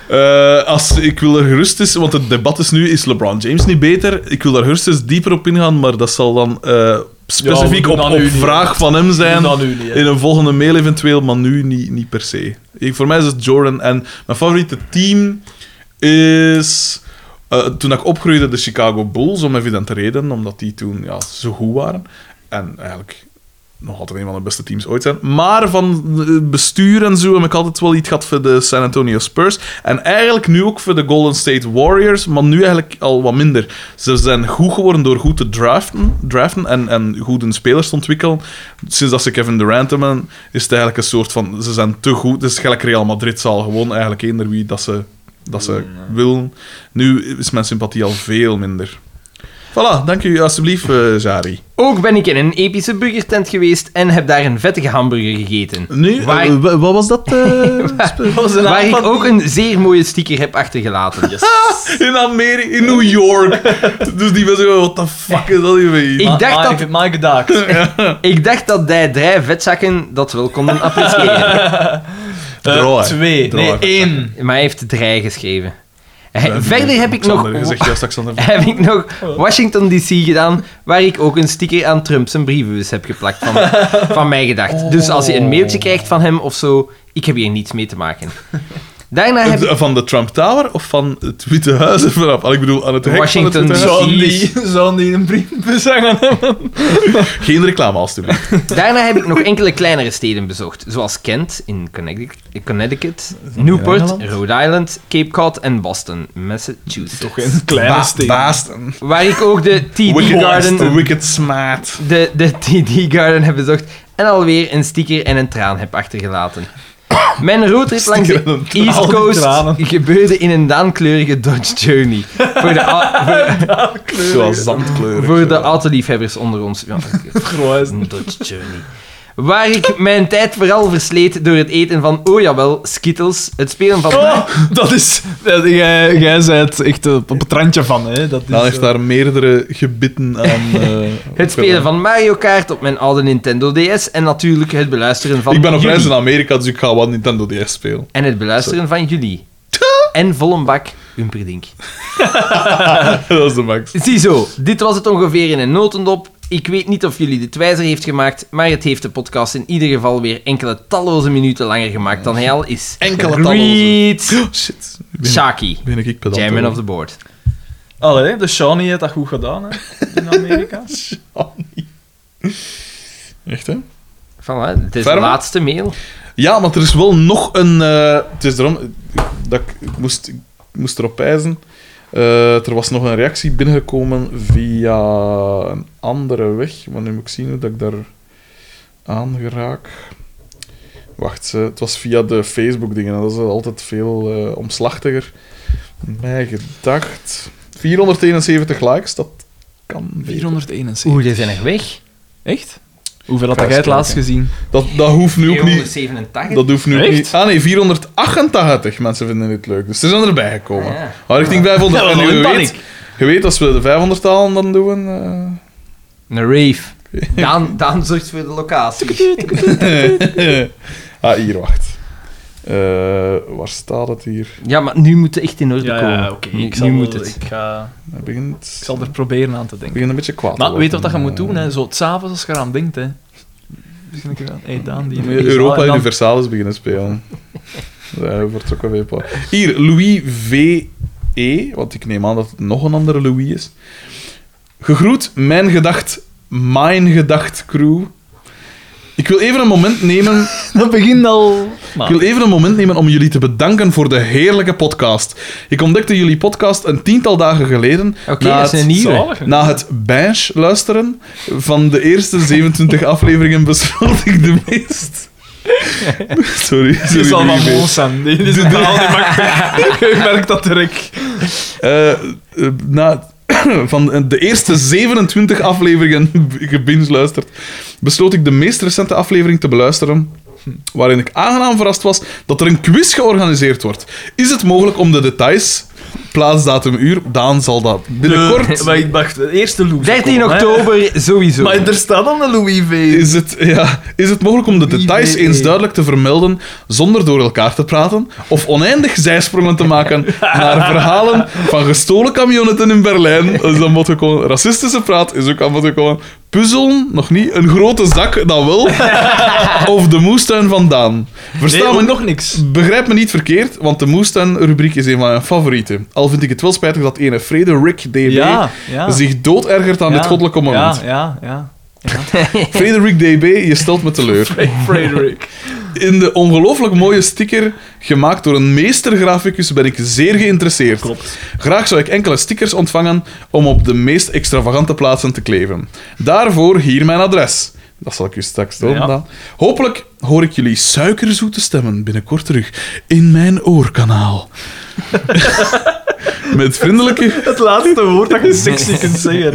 Eh, als, ik wil er gerust eens, want het debat is nu: is LeBron James niet beter? Ik wil daar gerust eens dieper op ingaan, maar dat zal dan eh, specifiek
doen
op,
dat
op
nu niet, hè.
vraag van hem zijn.
Dat nu niet, hè.
In een volgende mail eventueel, maar nu niet, niet per se. Ik, voor mij is het Jordan. En mijn favoriete team is... eh, toen ik opgroeide, de Chicago Bulls, om evidente reden. Omdat die toen ja, zo goed waren. En eigenlijk nog altijd een van de beste teams ooit zijn. Maar van eh, bestuur en zo heb ik altijd wel iets gehad voor de San Antonio Spurs. En eigenlijk nu ook voor de Golden State Warriors, maar nu eigenlijk al wat minder. Ze zijn goed geworden door goed te draften, draften en, en goede spelers te ontwikkelen. Sinds dat ze Kevin Durant hebben, is het eigenlijk een soort van... Ze zijn te goed. Het is gelijk Real Madrid zal gewoon eigenlijk eender wie dat ze, dat ze willen. Nu is mijn sympathie al veel minder. Voilà, dank u alsjeblieft, eh Zari.
Ook ben ik in een epische burgertent geweest en heb daar een vettige hamburger gegeten.
Nu,
Waar-
eh, wa- wat was dat? eh,
Waar ik ook een zeer mooie sticker heb achtergelaten.
In Amerika, in New York. dus die mensen zo, what the fuck is dat hier mee?
Ik dacht dat-
Ik heb mij gedaakt.
Ik dacht dat die drie vetzakken dat wel konden appreciëren.
Draai.
Twee.
Draai.
Nee, één.
maar hij heeft drie geschreven. Hij-
Eh,
Verder heb ik nog...
Xander, Je zegt juist Alexander.
heb ik nog Washington DC gedaan, waar ik ook een sticker aan Trump zijn brievenbus heb geplakt van, van mij gedacht. Dus als je een mailtje krijgt van hem of zo, ik heb hier niets mee te maken. Daarna heb ik...
Van de Trump Tower of van het Witte Huis? Of vanaf? Al, Ik bedoel, aan het hek
Washington
van het Witte Huis.
Zouden die, zouden die een brievenbus hangen?
Geen reclame, alstublieft.
Daarna heb ik nog enkele kleinere steden bezocht, zoals Kent in Connecticut, Connecticut Newport, Rhode Island, Cape Cod en Boston, Massachusetts.
Kleine
Ba-
steen.
Baasten.
Waar ik ook de TD
Wicked
Garden,
Boston. Wicked Smaat.
de, de TD Garden heb bezocht en alweer een sticker en een traan heb achtergelaten. Mijn roadtrip langs
Sticker en
de
een traan.
East
Al die
Coast
tranen.
gebeurde in een daankleurige Dodge Journey. Voor de, au- voor,
Zoals zandkleuren.
voor de autoliefhebbers onder ons. Ja, een Dodge Journey. Waar ik mijn tijd vooral versleet door het eten van, oh jawel, Skittles, het spelen
Oh!
van...
Oh, Dat is... dat- Jij jij bent echt eh, op het randje van, hè. Dat is,
Nou,
Dan heeft
eh,
daar meerdere gebitten aan... eh,
Het spelen van Mario Kart op mijn oude Nintendo DS en natuurlijk het beluisteren van
Ik ben op
jullie.
reis in Amerika, dus ik ga wat Nintendo DS spelen.
En het beluisteren van jullie. En Vollenbak, Humperdink.
dat is de max.
Ziezo, dit was het ongeveer in een notendop. Ik weet niet of jullie dit wijzer heeft gemaakt, maar het heeft de podcast in ieder geval weer enkele talloze minuten langer gemaakt dan hij al is.
Enkele
Greet,
Oh, shit. Ben,
Shaki,
ben ik pedant.
Chairman
hoor.
of the Board.
Allee, de Shawnee heeft dat goed gedaan, hè. In Amerika.
Oh, Echt, hè?
Voilà, het is de
Verder?
laatste mail.
Ja, want er is wel nog een... eh, het is daarom... eh, Dat ik, ik moest, ik moest erop wijzen. Eh, er was nog een reactie binnengekomen via een andere weg. Maar nu moet ik zien hoe dat ik daar aan geraak. Wacht, eh, het was via de Facebook-dingen. Dat is altijd veel eh, omslachtiger. Mij gedacht... 471 likes, dat kan beter.
471.
Oeh, die zijn er weg.
Echt? Hoeveel had jij het laatst gezien?
Dat, dat hoeft nu ook niet...
287.
Dat hoeft nu ook
Echt?
niet. Ah nee, 488 mensen vinden dit leuk. Dus er zijn erbij gekomen.
Ah, ja.
Maar richting 500.
Dat was
en
al
je
in
weet, je weet, als we de 500 halen, dan doen we...
Een rave. Daan, Daan zorgt voor de locatie.
eh, ah, hier, wacht. Eh, waar staat het hier?
Ja, maar nu moet het echt in orde komen. Nu-
Ik,
nu
zal
moet
wel-
het.
Ik, ga,
Hij begint,
ik zal er proberen aan te
hij
denken.
begint een beetje kwaad te
Maar weet je wat dat je
worden. eh.
moet doen, hè? Zo, s'avonds als je eraan denkt, hè. Misschien een keer aan... Hey, Daan, die...
Moet
die
je
zaal
Europa
en dan-
Universalis beginnen spelen. Daar wordt ook wel weer pa- Hier, Louis V.E., want ik neem aan dat het nog een andere Louis is. Gegroet, mijn gedacht, mijn gedacht crew. Ik wil even een moment nemen
Dat begint al...
Ah.
ik wil even een moment nemen om jullie te bedanken voor de heerlijke podcast. Ik ontdekte jullie podcast een tiental dagen geleden.
Oké,
na
dat is
het-
een nieuwe.
Zalig.
Na het binge luisteren van de eerste 27 afleveringen besloot ik de meest... Sorry,
Dit
sorry.
is al van
Louis.
ons aan. Dit is een taal die maakt... Ik merk dat direct.
Eh, eh, na van de eerste 27 afleveringen gebinge luisterd, besloot ik de meest recente aflevering te beluisteren. Waarin ik aangenaam verrast was dat er een quiz georganiseerd wordt. Is het mogelijk om de details plaats, datum, uur. Daan zal dat binnenkort...
Maar ik dacht, de eerste Louis.
13 oktober, sowieso.
Maar er staat dan een Louis V.
Is het, ja, is het mogelijk om de details eens duidelijk te vermelden zonder door elkaar te praten of oneindig zijsprongen te maken naar verhalen van gestolen camionetten in Berlijn? Dat is aan bod gekomen. Racistische praat is ook aan bod gekomen. Puzzelen, nog niet. Een grote zak, dat wel. Of de moestuin van Daan. Verstaan we
Nee, nog niks.
Begrijp me niet verkeerd, want de moestuin-rubriek is een van mijn favorieten. Al vind ik het wel spijtig dat ene Frederik DB
Ja, ja.
zich doodergert aan dit goddelijke moment.
Ja, ja, ja.
Frederik DB, je stelt me teleur.
Frederick.
In de ongelooflijk mooie sticker, gemaakt door een meestergraficus, ben ik zeer geïnteresseerd. Klopt. Graag zou ik enkele stickers ontvangen om op de meest extravagante plaatsen te kleven. Daarvoor hier mijn adres. Dat zal ik u straks doen.
Ja.
Daan. Hopelijk hoor ik jullie suikerzoete stemmen binnenkort terug in mijn oorkanaal. Met vriendelijke
Het laatste woord dat je sexy kunt zeggen.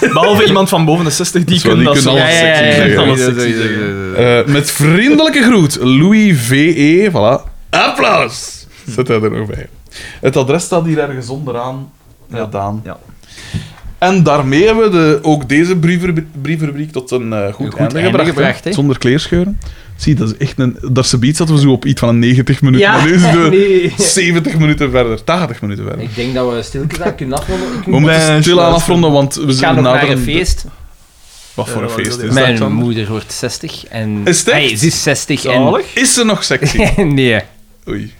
Behalve iemand van boven de 60, die
Zo, die
kunnen dat
kunnen
zo.
alles sexy zeggen.
alles
Ja,
sexy zeggen.
Eh, met vriendelijke groet, Louis VE. Voilà. Applaus! Zet hij er nog bij. Het adres staat hier ergens onderaan, ja. Daan.
ja.
En daarmee hebben we de, ook deze brievenru- brievenrubriek tot een eh, goed, einde,
einde
gebracht.
gebracht,
hè?
hè?
Zonder kleerscheuren. Zie, dat is echt een... Daar subiet zaten we zo op iets van een 90 minuten. maar nu zijn we 70 minuten verder, 80 minuten verder.
Ik denk dat we stilke daar kunnen afronden. Ik
We moeten
ben
stilaan
sluiten.
afronden, want we
ga
zijn
nog
nader
naar een
aan-
feest.
Wat voor een
Eh, wat
feest
wil je?
is dat?
Mijn
Mijn
dan?
moeder wordt 60 en...
Is het echt?
Nee, ze is 60 en...
Zalig.
Is ze nog sexy?
nee.
Oei.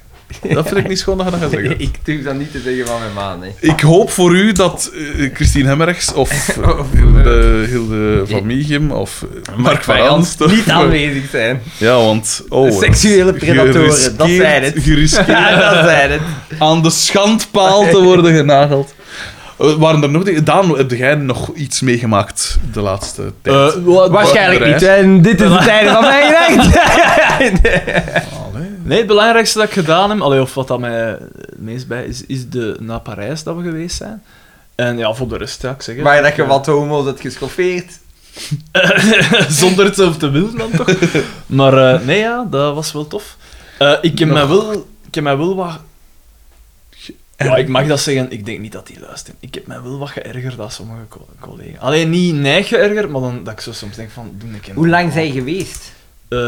Dat vind ik niet schoon dat je dat gaat zeggen.
Ik durf dat niet te zeggen van mijn maan, hè.
Ik hoop voor u dat eh, Christine Hemmerrechts of eh, Hilde, Hilde van Miegem of eh, Mark van Aanst...
niet aanwezig zijn.
Ja, want... Oh,
Seksuele predatoren, dat
geriskeerd-
zijn het.
geriskeerd
Ja, dat zijn het.
aan de schandpaal te worden genageld. Eh, waren er nog dingen? Daan, heb jij nog iets meegemaakt de laatste
Eh,
tijd?
Eh,
Waarschijnlijk
Reis.
niet. En dit is het einde van mijn recht.
Nee, het belangrijkste dat ik gedaan heb, allee, of wat dat mij het meest bij is, is de, naar Parijs dat we geweest zijn. En ja, voor de rest, ja, ik zeg het.
Maar dat je wat homo's hebt geschoffeerd.
Zonder het zelf te willen dan toch. Maar eh, nee, ja, dat was wel tof. Eh, ik, heb mij wel, ik heb mij wel wat... Ja, ik mag dat zeggen. Ik denk niet dat die luisteren. Ik heb mij wel wat geërgerd dan sommige co- collega's. Alleen niet neig geërgerd, maar dan dat ik zo soms denk van... Doe ik hem
Hoe lang
dan?
zijn je geweest?
Eh,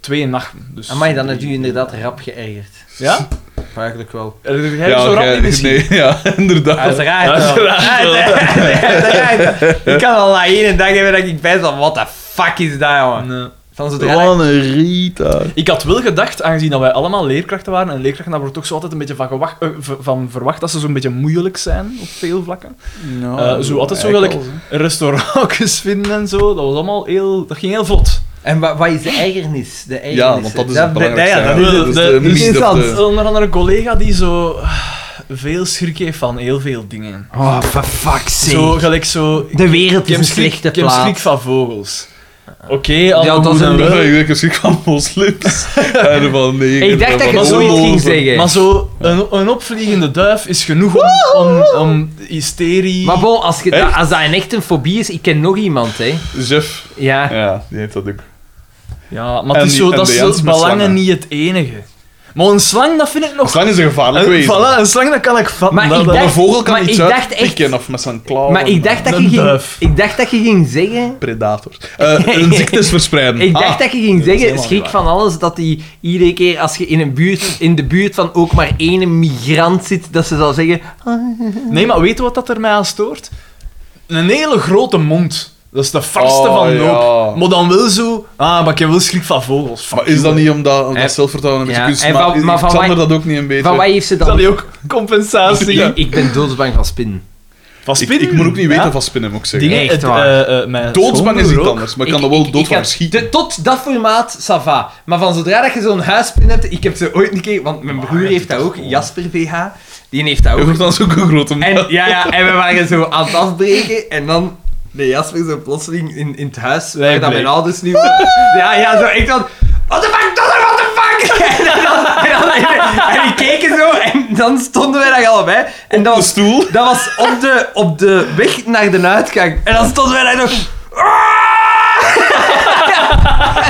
twee nachten. Dus
Amai, dan heb
drie-
je inderdaad rap geërgerd.
Ja?
Eigenlijk wel.
Erger jij
Ja,
zo rap
jij-
niet misschien?
nee, ja,
Ah,
inderdaad.
Uiteraard wel. Uiteraard. Ik kan al na één dag hebben dat ik ben van, what the fuck is dat, jongen?
Nee.
Van zodra...
Wat een Rita.
eh, Ik had wel gedacht, aangezien dat wij allemaal leerkrachten waren, en leerkrachten daar wordt toch zo altijd een beetje van, gewacht, eh, v- van verwacht dat ze zo'n beetje moeilijk zijn op veel vlakken.
Oh,
Nou,
Eh, zo altijd zo gelijk restaurantjes vinden en zo, dat was allemaal heel, dat ging heel vlot.
En wa- wat is de ergernis? De ergernis.
Ja, want dat is het belangrijkste.
ja, dat
hè.
is
het.
Dat is
De-
de mythe of
interessant.
de-
Onder andere een collega die zo ah, veel schrik heeft van heel veel dingen.
Oh, for fuck's sake.
Zo gelijk zo...
de wereld
ik
is
heb
een
schrik,
slechte
ik heb schrik
plaats.
van vogels. Oké, allemaal
dat is
goed en
een
wel.
Ja, ik denk misschien van moslims. en van negers
Ik dacht
en
dat je
van
zoiets
onnozen.
ging zeggen.
Maar zo, een, een opvliegende duif is genoeg om, om, om hysterie...
Maar bon, als, je
Echt?
da- als dat een echt een fobie is, ik ken nog iemand, hè.
Jeff.
Ja.
Ja, die heeft dat ook.
Ja, maar
En
het is
die-
zo,
en
dat
de
is
Jans
zo-
met
belangen
slangen.
niet het enige. Maar een slang, dat vind ik nog...
Slang is een gevaarlijk
een,
wezen.
voilà, een slang, dat kan ik vatten.
Maar
dat,
ik
dat-
Een
dacht-
vogel kan
Eh, maar
iets
ik dacht
uitpikken
echt-
of met zijn klauwen.
Maar ik dacht, dat
Een
je ging,
duif.
ik dacht dat je ging zeggen...
Predator. Eh, een ziektes verspreiden.
Ik dacht
Ah,
dat je ging zeggen,
helemaal
schrik
niet
van alles, dat die iedere keer als je in, een buurt, in de buurt van ook maar één migrant zit, dat ze zal zeggen...
Nee, maar weet je wat dat er mij aan stoort? Een hele grote mond. Dat is de vaste
Oh,
van loop.
ja.
Maar dan wel zo... Ah, maar ik heb wel schrik van vogels. Fuck
Maar is dat
you.
niet omdat omdat
Eh,
zelfvertrouwen een beetje
ja,
kunst
en van-
maakt?
maar
Maar
van
Xander
wat-
dat ook niet een beetje.
Van wat heeft ze
Is dat
dan...
niet ook compensatie?
Ik, ik ben doodsbang van spinnen.
Van
ik,
spinnen?
ik moet ook niet
Ja.
weten van spinnen, moet ik zeggen.
Dingen,
Echt
het,
waar.
eh, eh, mijn
Doodsbang is iets
schoonbroer ook.
anders, maar ik kan er wel dood van
heb-
schieten.
de- tot dat formaat, Sava. Maar van zodra dat je zo'n huispin hebt, ik heb ze ooit een keer, want mijn broer heeft dat ook, Jasper VH, die heeft dat
Je
ook.
wordt dan zo'n grote man.
En, ja, ja, en we waren zo aan het afbreken en dan de Jasper zo plotseling in, in het huis waar dat mijn ouders nu... Ja, ja, zo echt dan... What the fuck, Donner, what the fuck? En, dan, en, dan, en die keken zo en dan stonden wij daar allebei. En dat
Op de
was,
stoel.
dat was op, de, op de weg naar de uitgang. En dan stonden wij daar nog...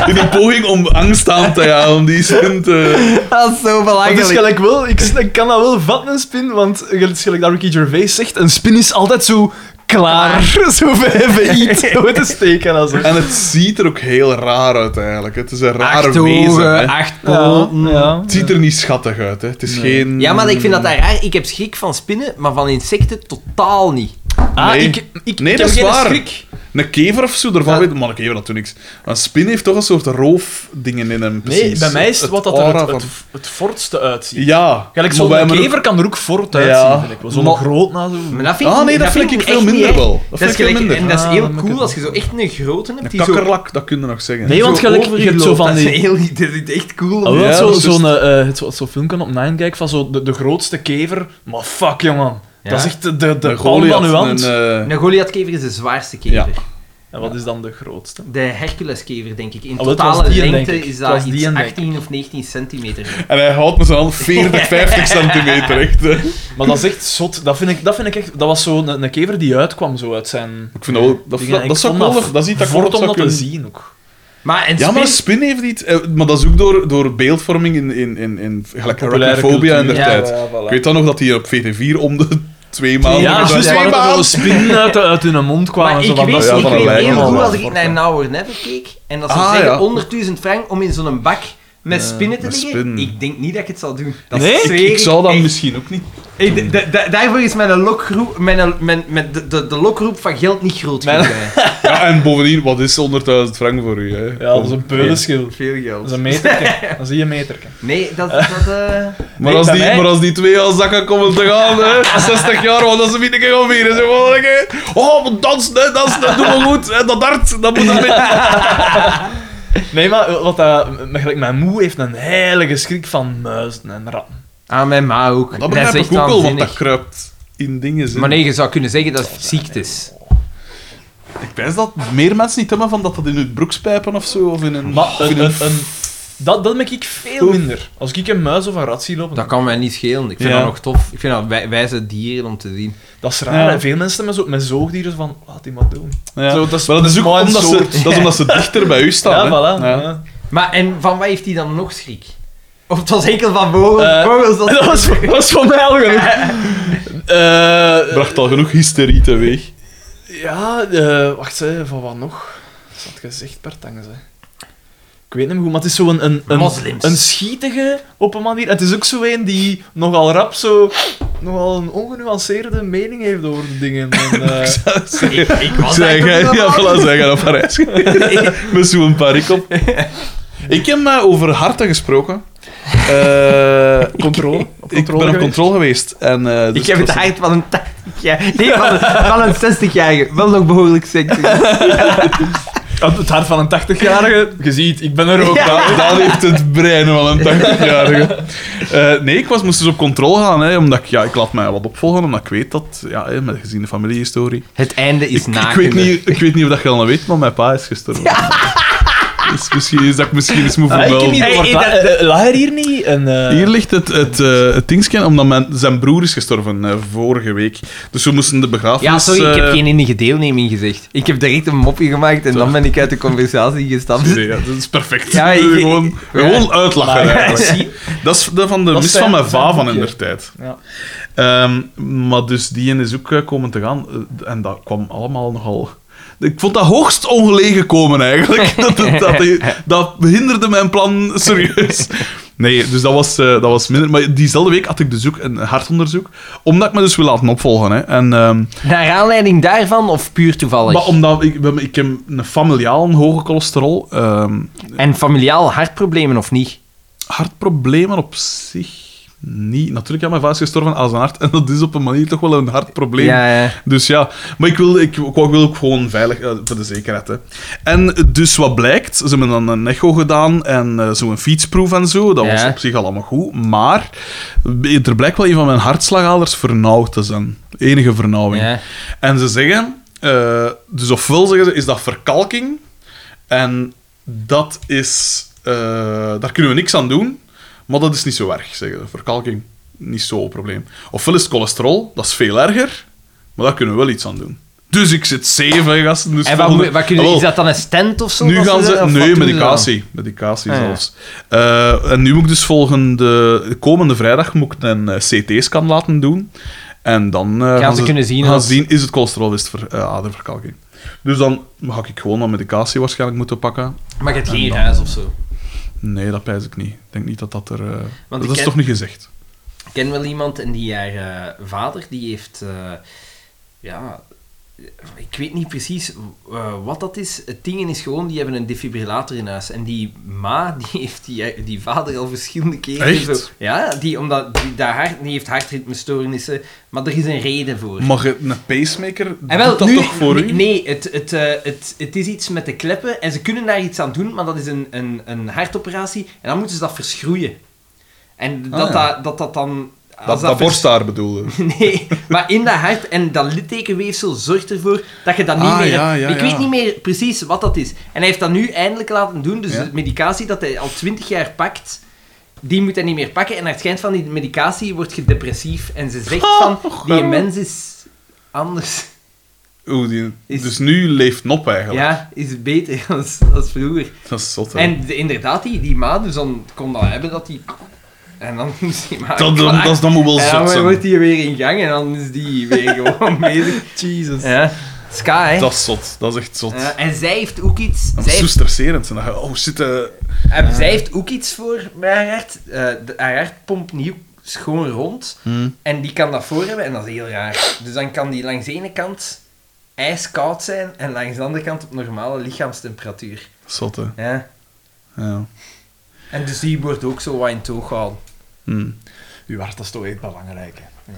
In een poging om angst aan te jagen, om die zin te...
Dat is zo
Het is
belangrijk.
gelijk wel, ik, s- ik kan dat wel vatten, een spin, want eh, het is gelijk dat Ricky Gervais zegt, een spin is altijd zo klaar, zo even iets zo te steken. Als
En het ziet er ook heel raar uit, eigenlijk. Het is een rare
Acht
wezen.
ogen,
hè.
acht
ja,
poten.
ja.
Het ziet er niet schattig uit, hè. Het is geen...
Ja, maar ik vind dat daar raar. Ik heb schrik van spinnen, maar van insecten totaal niet.
Ah,
Nee.
ik, ik,
Nee,
ik
dat
heb
is
geen
waar.
schrik.
Een kever of zo, daarvan
Ja.
weet ik... Maar een kever, dat doet niks. Maar een spin heeft toch een soort roofdingen in hem, precies.
Nee, bij mij is het wat dat er
aura
het,
van-
het, het fortste uitziet.
Ja.
Gelijk
maar
zo'n
wij hebben ook-
kever kan er ook fort uitzien,
Ja.
vind ik wel. Zo'n
Maar-
groot na zo.
Maar dat vind
Ah,
ik-
nee, dat vind ik
echt
veel
niet
minder
erg.
wel.
Dat,
Dat vind
is
ik veel
gelijk, en
minder.
dat is
Ah,
heel
dan moet ik
cool
het
als je zo echt een grote hebt
Een
die zo
kakkerlak, dat kun je nog zeggen.
Nee, want
zo
gelijk, je hebt zo
overloopt.
van
Dat is
die-
heel, dat is echt cool.
Ah, wel,
Ja,
zo,
dat is
zo'n eh, het zo, zo'n filmpje op Nine Gag van zo de, de grootste kever. Maar fuck, jongen.
Ja.
Dat is echt de, de, de
Een
palm
Goliath,
van uw hand.
een, eh,
Een Goliathkever is de zwaarste kever.
Ja.
En wat is dan de grootste?
De Herculeskever, denk ik. In
Ah, wel, het
totale
was die een,
lengte
denk ik.
is
Het was
dat
die
iets
een, denk
18 of 19 centimeter.
En hij houdt met zijn hand 40, 50 centimeter, echt. hè.
Maar dat is echt zot. Dat vind ik, dat vind ik echt... Dat was zo'n een, een kever die uitkwam zo uit zijn...
Ik vind dat wel... Dat,
dingen.
dat,
Ik
dat zou ik
vond
wel- Dat ziet dat ik wel
fort om
zou
dat te
kunnen-
zien ook.
Maar en
Ja, maar een
spin-
spin heeft iets... eh, Maar dat is ook door, door beeldvorming in, in, in, in gelijk
Populaire
arachnophobia in
cultuur.
der
Ja,
tijd.
ja, voilà.
Ik weet Ah, dan nog dat hij op VT4 om de twee maanden...
Ja,
Twee
juist waar er
maanden!
zo'n spinnen uit, uit hun mond kwamen.
maar
zo
ik
van,
weet,
dat-
ja,
ik
van een
weet
lijn
heel
of
goed
zo.
als ik naar Now or Never keek en dat ze
Ah,
zeggen
ja.
onder 1000 frank om in zo'n bak met spinnen te
met
liggen.
spinnen.
Ik denk niet dat ik het zal doen. Dat
Nee?
zweer
Ik zou dat
echt.
misschien ook niet...
Ik- d- d- d- daarvoor is mijn lokroep, mijn, mijn, mijn, de, de, de lokroep van geld niet groot
Mijn-
genoeg. hè.
Ja, en bovendien, wat is 100.000 frank voor u, hè?
Ja, dat is een peulenschil.
Veel
Dat
geld.
is een meterke. Dat is hier een meterke.
Nee, dat... dat eh,
Maar,
Nee,
als
bij
die,
mij-
maar als die twee al zakken komen te gaan, hè, 60 jaar, want dat ze niet gaan vieren. Ze gewoon lekker, oh, maar dansen, hè, dansen, hè, doe maar goed. Hè, dat hart, dat moet er mee.
Nee, maar eh, wat dat, m- gelijk mijn moe heeft een heilige schrik van muizen en ratten.
aan mijn ma ook.
Dat
is
begrijp ik ook
echt
wel, want
waanzinnig.
dat kruipt in dingen. zin.
Maar nee, je zou kunnen zeggen dat het ziektes.
Ik pens dat meer mensen niet hebben van dat dat in hun broekspijpen of zo, of in een...
Maar
of in
een,
een-
een, een- dat, dat merk ik veel minder. Als ik een muis of een rat zie lopen,
Dat
dat,
kan mij niet schelen. Ik vind
Ja.
dat nog tof. Ik vind dat wij, wijze dieren om te zien.
is raar.
Ja.
hè. Veel mensen met, zo, met zoogdieren van, laat die maar doen.
ja.
Zo, dat is,
maar eh, dat is ook
maar een
omdat
soort.
ze, dat is omdat ze dichter bij u
Ja,
staan. hè.
voilà.
Ja.
ja.
Maar en van wat heeft hij dan nog schrik? Of het was enkel van vogels?
Eh,
vogels dat...
Dat was, dat was voor mij al genoeg. Eh,
Bracht al genoeg hysterie teweeg.
ja, eh, wacht, hè, van wat nog? Dat had gezegd, Bertangs. hè. Ik weet niet meer goed, maar het is zo'n een, een, een,
Moslims.
een schietige op een manier. En het is ook zo een die nogal rap zo. nogal een ongenuanceerde mening heeft over de dingen. En, eh,
ik, ik was
Zeg
daar
jij,
toch niet
ja,
van.
voilà, zeg jij naar Parijs. Met zo'n parik op. Ik heb eh, over harten gesproken. Eh,
controle. Op
ik ben
controle
op
geweest.
controle geweest. En, eh, dus
Ik heb
was-
het hart van een 80 jaar. Nee, van een, van een 60-jarige. Wel nog behoorlijk sexy.
Op Het hart van een 80-jarige. Je ziet, ik ben er ook.
Da- Dat, heeft het brein van een 80-jarige. Eh, nee, ik was, moest dus op controle gaan, hè, omdat ik, ja, ik laat mij wat opvolgen, omdat ik weet dat, ja, hè, met gezien de familiehistorie.
Het einde is
Ik, ik
naakt.
weet niet, ik weet niet of dat je al weet, maar mijn pa is gestorven. Dus misschien is dat ik misschien eens moet
Ah,
Ah,
vermelden.
Laat eh, hier niet. En, eh,
Hier ligt het, het, eh, het dingetje, omdat mijn, zijn broer is gestorven eh, vorige week. Dus we moesten de begrafenis...
Ja, sorry, ik heb
eh,
geen enige deelneming gezegd. Ik heb direct een mopje gemaakt en dan ben ik uit de conversatie gestapt.
Nee, ja, dat is perfect.
Ja, ik-
gewoon, gewoon uitlachen.
Maar-
eigenlijk. Dat is de, van de
Dat
mis
zijn-
van mijn
zijn
va van
boekje.
in der tijd.
Ja.
Ehm, maar dus die is ook eh, komen te gaan. eh, En dat kwam allemaal nogal... Ik vond dat hoogst ongelegen komen, eigenlijk. dat, dat, dat, dat behinderde mijn plan serieus. Nee, dus dat was, eh, dat was minder. Maar diezelfde week had ik dus ook een hartonderzoek. Omdat ik me dus wil laten opvolgen. Hè. En... ehm,
Naar aanleiding daarvan of puur toevallig?
Maar omdat ik, ik heb een familiaal een hoge cholesterol. ehm,
En familiaal hartproblemen of niet?
hartproblemen op zich niet. Natuurlijk, ja, mijn vader is gestorven aan zijn hart. En dat is op een manier toch wel een hartprobleem.
Ja, ja.
Dus ja, maar ik wil, ik, ik wil ook gewoon veilig, eh, voor de zekerheid. Hè. En dus wat blijkt, ze hebben dan een echo gedaan en eh, zo'n fietsproef en zo. Dat was
Ja.
op zich al allemaal goed. Maar er blijkt wel een van mijn hartslagaders vernauwd te zijn. Enige vernauwing.
Ja.
En ze zeggen, eh, dus ofwel zeggen ze, is dat verkalking. En dat is, eh, daar kunnen we niks aan doen. Maar dat is niet zo erg, zeggen ze. Verkalking, niet zo'n probleem. Ofwel is het cholesterol, dat is veel erger. Maar daar kunnen we wel iets aan doen. Dus ik zit zeven gasten. Dus
En wat,
volgende-
moet- wat kunnen,
Ah, wel,
is dat dan een stand of zo?
nu
dat
gaan
doen,
ze...
of wat
Nee,
doen
medicatie. Medicatie
Ah, ja.
zelfs. Eh, en nu moet ik dus volgende... de Komende vrijdag moet ik een eh, CT-scan laten doen. En dan eh,
ze kunnen zien
gaan
als-
zien is het cholesterol, is het ver, eh, aderverkalking. Dus dan ga ik gewoon aan medicatie waarschijnlijk moeten pakken.
dan? Maar je hebt
En
geen
dan-
huis of zo.
Nee, dat pijs ik niet. Ik denk niet dat dat er... eh,
ik
dat is
ken-
toch niet gezegd.
Ik ken wel iemand en die haar eh, vader, die heeft... eh, ja... Ik weet niet precies eh, wat dat is. Het ding is gewoon, die hebben een defibrillator in huis. En die ma, die heeft die, die vader al verschillende keren...
Echt?
Zo, ja, die, omdat die, dat hart, die heeft hartritmestoornissen. Maar er is een reden voor.
Maar je- een pacemaker
En
doet dat
Ah, nu-
toch voor
nee,
u?
Nee, het, het, eh, het, het is iets met de kleppen en ze kunnen daar iets aan doen, maar dat is een, een, een hartoperatie en dan moeten ze dat verschroeien. En dat
Ah, ja.
dat, dat, dat dan... als
Dat, dat
vers-
borsthaar bedoelde.
Nee, maar in dat hart en dat littekenweefsel zorgt ervoor dat je dat niet
Ah,
meer...
ja, ja,
ik
ja.
weet niet meer precies wat dat is. En hij heeft dat nu eindelijk laten doen, dus
Ja.
de medicatie dat hij al twintig jaar pakt, die moet hij niet meer pakken. En naar het schijnt van die medicatie wordt je depressief en ze zegt
Oh,
van, die mens is anders...
Oeh, die,
Is-
Dus nu leeft Nop eigenlijk.
Ja, is beter als, als vroeger.
Dat is zot, hè.
En de- inderdaad, die, die ma, dus dan kon dat hebben dat die... En dan is die ma
dat, dat,
klaar.
dat, dat moet wel
En dan
zot
wordt
zijn.
die weer in gang en dan is die weer gewoon bezig.
Jesus.
Ja. Ska, hè.
Dat is zot. Dat is echt zot.
Ja, Eh, en zij heeft ook iets...
Dat
Zij
is zo
heeft,
stresserend. En dan ga je, oh shit, eh,
en zij heeft ook iets voor bij haar hart. Eh, de- haar hart pompt nieuw schoon rond.
Hmm.
En die kan dat voor hebben en dat is heel raar. Dus dan kan die langs de ene kant ijskoud zijn en langs de andere kant op normale lichaamstemperatuur.
zot hè.
Ja.
Ja.
En dus die wordt ook zo wat in toog gehouden.
Hm.
Uw hart is toch echt belangrijk. hè.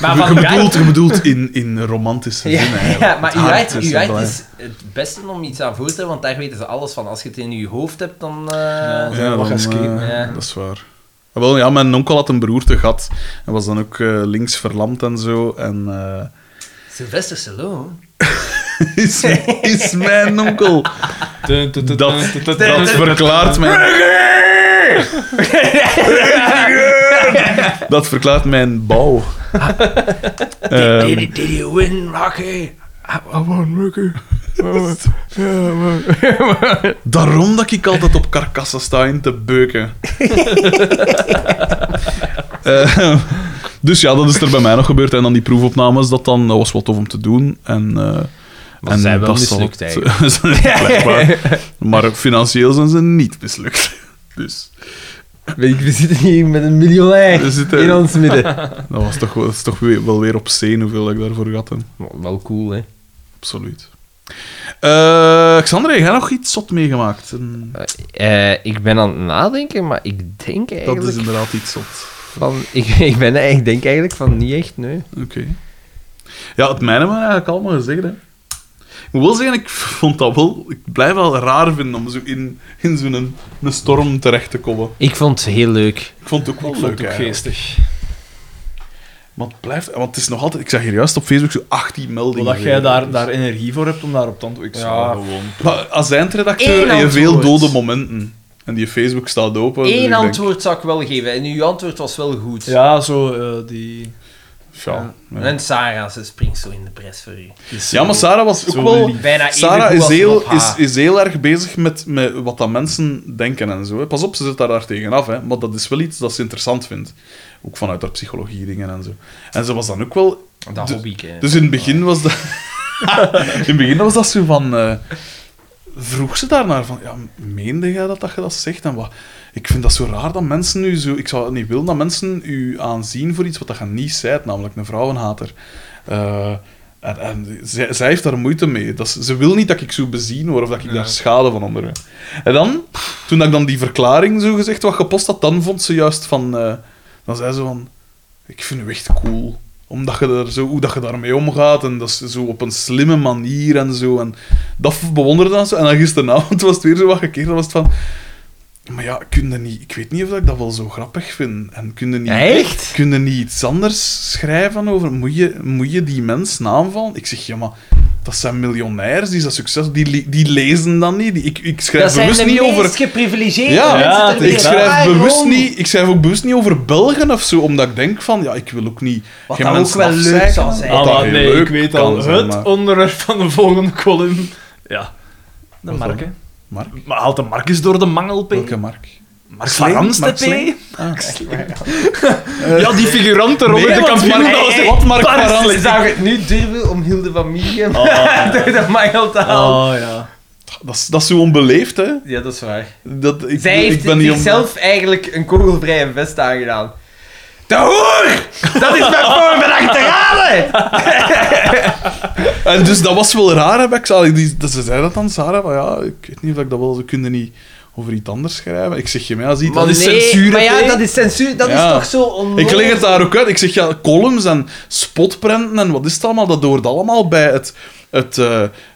Maar
je,
van
bedoelt, je bedoelt in, in romantische
Ja,
zin eigenlijk.
ja,
Het
maar
dus
uw
hart
hart, uw hart
belangrijk.
is het beste om iets aan voor te hebben, want daar weten ze alles van. Als je het in je hoofd hebt, dan... eh,
Ja,
mag
dan,
escapen,
eh,
ja.
Dat is waar. Ah, Wel, ja, mijn onkel had een beroerte gehad. En was dan ook eh, links verlamd en zo. En... eh,
Sylvester Stallone.
is, is mijn onkel. Dat, dat verklaart mijn... Dat verklaart mijn bouw. Ehm,
Did, did you win, Rocky?
daarom dat ik altijd op karkassen sta in te beuken. Ehm, dus ja, dat is er bij mij nog gebeurd. En dan die proefopnames, dat, dan, dat was wat tof om te doen. En, eh,
Maar ze zijn wel
zal
mislukt,
het- Blijkbaar. Maar financieel zijn ze niet mislukt. Dus
We, we zitten hier met een miljonair
We zitten-
in ons midden.
dat was toch, wel- dat is toch weer- wel weer op zee hoeveel ik daarvoor had. hè.
Wel cool, hè?
Absoluut. Eh Xander, heb jij nog iets zot meegemaakt? Een-
Eh, ik ben aan het nadenken, maar ik denk eigenlijk
dat is inderdaad iets zot.
van... Ik, ik, ben,
eh,
ik denk eigenlijk van niet echt, nee.
Oké. Ja, het mijne hebben we eigenlijk allemaal gezegd, hè. Ik moet wel zeggen, ik vond dat wel... Ik blijf wel raar vinden om zo in, in zo'n een, storm terecht te komen.
Ik vond het heel leuk.
Ik vond het ook wel leuk,
Ook
eigenlijk.
geestig.
Maar het blijft... Want het is nog altijd... Ik zag hier juist op Facebook zo 18 meldingen.
Omdat jij daar,
Dus-
daar energie voor hebt om daar op tand Ik zou gewoon...
Maar als eindredacteur
Eén
heb je veel
antwoord.
dode momenten. En die Facebook staat open. dus ik
Eén
denk,
antwoord zou ik wel geven. En uw antwoord was wel goed.
Ja, zo eh, die...
ja, ja.
En Sarah, ze springt zo in de pres voor u.
Ja, maar Sarah was ook
zo
wel...
lief.
Bijna even
Sarah
goed
is
als
heel,
op
is,
haar.
is heel erg bezig met, met wat dat mensen denken en zo. hè. Pas op, ze zit daar, daar tegenaf, hè. maar dat is wel iets dat ze interessant vindt. Ook vanuit haar psychologie dingen en zo. En ze was dan ook wel...
Dat
de-
hobby, hè.
Dus in het begin was dat... in het begin was dat zo van... eh, vroeg ze daarnaar van... Ja, meende jij dat, dat je dat zegt? En wat... Ik vind dat zo raar dat mensen nu zo... Ik zou het niet willen dat mensen u aanzien voor iets wat dat je niet zijt, namelijk een vrouwenhater. Eh, en en zij, zij heeft daar moeite mee. Dat ze, ze wil niet dat ik zo bezien word of dat ik daar schade van onder. heb. En dan, toen ik dan die verklaring zo gezegd wat gepost had, dan vond ze juist van... eh, dan zei ze van... Ik vind u echt cool. Omdat je er zo, hoe dat je daarmee omgaat en dat is zo op een slimme manier en zo. En dat bewonderde dan zo. En dan gisteravond was het weer zo wat gekeerd. Dan was het van... Maar ja, kun je niet, ik weet niet of ik dat wel zo grappig vind. En kun je niet,
Echt?
kun je niet iets anders schrijven over... Moet je, moet je die mens naamvallen? Ik zeg, ja, maar... Dat zijn miljonairs, die zijn succes, die, le- die lezen dat niet. Die, ik, ik schrijf
Dat zijn
bewust
de
niet
meest
over...
geprivilegeerde
Ja,
mensen ter
ik
wereld.
schrijf,
Waarom?
bewust niet, ik schrijf ook bewust niet over Belgen of zo, omdat ik denk van, ja, ik wil ook niet...
Wat
geen
dan ook
mensen
wel leuk
afzeiken,
zal zijn.
Ah,
wat dan
maar
heel
nee,
leuk
ik weet
kan
al.
zijn,
het
maar-
onderwerp van de volgende column. Ja. De
Wat
Mark,
dan?
hè.
Mark?
Maar haalt de Mark eens door de mangel, P.
Welke Mark? Ah,
Mark
Sleen?
van Amstel,
Mark Sleen?
P. Ja, die figurant erop
Nee,
in de
want
kampioen.
Mark-
dat was
hey,
echt
wat Mark van
parsley.
Amstel?
Zou je het nu durven om Hilde van Miegem door de mangel te halen?
Oh, ja.
Dat is, dat is zo onbeleefd, hè.
Ja, dat is waar.
Dat, ik,
Zij
ik
heeft
ben niet om-
zichzelf eigenlijk een kogelvrije vest aangedaan. De hoer! Dat is mijn vorm van achterhalen!
En dus dat was wel raar, heb ik zal- die, dat Ze zei dat dan, Sarah, maar ja, ik weet niet of ik dat wel... Ze kunnen niet over iets anders schrijven. Ik zeg, je mij als iets...
Maar
dat is
nee, censuur,
Maar
hè?
ja, dat is censuur. Dat
Ja.
is toch zo onnodig.
Ik leg het daar ook uit. Ik zeg ja, columns en spotprenten en wat is het allemaal? Dat hoort allemaal bij het. het eh,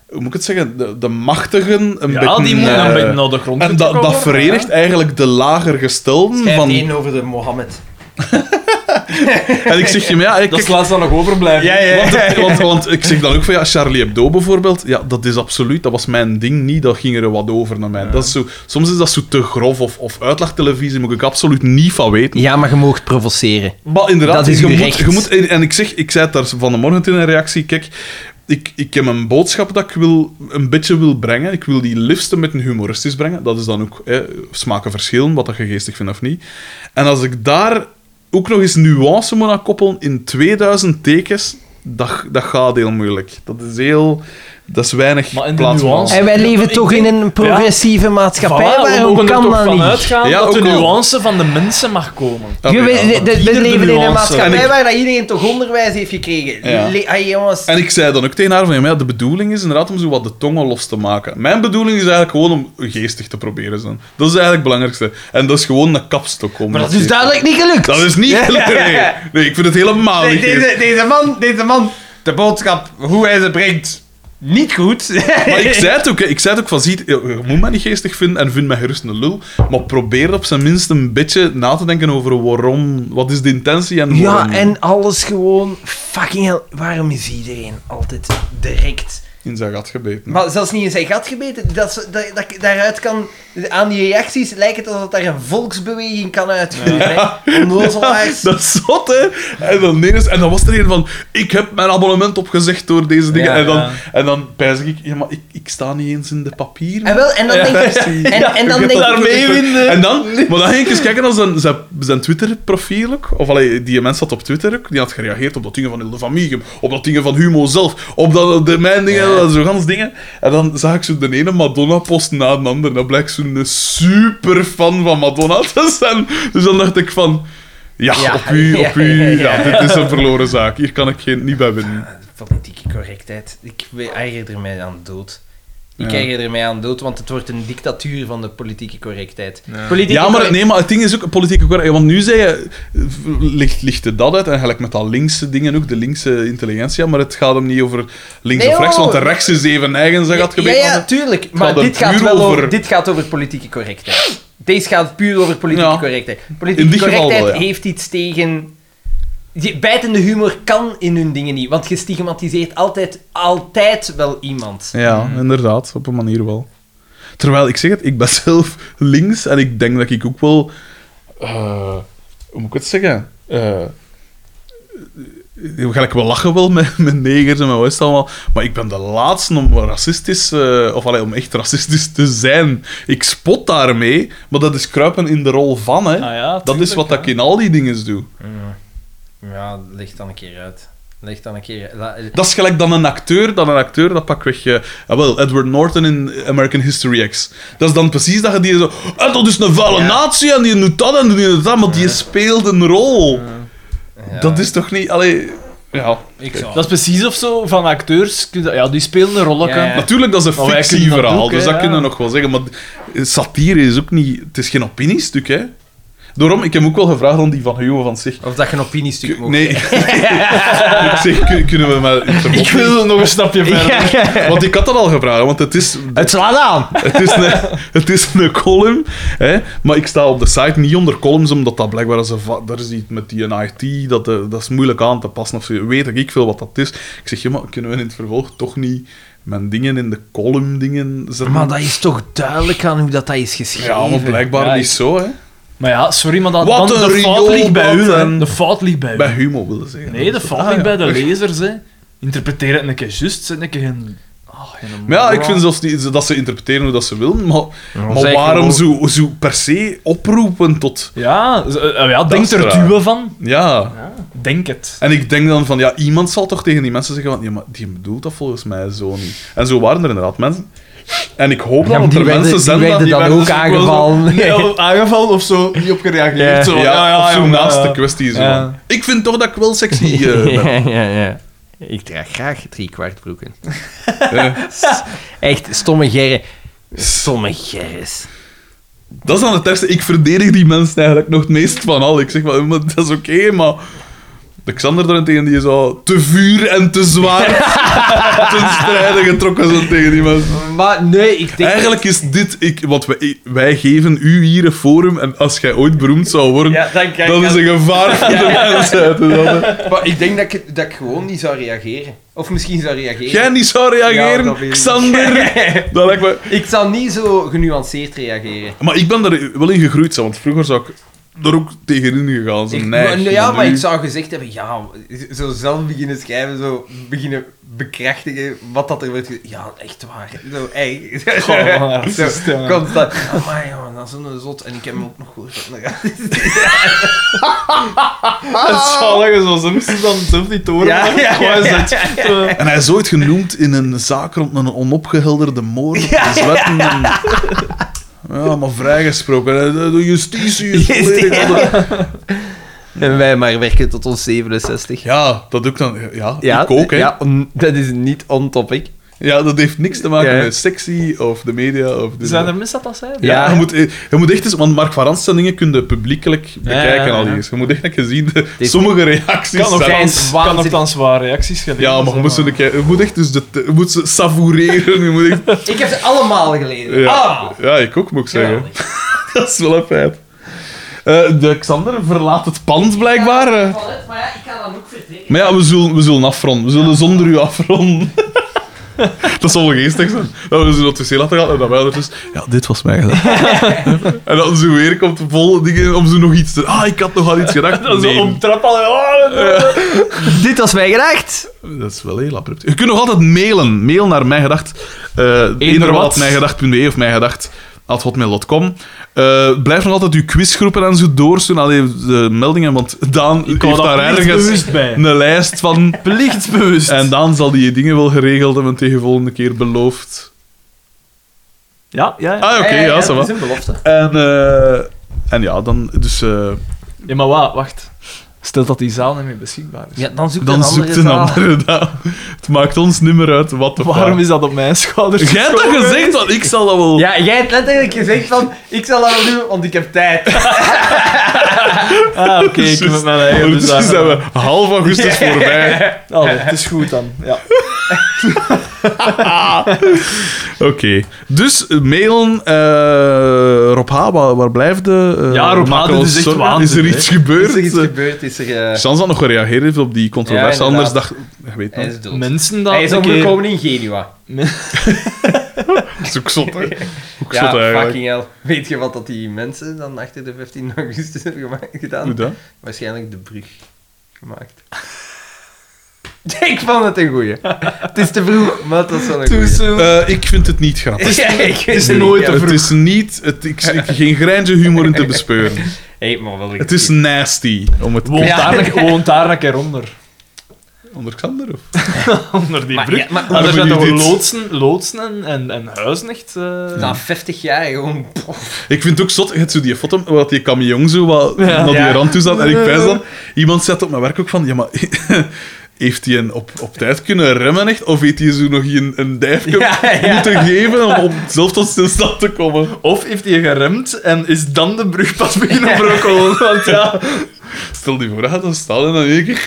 hoe moet ik het zeggen? De, de machtigen. Een
Ja,
beetje,
die moet
eh,
een beetje naar de grond
En dat,
getrokken
dat
worden,
verenigt eigenlijk de lager gestelden.
Schrijf
Van,
één over de Mohammed.
en ik zeg je, maar ja, ik,
Dat
kijk,
is laatst dan nog overblijven.
Want, het- want, want ik zeg dan ook van ja, Charlie Hebdo bijvoorbeeld. Ja, dat is absoluut. Dat was mijn ding niet. Dat ging er wat over naar mij. Dat is zo, soms is dat zo te grof of, of uitlachtelevisie. Moet ik absoluut niet van weten.
Ja, maar je moogt provoceren.
Maar inderdaad,
Dat is
je,
uw
moet,
recht.
je moet... En en ik zeg, ik zei het daar van de morgen in een reactie, kijk... Ik, ik heb een boodschap dat ik wil, een beetje wil brengen. Ik wil die liefst met een humoristisch brengen. Dat is dan ook hè, smaken verschillen, wat dat je geestig vindt of niet. En als ik daar ook nog eens nuance moet aan koppelen in 2000 tekens, dat, dat gaat heel moeilijk. Dat is heel... Dat is weinig
Maar in de
plaats voor
nuance-
ons.
En wij
Ja,
leven
ik
toch
denk-
in een progressieve maatschappij.
Voilà, we
Waarom
mogen
kan
er toch
dat
van
niet?
uitgaan
Ja,
dat de
ook al.
nuance van de mensen mag komen.
Oké,
Je
ja.
weet- de- de-
ieder de
we leven in een
nuance.
En
maatschappij
ik-
waar dat iedereen toch onderwijs heeft gekregen.
Ja.
Le- Ai, jongens.
En ik zei dan ook tegen haar van, ja, maar ja, de bedoeling is inderdaad om zo wat de tongen los te maken. Mijn bedoeling is eigenlijk gewoon om geestig te proberen zijn. Dat is eigenlijk het belangrijkste. En dat is gewoon een kapstok om.
Maar dat is
geestig-
duidelijk niet gelukt.
Dat is niet gelukt, nee. Nee, ik vind het helemaal
Nee,
niet geestig.
deze, deze, man, deze man, de boodschap, hoe hij ze brengt, niet goed.
Maar ik zei het ook, hè. ik zei het ook van, ziet, je moet mij niet geestig vinden en vind mij gerust een lul, maar probeer op zijn minst een beetje na te denken over waarom, wat is de intentie en waarom.
Ja, en alles gewoon fucking hell. Waarom is iedereen altijd direct?
In zijn gat gebeten.
Maar zelfs niet in zijn gat gebeten. Dat, ze- dat, dat, ik daaruit kan, aan die reacties lijkt het alsof daar een volksbeweging kan uitgroeien. hè. Onnozelaars.
Dat is zot, hè? En dan, nee, dus- en dan was er een van... Ik heb mijn abonnement opgezegd door deze dingen.
Ja,
en dan,
ja.
en dan pijs ik... Ja, maar ik, ik sta niet eens in de papier.
En wel, en dan denk ik... En, en dan
Ik heb dat
denk ik...
daarmee winnen. En dan, maar dan ging ik eens kijken naar zijn, zijn, zijn Twitter-profiel ook. Of allee, die mens had op Twitter ook. Die had gereageerd op dat dingen van Hilde van Miegem. Op dat dingen van Humo zelf. Op dat, de, mijn dingen, dat, zo gans dingen. En dan zag ik zo de ene Madonna-post na de andere. Dan blijkt zo'n super fan van Madonna te zijn. Dus dan dacht ik van... Ja,
Ja.
op u, op u. Ja,
Ja, ja, ja.
dit is een verloren zaak. Hier kan ik geen, niet bij winnen.
Politieke correctheid. Ik we- erger er mij aan dood. Ik
Ja.
erger er mij aan dood, want het wordt een dictatuur van de politieke correctheid.
Ja, maar, nee, maar het ding is ook politieke correct. Want nu zei je, eh, ligt, ligt er dat uit, en gelijk met dat linkse dingen ook, de linkse intelligentie, maar het gaat hem niet over links
Nee,
of rechts,
oh.
want de rechts is even eigen, zeg dat
Ja,
gebeuren.
ja, tuurlijk. Maar
gaat er
dit gaat,
puur
wel over...
over-
dit gaat over politieke correctheid. Deze gaat puur over politieke
Ja.
correctheid. Politieke
In dit geval
correctheid
wel, ja.
heeft iets tegen... Die bijtende humor kan in hun dingen niet, want je stigmatiseert altijd, altijd wel iemand.
Ja,
Mm.
inderdaad, op een manier wel. Terwijl ik zeg het, ik ben zelf links en ik denk dat ik ook wel. eh, hoe moet ik het zeggen? Eh eh, gelijk, we lachen wel met, met negers en met wat is het allemaal. Maar ik ben de laatste om racistisch, eh, of allee, om echt racistisch te zijn. Ik spot daarmee, maar dat is kruipen in de rol van, hè?
Ah ja,
dat is
tuurlijk,
wat
hè.
ik in al die dingen doe.
Ja, leg dan een keer uit. Leg dan een keer uit.
Dat is gelijk dan een acteur, dan een acteur, dat pak weg. eh, ah, wel, Edward Norton in American History X. Dat is dan precies dat je die zo. "Ah, dat is een vuile natie en die doet dat en die doet dat, maar die speelt een rol. Dat is toch niet. Allee, ja.
Ik zou...
Dat is precies of zo van acteurs. kun je dat- Ja, die spelen een rolletje.
Ja, ja.
Natuurlijk, dat is
Maar
een
Oh, wij kunnen dat
fictieverhaal,
ook,
dus
hè,
dat
ja.
kunnen we nog wel zeggen. Maar satire is ook niet. Het is geen opiniestuk, hè? Daarom, ik heb ook wel gevraagd aan die van Hugo van zich.
Of dat je een opinie stuurt. mogen.
Nee, ik zeg, kun- kunnen we maar... Ik wil nog een stapje verder. Want ik had dat al gevraagd, want het is,
Het slaat aan!
het is, een, het is een column. Hè? Maar ik sta op de site niet onder columns, omdat dat blijkbaar is een va- daar is iets met die IT, dat, eh, dat is moeilijk aan te passen. Of zo. weet ik veel wat dat is. Ik zeg, ja, maar kunnen we in het vervolg toch niet mijn dingen in de column dingen zetten?
Maar dat is toch duidelijk aan hoe dat, dat is geschreven?
ja, maar blijkbaar
Ja,
niet
ik-
zo, hè.
Maar ja, sorry, maar dat,
Wat
dan,
een
de fout
riool,
ligt bij
wat
u. hè.
een-
De fout ligt bij u.
Bij Humo wilde zeggen.
Nee, de fout
Ah,
ligt
ja.
bij de lezers. Hè. Interpreteer het een keer juist, zet een keer geen... ah, geen
Maar ja, ik
moraal.
vind zelfs niet dat ze interpreteren hoe dat ze willen, maar, maar
zeg
waarom
gewoon-
zo, zo per se oproepen tot...
Ja, z- eh, ja denk
is
er
raar.
duwen van.
Ja.
Denk het.
En ik denk dan van, ja, iemand zal toch tegen die mensen zeggen van, ja, maar die bedoelt dat volgens mij zo niet. En zo waren er inderdaad mensen. En ik hoop
Ja,
dan
maar
dat
die
er
werden,
mensen
die
zijn dat
werden dan
werden
ook
zo- wel zo-
aangevallen.
Nee, of aangevallen of zo, niet op gereageerd.
Ja.
Zo,
Ja, of zo
ja,
naast
ja.
de kwestie. Zo.
Ja.
Ik vind toch dat ik wel sexy eh, ben.
ja, ja, ja. Ik draag graag driekwartbroeken.
Eh.
Echt, stomme gerren. Stomme gerres.
Dat is dan het eerste. Ik verdedig die mensen eigenlijk nog het meest van al. Ik zeg maar, maar dat is oké, maar... De Xander daarentegen, die is al te vuur en te zwaar ten strijde getrokken zo tegen die mensen.
Maar nee, ik denk...
Eigenlijk is dit... Ik, want wij, wij geven u hier een forum en als jij ooit beroemd zou worden,
Ja, dan kijk
dat is een gevaar voor de mensheid. Dat, hè.
Maar ik denk dat ik, dat ik gewoon niet zou reageren. Of misschien zou reageren.
Jij niet zou
Ja,
reageren,
dat weet ik.
Xander. Dat lijkt me...
Ik zou niet zo genuanceerd reageren.
Maar ik ben er wel in gegroeid, zo, want vroeger zou ik er ook tegenin gegaan. Zo,
Ik,
nee,
maar- ja, maar
nu-
ik zou gezegd hebben, ja, zo zelf beginnen schrijven, zo beginnen bekrachtigen wat dat er wordt ge- Ja, echt waar. Zo, ey.
Goh,
Zo,
racist, ja.
Constant. Amai, jongen, dat is een zot. En ik heb hem ook nog gehoord. dat een racist is.
Ah.
Het zalige zo Simpsons dan zelf niet horen.
Ja,
maar
ja,
gewoon
ja,
zet- zo.
En hij is ooit genoemd in een zaak rond een onopgehelderde moord. op een Zwetten. Ja, maar vrijgesproken. hè. De de justitie is volledig... onder-
En wij maar werken tot ons 67.
Ja, dat doe ik dan. Ja, ik ook, hè. Ja.
ja, on- dat is niet on topic.
dat heeft niks te maken
Ja.
met sexy of de media of... dit-
Zijn er mensen dat dat zijn?
Ja,
Ja.
Je, moet, je moet echt eens... Want Mark van Randst zijn dingen kun je publiekelijk bekijken
ja, ja.
al eens. Je moet echt eens zien, de- sommige reacties
Kan
zijn-
nogthans- kan
waanzinnig.
nogthans waar reacties gelezen.
Ja, maar je moet, ze een keer- je moet echt dus de, je moet ze savoureren. Je moet echt,
Ik heb ze allemaal gelezen.
ja.
Ah!
ja, ik ook, moet ik zeggen. dat is wel een feit. Eh, de Xander verlaat het pand blijkbaar. eh.
Maar ja, ik kan dan ook verdrinken.
Maar ja, we zullen, we zullen afronden. We zullen zonder u afronden. dat zal wel geestig zijn. Dat we ze naar het wc laten gaan en dat wij er dus... Ja, dit was mij gedaan. en dan zo weer komt vol dingen om zo nog iets te... Ah, ik had nog al iets gedacht.
Dan
Nee.
zo omtrap al. oh, dat-
Dit was mij gedacht!
Dat is wel heel abrupt. Je kunt nog altijd mailen. Mail naar mijgedacht. eh
wat.
Mijgedacht.be E of mijgedacht.hotmail.com. Eh blijf nog altijd uw quizgroepen en zo doorsturen. Alleen de meldingen, want Daan heeft
wou
daar
dat
ergens
plichtbewust bij.
een lijst van.
Plichtsbewust.
En Daan zal die dingen wel geregeld hebben tegen volgende keer beloofd.
Ja, ja, ja.
Ah, oké, ja, zo
dat
wat.
is een belofte.
En, eh, en ja, dan, dus, eh,
Ja, maar wa- wacht. Stel dat die zaal niet meer beschikbaar is.
Ja, dan zoek
dan zoekt een andere Daan. Het maakt ons niet meer uit wat de
Waarom is dat op mijn schouders?
Jij hebt dat
geschoven?
gezegd, want ik zal dat wel.
Ja, jij hebt letterlijk gezegd van, ik zal dat wel doen, want ik heb tijd.
Ah, oké, ik ik met mijn eigen
Dus
bezwaar.
zijn we half augustus voorbij.
Allee, het is goed dan. Ja.
Oké. Dus eh, mailen. eh Rob H., waar, waar blijft de... eh,
Ja, Rob H.,
maak
dit
ons
is echt
zorgen. Is
waanzin,
er
hè?
iets gebeurd?
Als er iets gebeurd is er... eh,
Sans had nog gereageerd heeft op die controverse,
Ja,
anders
inderdaad.
dacht... Ik weet
hij
niet.
is dood.
Mensen dat
hij is
een keer-
omgekomen in Genua.
Dat is ook zot, hè? Ook
Ja,
zot, eigenlijk.
fucking hell. Weet je wat dat die mensen dan achter de 15 augustus hebben gemaakt, gedaan?
Hoe dat?
Waarschijnlijk de brug gemaakt. ik vond het een goeie. het is te vroeg, maar het was wel een goeie.
Eh, ik vind het niet grappig.
Ja, ik weet
Het
het
nooit
niet,
te
ja.
vroeg. Het is niet... Het, ik, ik, geen grijntje humor in te bespeuren.
Hey, maar wel een
Het is
goeie.
nasty. Om het...
Woont,
Ja.
daar een, woont daar een keer onder.
Onder Xander, of?
Onder die
Maar
brug.
ja, maar
Ah,
hoe
er zijn
doe
toch
je dit?
loodsen, loodsen en, en, en huizen echt... eh,
na 50 jaar gewoon...
Ik vind het ook zot, je hebt zo die foto waar die camion zo wat
Ja.
naar die
Ja.
rand toe zat. En ik pijs dan, iemand zet op mijn werk ook van, ja maar... heeft hij een op, op tijd kunnen remmen, echt? Of heeft hij zo nog een, een dijfje moeten geven om, om zelf tot stilstand te komen?
Of heeft hij geremd en is dan de brug pas beginnen brokkelen? Want ja,
Stel die voor, dat gaat dan staan en dan één keer...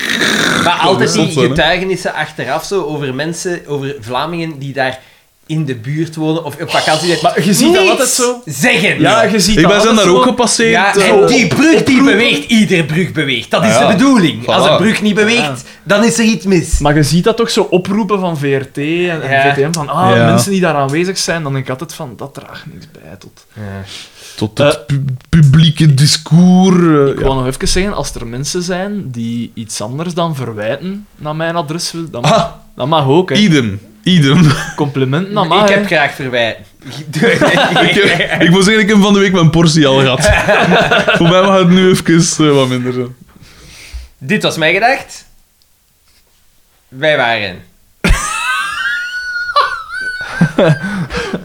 Maar altijd
dat is
die
zot, hè?
getuigenissen achteraf zo over mensen, over Vlamingen die daar in de buurt wonen of op vakantie zijn. Maar
je ziet dat altijd zo.
Zeggen.
ja je ziet
Ik
dat
ben zijn daar
altijd
ook
zo.
gepasseerd.
Ja,
eh,
en die brug die beweegt, ieder brug beweegt. Dat is
Ah, ja.
de bedoeling.
Voilà.
Als een brug niet beweegt, dan is er iets mis.
Maar je ziet dat toch zo oproepen van VRT en, en
Ja.
VTM, van ah,
Ja.
mensen die daar aanwezig zijn, dan denk ik altijd van, dat draagt niks bij tot...
Tot het pu- publieke discours. eh,
Ik
ja.
wou nog even zeggen, als er mensen zijn die iets anders dan verwijten naar mijn adres willen, dat mag,
Ah.
dat mag ook, hè.
Idem. Idem.
Complimenten naar mij,
ik
hè.
heb graag verwijt.
ik, heb- ik moet zeggen, ik heb van de week mijn portie al gehad. Voor mij mag het nu even eh, wat minder zijn.
Dit was mijn gedacht. Wij waren.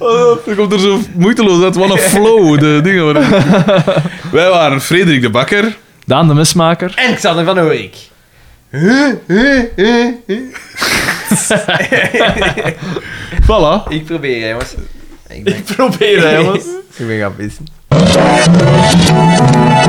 Oh, dat komt er zo moeiteloos uit. Wat een flow, de dingen. waar- Wij waren Frederik de Bakker.
Daan de Mesmaker.
En Xander van Oorik.
Voilà.
Ik probeer, hè, jongens. Ik ben,
Probeer, hè, jongens.
ik ben gaan pissen.